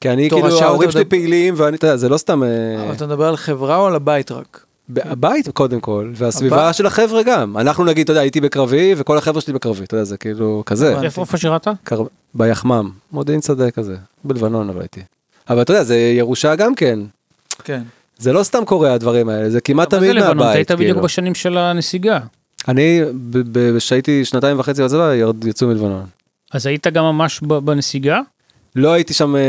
[SPEAKER 4] כי אני,
[SPEAKER 2] תורשה
[SPEAKER 4] כאילו,
[SPEAKER 2] עוד
[SPEAKER 4] ההורים שלי
[SPEAKER 2] עוד-
[SPEAKER 4] פעילים, ואני, אתה יודע, זה לא סתם... אה,
[SPEAKER 2] אבל אתה מדבר על חברה או על הבית רק?
[SPEAKER 4] ב- הבית קודם כל, והסביבה
[SPEAKER 2] הבית.
[SPEAKER 4] של החבר'ה גם. אנחנו נגיד, אתה יודע, הייתי בקרבי, וכל החבר'ה שלי בקרבי, אתה יודע, זה כאילו כזה.
[SPEAKER 3] איפה איפה שירת?
[SPEAKER 4] קר... ביחמ"ם, מודיעין שדה כזה, בלבנון אבל הייתי. אבל אתה יודע, זה ירושה גם כן.
[SPEAKER 2] כן.
[SPEAKER 4] זה לא סתם קורה הדברים האלה, זה כמעט
[SPEAKER 3] אבל זה
[SPEAKER 4] תמיד
[SPEAKER 3] לבנון, אתה
[SPEAKER 4] מהבית,
[SPEAKER 3] היית בדיוק
[SPEAKER 4] כאילו.
[SPEAKER 3] בשנים של הנסיגה.
[SPEAKER 4] אני, ב- ב- כשהייתי שנתיים וחצי בצבא, ירד- יצאו מלבנון.
[SPEAKER 3] אז היית גם ממש ב- בנסיגה?
[SPEAKER 4] לא הייתי שם, אה,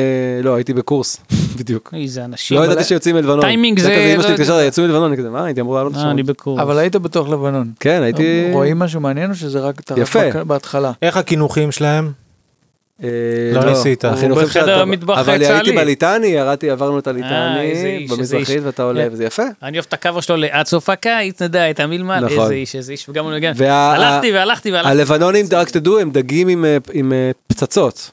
[SPEAKER 4] לא, הייתי בקורס, בדיוק.
[SPEAKER 3] איזה אנשים.
[SPEAKER 4] לא
[SPEAKER 3] אבל-
[SPEAKER 4] ידעתי שיוצאים מלבנון.
[SPEAKER 3] טיימינג זה-
[SPEAKER 4] כזה אמא
[SPEAKER 3] לא
[SPEAKER 4] שלי התקשרה,
[SPEAKER 3] יודע.
[SPEAKER 4] יצאו מלבנון, אני כזה, מה, הייתי אמור לעלות
[SPEAKER 3] אה,
[SPEAKER 4] שם.
[SPEAKER 3] אני בקורס.
[SPEAKER 2] אבל היית בתוך לבנון.
[SPEAKER 4] כן, הייתי...
[SPEAKER 2] רואים משהו מעניין או שזה רק... אתה רק
[SPEAKER 4] יפה.
[SPEAKER 2] בק- בהתחלה?
[SPEAKER 1] איך הקינוחים שלהם?
[SPEAKER 4] אה,
[SPEAKER 1] לא ניסית.
[SPEAKER 4] החינוכים
[SPEAKER 3] הוא בחדר
[SPEAKER 4] שאתה-
[SPEAKER 3] המטבח
[SPEAKER 4] אבל הייתי
[SPEAKER 3] הצה"לי.
[SPEAKER 4] בליטני, ירדתי, עברנו את
[SPEAKER 3] אה, איזה
[SPEAKER 4] הליטני,
[SPEAKER 3] איש, איזה איש.
[SPEAKER 4] במזרחית, ואתה עולה,
[SPEAKER 3] כן.
[SPEAKER 4] וזה יפה.
[SPEAKER 3] אני אוהב את הקאבר שלו לעד סוף הקיץ, נדע, את המלמל,
[SPEAKER 4] נכון.
[SPEAKER 3] איזה איש, איזה איש, וגם הוא נגן.
[SPEAKER 4] וה-
[SPEAKER 3] הלכתי והלכתי והלכתי.
[SPEAKER 4] הלבנונים, רק שתדעו, הם דגים עם, אה, עם אה, פצצות.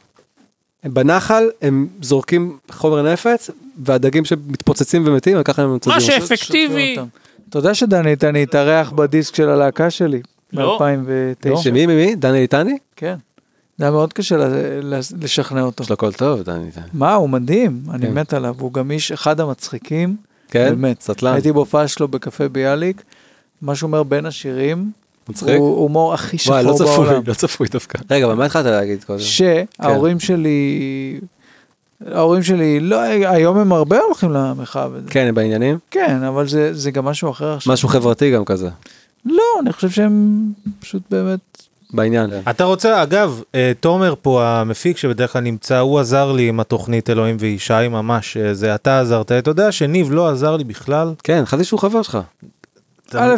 [SPEAKER 4] הם בנחל, הם זורקים חומר נפץ, והדגים שמתפוצצים ומתים, וככה הם
[SPEAKER 3] מה
[SPEAKER 4] מצדיקים.
[SPEAKER 3] שאפקטיבי.
[SPEAKER 2] אותם. אתה יודע שדני איתן התארח בדיסק של הלהקה שלי?
[SPEAKER 3] לא.
[SPEAKER 2] ב-2009.
[SPEAKER 4] שמי, מי, מי? דני ליטני?
[SPEAKER 2] כן. זה היה מאוד קשה ל- ל- לשכנע אותו.
[SPEAKER 4] יש לו קול טוב, דני ליטני.
[SPEAKER 2] מה, הוא מדהים, אני
[SPEAKER 4] כן.
[SPEAKER 2] מת עליו, הוא גם איש אחד המצחיקים,
[SPEAKER 4] כן?
[SPEAKER 2] באמת.
[SPEAKER 4] סטלן.
[SPEAKER 2] הייתי בהופעה שלו בקפה ביאליק, מה שהוא אומר בין השירים,
[SPEAKER 4] מצחיק.
[SPEAKER 2] הוא הומור הכי
[SPEAKER 4] וואי, לא
[SPEAKER 2] שחור
[SPEAKER 4] צפוי,
[SPEAKER 2] בעולם.
[SPEAKER 4] לא צפוי דווקא. רגע, אבל מה התחלת להגיד קודם?
[SPEAKER 2] שההורים שלי, ההורים שלי, לא, היום הם הרבה הולכים למחאה וזה.
[SPEAKER 4] כן, הם בעניינים?
[SPEAKER 2] כן, אבל זה, זה גם משהו אחר עכשיו.
[SPEAKER 4] משהו חברתי גם כזה.
[SPEAKER 2] לא, אני חושב שהם פשוט באמת...
[SPEAKER 4] בעניין.
[SPEAKER 1] אתה רוצה, אגב, אה, תומר פה המפיק שבדרך כלל נמצא, הוא עזר לי עם התוכנית אלוהים וישי ממש, אה, זה אתה עזרת, אתה יודע שניב לא עזר לי בכלל.
[SPEAKER 4] כן, חשבתי שהוא חבר שלך.
[SPEAKER 1] אתה-
[SPEAKER 2] א',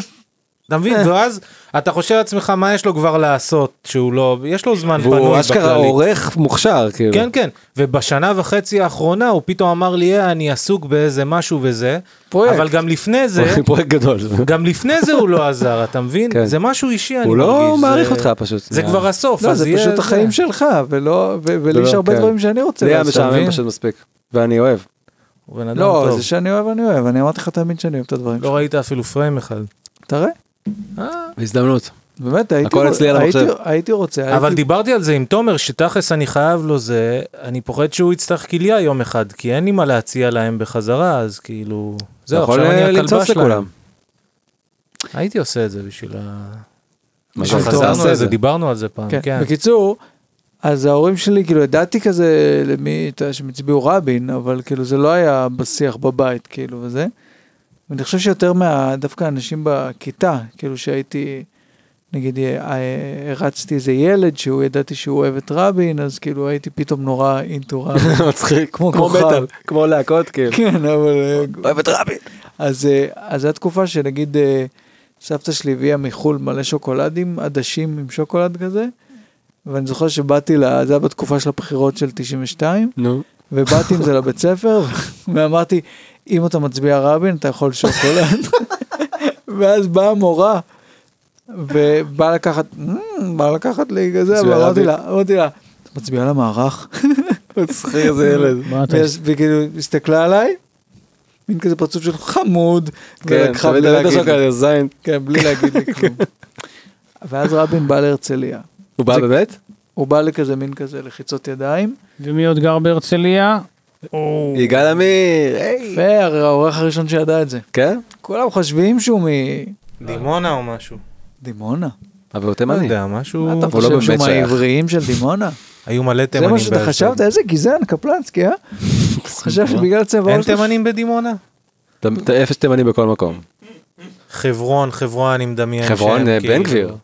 [SPEAKER 1] אתה מבין? ואז אתה חושב לעצמך מה יש לו כבר לעשות, שהוא לא, יש לו זמן פנוי
[SPEAKER 4] והוא
[SPEAKER 1] בכללי.
[SPEAKER 4] אשכרה עורך מוכשר, כאילו.
[SPEAKER 1] כן כן ובשנה וחצי האחרונה הוא פתאום אמר לי "אה, אני עסוק באיזה משהו וזה
[SPEAKER 2] פרויקט. לא,
[SPEAKER 1] אבל גם לפני זה
[SPEAKER 4] פרויקט גדול.
[SPEAKER 1] גם לפני זה הוא לא עזר אתה מבין
[SPEAKER 4] כן.
[SPEAKER 1] זה משהו אישי אני
[SPEAKER 4] הוא
[SPEAKER 1] מרגיש
[SPEAKER 4] לא
[SPEAKER 1] זה-
[SPEAKER 4] מעריך אותך פשוט.
[SPEAKER 1] זה כבר הסוף
[SPEAKER 2] לא,
[SPEAKER 1] אז
[SPEAKER 2] זה
[SPEAKER 1] יהיה
[SPEAKER 2] פשוט
[SPEAKER 1] זה.
[SPEAKER 2] החיים שלך, ולא, ו- ולי
[SPEAKER 4] לא,
[SPEAKER 2] יש הרבה
[SPEAKER 4] כן.
[SPEAKER 2] דברים שאני רוצה
[SPEAKER 4] זה היה
[SPEAKER 2] לעשות.
[SPEAKER 4] משעמם
[SPEAKER 2] מבין?
[SPEAKER 4] פשוט מספיק. ואני אוהב.
[SPEAKER 1] הוא בן אדם
[SPEAKER 2] לא,
[SPEAKER 1] טוב.
[SPEAKER 2] זה שאני אוהב, אני אוהב. אני אמרתי לך תמיד שאני אוהב את הדברים.
[SPEAKER 1] לא ראית אפילו פריים אחד
[SPEAKER 2] תראה,
[SPEAKER 4] בהזדמנות.
[SPEAKER 2] באמת, הייתי
[SPEAKER 4] הכל אצלי על
[SPEAKER 2] הייתי-
[SPEAKER 4] המחשב.
[SPEAKER 2] הייתי רוצה,
[SPEAKER 1] אבל
[SPEAKER 2] הייתי...
[SPEAKER 1] דיברתי על זה עם תומר שתכלס אני חייב לו זה אני פוחד שהוא יצטרך כליה יום אחד כי אין לי מה להציע להם בחזרה אז כאילו
[SPEAKER 4] זה
[SPEAKER 1] זהו
[SPEAKER 4] יכול
[SPEAKER 1] עכשיו אני
[SPEAKER 4] אה,
[SPEAKER 1] הכלבה
[SPEAKER 4] למצוץ לכולם.
[SPEAKER 1] שלהם הייתי עושה את זה בשביל ה...
[SPEAKER 4] מה
[SPEAKER 2] טוב,
[SPEAKER 4] שאתה
[SPEAKER 1] חזרנו
[SPEAKER 4] עושה
[SPEAKER 1] על
[SPEAKER 4] את זה.
[SPEAKER 1] זה דיברנו על זה פעם
[SPEAKER 2] כן.
[SPEAKER 1] כן.
[SPEAKER 2] בקיצור, אז ההורים שלי, כאילו, ידעתי כזה למי, אתה יודע, שהם הצביעו רבין, אבל כאילו זה לא היה בשיח בבית, כאילו, וזה. ואני חושב שיותר מה... דווקא אנשים בכיתה, כאילו שהייתי, נגיד, אה, אה, הרצתי איזה ילד שהוא, ידעתי שהוא אוהב את רבין, אז כאילו הייתי פתאום נורא אינטו רבין.
[SPEAKER 4] מצחיק.
[SPEAKER 2] כמו
[SPEAKER 4] כמו
[SPEAKER 2] כוכב.
[SPEAKER 4] מטאל. כמו להקות כאילו.
[SPEAKER 2] כן, אבל... אה,
[SPEAKER 4] אוהב את רבין.
[SPEAKER 2] אז, אה, אז זו התקופה שנגיד אה, סבתא שלי הביאה מחול מלא שוקולדים, עדשים עם שוקולד כזה, ואני זוכר שבאתי, לה, זה היה בתקופה של הבחירות של 92,
[SPEAKER 4] נו.
[SPEAKER 2] ובאתי עם זה לבית ספר, ואמרתי, אם אתה מצביע רבין, אתה יכול שוקולד. ואז באה המורה, ובאה לקחת, "מ, באה לקחת לי כזה,
[SPEAKER 4] מצביע
[SPEAKER 2] ואמרתי
[SPEAKER 4] רבין.
[SPEAKER 2] לה, אמרתי לה, את מצביעה למערך?
[SPEAKER 4] מצחיק איזה ילד.
[SPEAKER 3] מה אתה...
[SPEAKER 2] ואז- וכאילו, הסתכלה עליי, מין כזה פרצוף של חמוד,
[SPEAKER 4] כן,
[SPEAKER 2] ולקחה
[SPEAKER 4] תמיד
[SPEAKER 2] בלי
[SPEAKER 4] תמיד
[SPEAKER 2] להגיד
[SPEAKER 4] השוק
[SPEAKER 2] לי,
[SPEAKER 4] על זין.
[SPEAKER 2] כן, בלי להגיד לי כלום. ואז רבין בא להרצליה,
[SPEAKER 4] הוא בא
[SPEAKER 2] זה-
[SPEAKER 4] באמת?
[SPEAKER 2] הוא בא לכזה מין כזה לחיצות ידיים,
[SPEAKER 3] ומי עוד גר בהרצליה? או,
[SPEAKER 4] יגאל עמיר, היי.
[SPEAKER 2] והעורך הראשון שידע את זה.
[SPEAKER 4] כן?
[SPEAKER 2] כולם חושבים שהוא
[SPEAKER 1] דימונה או משהו.
[SPEAKER 2] מדימונה.
[SPEAKER 4] אבל הוא
[SPEAKER 1] לא
[SPEAKER 4] תימני.
[SPEAKER 1] יודע, משהו...
[SPEAKER 2] אתה
[SPEAKER 4] הוא לא
[SPEAKER 2] חושב שהוא
[SPEAKER 4] באמת שייך.
[SPEAKER 2] מהעבריים של דימונה?
[SPEAKER 1] היו מלא
[SPEAKER 2] זה
[SPEAKER 1] תימנים
[SPEAKER 2] מה שאתה חשבת? איזה גזען, קפלנסקי, אה? חשב שבגלל צבע
[SPEAKER 1] אין
[SPEAKER 2] העור שלך-
[SPEAKER 1] תימנים בדימונה?
[SPEAKER 4] אתה- אתה- אפס תימני בכל מקום.
[SPEAKER 1] חברון, חברון, אני מדמיין.
[SPEAKER 4] חברון,
[SPEAKER 1] שהם
[SPEAKER 4] אה,
[SPEAKER 1] כאילו-
[SPEAKER 4] בן גביר.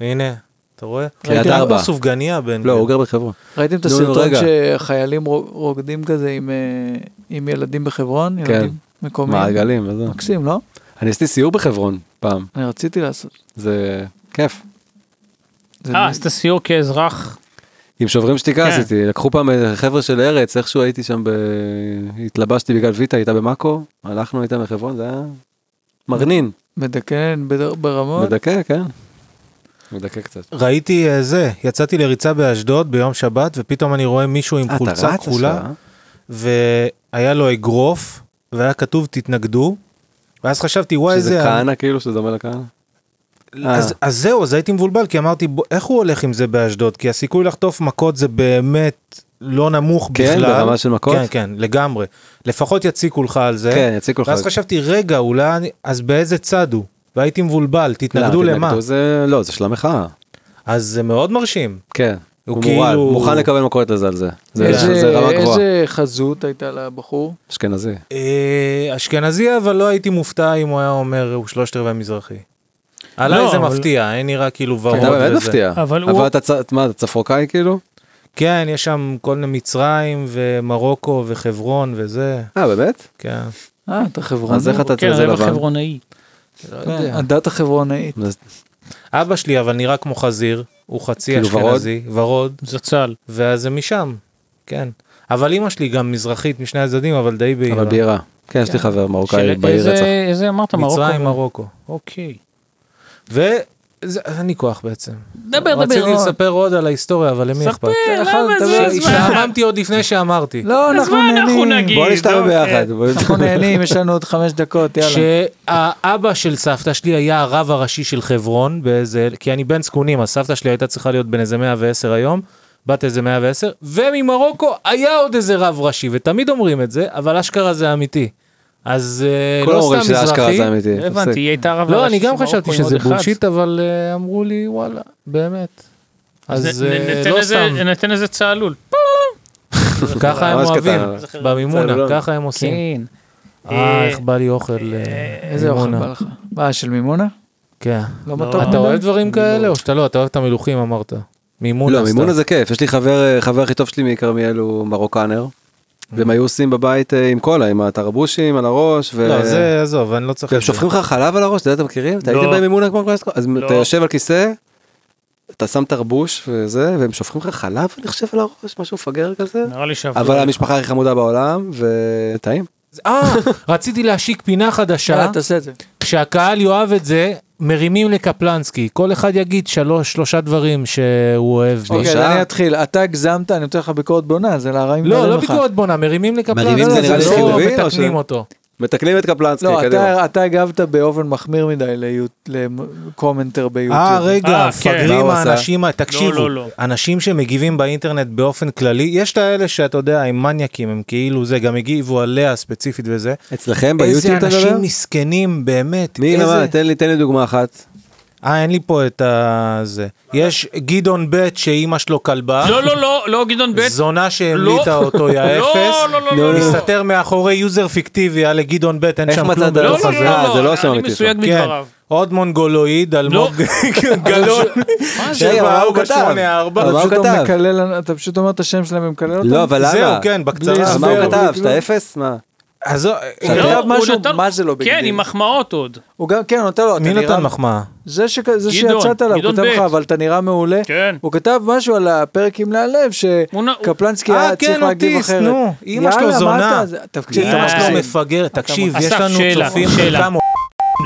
[SPEAKER 1] הנה, אתה רואה?
[SPEAKER 4] קריית
[SPEAKER 1] הוא
[SPEAKER 4] ארבע.
[SPEAKER 1] סופגניה בן
[SPEAKER 4] לא,
[SPEAKER 1] גביר.
[SPEAKER 4] הוא גר בחברון.
[SPEAKER 2] ראיתם את
[SPEAKER 4] נו,
[SPEAKER 2] הסרטון
[SPEAKER 4] רגע.
[SPEAKER 2] שחיילים רו- רוקדים כזה עם, אה, עם ילדים בחברון?
[SPEAKER 4] כן.
[SPEAKER 2] ילדים מקומיים?
[SPEAKER 4] מעגלים וזה.
[SPEAKER 2] מקסים, לא?
[SPEAKER 4] אני עשיתי סיור בחברון פעם.
[SPEAKER 2] אני רציתי לעשות.
[SPEAKER 4] זה כיף.
[SPEAKER 2] זה
[SPEAKER 3] אה, עשית סיור כאזרח.
[SPEAKER 4] עם שוברים שתיקה
[SPEAKER 3] כן.
[SPEAKER 4] עשיתי, לקחו פעם אה, חבר'ה של ארץ, איכשהו הייתי שם, ב... התלבשתי בגלל ויטה, הייתה במאקו, הלכנו איתה לחברון, זה היה מרנין,
[SPEAKER 2] מדכן בד- ברמות?
[SPEAKER 4] מדכא, כן. מדכא קצת.
[SPEAKER 1] ראיתי אה, זה, יצאתי לריצה באשדוד ביום שבת, ופתאום אני רואה מישהו עם
[SPEAKER 4] אה, אתה
[SPEAKER 1] חולצה
[SPEAKER 4] רץ
[SPEAKER 1] כחולה,
[SPEAKER 4] אשכרה, אה?
[SPEAKER 1] והיה לו אגרוף, והיה כתוב תתנגדו, ואז חשבתי, וואי,
[SPEAKER 4] שזה אה.
[SPEAKER 1] איזה...
[SPEAKER 4] כהנא כאילו, שזה דומה לכהנא?
[SPEAKER 1] אז, אז זהו, אז הייתי מבולבל, כי אמרתי, "בוא, איך הוא הולך עם זה באשדוד? כי הסיכוי לחטוף מכות זה באמת לא נמוך
[SPEAKER 4] כן,
[SPEAKER 1] בכלל.
[SPEAKER 4] ברמה של מכות?
[SPEAKER 1] כן, כן, לגמרי. לפחות יציקו לך על זה.
[SPEAKER 4] כן, יציקו לך.
[SPEAKER 1] ואז חשבתי, רגע, אולי... אני- אז באיזה צד הוא? והייתי מבולבל,
[SPEAKER 4] לא,
[SPEAKER 1] תתנגדו למה?
[SPEAKER 4] זה... לא, זה של המחאה.
[SPEAKER 1] אז זה מאוד מרשים.
[SPEAKER 4] כן.
[SPEAKER 1] הוא
[SPEAKER 4] הוא מורד,
[SPEAKER 1] כאילו-
[SPEAKER 4] מוכן לקבל מכות לזה על זה. זה
[SPEAKER 2] איזה-
[SPEAKER 4] זה רמה גבוהה.
[SPEAKER 2] איזה חזות הייתה לבחור?
[SPEAKER 4] אשכנזי.
[SPEAKER 1] אה, אשכנזי, אבל לא הייתי מופתע אם הוא היה אומר, הוא שלושת רבעי מזרחי. עליי
[SPEAKER 3] לא,
[SPEAKER 1] זה
[SPEAKER 3] אבל-
[SPEAKER 1] מפתיע, אין נראה כאילו ורוד.
[SPEAKER 4] אתה באמת
[SPEAKER 1] וזה.
[SPEAKER 4] מפתיע.
[SPEAKER 3] אוקיי, אבל הוא-
[SPEAKER 4] אבל אתה צ- מה, אתה צפרוקאי כאילו?
[SPEAKER 1] כן, יש שם כל מיני מצרים ומרוקו וחברון וזה,
[SPEAKER 4] אה, באמת?
[SPEAKER 1] כן.
[SPEAKER 2] אה, אתה חברוני.
[SPEAKER 4] אז איך אה, אתה
[SPEAKER 3] כן,
[SPEAKER 4] צלזה
[SPEAKER 3] רבע
[SPEAKER 4] לבן?
[SPEAKER 3] חברונאי.
[SPEAKER 2] כן, הדת החברונאית.
[SPEAKER 4] אז-
[SPEAKER 1] אבא שלי אבל נראה כמו חזיר, הוא חצי
[SPEAKER 4] כאילו ורוד?
[SPEAKER 1] אשכנזי, ורוד,
[SPEAKER 3] זצ"ל.
[SPEAKER 1] ואז זה משם, כן. אבל אימא שלי גם מזרחית משני הצדדים, אבל די
[SPEAKER 4] אבל
[SPEAKER 1] בהירה.
[SPEAKER 4] בירה. כן, יש לי חבר מרוקאי
[SPEAKER 3] של-
[SPEAKER 4] בעיר
[SPEAKER 3] איזה-
[SPEAKER 4] רצח.
[SPEAKER 3] איזה אמרת? מרוקו?
[SPEAKER 1] מצרים, מרוקו.
[SPEAKER 3] אוקיי.
[SPEAKER 1] וזה- אין לי כוח בעצם.
[SPEAKER 3] דבר,
[SPEAKER 1] רציתי לספר עוד על ההיסטוריה, אבל למי אכפת?
[SPEAKER 2] למה זה
[SPEAKER 1] השתעממתי עוד לפני שאמרתי.
[SPEAKER 2] אה, לא, אנחנו נהנים.
[SPEAKER 4] בוא
[SPEAKER 1] לא-
[SPEAKER 4] נשתעמם ביחד.
[SPEAKER 1] אה, נכון,
[SPEAKER 2] אנחנו נהנים, יש לנו עוד חמש דקות, יאללה.
[SPEAKER 1] שהאבא של סבתא שלי היה הרב הראשי של חברון, באיזה, כי אני בן זקונים, אז סבתא שלי הייתה צריכה להיות בן איזה 110 היום, בת איזה 110, וממרוקו היה עוד איזה רב ראשי, ותמיד אומרים את זה, אבל אשכרה זה אמיתי. אז אה,
[SPEAKER 4] כל
[SPEAKER 1] לא
[SPEAKER 4] אומרים
[SPEAKER 1] סתם
[SPEAKER 4] שאשכרה
[SPEAKER 1] מזרחי.
[SPEAKER 4] זה אמיתי.
[SPEAKER 3] לא הבנתי,
[SPEAKER 4] תפסיק.
[SPEAKER 3] היא הייתה רב
[SPEAKER 1] לא,
[SPEAKER 3] הראשי
[SPEAKER 1] אני גם
[SPEAKER 3] של
[SPEAKER 1] חשבתי
[SPEAKER 3] מרוקו עם
[SPEAKER 1] שזה
[SPEAKER 3] עוד אחד.
[SPEAKER 1] בולשיט, אבל אה, אמרו לי, וואלה, באמת. אז
[SPEAKER 3] נ- נ-
[SPEAKER 1] אה,
[SPEAKER 3] ניתן
[SPEAKER 1] לא
[SPEAKER 3] איזה-
[SPEAKER 1] סתם,
[SPEAKER 3] ניתן איזה צהלול.
[SPEAKER 1] ככה הם
[SPEAKER 4] ממש קטן, לא.
[SPEAKER 1] אוהבים,
[SPEAKER 4] אבל.
[SPEAKER 1] במימונה,
[SPEAKER 4] צלולון.
[SPEAKER 1] ככה הם עושים.
[SPEAKER 3] כן.
[SPEAKER 1] אה, איך בא לי אוכל. אה,
[SPEAKER 2] איזה אוכל
[SPEAKER 1] מימונה.
[SPEAKER 2] בא לך? מה, של מימונה?
[SPEAKER 1] כן.
[SPEAKER 2] לא מתוק
[SPEAKER 1] אתה אוהב
[SPEAKER 2] מדי?
[SPEAKER 1] דברים כאלה או שאתה לא? אתה אוהב את המילוכים אמרת. מימונה.
[SPEAKER 4] לא,
[SPEAKER 1] סתם.
[SPEAKER 4] מימונה זה כיף. יש לי חבר, אה, חבר הכי טוב שלי מכרמיאל הוא מרוקנר.
[SPEAKER 1] Mm.
[SPEAKER 4] והם היו עושים בבית אה, עם קולה, עם התרבושים על הראש. ו-
[SPEAKER 1] לא, זה עזוב, אני לא צריך...
[SPEAKER 4] והם
[SPEAKER 1] את זה.
[SPEAKER 4] שופכים לך חלב על הראש, אתה יודע, אתם מכירים? אתה
[SPEAKER 3] לא.
[SPEAKER 4] הייתם במימונה כמו כל הסקול? אז
[SPEAKER 3] לא.
[SPEAKER 4] אתה יושב על כיסא, אתה שם תרבוש וזה, והם שופכים לך חלב, אני חושב, על הראש, משהו מפגר כזה.
[SPEAKER 1] לא,
[SPEAKER 3] נראה לי שעבדו.
[SPEAKER 4] אבל
[SPEAKER 3] עליך.
[SPEAKER 4] המשפחה הכי חמודה בעולם, וטעים.
[SPEAKER 1] אה, רציתי להשיק פינה חדשה,
[SPEAKER 4] אה,
[SPEAKER 2] יאללה, תעשה את זה.
[SPEAKER 1] כשהקהל יאהב את זה, מרימים לקפלנסקי. כל אחד יגיד שלוש, שלושה דברים שהוא אוהב. בי.
[SPEAKER 2] אוקיי, אז
[SPEAKER 4] שעה?
[SPEAKER 2] אני אתחיל. אתה הגזמת, אני נותן לך ביקורת בונה, זה להרעים
[SPEAKER 1] לא,
[SPEAKER 2] עלינו
[SPEAKER 1] לא
[SPEAKER 2] לך.
[SPEAKER 1] ביקורת בונה, מרימים לקפלנסקי.
[SPEAKER 4] מרימים
[SPEAKER 2] זה נראה לי
[SPEAKER 1] לא
[SPEAKER 4] חיובי, או
[SPEAKER 1] מתקנים
[SPEAKER 4] ש-
[SPEAKER 1] אותו.
[SPEAKER 4] מתקנים את קפלנסקי,
[SPEAKER 2] לא,
[SPEAKER 4] קדימה.
[SPEAKER 2] אתה- אתה הגבת באופן מחמיר מדי ליוט- לקומנטר ביוטיוב.
[SPEAKER 1] אה, רגע,
[SPEAKER 3] אה, כן. מה
[SPEAKER 1] מפגרים
[SPEAKER 4] הוא עשה?
[SPEAKER 1] האנשים, ה- אה, תקשיבו,
[SPEAKER 3] לא, לא.
[SPEAKER 1] אנשים שמגיבים באינטרנט באופן כללי, יש את האלה שאתה יודע, הם מניאקים, הם כאילו זה, גם הגיבו עליה ספציפית וזה.
[SPEAKER 4] אצלכם ביוטיוב
[SPEAKER 1] איזה
[SPEAKER 4] אתה
[SPEAKER 1] אנשים
[SPEAKER 4] מדבר?
[SPEAKER 1] מסכנים באמת.
[SPEAKER 4] מי
[SPEAKER 1] איזה-
[SPEAKER 4] למד? תן לי- תן לי דוגמה אחת.
[SPEAKER 1] אה, אין לי פה את ה... זה. יש גדעון ב' שאימא שלו כלבה,
[SPEAKER 3] לא, לא, לא, לא, גדעון ב'.
[SPEAKER 1] זונה שהמליטה
[SPEAKER 3] לא.
[SPEAKER 1] אותו, יא
[SPEAKER 3] לא,
[SPEAKER 1] אפס.
[SPEAKER 3] לא, לא, לא, לא.
[SPEAKER 1] מסתתר מאחורי יוזר פיקטיבי, יאללה גדעון ב', אין
[SPEAKER 4] איך
[SPEAKER 1] שם
[SPEAKER 4] מצאת
[SPEAKER 1] כלום
[SPEAKER 4] את זה?
[SPEAKER 3] לא,
[SPEAKER 1] בדוח
[SPEAKER 3] לא,
[SPEAKER 1] הזה.
[SPEAKER 4] אה, זה
[SPEAKER 3] לא,
[SPEAKER 4] לא
[SPEAKER 3] לא,
[SPEAKER 4] שם
[SPEAKER 3] אני
[SPEAKER 4] ראיתי את זה.
[SPEAKER 3] מסויג
[SPEAKER 1] כן.
[SPEAKER 3] מדבריו. לא.
[SPEAKER 1] עוד מונגולואיד, אלמוג גלאון,
[SPEAKER 4] רגע, מה
[SPEAKER 1] שבאו
[SPEAKER 4] הוא כתב?
[SPEAKER 2] אתה
[SPEAKER 4] אבל
[SPEAKER 1] ב-84.
[SPEAKER 4] מה הוא
[SPEAKER 2] פשוט אומר
[SPEAKER 4] כתב?
[SPEAKER 2] מקלל, אתה פשוט אומר את השם שלהם ומקלל אותם?
[SPEAKER 4] לא, אבל למה?
[SPEAKER 1] זהו, כן,
[SPEAKER 4] אז
[SPEAKER 1] בקצרה.
[SPEAKER 4] מה הוא
[SPEAKER 2] זהו,
[SPEAKER 4] כתב?
[SPEAKER 2] כאילו-
[SPEAKER 4] שאתה אפס? מה?
[SPEAKER 1] אז זו-
[SPEAKER 2] הוא
[SPEAKER 3] לא,
[SPEAKER 2] כתב
[SPEAKER 3] הוא
[SPEAKER 2] משהו,
[SPEAKER 3] נתן-
[SPEAKER 2] מה זה לא ביג
[SPEAKER 3] כן,
[SPEAKER 2] דיל?
[SPEAKER 3] עם מחמאות עוד.
[SPEAKER 2] הוא גם, כן, הוא נותן לו,
[SPEAKER 1] מי
[SPEAKER 2] אתה נראה-
[SPEAKER 1] נתן מחמאה?
[SPEAKER 2] זה שכ- זה
[SPEAKER 3] גדעון,
[SPEAKER 2] שיצאת עליו, הוא
[SPEAKER 3] גדעון
[SPEAKER 2] כתב לך,
[SPEAKER 3] ב'.
[SPEAKER 2] אבל אתה נראה מעולה.
[SPEAKER 3] כן.
[SPEAKER 2] הוא כתב משהו על הפרק עם להלב,
[SPEAKER 3] הוא נ-
[SPEAKER 2] שקפלנסקי
[SPEAKER 1] אה,
[SPEAKER 2] היה צריך
[SPEAKER 1] כן,
[SPEAKER 2] להגיב
[SPEAKER 1] אוטיסט,
[SPEAKER 2] אחרת.
[SPEAKER 1] נו, אמא שלו
[SPEAKER 2] יאללה, מה
[SPEAKER 1] זונה. כן.
[SPEAKER 2] אתה- לא תקשיב, אתה
[SPEAKER 1] אמא שלו
[SPEAKER 2] מגזים.
[SPEAKER 1] מפגר, תקשיב,
[SPEAKER 3] אסף,
[SPEAKER 1] יש לנו
[SPEAKER 3] שאלה,
[SPEAKER 1] צופים
[SPEAKER 3] שאלה.
[SPEAKER 1] חלקם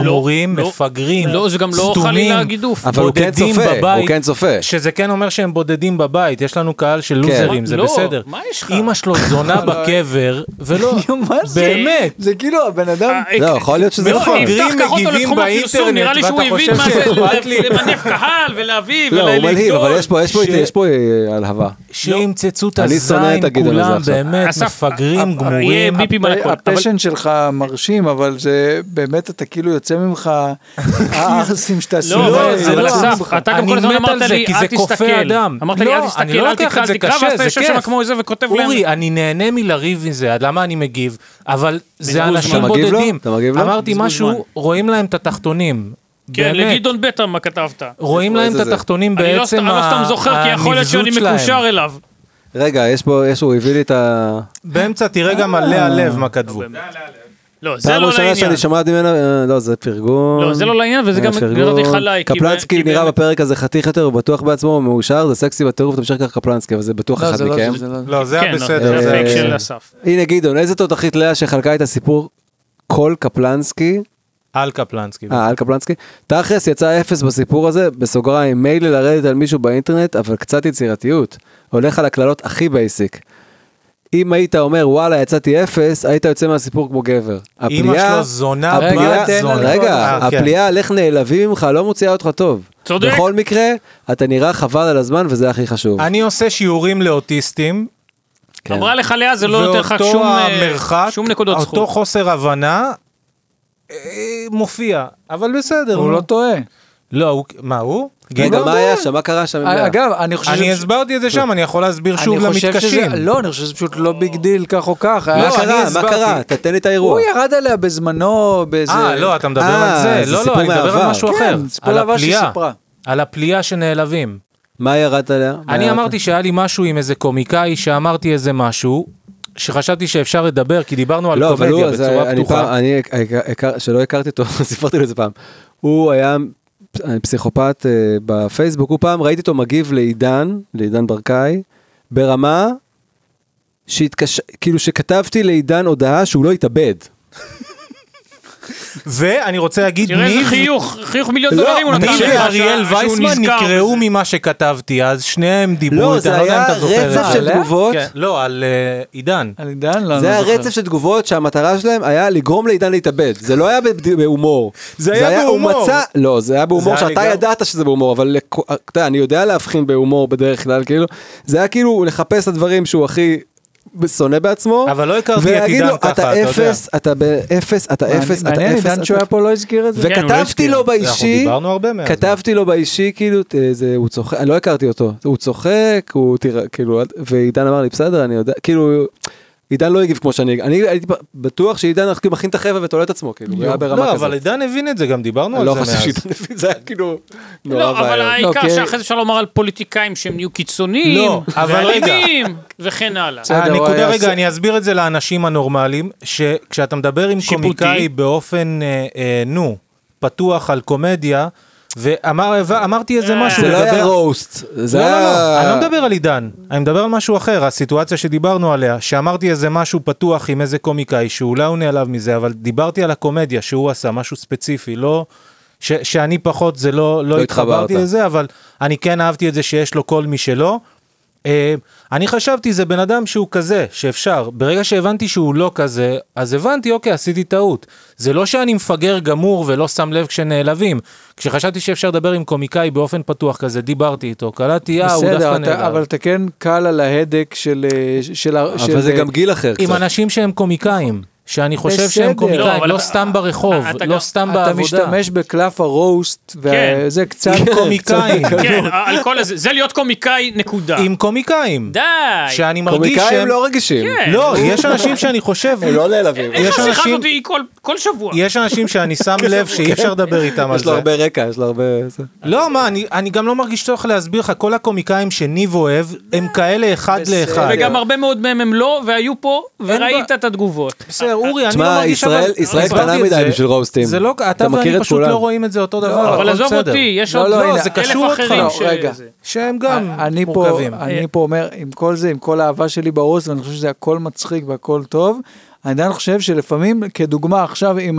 [SPEAKER 3] לא,
[SPEAKER 1] מורים,
[SPEAKER 3] לא.
[SPEAKER 1] מפגרים,
[SPEAKER 3] לא, זה גם לא
[SPEAKER 1] סתומים,
[SPEAKER 3] חלילה גידוף.
[SPEAKER 4] אבל הוא כן
[SPEAKER 1] בודדים
[SPEAKER 4] צופה,
[SPEAKER 1] בבית.
[SPEAKER 4] הוא כן צופה.
[SPEAKER 1] שזה כן אומר שהם בודדים בבית, יש לנו קהל של לוזרים, זה
[SPEAKER 3] לא,
[SPEAKER 1] בסדר.
[SPEAKER 3] מה יש לך?
[SPEAKER 1] אמא שלו זונה בקבר, ולא, לא, באמת.
[SPEAKER 2] זה כאילו הבן אדם,
[SPEAKER 3] אה,
[SPEAKER 4] לא, יכול להיות שזה נכון.
[SPEAKER 1] מפגרים
[SPEAKER 3] יפתח ככה אותו
[SPEAKER 1] מגיבים
[SPEAKER 3] לתחום הפרסום,
[SPEAKER 1] באינטרנט,
[SPEAKER 3] נראה לי שהוא
[SPEAKER 1] ואתה
[SPEAKER 3] הבין מה
[SPEAKER 1] חושב
[SPEAKER 3] זה
[SPEAKER 1] שאכפת לי?
[SPEAKER 3] למנף קהל ולהביא
[SPEAKER 4] לא, הוא מלהיב,
[SPEAKER 3] ולגדול.
[SPEAKER 4] אבל יש פה- יש פה-
[SPEAKER 1] ש-
[SPEAKER 4] יש פה אה, הלהבה.
[SPEAKER 1] שימצצו את
[SPEAKER 4] אני שונא את
[SPEAKER 1] הזין,
[SPEAKER 4] הגדעון הזה
[SPEAKER 1] כולם
[SPEAKER 4] עכשיו.
[SPEAKER 1] באמת
[SPEAKER 3] אסף,
[SPEAKER 1] מפגרים,
[SPEAKER 3] אה, אה, יהיה
[SPEAKER 1] גמורים.
[SPEAKER 3] ביפים על הכל. אבל-
[SPEAKER 2] הפשן שלך מרשים, אבל זה באמת, אתה כאילו יוצא ממך, הארסים שאתה
[SPEAKER 3] לא, אבל-
[SPEAKER 2] זה
[SPEAKER 3] אבל
[SPEAKER 2] לא
[SPEAKER 3] אסף,
[SPEAKER 2] בך.
[SPEAKER 3] אתה גם
[SPEAKER 1] אני
[SPEAKER 3] כל הזמן
[SPEAKER 1] מת
[SPEAKER 3] אמרת
[SPEAKER 1] על זה,
[SPEAKER 3] לי,
[SPEAKER 1] כי
[SPEAKER 3] אל
[SPEAKER 1] זה כופה
[SPEAKER 3] תסתכל.
[SPEAKER 1] אדם.
[SPEAKER 3] אמרת לי,
[SPEAKER 1] לא,
[SPEAKER 3] אל
[SPEAKER 1] אני
[SPEAKER 3] תסתכל,
[SPEAKER 1] לא
[SPEAKER 3] אל
[SPEAKER 1] לוקח את
[SPEAKER 3] תקרא, אל
[SPEAKER 1] זה
[SPEAKER 3] תקרא,
[SPEAKER 1] קשה,
[SPEAKER 3] ואז אתה
[SPEAKER 1] זה
[SPEAKER 3] יושב שם
[SPEAKER 1] כיף.
[SPEAKER 3] כמו איזה וכותב להם.
[SPEAKER 1] אורי, אני נהנה מלריב עם זה, עד למה אני מגיב? אבל זה
[SPEAKER 3] בזבוז
[SPEAKER 1] אנשים
[SPEAKER 3] זמן.
[SPEAKER 4] אתה מגיב לו?
[SPEAKER 1] בודדים.
[SPEAKER 4] אתה מגיב לו?
[SPEAKER 1] אמרתי
[SPEAKER 3] בזבוז זמן.
[SPEAKER 1] משהו, רואים להם את התחתונים.
[SPEAKER 3] כן,
[SPEAKER 1] באמת.
[SPEAKER 3] לגדעון בטה מה כתבת.
[SPEAKER 1] רואים להם
[SPEAKER 4] איזה
[SPEAKER 1] את
[SPEAKER 4] זה.
[SPEAKER 1] התחתונים
[SPEAKER 3] אני לא סת-
[SPEAKER 1] בעצם
[SPEAKER 3] אני לא סתם
[SPEAKER 1] ה-
[SPEAKER 3] זוכר, כי יכול להיות שאני
[SPEAKER 1] הנבזות שלהם.
[SPEAKER 3] מקושר אליו.
[SPEAKER 4] רגע, יש פה, יש, הוא הביא לי את ה...
[SPEAKER 1] באמצע תראה גם עלי הלב מה כתבו.
[SPEAKER 3] לא, זה
[SPEAKER 4] פעם
[SPEAKER 3] לא
[SPEAKER 4] ראשונה
[SPEAKER 3] לעניין.
[SPEAKER 4] שאני שומעת ממנו, אה, לא, זה פרגון.
[SPEAKER 3] לא, זה לא לעניין, וזה
[SPEAKER 4] אה,
[SPEAKER 3] גם
[SPEAKER 4] פרגון.
[SPEAKER 3] גדלתי חלאי. כי-
[SPEAKER 4] קפלנסקי
[SPEAKER 3] כי-
[SPEAKER 4] נראה בפרק הזה חתיך יותר, הוא בטוח בעצמו, הוא מאושר, זה סקסי בטירוף, תמשיך ככה קפלנסקי, אבל זה בטוח
[SPEAKER 2] לא,
[SPEAKER 4] אחד
[SPEAKER 2] זה לא-
[SPEAKER 4] מכם. אה,
[SPEAKER 2] זה לא-
[SPEAKER 1] לא, זה
[SPEAKER 3] כן,
[SPEAKER 1] היה
[SPEAKER 3] לא, זה
[SPEAKER 1] בסדר. זה
[SPEAKER 3] הפייק
[SPEAKER 1] היה-
[SPEAKER 3] של אסף.
[SPEAKER 4] הנה גדעון, איזה תותחית לאה שחלקה את הסיפור כל קפלנסקי,
[SPEAKER 1] על קפלנסקי.
[SPEAKER 4] אה, על קפלנסקי, תכלס יצא אפס בסיפור הזה, בסוגריים, מילא לרדת על מישהו באינטרנט, אבל קצת יצירתיות. הולך על הקללות הכי בייסיק. אם היית אומר וואלה יצאתי אפס, היית יוצא מהסיפור כמו גבר.
[SPEAKER 1] אמא
[SPEAKER 4] הפליאה-
[SPEAKER 1] שלו זונה,
[SPEAKER 2] רגע,
[SPEAKER 1] בת
[SPEAKER 2] תן לה
[SPEAKER 1] זונה.
[SPEAKER 2] לקרוא
[SPEAKER 4] רגע,
[SPEAKER 1] אה, כן.
[SPEAKER 4] הפליאה על איך נעלבים ממך לא מוציאה אותך טוב.
[SPEAKER 3] צודק.
[SPEAKER 4] בכל מקרה, אתה נראה חבל על הזמן וזה הכי חשוב.
[SPEAKER 1] אני עושה שיעורים לאוטיסטים,
[SPEAKER 4] כן.
[SPEAKER 3] אמרה לך לאה, זה לא נותן לך
[SPEAKER 1] ואותו
[SPEAKER 3] שום, אה,
[SPEAKER 1] המרחק,
[SPEAKER 3] שום נקודות
[SPEAKER 1] אותו
[SPEAKER 3] זכות.
[SPEAKER 1] חוסר הבנה, אה, מופיע. אבל בסדר.
[SPEAKER 2] הוא
[SPEAKER 1] נו.
[SPEAKER 2] לא טועה.
[SPEAKER 1] לא, הוא- מה הוא?
[SPEAKER 4] רגע,
[SPEAKER 2] לא
[SPEAKER 4] מה
[SPEAKER 2] יודע.
[SPEAKER 4] היה שם? מה קרה שם? עם לאה?
[SPEAKER 2] אגב, אני חושב...
[SPEAKER 1] אני
[SPEAKER 2] ש-
[SPEAKER 1] הסברתי את זה שם, אני יכול להסביר שוב
[SPEAKER 2] אני חושב
[SPEAKER 1] למתקשים.
[SPEAKER 2] שזה- לא, אני חושב שזה פשוט לא ביג דיל כך או כך.
[SPEAKER 4] מה
[SPEAKER 2] היה-
[SPEAKER 4] קרה?
[SPEAKER 2] לא, אני
[SPEAKER 4] מה
[SPEAKER 2] הסברתי.
[SPEAKER 4] קרה? תתן לי את האירוע.
[SPEAKER 2] הוא ירד עליה בזמנו באיזה...
[SPEAKER 1] אה, לא, אתה מדבר
[SPEAKER 4] אה,
[SPEAKER 1] על זה.
[SPEAKER 4] זה
[SPEAKER 1] לא,
[SPEAKER 4] סיפור
[SPEAKER 1] לא, אני מדבר
[SPEAKER 4] מהעבר.
[SPEAKER 1] על משהו
[SPEAKER 2] כן,
[SPEAKER 1] אחר.
[SPEAKER 2] סיפור
[SPEAKER 1] על
[SPEAKER 2] מהעבר שהיא
[SPEAKER 1] הפליאה.
[SPEAKER 2] סיפרה.
[SPEAKER 1] על הפליאה שנעלבים.
[SPEAKER 4] מה ירדת עליה? מה
[SPEAKER 1] אני
[SPEAKER 4] ירדת?
[SPEAKER 1] אמרתי שהיה לי משהו עם איזה קומיקאי, שאמרתי איזה משהו, שחשבתי שאפשר לדבר, כי דיברנו על
[SPEAKER 4] לא, אבל
[SPEAKER 1] קומדיה
[SPEAKER 4] הוא, אז
[SPEAKER 1] בצורה
[SPEAKER 4] אני פעם,
[SPEAKER 1] פתוחה.
[SPEAKER 4] אני, הכ- הכר- שלא הכרתי אותו, סיפרתי לו את זה פעם. הוא היה פסיכופת אה, בפייסבוק, הוא פעם ראיתי אותו מגיב לעידן, לעידן ברקאי, ברמה שהתקש... כאילו שכתבתי לעידן הודעה שהוא לא התאבד.
[SPEAKER 1] ואני רוצה להגיד,
[SPEAKER 3] תראה איזה
[SPEAKER 1] ניב
[SPEAKER 3] חיוך, חיוך מיליון
[SPEAKER 4] לא,
[SPEAKER 3] דולרים הוא נתן
[SPEAKER 1] ניב
[SPEAKER 3] לך.
[SPEAKER 1] ואריאל
[SPEAKER 3] שהוא
[SPEAKER 1] וייסמן
[SPEAKER 3] נזכר
[SPEAKER 1] נקראו
[SPEAKER 3] בזה.
[SPEAKER 1] ממה שכתבתי, אז שניהם דיברו,
[SPEAKER 4] לא,
[SPEAKER 1] איתה,
[SPEAKER 4] זה
[SPEAKER 1] אני לא יודע אם
[SPEAKER 4] היה
[SPEAKER 1] אתה זוכר את זה.
[SPEAKER 4] רצף של
[SPEAKER 1] עליה?
[SPEAKER 4] תגובות.
[SPEAKER 1] כן, לא, על אה, עידן.
[SPEAKER 2] על עידן? לא, אני
[SPEAKER 4] זה
[SPEAKER 2] לא
[SPEAKER 4] היה
[SPEAKER 2] זוכר.
[SPEAKER 4] רצף של תגובות שהמטרה שלהם היה לגרום לעידן להתאבד. זה לא היה בבד- בהומור.
[SPEAKER 1] זה היה בהומור.
[SPEAKER 4] הוא מצא, לא, זה היה בהומור
[SPEAKER 1] זה היה
[SPEAKER 4] שאתה
[SPEAKER 1] לגמרי-
[SPEAKER 4] ידעת שזה בהומור, אבל לכ- אתה יודע, אני יודע להבחין בהומור בדרך כלל, כאילו, זה היה כאילו לחפש את הדברים שהוא הכי שונא בעצמו.
[SPEAKER 1] אבל לא הכרתי את
[SPEAKER 4] ולהגיד
[SPEAKER 1] עידן
[SPEAKER 4] לו,
[SPEAKER 1] ככה, אתה
[SPEAKER 4] אתה
[SPEAKER 1] יודע."
[SPEAKER 4] אפס, אתה באפס, אתה
[SPEAKER 2] מעניין,
[SPEAKER 4] אפס, אתה אפס.
[SPEAKER 2] מעניין, עידן
[SPEAKER 4] אתה-
[SPEAKER 2] שהוא היה פה לא הזכיר את זה.
[SPEAKER 3] כן, הוא לא
[SPEAKER 4] וכתבתי
[SPEAKER 3] הזכיר.
[SPEAKER 4] לו
[SPEAKER 1] אנחנו
[SPEAKER 4] באישי,
[SPEAKER 1] דיברנו הרבה מאז.
[SPEAKER 4] כתבתי לו באישי, כאילו, ת- זה, הוא צוחק, אני לא הכרתי אותו, הוא צוחק, הוא תראה, כאילו, אל- ועידן אמר לי, בסדר, אני יודע, כאילו, עידן לא הגיב כמו שאני, אני הייתי בטוח שעידן כאילו מכין את החבר'ה ותולה את עצמו, כאילו, הוא היה ברמה
[SPEAKER 1] לא,
[SPEAKER 4] כזאת.
[SPEAKER 1] אבל עידן הבין את זה, גם דיברנו
[SPEAKER 4] אני לא
[SPEAKER 1] על זה
[SPEAKER 4] חושב
[SPEAKER 1] מאז.
[SPEAKER 4] שעידן הבין, זה היה כאילו נורא
[SPEAKER 3] לא, אבל
[SPEAKER 4] ואיום.
[SPEAKER 3] העיקר
[SPEAKER 2] אוקיי.
[SPEAKER 3] שאחרי זה אפשר לומר על פוליטיקאים שהם נהיו קיצוניים,
[SPEAKER 1] לא, אבל רגע.
[SPEAKER 3] ואלימים, וכן הלאה.
[SPEAKER 2] בסדר, הוא היה
[SPEAKER 1] הנקודה, רגע,
[SPEAKER 2] עושה-
[SPEAKER 1] אה, אני אסביר את זה לאנשים הנורמליים, שכשאתה מדבר עם
[SPEAKER 3] שיפוטי.
[SPEAKER 1] קומיקאי באופן, אה, אה, נו, פתוח על קומדיה, ואמרתי איזה
[SPEAKER 3] אה,
[SPEAKER 1] משהו
[SPEAKER 4] זה לא
[SPEAKER 1] לגבי-
[SPEAKER 4] היה רוסט, זה
[SPEAKER 1] לא, לא, לא, אני
[SPEAKER 4] היה...
[SPEAKER 1] לא מדבר על עידן, אני מדבר על משהו אחר, הסיטואציה שדיברנו עליה, שאמרתי איזה משהו פתוח עם איזה קומיקאי, שאולי הוא נעלב מזה, אבל דיברתי על הקומדיה שהוא עשה, משהו ספציפי, לא... ש, שאני פחות, זה לא, לא,
[SPEAKER 4] לא
[SPEAKER 1] התחברתי
[SPEAKER 4] התחברת.
[SPEAKER 1] לזה, אבל אני כן אהבתי את זה שיש לו קול משלו. אה, אני חשבתי, זה בן אדם שהוא כזה, שאפשר. ברגע שהבנתי שהוא לא כזה, אז הבנתי, אוקיי, עשיתי טעות. זה לא שאני מפגר גמור ולא שם לב כשנעלבים. כשחשבתי שאפשר לדבר עם קומיקאי באופן פתוח כזה, דיברתי איתו, קלטתי, אה, הוא
[SPEAKER 2] בסדר,
[SPEAKER 1] דווקא
[SPEAKER 2] אתה- אבל
[SPEAKER 1] נעלב.
[SPEAKER 2] אתה כן קל על ההדק של... אה, ש- של ה- של-
[SPEAKER 4] לא- אבל זה גם גיל אחר
[SPEAKER 1] עם
[SPEAKER 4] קצת.
[SPEAKER 1] אנשים שהם קומיקאים, שאני חושב
[SPEAKER 2] בסדר.
[SPEAKER 1] שהם
[SPEAKER 3] לא,
[SPEAKER 1] קומיקאים,
[SPEAKER 3] אבל
[SPEAKER 1] לא
[SPEAKER 3] אתה-
[SPEAKER 1] סתם ברחוב,
[SPEAKER 3] אתה גם-
[SPEAKER 1] לא סתם
[SPEAKER 2] אתה
[SPEAKER 1] בעבודה.
[SPEAKER 2] משתמש בקלף הרוסט,
[SPEAKER 3] כן.
[SPEAKER 2] וזה קצת...
[SPEAKER 1] קומיקאים.
[SPEAKER 2] קצת בקלות.
[SPEAKER 3] כן, על כל הזה, זה להיות קומיקאי, נקודה.
[SPEAKER 1] עם קומיקאים,
[SPEAKER 3] די.
[SPEAKER 1] שאני מרגיש
[SPEAKER 4] קומיקאים
[SPEAKER 1] שהם...
[SPEAKER 4] לא רגישים.
[SPEAKER 3] כן.
[SPEAKER 1] לא, יש אנשים שאני חושב...
[SPEAKER 4] הם לא נעלבים.
[SPEAKER 3] איך
[SPEAKER 1] יש
[SPEAKER 3] השיחה
[SPEAKER 1] אנשים-
[SPEAKER 3] הזאת היא כל כל שבוע.
[SPEAKER 1] יש אנשים שאני שם לב שאי אפשר לדבר איתם על
[SPEAKER 4] כן, יש לו
[SPEAKER 1] זה.
[SPEAKER 4] הרבה רקע, יש לו הרבה... זה.
[SPEAKER 1] לא, מה, אני- אני גם לא מרגיש צורך להסביר לך, כל הקומיקאים שניב אוהב, הם כאלה אחד לאחד.
[SPEAKER 3] וגם הרבה מאוד מהם הם לא, והיו פה, וראית את התגובות.
[SPEAKER 1] בסדר, אורי, אני לא
[SPEAKER 4] תשמע,
[SPEAKER 1] מרגיש...
[SPEAKER 4] ישראל-
[SPEAKER 1] אבל-
[SPEAKER 4] ישראל
[SPEAKER 1] הסברתי
[SPEAKER 4] קטנה
[SPEAKER 1] את
[SPEAKER 4] מדי
[SPEAKER 1] זה.
[SPEAKER 4] בשביל רוסטים.
[SPEAKER 1] זה לא, אתה
[SPEAKER 4] אתה מכיר
[SPEAKER 1] ואני
[SPEAKER 4] את
[SPEAKER 1] פשוט
[SPEAKER 4] כולם.
[SPEAKER 1] לא רואים את זה אותו דבר,
[SPEAKER 3] אבל
[SPEAKER 1] הכל
[SPEAKER 3] עזוב
[SPEAKER 1] בסדר.
[SPEAKER 3] אותי, יש
[SPEAKER 2] לא,
[SPEAKER 3] עוד
[SPEAKER 2] לא, הנה,
[SPEAKER 3] אלף
[SPEAKER 1] זה קשור אותך,
[SPEAKER 3] אחרים
[SPEAKER 2] לא,
[SPEAKER 3] ש...
[SPEAKER 2] רגע.
[SPEAKER 3] זה.
[SPEAKER 1] שהם גם
[SPEAKER 2] אה, אני פה,
[SPEAKER 1] מורכבים.
[SPEAKER 2] אני פה אומר, עם כל זה, עם כל האהבה שלי ברוס, ואני חושב שזה הכל מצחיק והכל טוב, אני עדיין חושב שלפעמים, כדוגמה עכשיו עם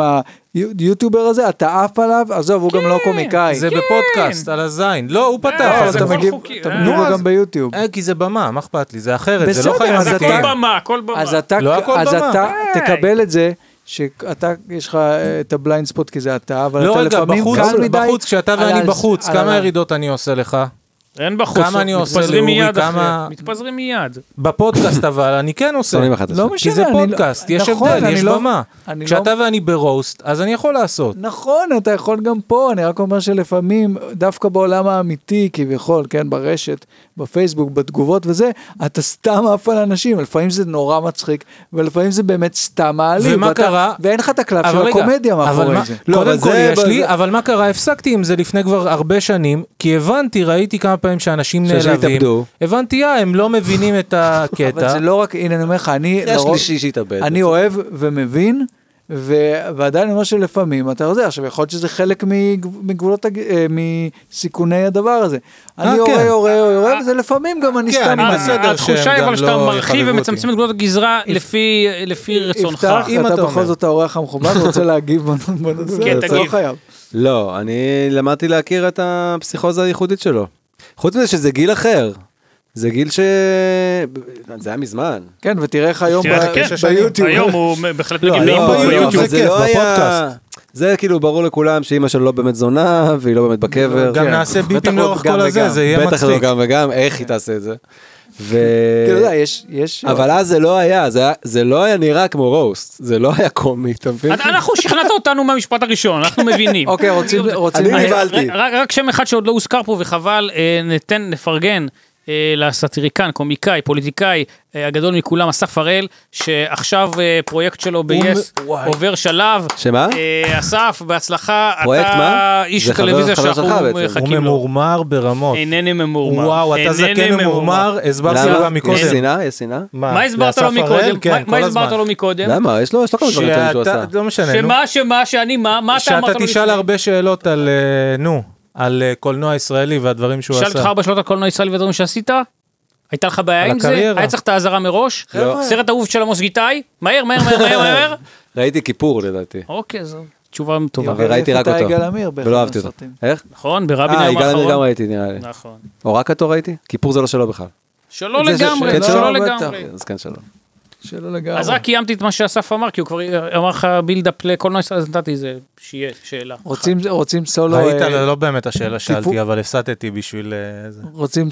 [SPEAKER 2] היוטיובר הזה, אתה עף עליו, עזוב, הוא גם לא קומיקאי.
[SPEAKER 1] כן, זה בפודקאסט, על הזין. לא, הוא פתח.
[SPEAKER 3] אה,
[SPEAKER 2] לא,
[SPEAKER 1] אז
[SPEAKER 3] זה
[SPEAKER 2] אתה
[SPEAKER 1] זה-
[SPEAKER 3] הכל
[SPEAKER 2] מגיב,
[SPEAKER 3] חוקי,
[SPEAKER 2] אתה
[SPEAKER 3] אה.
[SPEAKER 2] מגיב
[SPEAKER 1] נו,
[SPEAKER 2] לו
[SPEAKER 1] אז-
[SPEAKER 2] גם ביוטיוב.
[SPEAKER 1] אה, כי זה במה, מה אכפת לי? זה אחרת, זה
[SPEAKER 2] בסדר,
[SPEAKER 1] לא חיים
[SPEAKER 2] אז
[SPEAKER 3] כל
[SPEAKER 2] אתה-
[SPEAKER 1] אמיתיים.
[SPEAKER 3] במה, כל במה.
[SPEAKER 2] אז אתה,
[SPEAKER 1] לא הכל
[SPEAKER 2] אז
[SPEAKER 1] במה.
[SPEAKER 2] אתה
[SPEAKER 3] היי.
[SPEAKER 2] תקבל את זה. שאתה, יש לך אה, את הבליינד ספוט כי זה אתה, אבל
[SPEAKER 1] לא,
[SPEAKER 2] אתה
[SPEAKER 1] רגע,
[SPEAKER 2] לפעמים
[SPEAKER 1] בחוץ,
[SPEAKER 2] קל מדי.
[SPEAKER 1] בחוץ, כשאתה
[SPEAKER 2] על
[SPEAKER 1] ואני
[SPEAKER 2] הז-
[SPEAKER 1] בחוץ,
[SPEAKER 2] על
[SPEAKER 1] כמה
[SPEAKER 2] ה-
[SPEAKER 1] ירידות אני עושה לך?
[SPEAKER 3] אין בחוץ,
[SPEAKER 1] כמה אני עושה
[SPEAKER 3] מתפזרים
[SPEAKER 1] לאורי,
[SPEAKER 3] מיד
[SPEAKER 1] כמה-
[SPEAKER 3] אחרי- מתפזרים מיד.
[SPEAKER 1] בפודקאסט אבל, אני כן עושה.
[SPEAKER 4] שונאים אחד את
[SPEAKER 2] לא
[SPEAKER 4] השני.
[SPEAKER 2] משנה,
[SPEAKER 1] כי זה
[SPEAKER 2] אני לא-
[SPEAKER 1] פודקאסט, יש
[SPEAKER 2] נכון,
[SPEAKER 1] הבדל,
[SPEAKER 2] אני
[SPEAKER 1] יש
[SPEAKER 2] לא-
[SPEAKER 1] במה.
[SPEAKER 2] אני לא-
[SPEAKER 1] כשאתה ואני ברוסט, אז אני יכול לעשות.
[SPEAKER 2] נכון, אתה יכול גם פה, אני רק אומר שלפעמים, דווקא בעולם האמיתי כביכול, כן, ברשת, בפייסבוק, בתגובות וזה, אתה סתם עף על אנשים, לפעמים זה נורא מצחיק, ולפעמים זה באמת סתם מעליב.
[SPEAKER 1] ומה
[SPEAKER 2] ואתה-
[SPEAKER 1] קרה?
[SPEAKER 2] ואין לך את הקלף
[SPEAKER 1] אבל
[SPEAKER 2] של
[SPEAKER 1] רגע,
[SPEAKER 2] הקומדיה
[SPEAKER 1] אבל
[SPEAKER 2] מאחורי
[SPEAKER 1] מה-
[SPEAKER 2] זה.
[SPEAKER 4] לא, אבל
[SPEAKER 1] קודם כל
[SPEAKER 4] זה-
[SPEAKER 1] יש לי,
[SPEAKER 4] זה-
[SPEAKER 1] אבל מה קרה? הפסקתי עם זה לפני כבר הרבה שנים, כי הבנתי, ראיתי כמה פעמים שאנשים
[SPEAKER 4] שאנשים
[SPEAKER 1] נעלבים.
[SPEAKER 4] התאבדו.
[SPEAKER 1] הבנתי, אה, הם לא מבינים את
[SPEAKER 2] אבל
[SPEAKER 1] הקטע.
[SPEAKER 2] זה לא רק, הנה אני אומר לך, אני
[SPEAKER 4] זה
[SPEAKER 2] לרוב,
[SPEAKER 4] השלישי שהתאבד.
[SPEAKER 2] אני אוהב ומבין, ו... ועדיין אני אומר שלפעמים אתה יודע, עכשיו יכול להיות שזה חלק מגב- מגבולות, הג... אה, מסיכוני הדבר הזה. אני יורה,
[SPEAKER 1] כן.
[SPEAKER 2] יורה, יורה, יורה, וזה לפעמים גם אני
[SPEAKER 1] כן,
[SPEAKER 2] סתם...
[SPEAKER 1] אני
[SPEAKER 2] מעליב.
[SPEAKER 1] בסדר שהם
[SPEAKER 3] אה, התחושה היא
[SPEAKER 1] גם
[SPEAKER 3] אבל שאתה
[SPEAKER 1] לא
[SPEAKER 3] מרחיב
[SPEAKER 1] יחבבו אותי.
[SPEAKER 3] ומצמצם את גבולות הגזרה לפי- לפי רצונך.
[SPEAKER 2] יפתח,
[SPEAKER 1] אם אתה
[SPEAKER 2] אתה בכל
[SPEAKER 1] אומר.
[SPEAKER 2] זאת האורח המכובד, רוצה להגיב בנ- בנושא,
[SPEAKER 3] כן,
[SPEAKER 2] אתה לא
[SPEAKER 3] תגיב.
[SPEAKER 2] חייב.
[SPEAKER 4] לא, אני למדתי להכיר את הפסיכוזה הייחודית שלו. חוץ מזה שזה גיל אחר. זה גיל ש... זה היה מזמן.
[SPEAKER 2] כן, ותראה איך היום
[SPEAKER 3] תראה,
[SPEAKER 2] ב-
[SPEAKER 3] כן,
[SPEAKER 2] ביוטיוב.
[SPEAKER 3] היום הוא בהחלט
[SPEAKER 4] לא,
[SPEAKER 3] מגיב
[SPEAKER 4] לא,
[SPEAKER 1] היום
[SPEAKER 4] לא,
[SPEAKER 3] לאימפקט
[SPEAKER 4] לא,
[SPEAKER 1] ביוטיוב זה
[SPEAKER 4] אבל זה
[SPEAKER 1] כיף,
[SPEAKER 4] לא היה-
[SPEAKER 1] בפודקאסט.
[SPEAKER 4] זה כאילו ברור לכולם שאימא שלו לא באמת זונה, והיא לא באמת בקבר.
[SPEAKER 1] גם
[SPEAKER 4] כן.
[SPEAKER 1] נעשה ביפים
[SPEAKER 2] בטח לא
[SPEAKER 1] לאורך
[SPEAKER 2] גם
[SPEAKER 1] כל הזה,
[SPEAKER 2] וגם.
[SPEAKER 1] זה יהיה
[SPEAKER 4] בטח לא
[SPEAKER 1] מצחיק.
[SPEAKER 4] גם וגם, איך
[SPEAKER 3] כן.
[SPEAKER 4] היא תעשה את זה. ו...
[SPEAKER 2] אתה
[SPEAKER 3] כאילו, לא,
[SPEAKER 2] יודע, יש- יש...
[SPEAKER 4] אבל אז זה לא היה, זה היה- זה לא היה נראה כמו רוסט, זה לא היה קומי, אתה מבין?
[SPEAKER 3] אתה- אה, לא- אנחנו שכנעת אותנו מהמשפט הראשון, אנחנו מבינים.
[SPEAKER 2] אוקיי, רוצים... רוצים-
[SPEAKER 4] אני
[SPEAKER 3] אה,
[SPEAKER 4] נבהלתי.
[SPEAKER 3] רק- רק שם אחד שעוד לא הוזכר פה וחבל, אה, ניתן, נפרגן אה, לסטיריקן, קומיקאי, פוליטיקאי אה, הגדול מכולם, אסף הראל, שעכשיו אה, פרויקט שלו ביס
[SPEAKER 1] מ- וואי.
[SPEAKER 3] עובר שלב.
[SPEAKER 4] שמה?
[SPEAKER 3] אה, אסף, בהצלחה.
[SPEAKER 4] פרויקט
[SPEAKER 3] אתה
[SPEAKER 4] מה?
[SPEAKER 3] איש
[SPEAKER 4] זה חבר-
[SPEAKER 3] הטלוויזיה
[SPEAKER 4] חבר שלך
[SPEAKER 3] שאנחנו
[SPEAKER 4] בעצם. הוא
[SPEAKER 1] הוא
[SPEAKER 3] מחכים לו.
[SPEAKER 1] ממורמר ברמות.
[SPEAKER 3] אינני ממורמר.
[SPEAKER 1] וואו, אתה
[SPEAKER 3] אינני
[SPEAKER 1] זקן ממורמר, הסברתי לו
[SPEAKER 4] למה?
[SPEAKER 1] גם
[SPEAKER 4] יש
[SPEAKER 1] מקודם.
[SPEAKER 4] שנאה? יש שנאה?
[SPEAKER 3] מה הסברת לו
[SPEAKER 1] לאסף הראל?
[SPEAKER 3] מקודם?
[SPEAKER 1] כן,
[SPEAKER 3] מה- מה
[SPEAKER 1] כל
[SPEAKER 3] הסברת
[SPEAKER 1] הזמן.
[SPEAKER 3] לו מקודם?
[SPEAKER 4] למה? יש לו יש לו כמה דברים טובים שהוא
[SPEAKER 1] שאתה-
[SPEAKER 4] עשה.
[SPEAKER 1] לא משנה, נו.
[SPEAKER 3] שמה, שמה, שאני, מה, מה אתה אמרת
[SPEAKER 1] שאתה
[SPEAKER 3] לו
[SPEAKER 1] תשאל
[SPEAKER 3] לפני?
[SPEAKER 1] הרבה שאלות על, אה, נו, על אה, קולנוע ישראלי והדברים שהוא
[SPEAKER 3] שאל
[SPEAKER 1] עשה.
[SPEAKER 3] אותך ארבע שאלות על קולנוע ישראלי ודברים שעשית? הייתה לך
[SPEAKER 1] על
[SPEAKER 3] בעיה עם זה?
[SPEAKER 1] הקריירה.
[SPEAKER 3] היה צריך את האזהרה מראש?
[SPEAKER 4] לא.
[SPEAKER 3] סרט אהוב של עמוס גיטאי? מהר, מהר, מהר, מהר, מהר.
[SPEAKER 1] לא-
[SPEAKER 4] ראיתי כיפור לדעתי.
[SPEAKER 3] אוקיי, זו תשובה טובה.
[SPEAKER 2] יופי.
[SPEAKER 4] אבל ראיתי רק
[SPEAKER 2] איפה הייתה
[SPEAKER 4] אותו.
[SPEAKER 2] יגאל עמיר באחד
[SPEAKER 4] ולא אהבתי אותו.
[SPEAKER 2] מהסרטים?
[SPEAKER 4] איך?
[SPEAKER 3] נכון, ברבין
[SPEAKER 4] אה,
[SPEAKER 3] היום
[SPEAKER 4] יגאל עמיר גם
[SPEAKER 3] האחרון.
[SPEAKER 4] ראיתי נראה לי.
[SPEAKER 3] נכון.
[SPEAKER 4] או רק אותו ראיתי? כיפור זה לא שלו בכלל.
[SPEAKER 3] שלא
[SPEAKER 2] זה ש-
[SPEAKER 3] לגמרי,
[SPEAKER 2] כן,
[SPEAKER 3] שלא
[SPEAKER 2] שלא,
[SPEAKER 3] לגמרי.
[SPEAKER 4] אז כן שלו.
[SPEAKER 2] שלא לגמרי.
[SPEAKER 3] אז רק קיימתי את מה שאסף אמר, כי הוא כבר אמר לך בילדאפ לקולנוע ישראלי, אז נתתי איזה שיהיה שאלה.
[SPEAKER 4] כן,
[SPEAKER 2] רוצים- רוצים סולו...
[SPEAKER 1] ראית,
[SPEAKER 2] אה,
[SPEAKER 1] לא באמת השאלה
[SPEAKER 2] טיפו-
[SPEAKER 1] שאלתי, אבל הסטתי בשביל אה, זה.
[SPEAKER 2] רוצים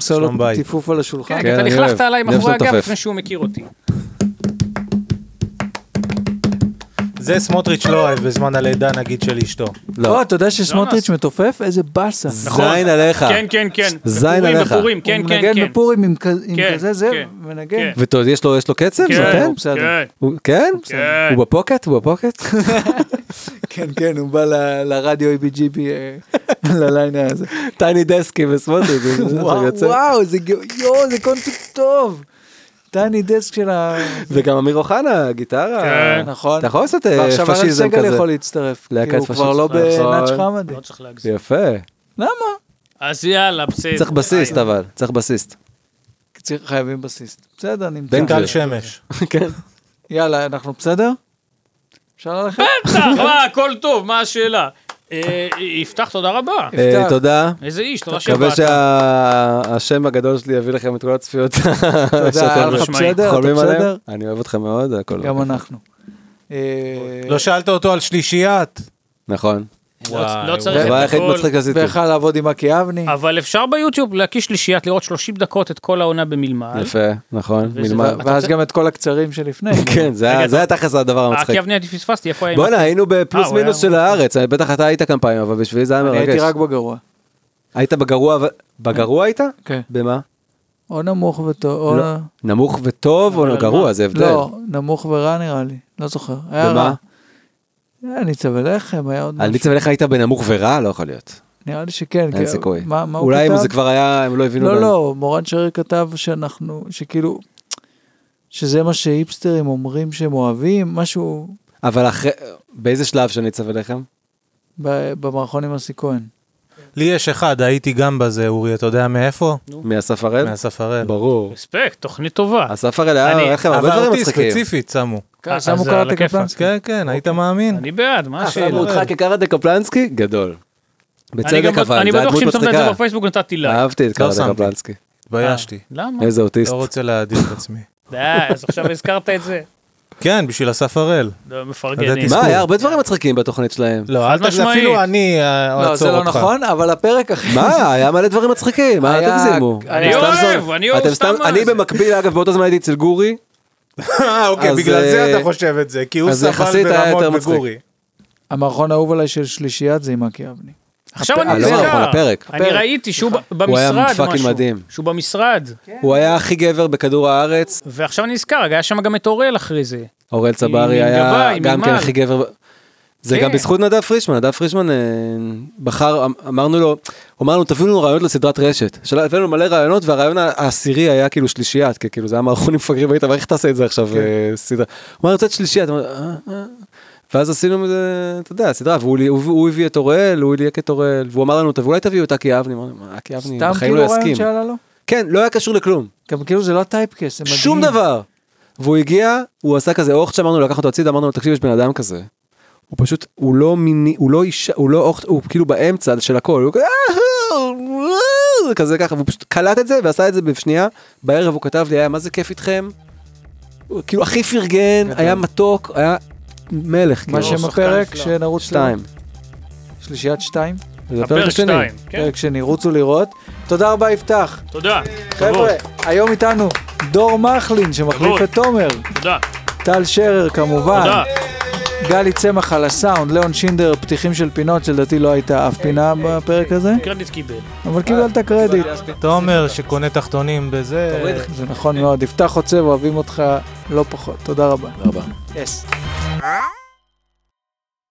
[SPEAKER 1] שלום
[SPEAKER 2] סולו
[SPEAKER 1] בית.
[SPEAKER 2] טיפוף על השולחן.
[SPEAKER 3] כן,
[SPEAKER 4] כן,
[SPEAKER 3] כי אתה
[SPEAKER 4] אני
[SPEAKER 3] לכלכת
[SPEAKER 4] אוהב.
[SPEAKER 3] עליי
[SPEAKER 4] אני אוהב
[SPEAKER 3] מאחורי
[SPEAKER 4] שאתה אה.
[SPEAKER 3] הגב
[SPEAKER 4] מתופף.
[SPEAKER 3] לפני שהוא מכיר אותי.
[SPEAKER 1] זה סמוטריץ' לא אוהב בזמן הלידה, נגיד, של אשתו.
[SPEAKER 2] לא, אתה יודע שסמוטריץ' מתופף? איזה באסה.
[SPEAKER 4] זין עליך.
[SPEAKER 3] כן, כן, כן.
[SPEAKER 4] זין
[SPEAKER 3] בפורים,
[SPEAKER 4] עליך.
[SPEAKER 3] בפורים, כן,
[SPEAKER 2] הוא
[SPEAKER 3] כן,
[SPEAKER 2] מנגן
[SPEAKER 3] כן.
[SPEAKER 2] בפורים עם כ- עם
[SPEAKER 3] כן,
[SPEAKER 2] כזה זה,
[SPEAKER 3] כן,
[SPEAKER 2] מנגן.
[SPEAKER 3] כן.
[SPEAKER 4] ואתה יודע, יש לו- יש לו קצב?
[SPEAKER 3] כן,
[SPEAKER 4] כן.
[SPEAKER 2] בסדר.
[SPEAKER 3] כן.
[SPEAKER 4] כן?
[SPEAKER 3] כן.
[SPEAKER 4] הוא בפוקט? הוא בפוקט?
[SPEAKER 2] כן, כן, הוא בא ל- לרדיו ABGB, אה, לליין הזה.
[SPEAKER 4] טייני דסקי וסמוטריץ'. זה
[SPEAKER 2] וואו,
[SPEAKER 4] יוצא.
[SPEAKER 2] וואו, זה גאו- יואו, זה קונספט טוב. טייני דסק של ה...
[SPEAKER 4] וגם אמיר אוחנה, גיטרה.
[SPEAKER 3] כן.
[SPEAKER 2] נכון.
[SPEAKER 4] אתה יכול לעשות אה,
[SPEAKER 2] ועכשיו אראל
[SPEAKER 4] פשיזם
[SPEAKER 2] סגל
[SPEAKER 4] כזה.
[SPEAKER 2] יכול להצטרף.
[SPEAKER 4] להקת
[SPEAKER 2] כי הוא כבר
[SPEAKER 4] פשיזם. נכון.
[SPEAKER 2] לא בנאץ' חמאדה.
[SPEAKER 3] לא צריך להגזים.
[SPEAKER 4] יפה.
[SPEAKER 2] למה?
[SPEAKER 3] אז יאללה, בסדר.
[SPEAKER 4] צריך בסיסט אבל, צריך בסיסט.
[SPEAKER 2] צריך- חייבים בסיסט. בסדר, נמצא.
[SPEAKER 4] בן
[SPEAKER 1] טל
[SPEAKER 4] גביר.
[SPEAKER 1] שמש.
[SPEAKER 4] כן.
[SPEAKER 2] יאללה, אנחנו בסדר? אפשר ללכת?
[SPEAKER 4] אה,
[SPEAKER 3] בטח, מה, אה, הכל טוב, מה השאלה? אה, יפתח, תודה רבה.
[SPEAKER 4] אה,
[SPEAKER 2] יפתח.
[SPEAKER 4] תודה.
[SPEAKER 3] איזה איש, תודה
[SPEAKER 4] מקווה
[SPEAKER 3] שבאת.
[SPEAKER 4] שהשם הגדול שלי יביא לכם את כל הצפיות
[SPEAKER 2] תודה, היה לך
[SPEAKER 3] משמעית.
[SPEAKER 2] בסדר? אתה
[SPEAKER 4] חולמים עליהם. לא,
[SPEAKER 2] בסדר?
[SPEAKER 4] אני אוהב אתכם מאוד, הכל.
[SPEAKER 2] גם
[SPEAKER 4] בסדר.
[SPEAKER 2] אנחנו. אה,
[SPEAKER 1] לא שאלת אותו על שלישיית?
[SPEAKER 4] נכון.
[SPEAKER 3] לא- לא צריך
[SPEAKER 4] הדבר היחיד
[SPEAKER 3] הכל,
[SPEAKER 4] מצחיק שעשיתי.
[SPEAKER 2] ויכל לעבוד עם אקי אבני.
[SPEAKER 3] אבל אפשר ביוטיוב להקיש שלישיית, לראות 30 דקות את כל העונה במלמל.
[SPEAKER 4] יפה, נכון.
[SPEAKER 3] וזה-
[SPEAKER 4] מלמד.
[SPEAKER 3] אתה
[SPEAKER 2] ואז
[SPEAKER 3] רוצה-
[SPEAKER 2] גם את כל הקצרים שלפני.
[SPEAKER 4] כן, זה היה-
[SPEAKER 3] רגע,
[SPEAKER 4] זה היה תכלס הדבר
[SPEAKER 3] אה, כי
[SPEAKER 4] המצחיק.
[SPEAKER 3] אבני אני פספסתי, איפה היה?
[SPEAKER 4] בואנה, היינו בפלוס
[SPEAKER 3] אה, הוא
[SPEAKER 4] מינוס
[SPEAKER 3] היה-
[SPEAKER 4] של הארץ, בטח אתה היית כמה פעמים, אבל בשבילי זה היה
[SPEAKER 2] אני הייתי
[SPEAKER 4] מרגש.
[SPEAKER 2] רק בגרוע.
[SPEAKER 4] היית בגרוע, ו- בגרוע היית?
[SPEAKER 2] כן.
[SPEAKER 4] במה?
[SPEAKER 2] או נמוך וטוב, או... אה,
[SPEAKER 4] לא. נמוך וטוב או
[SPEAKER 3] אבל
[SPEAKER 4] גרוע,
[SPEAKER 3] מה?
[SPEAKER 4] זה הבדל.
[SPEAKER 2] לא, נמוך ורע נראה לי, לא זוכר. לא, היה
[SPEAKER 4] במה?
[SPEAKER 2] רע. היה ניצה ולחם, היה עוד
[SPEAKER 4] על
[SPEAKER 2] משהו.
[SPEAKER 4] מיצה ולחם היית בנמוך ורע? לא יכול להיות.
[SPEAKER 2] נראה לי שכן.
[SPEAKER 4] אין
[SPEAKER 2] כי-
[SPEAKER 4] סיכוי.
[SPEAKER 2] מה מה הוא כתב?
[SPEAKER 4] אולי אם זה כבר היה, הם לא הבינו.
[SPEAKER 2] לא,
[SPEAKER 4] ב-
[SPEAKER 2] לא, מורן שרי כתב שאנחנו, שכאילו, שזה מה שהיפסטרים אומרים שהם אוהבים, משהו
[SPEAKER 4] אבל אחרי, באיזה שלב של ניצה ולחם?
[SPEAKER 2] ב- במערכון עם אסי כהן.
[SPEAKER 1] לי יש אחד, הייתי גם בזה, אורי, אתה יודע מאיפה?
[SPEAKER 4] מאסף הראל?
[SPEAKER 1] מאסף הראל.
[SPEAKER 4] ברור.
[SPEAKER 3] אספקט, תוכנית טובה.
[SPEAKER 4] אסף הראל היה
[SPEAKER 3] אני-
[SPEAKER 4] רחם, הרבה
[SPEAKER 1] אבל
[SPEAKER 4] דברים
[SPEAKER 1] אותי
[SPEAKER 4] מצחיקים.
[SPEAKER 1] ספציפית שמו.
[SPEAKER 2] כן,
[SPEAKER 3] אז
[SPEAKER 2] שמו
[SPEAKER 3] זה על
[SPEAKER 2] קראטה
[SPEAKER 3] הכיפאק.
[SPEAKER 2] קפלנסקי.
[SPEAKER 1] כן, כן, היית מאמין?
[SPEAKER 3] אני בעד, מה
[SPEAKER 4] אה, שמו
[SPEAKER 3] השאלה?
[SPEAKER 4] אותך כקרדה קפלנסקי? גדול.
[SPEAKER 3] אני
[SPEAKER 4] בצדק
[SPEAKER 3] גם- לא-
[SPEAKER 4] אבל,
[SPEAKER 3] אני
[SPEAKER 4] זה היה
[SPEAKER 3] בטוח שאם
[SPEAKER 4] דמות
[SPEAKER 3] שמת את זה
[SPEAKER 4] מצחיקה.
[SPEAKER 3] בפייסבוק נתתי לייק. אה,
[SPEAKER 4] אהבתי את
[SPEAKER 1] לא
[SPEAKER 4] קרדה
[SPEAKER 1] שמתי.
[SPEAKER 4] קפלנסקי.
[SPEAKER 1] התביישתי.
[SPEAKER 3] למה?
[SPEAKER 4] אה, איזה אוטיסט.
[SPEAKER 1] לא רוצה להדיר את עצמי.
[SPEAKER 3] די, אז עכשיו הזכרת את זה.
[SPEAKER 1] כן, בשביל אסף הראל.
[SPEAKER 3] לא,
[SPEAKER 1] ידעתי
[SPEAKER 3] מפרגנים.
[SPEAKER 4] מה,
[SPEAKER 1] תזכור.
[SPEAKER 4] היה הרבה דברים מצחיקים בתוכנית שלהם.
[SPEAKER 1] לא, אל תגיד,
[SPEAKER 3] משמעית.
[SPEAKER 1] אפילו אני אה,
[SPEAKER 2] לא, זה
[SPEAKER 1] אעצור
[SPEAKER 2] לא
[SPEAKER 1] אותך.
[SPEAKER 2] נכון, אבל הפרק אחרי...
[SPEAKER 4] מה, היה מלא דברים מצחיקים, מה, אל
[SPEAKER 2] היה-
[SPEAKER 4] תגזימו.
[SPEAKER 2] אני
[SPEAKER 4] אתם
[SPEAKER 3] אוהב,
[SPEAKER 4] סתם-
[SPEAKER 3] אני אוהב
[SPEAKER 4] אתם
[SPEAKER 3] סתם מה
[SPEAKER 4] אני
[SPEAKER 3] זה.
[SPEAKER 4] במקביל, אגב, באותו זמן הייתי אצל גורי.
[SPEAKER 1] אה, אוקיי,
[SPEAKER 4] אז,
[SPEAKER 1] בגלל
[SPEAKER 4] אה,
[SPEAKER 1] זה אתה חושב את זה, כי הוא
[SPEAKER 4] אז יחסית
[SPEAKER 1] סבל
[SPEAKER 4] היה יותר
[SPEAKER 1] ברמות
[SPEAKER 4] מצחיק.
[SPEAKER 1] בגורי.
[SPEAKER 2] המערכון האהוב עליי של שלישיית זה עם אקי אבני.
[SPEAKER 3] עכשיו אני
[SPEAKER 4] אה, לא, נכון,
[SPEAKER 3] נזכר.
[SPEAKER 4] הפרק.
[SPEAKER 3] אני ראיתי שהוא ב-
[SPEAKER 4] הוא היה
[SPEAKER 3] במשרד
[SPEAKER 4] פאקינג
[SPEAKER 3] משהו.
[SPEAKER 4] מדהים.
[SPEAKER 3] שהוא במשרד.
[SPEAKER 2] כן.
[SPEAKER 4] הוא היה הכי גבר בכדור הארץ,
[SPEAKER 3] ועכשיו אני נזכר, היה שם גם את אוראל אחרי זה.
[SPEAKER 4] אוראל צברי
[SPEAKER 3] עם
[SPEAKER 4] היה
[SPEAKER 3] גבאי,
[SPEAKER 4] גם
[SPEAKER 3] מימן.
[SPEAKER 4] כן הכי גבר. ב- זה
[SPEAKER 3] כן.
[SPEAKER 4] גם בזכות נדב פרישמן, נדב פרישמן אה, בחר, אמ- אמרנו לו, הוא אמר לנו תביאו לנו רעיונות לסדרת רשת. של- הבאנו מלא רעיונות והרעיון העשירי היה כאילו שלישיית, כי כאילו זה היה מערכונים מפגרים, היית, אבל איך תעשה את זה עכשיו
[SPEAKER 3] כן.
[SPEAKER 4] אה, סדרה? הוא אמר, אני רוצה את שלישיית, אמר, "אה, אה." ואז עשינו מזה, אתה יודע, סדרה, והוא הוא- הוא הביא את אוראל, הוא הליק את אוראל, והוא אמר לנו, "טוב, אולי תביאו את אקי אבני, אמרנו, "מה, אקי אבני
[SPEAKER 2] סתם
[SPEAKER 4] בחיים
[SPEAKER 2] כאילו
[SPEAKER 4] לא
[SPEAKER 2] רעיון
[SPEAKER 4] יסכים.
[SPEAKER 2] שעלה לו?
[SPEAKER 4] כן, לא היה קשור לכלום.
[SPEAKER 2] גם כאילו זה לא טייפקס, זה מדהים.
[SPEAKER 4] שום דבר. והוא הגיע, הוא עשה כזה אוכט שאמרנו, לקח אותו הצידה, אמרנו לו, תקשיב, יש בן אדם כזה. הוא פשוט, הוא לא מיני, הוא לא אישה, הוא לא אוכט, הוא כאילו באמצע של הכל, הוא כזה, "אה, אה", כזה ככה, והוא פשוט קלט את זה ועשה את זה בשנייה, בערב הוא כתב לי, היה מה זה כיף איתכם, הוא כאילו הכי פרגן, היה מתוק, היה מלך,
[SPEAKER 2] כן, מה
[SPEAKER 4] כאילו.
[SPEAKER 2] שם הפרק
[SPEAKER 3] לא, נפלא.
[SPEAKER 2] שנרוץ
[SPEAKER 4] שתיים.
[SPEAKER 2] לראות? שלישיית שתיים?
[SPEAKER 3] הפרק
[SPEAKER 4] זה הפרק השני.
[SPEAKER 3] שתיים. כן.
[SPEAKER 2] פרק שנרוצו לראות. תודה רבה יפתח.
[SPEAKER 3] תודה.
[SPEAKER 2] חבר'ה, היום איתנו דור מחלין שמחליף
[SPEAKER 3] כבוד.
[SPEAKER 2] את תומר.
[SPEAKER 3] תודה.
[SPEAKER 2] טל שרר כמובן.
[SPEAKER 3] תודה.
[SPEAKER 2] גלי צמח על הסאונד, ליאון שינדר, פתיחים של פינות שלדעתי לא הייתה אף פינה בפרק הזה,
[SPEAKER 3] קרדיט קיבל.
[SPEAKER 2] אבל קיבלת קרדיט.
[SPEAKER 1] תומר שקונה תחתונים בזה...
[SPEAKER 2] זה נכון מאוד. יפתח חוצב, אוהבים אותך לא פחות. תודה רבה.
[SPEAKER 4] תודה רבה.
[SPEAKER 2] Yes.